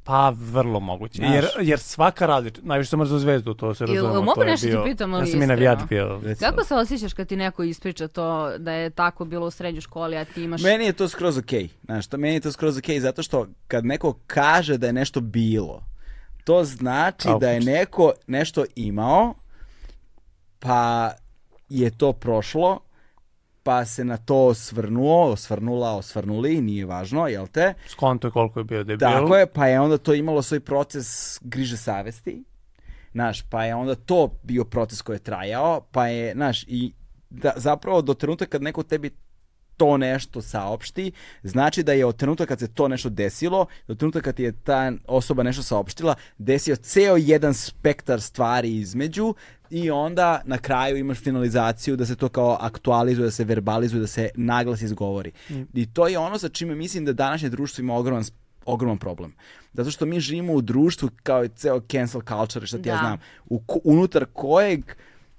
[SPEAKER 4] pa vrlo moguće.
[SPEAKER 1] Znaš.
[SPEAKER 4] Jer, jer svaka različita, najviše sam mrzao zvezdu, to se razumemo.
[SPEAKER 3] mogu
[SPEAKER 4] to je
[SPEAKER 3] nešto ti
[SPEAKER 4] bio-
[SPEAKER 3] pitam,
[SPEAKER 4] Ja
[SPEAKER 3] ali
[SPEAKER 4] sam i navijač
[SPEAKER 3] iskreno?
[SPEAKER 4] bio.
[SPEAKER 1] Reci.
[SPEAKER 3] Kako se osjećaš kad ti neko ispriča to da je tako bilo u srednjoj školi, a ti imaš...
[SPEAKER 1] Meni je to skroz okej. Znaš, to meni je to skroz okej zato što kad neko kaže da je nešto bilo, to znači
[SPEAKER 4] Au.
[SPEAKER 1] da je neko nešto imao, pa je to prošlo, pa se na to osvrnuo, osvrnula, osvrnuli, nije važno, jel te?
[SPEAKER 4] Skonto je koliko je bio debil.
[SPEAKER 1] Tako je, pa je onda to imalo svoj proces griže savesti, znaš, pa je onda to bio proces koji je trajao, pa je, znaš, i da, zapravo do trenutka kad neko tebi to nešto saopšti, znači da je od trenutka kad se to nešto desilo, do trenutka kad ti je ta osoba nešto saopštila, desio ceo jedan spektar stvari između i onda na kraju imaš finalizaciju da se to kao aktualizuje, da se verbalizuje, da se naglas izgovori. I to je ono sa čime mislim da današnje društvo ima ogroman s- ogroman problem. Zato što mi živimo u društvu kao i ceo cancel culture, šta ti ja
[SPEAKER 3] Da.
[SPEAKER 1] znam, u, ko- unutar kojeg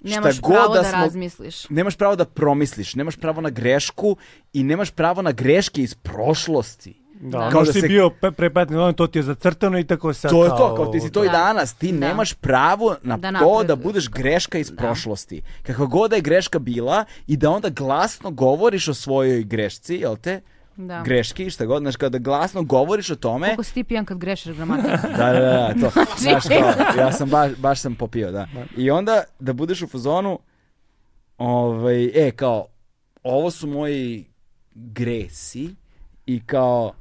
[SPEAKER 3] Nemaš
[SPEAKER 1] šta
[SPEAKER 3] pravo
[SPEAKER 1] god
[SPEAKER 3] da,
[SPEAKER 1] da smo
[SPEAKER 3] razmisliš.
[SPEAKER 1] nemaš pravo da promisliš, nemaš pravo na grešku i nemaš pravo na greške iz prošlosti.
[SPEAKER 4] Da,
[SPEAKER 3] Da.
[SPEAKER 4] da.
[SPEAKER 1] Kao
[SPEAKER 4] Kao
[SPEAKER 1] da
[SPEAKER 4] si
[SPEAKER 1] se-
[SPEAKER 4] bio pe, pre 15 godina, to ti je zacrtano i tako sad
[SPEAKER 1] To je to, kao ti si to i
[SPEAKER 3] Da.
[SPEAKER 1] danas, ti
[SPEAKER 3] Da.
[SPEAKER 1] nemaš pravo na to da
[SPEAKER 3] Da napreduješ.
[SPEAKER 1] budeš greška iz prošlosti. Kakva god da je greška bila i da onda glasno govoriš o svojoj grešci, jel te?
[SPEAKER 3] Da.
[SPEAKER 1] Greški, šta god, znaš, kao da glasno govoriš o tome.
[SPEAKER 3] Koliko si ti pijan kad grešiš gramatiku?
[SPEAKER 1] Da, da, da, to. Znaš kao, ja sam baš, baš sam popio, da. I onda da budeš u fazonu, ovaj, e, kao, ovo su moji gresi i kao,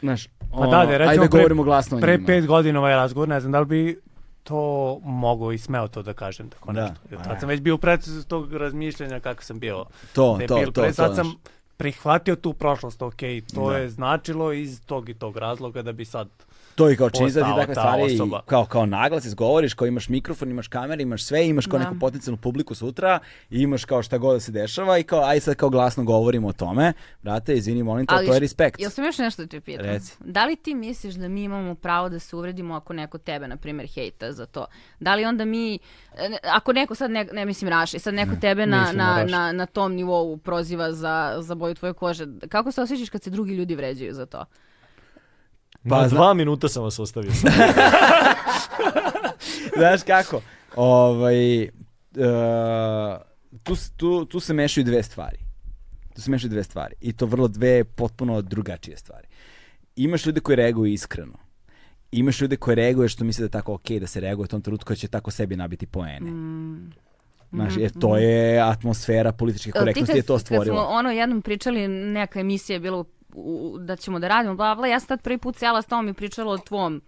[SPEAKER 1] znaš,
[SPEAKER 4] Pa da, da,
[SPEAKER 1] ajde
[SPEAKER 4] recimo pre-
[SPEAKER 1] Ono, govorimo glasno o
[SPEAKER 4] Pre
[SPEAKER 1] njima.
[SPEAKER 4] pet godina ovaj razgovor, ne znam da li bi to mogao i smeo to da kažem tako
[SPEAKER 1] Da,
[SPEAKER 4] nešto. Jer
[SPEAKER 1] pa
[SPEAKER 4] tad
[SPEAKER 1] ne.
[SPEAKER 4] sam već bio u procesu tog razmišljanja kako sam bio
[SPEAKER 1] To, to,
[SPEAKER 4] debil.
[SPEAKER 1] to, to,
[SPEAKER 4] Pre sad
[SPEAKER 1] znaš.
[SPEAKER 4] sam prihvatio tu prošlost, ok, to
[SPEAKER 1] Da.
[SPEAKER 4] je značilo iz tog i tog razloga da bi sad
[SPEAKER 1] To i kao čizati
[SPEAKER 4] postao
[SPEAKER 1] takve
[SPEAKER 4] ta
[SPEAKER 1] stvari, i
[SPEAKER 4] osoba.
[SPEAKER 1] kao, kao naglas izgovoriš, kao imaš mikrofon, imaš kamere, imaš sve, imaš kao
[SPEAKER 3] Da.
[SPEAKER 1] neku potencijalnu publiku sutra i imaš kao šta god da se dešava i kao aj sad kao glasno govorimo o tome. Brate, izvini, molim te, ali to je
[SPEAKER 3] š-
[SPEAKER 1] respekt.
[SPEAKER 3] Jel sam još nešto da te pitam?
[SPEAKER 1] Reci.
[SPEAKER 3] Da li ti misliš da mi imamo pravo da se uvredimo ako neko tebe, na primjer, hejta za to? Da li onda mi, e, ne- ako neko sad, ne, ne mislim Raši, sad neko tebe na,
[SPEAKER 4] mislim na
[SPEAKER 3] na,
[SPEAKER 4] Raši.
[SPEAKER 3] na, na tom nivou proziva za, za boju tvoje kože, kako se osjećaš kad se drugi ljudi vređaju za to?
[SPEAKER 1] Pa,
[SPEAKER 2] Pa,
[SPEAKER 1] zna-
[SPEAKER 2] dva minuta sam vas ostavio. sad.
[SPEAKER 1] Znaš kako? Ovaj, e, tu, s- tu, tu se mešaju dve stvari. Tu se mešaju dve stvari. I to vrlo dve potpuno drugačije stvari. Imaš ljude koji reaguju iskreno. Imaš ljude koji reaguju što misle da je tako ok da se reaguje u tom trenutku koji će tako sebi nabiti poene.
[SPEAKER 3] Mm.
[SPEAKER 1] Znaš, jer to je atmosfera političke
[SPEAKER 3] Jel Mhm, E, ti
[SPEAKER 1] korektnosti
[SPEAKER 3] kad-
[SPEAKER 1] je to
[SPEAKER 3] Kad
[SPEAKER 1] stvorilo.
[SPEAKER 3] smo ono jednom pričali, neka emisija je bila u- u- da ćemo da radimo, bla, bla, ja sam tad prvi put sjela s tom i pričala o tvom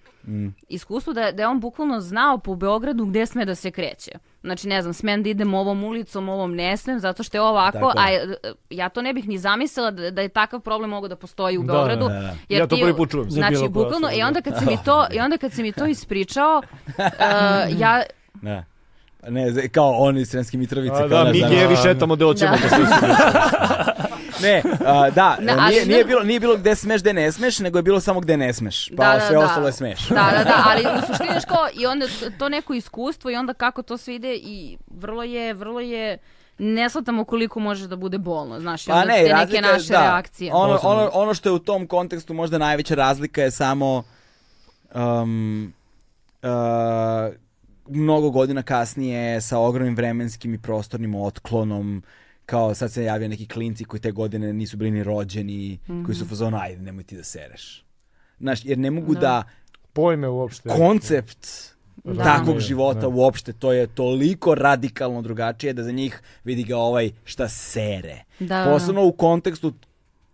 [SPEAKER 3] iskustvu, da, da je on bukvalno znao po Beogradu gde sme da se kreće. Znači, ne znam, smem da idem ovom ulicom, ovom ne smem, zato što je ovako,
[SPEAKER 1] Tako
[SPEAKER 3] a
[SPEAKER 1] je.
[SPEAKER 3] e, ja to ne bih ni zamislila da, da je takav problem mogao da postoji u
[SPEAKER 2] Da,
[SPEAKER 3] Beogradu.
[SPEAKER 2] da,
[SPEAKER 1] da.
[SPEAKER 3] jer
[SPEAKER 2] Ja to
[SPEAKER 3] ti-
[SPEAKER 2] prvi put čujem.
[SPEAKER 4] Za bilo
[SPEAKER 3] Znači,
[SPEAKER 4] koju
[SPEAKER 3] bukvalno,
[SPEAKER 4] osobu,
[SPEAKER 3] i
[SPEAKER 4] da.
[SPEAKER 3] onda kad si mi to, i onda kad si mi to ispričao, e, ja,
[SPEAKER 1] Da. Pa Ne, z- kao oni Sremski Mitrovice.
[SPEAKER 2] A,
[SPEAKER 1] kao
[SPEAKER 2] da,
[SPEAKER 1] naš
[SPEAKER 2] mi
[SPEAKER 1] dan-
[SPEAKER 2] gevi šetamo da
[SPEAKER 3] da.
[SPEAKER 2] oćemo.
[SPEAKER 1] Ne, a, da, e,
[SPEAKER 3] Ne, ali
[SPEAKER 1] nije,
[SPEAKER 3] znaš-
[SPEAKER 1] nije, bilo, nije bilo gde smeš, gde ne smeš, nego je bilo samo gde ne smeš. Pa
[SPEAKER 3] Da, da,
[SPEAKER 1] sve
[SPEAKER 3] da.
[SPEAKER 1] ostalo je smeš.
[SPEAKER 3] Da, da, da, ali u suštini znaš kao i onda t- to neko iskustvo i onda kako to sve ide i vrlo je, vrlo je ne shvatamo koliko može da bude bolno, znaš, i onda
[SPEAKER 1] i
[SPEAKER 3] te neke
[SPEAKER 1] Pa razlika je-
[SPEAKER 3] naše
[SPEAKER 1] da,
[SPEAKER 3] reakcije.
[SPEAKER 1] Ono, ono, ono što je u tom kontekstu možda najveća razlika je samo um, uh, mnogo godina kasnije sa ogromnim vremenskim i prostornim otklonom kao sad se javljaju neki klinci koji te godine nisu bili ni rođeni, koji
[SPEAKER 3] Mhm.
[SPEAKER 1] su u fazonu, ajde, nemoj ti da sereš. Znaš, jer ne mogu da
[SPEAKER 2] Pojme uopšte.
[SPEAKER 1] koncept
[SPEAKER 3] Da.
[SPEAKER 1] takvog
[SPEAKER 2] Da.
[SPEAKER 1] života
[SPEAKER 2] Da.
[SPEAKER 1] uopšte, to je toliko radikalno drugačije da za njih vidi ga ovaj šta sere.
[SPEAKER 3] Da.
[SPEAKER 1] Posebno u kontekstu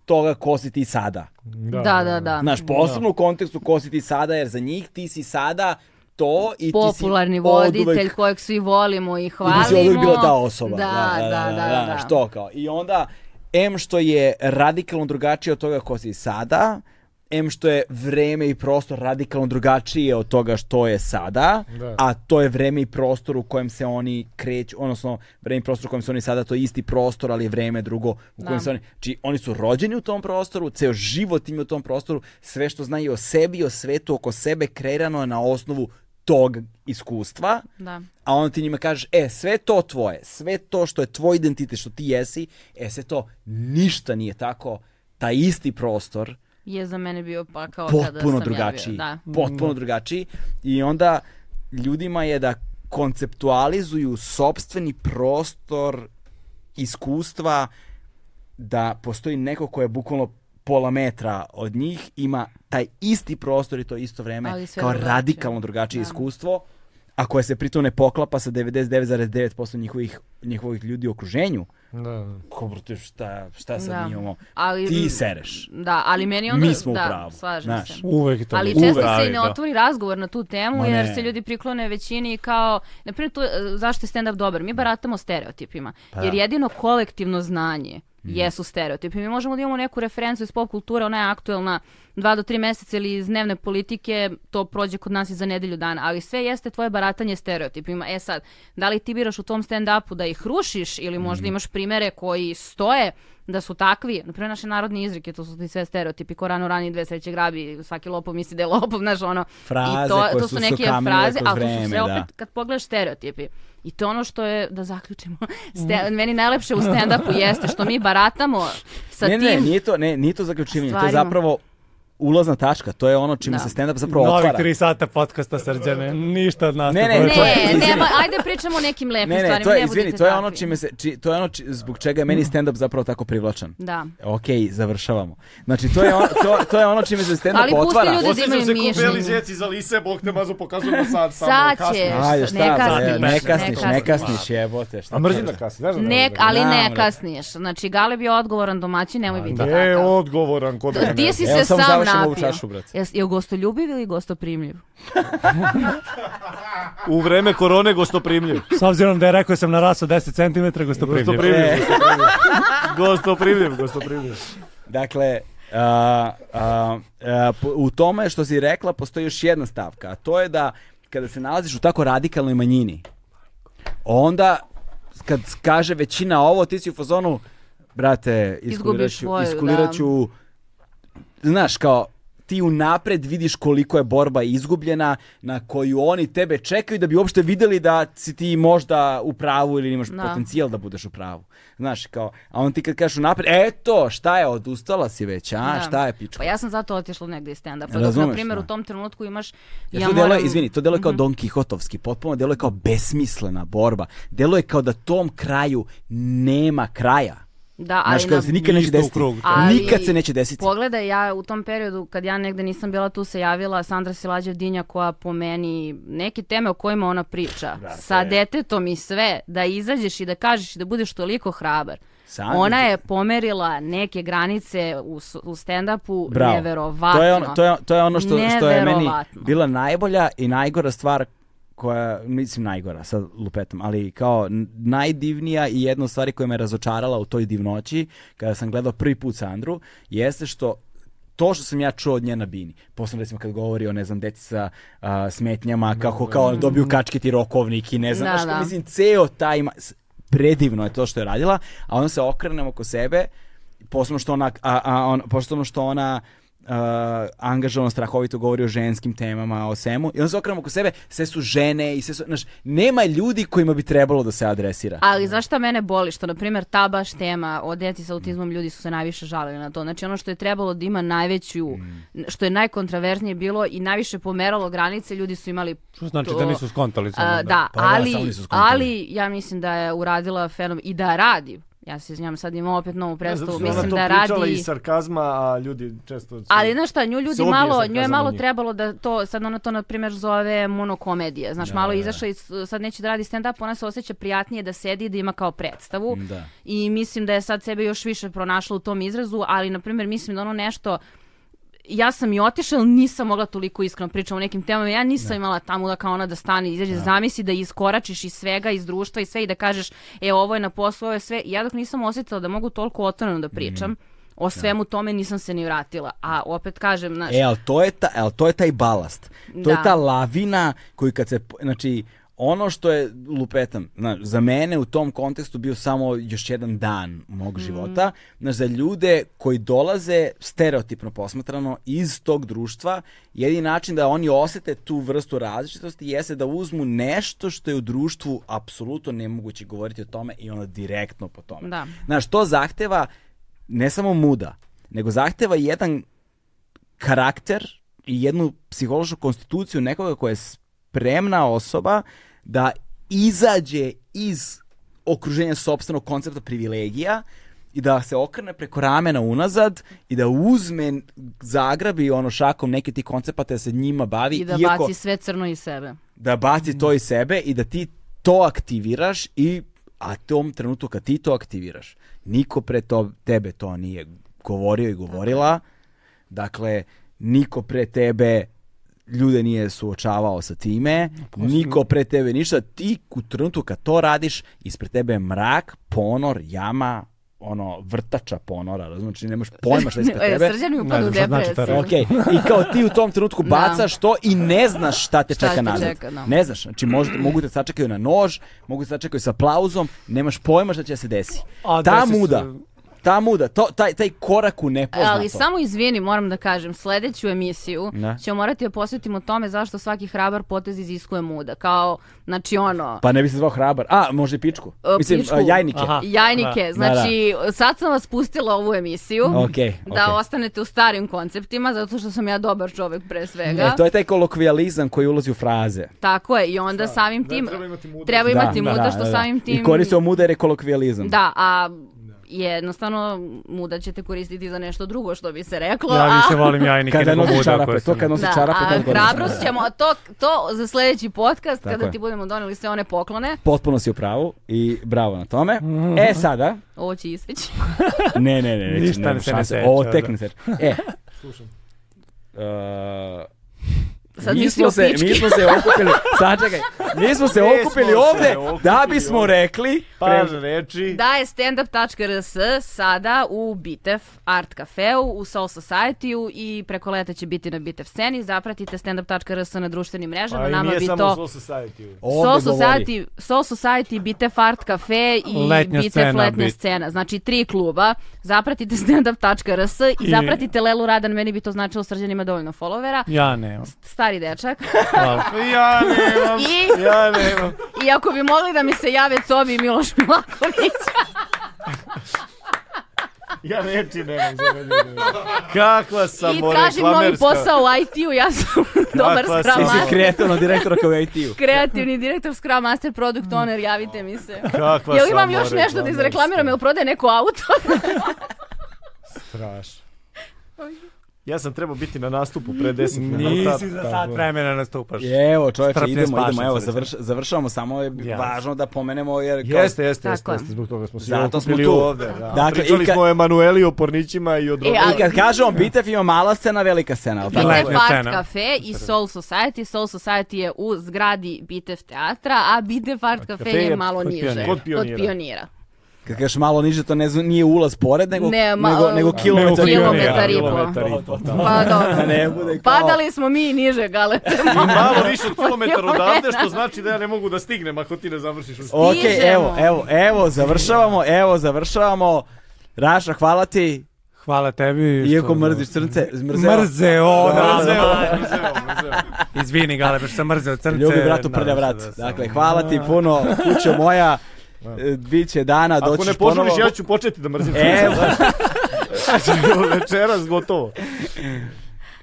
[SPEAKER 1] toga ko si ti sada.
[SPEAKER 2] Da,
[SPEAKER 3] da, da, da.
[SPEAKER 1] Znaš, posebno u kontekstu ko si ti sada, jer za njih ti si sada to i ti si
[SPEAKER 3] Popularni
[SPEAKER 1] oduvek-
[SPEAKER 3] voditelj kojeg svi volimo i
[SPEAKER 1] i
[SPEAKER 3] hvalimo.
[SPEAKER 1] ti si oduvek bila ta osoba.
[SPEAKER 3] Da, da, da, da.
[SPEAKER 1] znaš, to kao. I onda, em što je radikalno drugačije od toga ko si sada, em što je vreme i prostor radikalno drugačije od toga što je sada,
[SPEAKER 2] Da.
[SPEAKER 1] a to je vreme i prostor u kojem se oni kreću, odnosno vreme i prostor u kojem se oni sada, to je isti prostor, ali je vreme drugo u kojem
[SPEAKER 3] Da.
[SPEAKER 1] se oni, znači oni su rođeni u tom prostoru, ceo život im je u tom prostoru, sve što znaju o sebi, i o svetu oko sebe kreirano je na osnovu tog iskustva,
[SPEAKER 3] Da.
[SPEAKER 1] a onda ti njima kažeš, e, sve to tvoje, sve to što je tvoj identitet, što ti jesi, e, sve to ništa nije tako, taj isti prostor,
[SPEAKER 3] Je za mene bio pa kao kada sam
[SPEAKER 1] potpuno
[SPEAKER 3] ja
[SPEAKER 1] drugačiji,
[SPEAKER 3] bio, da.
[SPEAKER 1] potpuno drugačiji i onda ljudima je da konceptualizuju sobstveni prostor iskustva da postoji neko ko je bukvalno pola metra od njih, ima taj isti prostor i to isto vreme
[SPEAKER 3] Ali sve
[SPEAKER 1] kao
[SPEAKER 3] drugačije.
[SPEAKER 1] radikalno drugačije
[SPEAKER 3] Da.
[SPEAKER 1] iskustvo, a koje se pritom ne poklapa sa 99,9% njihovih, njihovih ljudi u okruženju.
[SPEAKER 2] Da.
[SPEAKER 1] Ko, brate, šta, šta sad
[SPEAKER 3] Da.
[SPEAKER 1] mi imamo?
[SPEAKER 3] Ali,
[SPEAKER 1] Ti sereš.
[SPEAKER 3] Da, ali meni onda...
[SPEAKER 1] Mi smo u
[SPEAKER 3] da,
[SPEAKER 1] pravu,
[SPEAKER 3] slažem
[SPEAKER 1] znaš.
[SPEAKER 3] se.
[SPEAKER 4] Uvek to.
[SPEAKER 3] Ali
[SPEAKER 4] bude.
[SPEAKER 3] često se
[SPEAKER 4] Pravi,
[SPEAKER 3] i ne
[SPEAKER 4] da.
[SPEAKER 3] otvori razgovor na tu temu
[SPEAKER 1] Ma ne.
[SPEAKER 3] jer se ljudi priklone većini i kao, na primjer, tu, e, zašto je stand-up dobar? Mi baratamo stereotipima. jer jedino kolektivno znanje jesu stereotipi. Mi možemo da imamo neku referencu iz pop kulture, ona je aktuelna dva do tri meseca ili iz dnevne politike, to prođe kod nas i za nedelju dana, ali sve jeste tvoje baratanje stereotipima. E sad, da li ti biraš u tom stand-upu da ih rušiš ili možda imaš primere koji stoje da su takvi, na primjer naše narodne izrike, to su ti sve stereotipi, ko rano rani dve sreće grabi, svaki lopov misli da je lopov, znaš ono.
[SPEAKER 1] Fraze
[SPEAKER 3] I to,
[SPEAKER 1] koje su
[SPEAKER 3] to su neke
[SPEAKER 1] sukamile
[SPEAKER 3] fraze,
[SPEAKER 1] kroz
[SPEAKER 3] ali to su
[SPEAKER 1] vreme,
[SPEAKER 3] sve
[SPEAKER 1] da.
[SPEAKER 3] opet kad pogledaš stereotipi. I to je ono što je, da zaključimo, ste, meni najlepše u stand-upu jeste što mi baratamo sa
[SPEAKER 1] ne,
[SPEAKER 3] tim.
[SPEAKER 1] ne, nije to, ne, nije to zaključivanje, to je
[SPEAKER 3] stvarima.
[SPEAKER 1] zapravo ulazna tačka, to je ono čime se
[SPEAKER 3] Da.
[SPEAKER 1] stand-up zapravo
[SPEAKER 4] Novi
[SPEAKER 1] otvara.
[SPEAKER 4] tri sata podcasta srđane, ništa od nas.
[SPEAKER 1] Ne,
[SPEAKER 4] ne
[SPEAKER 1] ne,
[SPEAKER 4] prođe.
[SPEAKER 1] to je-
[SPEAKER 3] Ne,
[SPEAKER 1] izvini.
[SPEAKER 3] nema, ajde pričamo o nekim lepim
[SPEAKER 1] Ne, ne,
[SPEAKER 3] stvarima,
[SPEAKER 1] to je,
[SPEAKER 3] ne budite
[SPEAKER 1] izvini, to je ono
[SPEAKER 3] takvi. Mm.
[SPEAKER 1] čime se, či, to je ono či- zbog čega je meni stand-up zapravo tako privlačan.
[SPEAKER 3] Da.
[SPEAKER 1] Ok, završavamo. Znači, to je ono, to, to je ono čime se stand-up
[SPEAKER 3] Ali pusti
[SPEAKER 1] otvara.
[SPEAKER 3] ljude-
[SPEAKER 2] Osjećam
[SPEAKER 3] imaju
[SPEAKER 2] se ko
[SPEAKER 3] mišljenje.
[SPEAKER 2] beli zjeci za lise, bog te mazo pokazujem sad. samo
[SPEAKER 3] Sad
[SPEAKER 2] kasno.
[SPEAKER 3] će.
[SPEAKER 1] Ajde,
[SPEAKER 3] Ne
[SPEAKER 1] šta,
[SPEAKER 3] kasniš,
[SPEAKER 1] ne
[SPEAKER 3] ne
[SPEAKER 1] kasniš, ne
[SPEAKER 3] kasniš.
[SPEAKER 1] kasniš, jebote. Šta
[SPEAKER 2] A mrzim
[SPEAKER 1] ti-
[SPEAKER 2] da kasni, znaš da
[SPEAKER 3] Ne,
[SPEAKER 2] ne-
[SPEAKER 3] ali ne
[SPEAKER 1] Znam,
[SPEAKER 3] kasniješ. Znači, Galeb je odgovoran domaćin, nemoj biti
[SPEAKER 2] Je
[SPEAKER 1] E,
[SPEAKER 3] takav.
[SPEAKER 2] odgovoran kod E, da
[SPEAKER 3] Ti si
[SPEAKER 1] Evo, samo
[SPEAKER 3] se sam
[SPEAKER 1] završni baš
[SPEAKER 3] napio.
[SPEAKER 1] ovu čašu, brate.
[SPEAKER 3] Jes, je li gostoljubiv ili gostoprimljiv?
[SPEAKER 2] U vreme korone gostoprimljiv.
[SPEAKER 4] S obzirom da je rekao sam narasao 10 cm, gostoprimljiv.
[SPEAKER 2] Gostoprimljiv,
[SPEAKER 1] E,
[SPEAKER 2] gostoprimljiv. Gostoprimljiv, gostoprimljiv.
[SPEAKER 1] Dakle, a, a, a, po- u tome što si rekla postoji još jedna stavka, a to je da kada se nalaziš u tako radikalnoj manjini, onda kad kaže većina ovo, ti si u fazonu, brate, iskulirat ću,
[SPEAKER 3] svoju,
[SPEAKER 1] iskulirat
[SPEAKER 3] da.
[SPEAKER 1] ću- znaš, kao, ti unapred vidiš koliko je borba izgubljena, na koju oni tebe čekaju da bi uopšte videli da si ti možda u pravu ili imaš
[SPEAKER 3] Da.
[SPEAKER 1] potencijal da budeš u pravu. Znaš, kao, a on ti kad kažeš unapred, eto, šta je, odustala si već, a,
[SPEAKER 3] Da.
[SPEAKER 1] šta je pičko?
[SPEAKER 3] Pa ja sam zato otišla negde iz stand-upa. Dok,
[SPEAKER 1] Razumeš,
[SPEAKER 3] na primjer,
[SPEAKER 1] da.
[SPEAKER 3] u tom trenutku imaš...
[SPEAKER 1] Jer
[SPEAKER 3] ja
[SPEAKER 1] to deluje,
[SPEAKER 3] moram- Mhm.
[SPEAKER 1] izvini, to deluje kao Don Kihotovski, potpuno deluje kao besmislena borba. Deluje kao da tom kraju nema kraja.
[SPEAKER 3] Da, ali
[SPEAKER 1] Znaš, kao da
[SPEAKER 3] na-
[SPEAKER 1] se nikad neće
[SPEAKER 4] Ništa u
[SPEAKER 1] desiti.
[SPEAKER 4] krugu.
[SPEAKER 3] Ali-
[SPEAKER 1] Nikad se neće desiti.
[SPEAKER 3] Pogledaj, ja u tom periodu kad ja negde nisam bila tu se javila Sandra Silađev Dinja koja po meni neke teme o kojima ona priča sa detetom i sve da izađeš i da kažeš i da budeš toliko hrabar.
[SPEAKER 1] Sandra-
[SPEAKER 3] Ona je pomerila neke granice u, s- u stand-upu
[SPEAKER 1] Bravo.
[SPEAKER 3] neverovatno.
[SPEAKER 1] To je ono, to je, to je ono što, što je meni
[SPEAKER 3] Neverovatno.
[SPEAKER 1] bila najbolja i najgora stvar koja, mislim najgora, sad lupetam, ali kao n- najdivnija i jedna od stvari koja me razočarala u toj divnoći, kada sam gledao prvi put Sandru, jeste što to što sam ja čuo od nje na bini, posebno recimo kad govori o, ne znam, deci sa a, smetnjama, kako kao dobiju kačket i rokovnik i ne znam,
[SPEAKER 3] Mm. Da,
[SPEAKER 1] znaš,
[SPEAKER 3] da.
[SPEAKER 1] mislim, ceo taj, ma- s- predivno je to što je radila, a onda se okrenem oko sebe, posebno što ona, a, a on, posebno što ona a, angažovano strahovito govori o ženskim temama, o svemu, i onda se okrenem oko sebe, sve su žene i sve su, znaš, nema ljudi kojima bi trebalo da se adresira.
[SPEAKER 3] Ali znaš šta mene boli? Što, na primjer, ta baš tema o deci sa autizmom ljudi su se najviše žalili na to. Znači, ono što je trebalo da ima najveću, što je najkontraverznije bilo i najviše pomeralo granice, ljudi su imali
[SPEAKER 4] Što znači
[SPEAKER 3] to-
[SPEAKER 4] da nisu skontali samo,
[SPEAKER 3] A, da,
[SPEAKER 1] da,
[SPEAKER 3] ali,
[SPEAKER 1] samo nisu skontali.
[SPEAKER 3] ali ja mislim da je uradila fenom i da radi. Ja se izvinjam, sad imamo opet novu
[SPEAKER 2] Zato
[SPEAKER 3] predstavu.
[SPEAKER 2] što
[SPEAKER 3] mislim
[SPEAKER 2] ona to
[SPEAKER 3] da
[SPEAKER 2] pričala
[SPEAKER 3] radi...
[SPEAKER 2] iz sarkazma, a ljudi često...
[SPEAKER 3] Ali znaš šta, nju ljudi
[SPEAKER 2] Se obije
[SPEAKER 3] malo,
[SPEAKER 2] sarkazam
[SPEAKER 3] nju je malo
[SPEAKER 2] od njih.
[SPEAKER 3] trebalo da to, sad ona to na primjer zove monokomedije. Znaš, malo je izašla i sad neće da radi stand-up, ona se osjeća prijatnije da sedi i da ima kao predstavu.
[SPEAKER 1] Da.
[SPEAKER 3] I mislim da je sad sebe još više pronašla u tom izrazu, ali na primjer mislim da ono nešto ja sam i otišla, ali nisam mogla toliko iskreno pričam o nekim temama. Ja nisam imala tamo da kao ona da stane, izađe, zamisli da iskoračiš iz svega, iz društva i sve i da kažeš, e, ovo je na poslu, ovo je sve. Ja dok nisam osjetila da mogu toliko otvoreno da pričam, o svemu tome nisam se ni vratila. A opet kažem, znaš,
[SPEAKER 1] E, ali to je, ta, al to je taj balast. To je
[SPEAKER 3] Da.
[SPEAKER 1] ta lavina koju kad se, znači, ono što je, lupetam, znaš, za mene u tom kontekstu bio samo još jedan dan
[SPEAKER 3] Mm.
[SPEAKER 1] mog života, znaš, za ljude koji dolaze stereotipno posmatrano iz tog društva, jedini način da oni osete tu vrstu različitosti jeste da uzmu nešto što je u društvu apsolutno nemoguće govoriti o tome i onda direktno po tome.
[SPEAKER 3] Da.
[SPEAKER 1] Znaš, to zahteva ne samo muda, nego zahteva jedan karakter i jednu psihološku konstituciju nekoga koja je spremna osoba da izađe iz okruženja sopstvenog koncepta privilegija i da se okrene preko ramena unazad i da uzme, zagrabi ono šakom neke ti koncepata da se njima bavi.
[SPEAKER 3] i da
[SPEAKER 1] iako-
[SPEAKER 3] baci sve crno iz sebe.
[SPEAKER 1] da baci to iz sebe i da ti to aktiviraš i a tom trenutku kad ti to aktiviraš, niko pre to, tebe to nije govorio i govorila, dakle, niko pre tebe ljude nije suočavao sa time, niko pre tebe ništa, ti u trenutku kad to radiš, ispred tebe je mrak, ponor, jama, ono, vrtača ponora, razumiješ, znači nemaš pojma šta je ispred
[SPEAKER 3] E,
[SPEAKER 1] tebe.
[SPEAKER 3] Srđan mi
[SPEAKER 4] Ne
[SPEAKER 3] upad u
[SPEAKER 4] znam šta znači ta
[SPEAKER 3] depresiju.
[SPEAKER 4] reč.
[SPEAKER 1] Ok, i kao ti u tom trenutku
[SPEAKER 3] Da.
[SPEAKER 1] bacaš to i ne znaš šta te
[SPEAKER 3] Šta
[SPEAKER 1] čeka
[SPEAKER 3] te
[SPEAKER 1] nazad.
[SPEAKER 3] čeka, da.
[SPEAKER 1] Ne znaš, znači možda, mogu te sačekaju na nož, mogu te sačekaju sa aplauzom, nemaš pojma šta će se desi.
[SPEAKER 4] A
[SPEAKER 1] ta
[SPEAKER 4] desi se-
[SPEAKER 1] muda, ta muda, to, taj, taj korak u nepoznato.
[SPEAKER 3] Ali samo izvini, moram da kažem, sledeću emisiju
[SPEAKER 1] Da.
[SPEAKER 3] ćemo morati da posvetimo tome zašto svaki hrabar potez iziskuje muda. Kao, znači ono,
[SPEAKER 1] Pa ne bi se zvao hrabar. A, može i pičku.
[SPEAKER 3] E,
[SPEAKER 1] Mislim,
[SPEAKER 3] pičku.
[SPEAKER 1] a, jajnike.
[SPEAKER 4] Aha.
[SPEAKER 3] jajnike.
[SPEAKER 1] da.
[SPEAKER 3] Znači, sad sam vas pustila ovu emisiju.
[SPEAKER 1] Okej,
[SPEAKER 3] Da
[SPEAKER 1] okej.
[SPEAKER 3] ostanete u starim konceptima, zato što sam ja dobar čovek pre svega.
[SPEAKER 1] E, to je taj kolokvijalizam koji ulazi u fraze.
[SPEAKER 3] Tako je, i onda samim
[SPEAKER 2] ne
[SPEAKER 3] tim...
[SPEAKER 2] treba imati muda.
[SPEAKER 3] treba
[SPEAKER 2] Da,
[SPEAKER 3] imati muda, što samim tim...
[SPEAKER 1] I koristio muda jer je kolokvijalizam.
[SPEAKER 3] Da, a jednostavno muda ćete koristiti za nešto drugo što bi se reklo.
[SPEAKER 4] Ja više
[SPEAKER 3] a...
[SPEAKER 4] volim jajnike
[SPEAKER 1] Kada
[SPEAKER 4] nego
[SPEAKER 1] nosi
[SPEAKER 4] budak
[SPEAKER 1] ono čarape,
[SPEAKER 4] koje
[SPEAKER 1] to
[SPEAKER 4] sam-
[SPEAKER 1] kad nosi
[SPEAKER 3] Da,
[SPEAKER 1] čarape,
[SPEAKER 3] a
[SPEAKER 1] tad koristi.
[SPEAKER 3] hrabrost ćemo, a to, to za sljedeći podcast
[SPEAKER 1] Tako
[SPEAKER 3] kada
[SPEAKER 1] je.
[SPEAKER 3] ti budemo doneli sve one poklone,
[SPEAKER 1] Potpuno si u pravu i bravo na tome. E, sada,
[SPEAKER 3] ovo će iseći.
[SPEAKER 1] Ne, ne, ne, neću,
[SPEAKER 4] Ništa
[SPEAKER 1] nema
[SPEAKER 4] se ne
[SPEAKER 1] šanse.
[SPEAKER 4] seća,
[SPEAKER 1] Ovo
[SPEAKER 4] da.
[SPEAKER 1] tek ne seća. E, Uh,
[SPEAKER 3] Sad
[SPEAKER 1] mi, smo
[SPEAKER 3] mislio
[SPEAKER 1] se,
[SPEAKER 3] pički.
[SPEAKER 1] mi smo se okupili, sačekaj, mi smo se
[SPEAKER 2] Mi smo
[SPEAKER 1] okupili
[SPEAKER 2] se
[SPEAKER 1] ovde
[SPEAKER 2] okupili
[SPEAKER 1] da bismo
[SPEAKER 2] ovde.
[SPEAKER 1] rekli
[SPEAKER 2] Par reči.
[SPEAKER 3] Da je standup.rs sada u Bitev Art Cafeu, u Soul Society-u i preko leta će biti na Bitev sceni. Zapratite standup.rs na društvenim mrežama.
[SPEAKER 2] Pa i
[SPEAKER 3] Nama
[SPEAKER 2] nije
[SPEAKER 3] bi
[SPEAKER 2] samo
[SPEAKER 3] to...
[SPEAKER 2] Soul Society.
[SPEAKER 1] Ovde
[SPEAKER 3] Soul
[SPEAKER 1] govori.
[SPEAKER 3] Society, Soul Society, Bitev Art Cafe i
[SPEAKER 4] Letnja
[SPEAKER 3] Bitev
[SPEAKER 4] scena,
[SPEAKER 3] Letnja
[SPEAKER 4] bit-
[SPEAKER 3] scena. Znači tri kluba. Zapratite standup.rs i,
[SPEAKER 4] I-
[SPEAKER 3] zapratite Lelu Radan. Meni bi to značilo srđan ima dovoljno followera.
[SPEAKER 4] Ja nemam.
[SPEAKER 3] Stari dečak.
[SPEAKER 4] Hvala.
[SPEAKER 2] Ja nemam,
[SPEAKER 3] I,
[SPEAKER 2] ja nemam.
[SPEAKER 3] I ako bi mogli da mi se jave Cobi i Miloš Milaković.
[SPEAKER 2] Ja reči nemam za mene. Kakva sam ono
[SPEAKER 3] I tražim novi posao u IT-u. Ja sam dobar
[SPEAKER 2] Kakva
[SPEAKER 3] Scrum
[SPEAKER 2] si
[SPEAKER 1] si
[SPEAKER 3] Master.
[SPEAKER 1] kreativno direktora kao IT-u.
[SPEAKER 3] Kreativni direktor, Scrum Master, Product Owner, javite mi se.
[SPEAKER 2] Kakva
[SPEAKER 3] Jel imam još nešto da izreklamiram, jel prodaje neko auto?
[SPEAKER 2] Strašno. Ja sam trebao biti na nastupu pre 10 minuta.
[SPEAKER 4] Nisi za sat vremena nastupaš.
[SPEAKER 1] Evo, čovječe,
[SPEAKER 4] Strpljen,
[SPEAKER 1] idemo, idemo,
[SPEAKER 4] spašen
[SPEAKER 1] evo,
[SPEAKER 4] sam,
[SPEAKER 1] završ, završavamo, samo je
[SPEAKER 4] Jasno.
[SPEAKER 1] važno da pomenemo, jer kao-
[SPEAKER 2] Jeste, jeste, jeste,
[SPEAKER 3] Tako je.
[SPEAKER 2] jeste, zbog toga smo se
[SPEAKER 1] Zato smo
[SPEAKER 2] okupili
[SPEAKER 1] tu.
[SPEAKER 2] ovde. Da.
[SPEAKER 1] Dakle,
[SPEAKER 2] Dakle,
[SPEAKER 1] i
[SPEAKER 2] Pričali
[SPEAKER 1] kad-
[SPEAKER 2] smo o Emanueli, o Pornićima i o drugim.
[SPEAKER 3] E, ali-
[SPEAKER 1] I kad kažemo Bitev ima mala scena, velika scena, ali tako?
[SPEAKER 4] Lepo.
[SPEAKER 3] Bitev
[SPEAKER 4] Letnja
[SPEAKER 3] Art
[SPEAKER 4] scena.
[SPEAKER 3] Cafe i Soul Society. Soul Society je u zgradi Bitev teatra, a Bitev Art Cafe
[SPEAKER 2] je
[SPEAKER 3] je malo
[SPEAKER 4] kod
[SPEAKER 3] niže.
[SPEAKER 4] pionira.
[SPEAKER 2] Kod pionira.
[SPEAKER 3] Kod pionira.
[SPEAKER 1] Kad kažeš malo niže, to ne zna, nije ulaz pored, nego,
[SPEAKER 3] Ne, ma-
[SPEAKER 1] nego, nego
[SPEAKER 3] Nego
[SPEAKER 1] kilometar.
[SPEAKER 3] kilometar i po.
[SPEAKER 2] Kilometar i po.
[SPEAKER 3] Pa
[SPEAKER 1] Da
[SPEAKER 3] dobro.
[SPEAKER 1] ne bude kao...
[SPEAKER 3] Padali smo mi i niže, gale.
[SPEAKER 2] I malo više od kilometar
[SPEAKER 3] Kilometar.
[SPEAKER 2] odavde, što znači da ja ne mogu da stignem ako ti ne završiš. u-
[SPEAKER 1] Ok,
[SPEAKER 3] Stižemo.
[SPEAKER 1] evo, evo, evo, završavamo, evo, završavamo. Raša, hvala ti,
[SPEAKER 4] Hvala tebi. što-
[SPEAKER 1] iako mrziš crnce, mrzeo.
[SPEAKER 4] Mrzeo, da,
[SPEAKER 2] Mrzeo,
[SPEAKER 4] da.
[SPEAKER 2] mrzeo, mrzeo.
[SPEAKER 4] Izvini, Gale, baš sam mrzeo crnce.
[SPEAKER 1] Ljubi bratu prlja
[SPEAKER 4] Nadam se
[SPEAKER 1] vrat.
[SPEAKER 4] da sam-
[SPEAKER 1] Dakle, hvala ti puno, kućo moja. E, Biće dana, doćiš
[SPEAKER 2] Ako
[SPEAKER 1] ponovo.
[SPEAKER 2] ne požuriš, ja ću početi da mrzim.
[SPEAKER 1] Evo.
[SPEAKER 2] Večeras gotovo.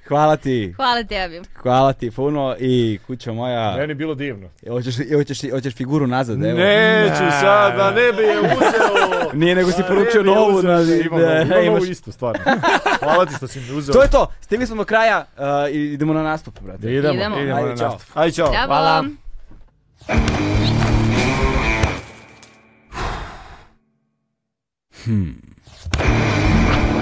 [SPEAKER 1] Hvala ti,
[SPEAKER 3] Hvala tebi.
[SPEAKER 1] hvala ti puno i kućo moja.
[SPEAKER 2] Meni je bilo divno.
[SPEAKER 1] Hoćeš, hoćeš, hoćeš figuru nazad, evo.
[SPEAKER 2] Neću sad, da ne bi je uzeo.
[SPEAKER 1] Nije nego si
[SPEAKER 2] Da ne
[SPEAKER 1] poručio
[SPEAKER 2] bi je
[SPEAKER 1] novu.
[SPEAKER 2] uzeo.
[SPEAKER 1] na-
[SPEAKER 2] Imam
[SPEAKER 1] da,
[SPEAKER 2] novu, imam
[SPEAKER 1] imaš.
[SPEAKER 2] novu istu, stvarno. Hvala ti što si mi uzeo.
[SPEAKER 1] To je to, stigli smo do kraja e, i idemo na nastup, brate.
[SPEAKER 2] Idemo.
[SPEAKER 3] Idemo.
[SPEAKER 2] Idemo.
[SPEAKER 1] Ajde,
[SPEAKER 4] na
[SPEAKER 1] čao.
[SPEAKER 4] nastup.
[SPEAKER 2] Ajde, čao.
[SPEAKER 3] Ćao.
[SPEAKER 4] Hvala.
[SPEAKER 5] Hmm.